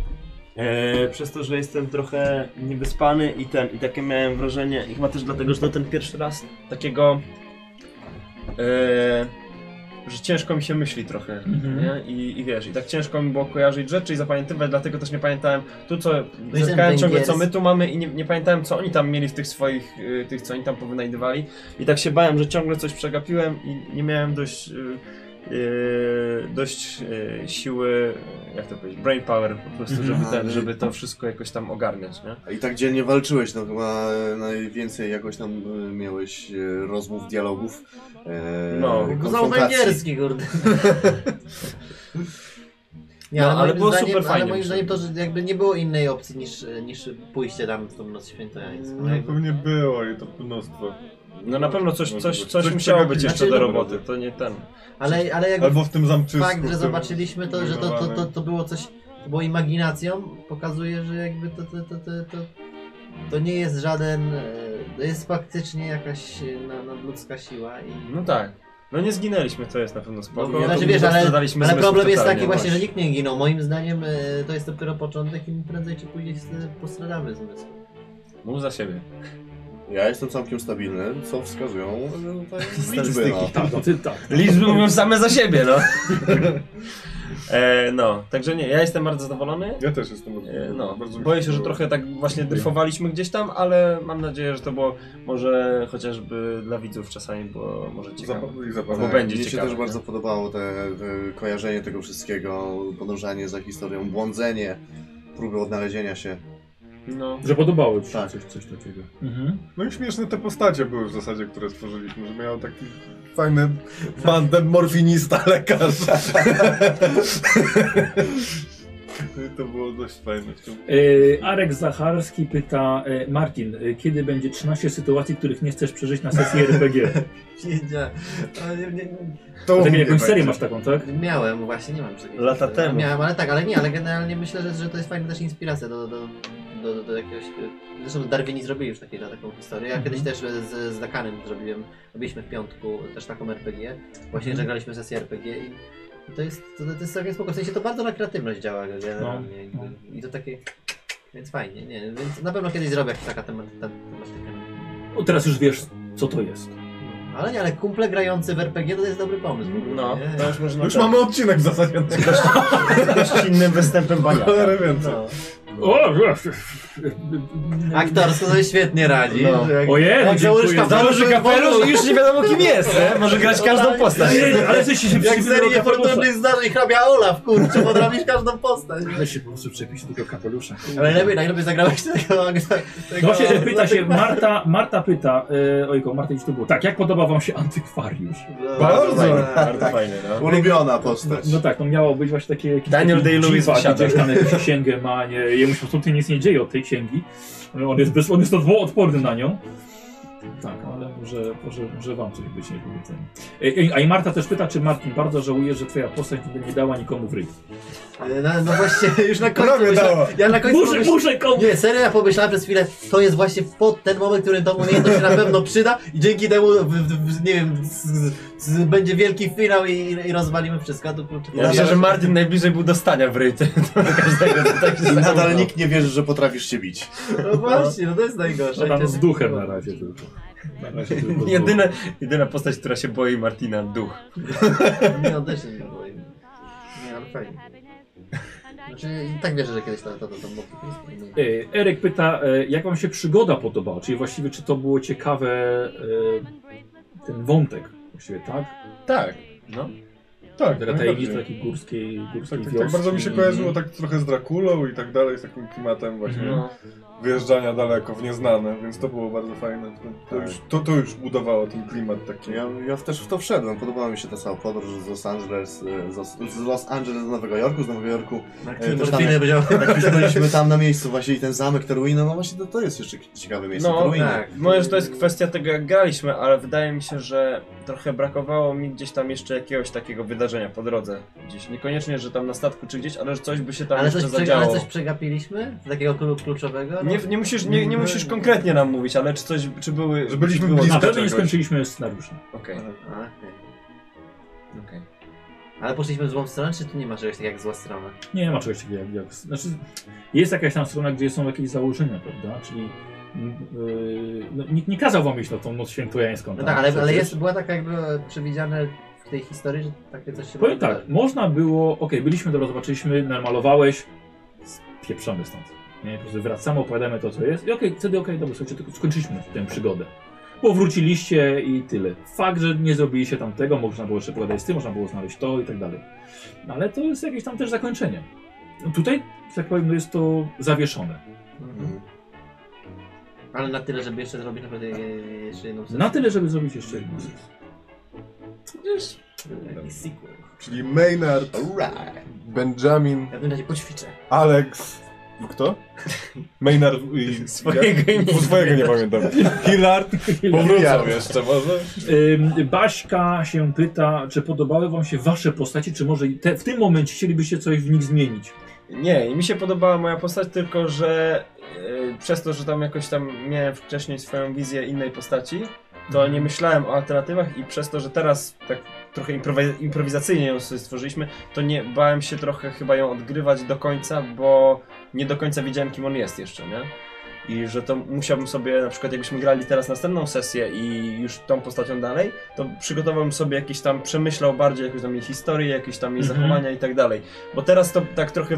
Speaker 2: E, przez to, że jestem trochę niewyspany i ten, i takie miałem wrażenie, i chyba też dlatego, że to ten pierwszy raz takiego, e, że ciężko mi się myśli trochę,
Speaker 1: Mhm.
Speaker 2: nie? I, I wiesz, i tak ciężko mi było kojarzyć rzeczy i zapamiętywać, dlatego też nie pamiętałem tu co,
Speaker 3: No i ten
Speaker 2: zerkałem ciągle co my
Speaker 3: węgierski.
Speaker 2: tu mamy i nie, nie pamiętałem co oni tam mieli w tych swoich, y, tych co oni tam powynajdywali i tak się bałem, że ciągle coś przegapiłem i nie miałem dość, y, y, dość y, siły, jak to powiedzieć, brain power po prostu, żeby, ten,
Speaker 3: Mhm.
Speaker 5: Ale-
Speaker 2: żeby to wszystko jakoś tam ogarniać, nie?
Speaker 5: I tak dzielnie walczyłeś, no chyba e, najwięcej jakoś tam e, miałeś e, rozmów, dialogów, e,
Speaker 2: No.
Speaker 3: Znowu
Speaker 5: konfrontacji.
Speaker 3: węgierski, kurde. Nie,
Speaker 2: No,
Speaker 3: ale,
Speaker 2: ale
Speaker 3: moim
Speaker 2: było
Speaker 3: zdaniem,
Speaker 2: super fajnie,
Speaker 3: Ale moim
Speaker 2: myślę.
Speaker 3: zdaniem to, że jakby nie było innej opcji niż, niż pójście tam w tą noc świętojańską.
Speaker 4: No,
Speaker 3: Jakby...
Speaker 4: pewnie było i to mnóstwo.
Speaker 2: No na pewno coś, coś, coś,
Speaker 4: Coś
Speaker 2: musiało być
Speaker 4: przegapiłem.
Speaker 2: jeszcze do
Speaker 4: Znaczy,
Speaker 3: no
Speaker 4: tak,
Speaker 2: roboty, to nie ten.
Speaker 3: Ale, ale jakby
Speaker 4: Albo w tym zamczysku.
Speaker 3: fakt,
Speaker 4: w
Speaker 3: że
Speaker 4: tym
Speaker 3: zobaczyliśmy to, że to, to, to,
Speaker 4: zbudowanym.
Speaker 3: to było coś, to było imaginacją, pokazuje, że jakby to, to, to, to, to, to nie jest żaden, e, to jest faktycznie jakaś e, na- nadludzka siła i...
Speaker 2: No tak. No nie zginęliśmy, to jest na pewno spoko.
Speaker 3: No,
Speaker 2: to
Speaker 3: znaczy, wiesz, ale,
Speaker 2: dostradaliśmy
Speaker 3: ale
Speaker 2: zmysł
Speaker 3: problem jest
Speaker 2: totalnie,
Speaker 3: taki właśnie, że nikt nie ginął. Moim zdaniem e, to jest dopiero początek i prędzej czy później e, postradamy zmysł.
Speaker 2: Mów za siebie.
Speaker 5: Ja jestem całkiem stabilny, co wskazują e, tutaj liczby. No.
Speaker 1: Statystyki. Tak, no, ty, tak.
Speaker 2: Liczby mówią same za siebie, no. e, no, także nie, ja jestem bardzo zadowolony.
Speaker 4: Ja też jestem bardzo,
Speaker 2: E, no,
Speaker 4: bardzo mi
Speaker 2: boję się, że
Speaker 4: podoba.
Speaker 2: trochę tak właśnie dryfowaliśmy gdzieś tam, ale mam nadzieję, że to było może chociażby dla widzów czasami było może ciekawe.
Speaker 4: Zapa- i
Speaker 2: Bo
Speaker 4: zabawa.
Speaker 5: Tak,
Speaker 2: będzie
Speaker 5: Mnie się
Speaker 2: ciekawe,
Speaker 5: też
Speaker 2: nie?
Speaker 5: bardzo podobało te, te kojarzenie tego wszystkiego, podążanie za historią, błądzenie, próby odnalezienia się.
Speaker 2: No.
Speaker 1: Że podobało ci się
Speaker 5: Tak.
Speaker 1: coś, coś takiego. Mhm.
Speaker 4: No i śmieszne te postacie były w zasadzie, które stworzyliśmy, że miał taki fajny bandem morfinista lekarz. to było dość fajne.
Speaker 1: E, Arek Zacharski pyta e, Martin, e, kiedy będzie 13 sytuacji, których nie chcesz przeżyć na sesji RPG?
Speaker 3: Wiedzia- ale nie, nie,
Speaker 4: To
Speaker 1: Potem jakąś serię masz taką, tak?
Speaker 3: nie- miałem, właśnie nie mam czegoś.
Speaker 2: Lata temu.
Speaker 3: Miałem, ale tak, ale nie, ale generalnie myślę, że, że to jest fajna też inspiracja do, do, do, do, do jakiegoś... e, Zresztą Darwini zrobili już takie, taką historię. Ja
Speaker 1: Mhm.
Speaker 3: kiedyś też e, z, z Dakanem zrobiłem, robiliśmy w piątku też taką RPG. Właśnie,
Speaker 1: Mhm.
Speaker 3: że graliśmy sesję RPG i to jest, to, to jest całkiem spoko. W sensie to bardzo na kreatywność działa generalnie.
Speaker 1: No,
Speaker 3: jakby. I to takie... Więc fajnie, nie, więc na pewno kiedyś zrobię jakaś taka temat, ta, tematyka.
Speaker 1: O, teraz już wiesz, co to jest.
Speaker 3: Ale nie, ale kumple grający w RPG to jest dobry pomysł. w ogóle,
Speaker 2: No,
Speaker 3: nie?
Speaker 2: to już można
Speaker 4: Już mamy odcinek w zasadzie.
Speaker 2: z innym występem baniaka.
Speaker 4: Ale więcej.
Speaker 3: No.
Speaker 1: O,
Speaker 3: Aktor sobie świetnie radzi.
Speaker 2: No.
Speaker 3: Jak-
Speaker 1: Ojej,
Speaker 3: jak założysz
Speaker 1: dziękuję.
Speaker 3: kapelusz,
Speaker 2: Założy kapelusz i już nie wiadomo kim jest, nie? Może grać każdą
Speaker 4: Tak.
Speaker 2: postać.
Speaker 1: Ej, ale coś się
Speaker 3: Jak
Speaker 1: przybiło
Speaker 3: serię
Speaker 1: do kapelusza.
Speaker 3: fortunnych zdarzeń hrabia Olaf, kurczę, potrafisz każdą postać.
Speaker 1: Ale się po prostu przepisz do tego kapelusza.
Speaker 3: Ale najlepiej, najlepiej zagrałeś tego... tego
Speaker 1: No się pyta się, Marta, Marta pyta, e, ojko, Marta gdzieś to było, tak, jak podoba wam się antykwariusz?
Speaker 4: Bardzo fajne.
Speaker 2: Bardzo fajny, no.
Speaker 5: Ulubiona postać.
Speaker 1: No tak, no miało być właśnie takie... jakiś
Speaker 2: Daniel
Speaker 1: taki
Speaker 2: Day-Lewis
Speaker 1: dziwak,
Speaker 2: wysiada.
Speaker 1: Gdzieś tam jakąś księgę ma, nie, jemu się absolutnie nic nie dzieje od tej księgi. On jest, bez, on jest odporny na nią. Tak, ale może, może, może wam coś być niepowiedzenia. E, e, A i Marta też pyta, czy Martin bardzo żałuje, że twoja postać nigdy nie dała nikomu w ryj.
Speaker 3: No, no właśnie, już na końcu...
Speaker 4: Prawie
Speaker 3: myślałem-
Speaker 4: dała.
Speaker 3: Ja na końcu...
Speaker 1: Muszę,
Speaker 3: pomyślałem-
Speaker 1: muszę komuś!
Speaker 3: Nie, serio, ja pomyślałem przez chwilę, to jest właśnie pod ten moment, w którym tą umiejętność się na pewno przyda i dzięki temu, w, w, w, nie wiem, z, z, z, będzie wielki finał i, i rozwalimy wszystko. To, kurczę,
Speaker 2: Ja myślę, że Martin najbliżej był dostania w ryty. Każdego to tak się
Speaker 5: I nadal
Speaker 2: zachowywał.
Speaker 5: nikt nie wierzy, że potrafisz się bić.
Speaker 3: No właśnie, no to jest najgorsze.
Speaker 1: No tam z duchem na razie tylko. Na razie tylko z duchem.
Speaker 2: Jedyna, jedyna postać, która się boi Martina, duch.
Speaker 3: No Nie, on też się nie boi. Nie, ale fajnie. Znaczy, i tak wierzę, że kiedyś to, to, to, to mogło być.
Speaker 1: E, Eryk pyta, e, jak wam się przygoda podobała? Czyli właściwie, czy to było ciekawe, e, ten wątek właściwie, tak?
Speaker 4: Tak.
Speaker 1: No. Taka
Speaker 4: Tak,
Speaker 1: tajemnica
Speaker 4: najbardziej.
Speaker 1: takiej górskiej, górskiej
Speaker 4: tak, tak,
Speaker 1: wioski.
Speaker 4: tak bardzo mi się kojarzyło tak trochę z Drakulą i tak dalej, z takim klimatem właśnie wyjeżdżania daleko w nieznane, więc to było bardzo fajne. To, to,
Speaker 5: Tak.
Speaker 4: już, to, to już budowało ten klimat taki.
Speaker 5: Ja, ja też w to wszedłem. Podobała mi się ta cała podróż z Los Angeles, e, z, z Los Angeles do Nowego Jorku, z Nowego Jorku. E, też tam, jak,
Speaker 3: będzie.
Speaker 5: jak już byliśmy tam na miejscu właśnie i ten zamek, te ruiny, no właśnie to, to jest jeszcze ciekawe miejsce,
Speaker 2: No,
Speaker 5: te ruiny.
Speaker 3: tak.
Speaker 2: Może to jest kwestia tego, jak graliśmy, ale wydaje mi się, że trochę brakowało mi gdzieś tam jeszcze jakiegoś takiego wydarzenia po drodze. Gdzieś. Niekoniecznie, że tam na statku czy gdzieś, ale że coś by się tam
Speaker 3: Ale coś,
Speaker 2: jeszcze
Speaker 3: przeg-
Speaker 2: zadziało.
Speaker 3: ale coś przegapiliśmy? Takiego klu- kluczowego? No
Speaker 2: Nie, nie, musisz, nie, nie musisz konkretnie nam mówić, ale czy coś, czy były...
Speaker 4: No, Że byliśmy
Speaker 2: czy było-
Speaker 1: Na
Speaker 4: blisko.
Speaker 1: pewno nie
Speaker 4: czegoś.
Speaker 1: skończyliśmy scenariusza.
Speaker 2: Okej,
Speaker 3: A, okej.
Speaker 2: okej.
Speaker 3: Ale poszliśmy w złą stronę, czy tu nie ma czegoś takiego jak zła strona? No
Speaker 1: Nie ma czegoś takiego jak, jak... Znaczy, jest jakaś tam strona, gdzie są jakieś założenia, prawda? Czyli m, yy, no, nikt nie kazał wam iść na tą noc świętojańską.
Speaker 3: No
Speaker 1: tam
Speaker 3: tak, ale, ale
Speaker 1: przecież.
Speaker 3: jest, była taka jakby e, przewidziane w tej historii, że takie coś się
Speaker 1: Powiem
Speaker 3: może
Speaker 1: tak, można było, okej, byliśmy, dobra, zobaczyliśmy, namalowałeś, pieprzamy stąd. Nie, po prostu wracamy, opowiadamy to, co jest i okej, wtedy okej, dobra, słuchajcie, tylko skończyliśmy tę przygodę. Powróciliście i tyle. Fakt, że nie zrobiliście tam tego, można było jeszcze pogadać z tym, można było znaleźć to i tak dalej. No ale to jest jakieś tam też zakończenie. No Tutaj, że tak powiem, no jest to zawieszone.
Speaker 5: Mhm.
Speaker 3: Ale na tyle, żeby jeszcze zrobić naprawdę e, jeszcze jedną sesję.
Speaker 1: Na tyle, żeby zrobić jeszcze jedną rzecz.
Speaker 3: Taki sequel.
Speaker 4: Czyli Maynard,
Speaker 5: Alright.
Speaker 4: Benjamin,
Speaker 3: Ja w tym razie poćwiczę.
Speaker 4: Alex. Kto? Maynard i...
Speaker 2: Swojego
Speaker 4: ja?
Speaker 2: imienia.
Speaker 4: Bo Swojego nie pamiętam. Hillard. Powrócą jeszcze może.
Speaker 1: Ym, Baśka się pyta, czy podobały wam się wasze postacie, czy może te, w tym momencie chcielibyście coś w nich zmienić?
Speaker 2: Nie, i mi się podobała moja postać, tylko że e, przez to, że tam jakoś tam miałem wcześniej swoją wizję innej postaci, to nie myślałem o alternatywach i przez to, że teraz tak trochę improwi- improwizacyjnie ją sobie stworzyliśmy, to nie bałem się trochę chyba ją odgrywać do końca, bo nie do końca wiedziałem kim on jest jeszcze, nie? I że to musiałbym sobie, na przykład jakbyśmy grali teraz następną sesję i już tą postacią dalej, to przygotowałbym sobie jakieś tam, przemyślał bardziej jakąś tam jej historię, jakieś tam jej
Speaker 1: Mhm.
Speaker 2: zachowania i tak dalej. Bo teraz to tak trochę,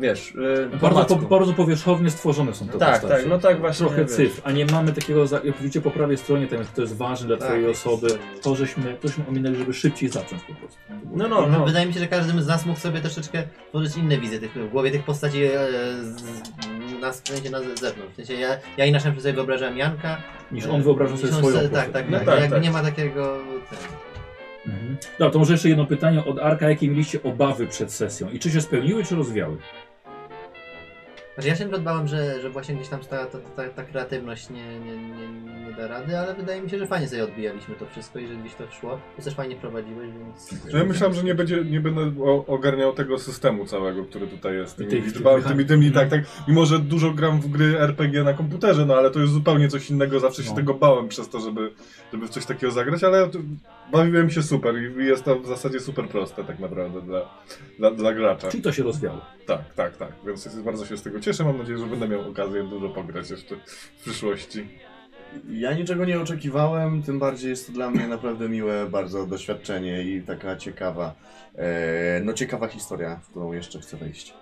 Speaker 2: wiesz, yy, po
Speaker 1: Bardzo, po,
Speaker 2: omacku.
Speaker 1: bardzo powierzchownie stworzone są te
Speaker 2: Tak,
Speaker 1: postacie.
Speaker 2: tak, no tak właśnie.
Speaker 1: Trochę
Speaker 2: wiesz.
Speaker 1: cyfr, a nie mamy takiego, za- jak widzicie po prawej stronie, tam jest, to jest ważne dla
Speaker 2: Tak,
Speaker 1: twojej osoby, to żeśmy, to żeśmy ominęli, żeby szybciej zacząć po prostu.
Speaker 2: No, no, no.
Speaker 3: Wydaje mi się, że każdy z nas mógł sobie troszeczkę tworzyć inne wizje tych, w głowie tych postaci e, z, na, w sensie na zewnątrz. W sensie ja, ja inaczej sobie wyobrażałem Janka.
Speaker 1: tak, Niż
Speaker 3: e,
Speaker 1: on wyobraża sobie
Speaker 3: niż on
Speaker 1: swoją
Speaker 3: se-
Speaker 1: postać.
Speaker 3: Tak, tak,
Speaker 1: No
Speaker 3: tak.
Speaker 2: tak,
Speaker 3: Jakby
Speaker 2: tak.
Speaker 3: nie ma takiego... Ten,
Speaker 1: Mhm. Dobra, to może jeszcze jedno pytanie od Arka. Jakie mieliście obawy przed sesją i czy się spełniły, czy rozwiały?
Speaker 3: Znaczy ja się nawet bałem, że, że właśnie gdzieś tam ta, ta, ta, ta kreatywność nie, nie, nie, nie da rady, ale wydaje mi się, że fajnie sobie odbijaliśmy to wszystko i że gdzieś to szło. Ty też fajnie prowadziłeś, więc...
Speaker 4: No Ja myślałem, że nie, będzie, nie będę o- ogarniał tego systemu całego, który tutaj jest. Tymi
Speaker 1: Tych-
Speaker 4: liczbami,
Speaker 1: tych
Speaker 4: tymi, tymi, tak,
Speaker 1: mechanik-
Speaker 4: tak. Mimo, że dużo gram w gry RPG na komputerze, no ale to jest zupełnie coś innego. Zawsze się
Speaker 1: No.
Speaker 4: tego bałem przez to, żeby, żeby w coś takiego zagrać, ale to- bawiłem się super i jest to w zasadzie super proste tak naprawdę dla, dla, dla gracza.
Speaker 1: Czyli to się rozwiało.
Speaker 4: Tak, tak, tak. Więc jest- bardzo się z tego cieszę. Mam nadzieję, że będę miał okazję dużo pograć jeszcze w przyszłości.
Speaker 5: Ja niczego nie oczekiwałem, tym bardziej jest to dla mnie naprawdę miłe bardzo doświadczenie i taka ciekawa, e, no ciekawa historia, w którą jeszcze chcę wejść.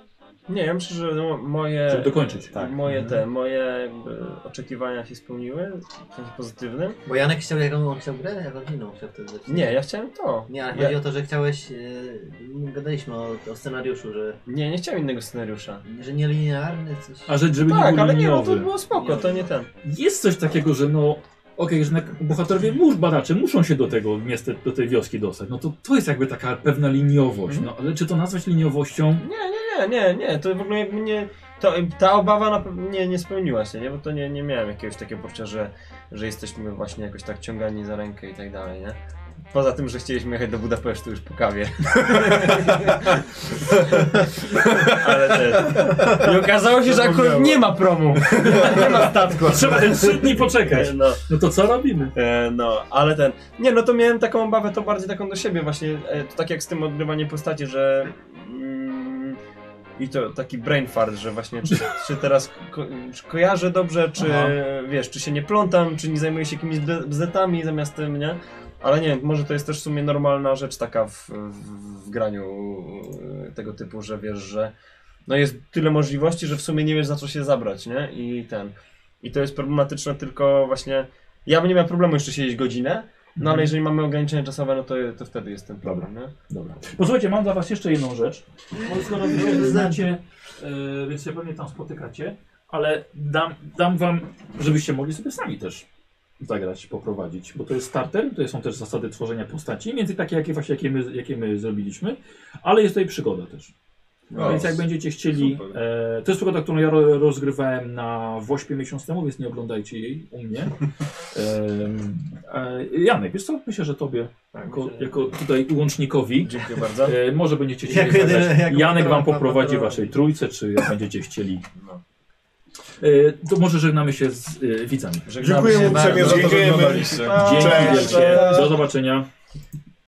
Speaker 2: Nie, ja myślę, że no, moje.
Speaker 1: Żeby dokończyć.
Speaker 2: Tak, moje
Speaker 3: Mhm.
Speaker 2: te, moje jakby oczekiwania się spełniły w sensie pozytywnym.
Speaker 3: Bo Janek chciał, jaką on chciał grę, jak rodziną chciał wtedy zacząć.
Speaker 2: Nie, ja chciałem to.
Speaker 3: Nie, ale
Speaker 2: Ja-
Speaker 3: chodzi o to, że chciałeś... Yy, gadaliśmy o, o scenariuszu, że,
Speaker 2: Nie, nie chciałem innego scenariusza.
Speaker 3: że nielinearny coś...
Speaker 1: A rzecz, żeby nie
Speaker 2: Tak,
Speaker 1: był
Speaker 2: ale nie, no to
Speaker 1: liniowy.
Speaker 2: było spoko, to nie ten.
Speaker 1: Jest coś takiego, że no, okej, że na- bohaterowie, mórz badacze muszą się do tego miasta, do tej wioski dostać. No to, to jest jakby taka pewna liniowość. No ale czy to nazwać liniowością?
Speaker 2: Nie, nie, nie, to w ogóle jakby nie. To, ta obawa na pewno nie, nie spełniła się, nie? Bo to nie, nie miałem jakiegoś takiego poczucia, że, że jesteśmy właśnie jakoś tak ciągani za rękę i tak dalej, nie? Poza tym, że chcieliśmy jechać do Budapesztu już po kawie. Ale też. I okazało się, że akurat nie ma promu. Nie ma, nie ma statku.
Speaker 1: Trzeba te trzy dni poczekać.
Speaker 2: No.
Speaker 1: No to co robimy?
Speaker 2: E, No, ale ten. Nie, no to miałem taką obawę, to bardziej taką do siebie, właśnie. e, To tak jak z tym odgrywaniem postaci, że. Mm, I to taki brain fart, że właśnie czy, czy teraz ko czy kojarzę dobrze, czy
Speaker 1: Aha.
Speaker 2: wiesz, czy się nie plątam, czy nie zajmuję się jakimiś be- bzetami zamiast tym, nie? Ale nie wiem, może to jest też w sumie normalna rzecz taka w, w, w graniu e, tego typu, że wiesz, że no jest tyle możliwości, że w sumie nie wiesz za co się zabrać, nie? I ten. I to jest problematyczne tylko właśnie ja bym nie miał problemu jeszcze siedzieć godzinę, no ale jeżeli mamy ograniczenia czasowe, no to, to wtedy jest ten problem, nie?
Speaker 1: Dobra. Posłuchajcie, No mam dla was jeszcze jedną rzecz. Bo No, skoro wy się znacie, e, więc się pewnie tam spotykacie, ale dam, dam wam, żebyście mogli sobie sami też zagrać, poprowadzić, bo to jest starter, to są też zasady tworzenia postaci, między takie jakie właśnie jakie my, jakie my zrobiliśmy, ale jest tutaj przygoda też.
Speaker 4: No,
Speaker 1: więc jak będziecie chcieli,
Speaker 4: super.
Speaker 1: e, to jest przygoda, którą ja ro, rozgrywałem na Wośpie miesiąc temu, więc nie oglądajcie jej u mnie. Em, e, Janek, wiesz co, myślę, że tobie,
Speaker 4: Tak,
Speaker 1: jako, jako tutaj łącznikowi,
Speaker 2: Dziękuję bardzo.
Speaker 1: E, może będziecie chcieli
Speaker 3: Jak
Speaker 1: zagrać.
Speaker 3: jedyne- jak
Speaker 1: Janek wam
Speaker 3: patrol-
Speaker 1: poprowadzi
Speaker 3: patrol-
Speaker 1: waszej trójce, czy jak będziecie chcieli.
Speaker 2: No.
Speaker 1: E, to może żegnamy się z e, widzami.
Speaker 2: Żegnamy
Speaker 4: Dziękuję
Speaker 2: się.
Speaker 4: uprzejmie za to, że oglądaliście.
Speaker 1: Dzięki
Speaker 2: Cześć.
Speaker 1: wielkie. Do zobaczenia.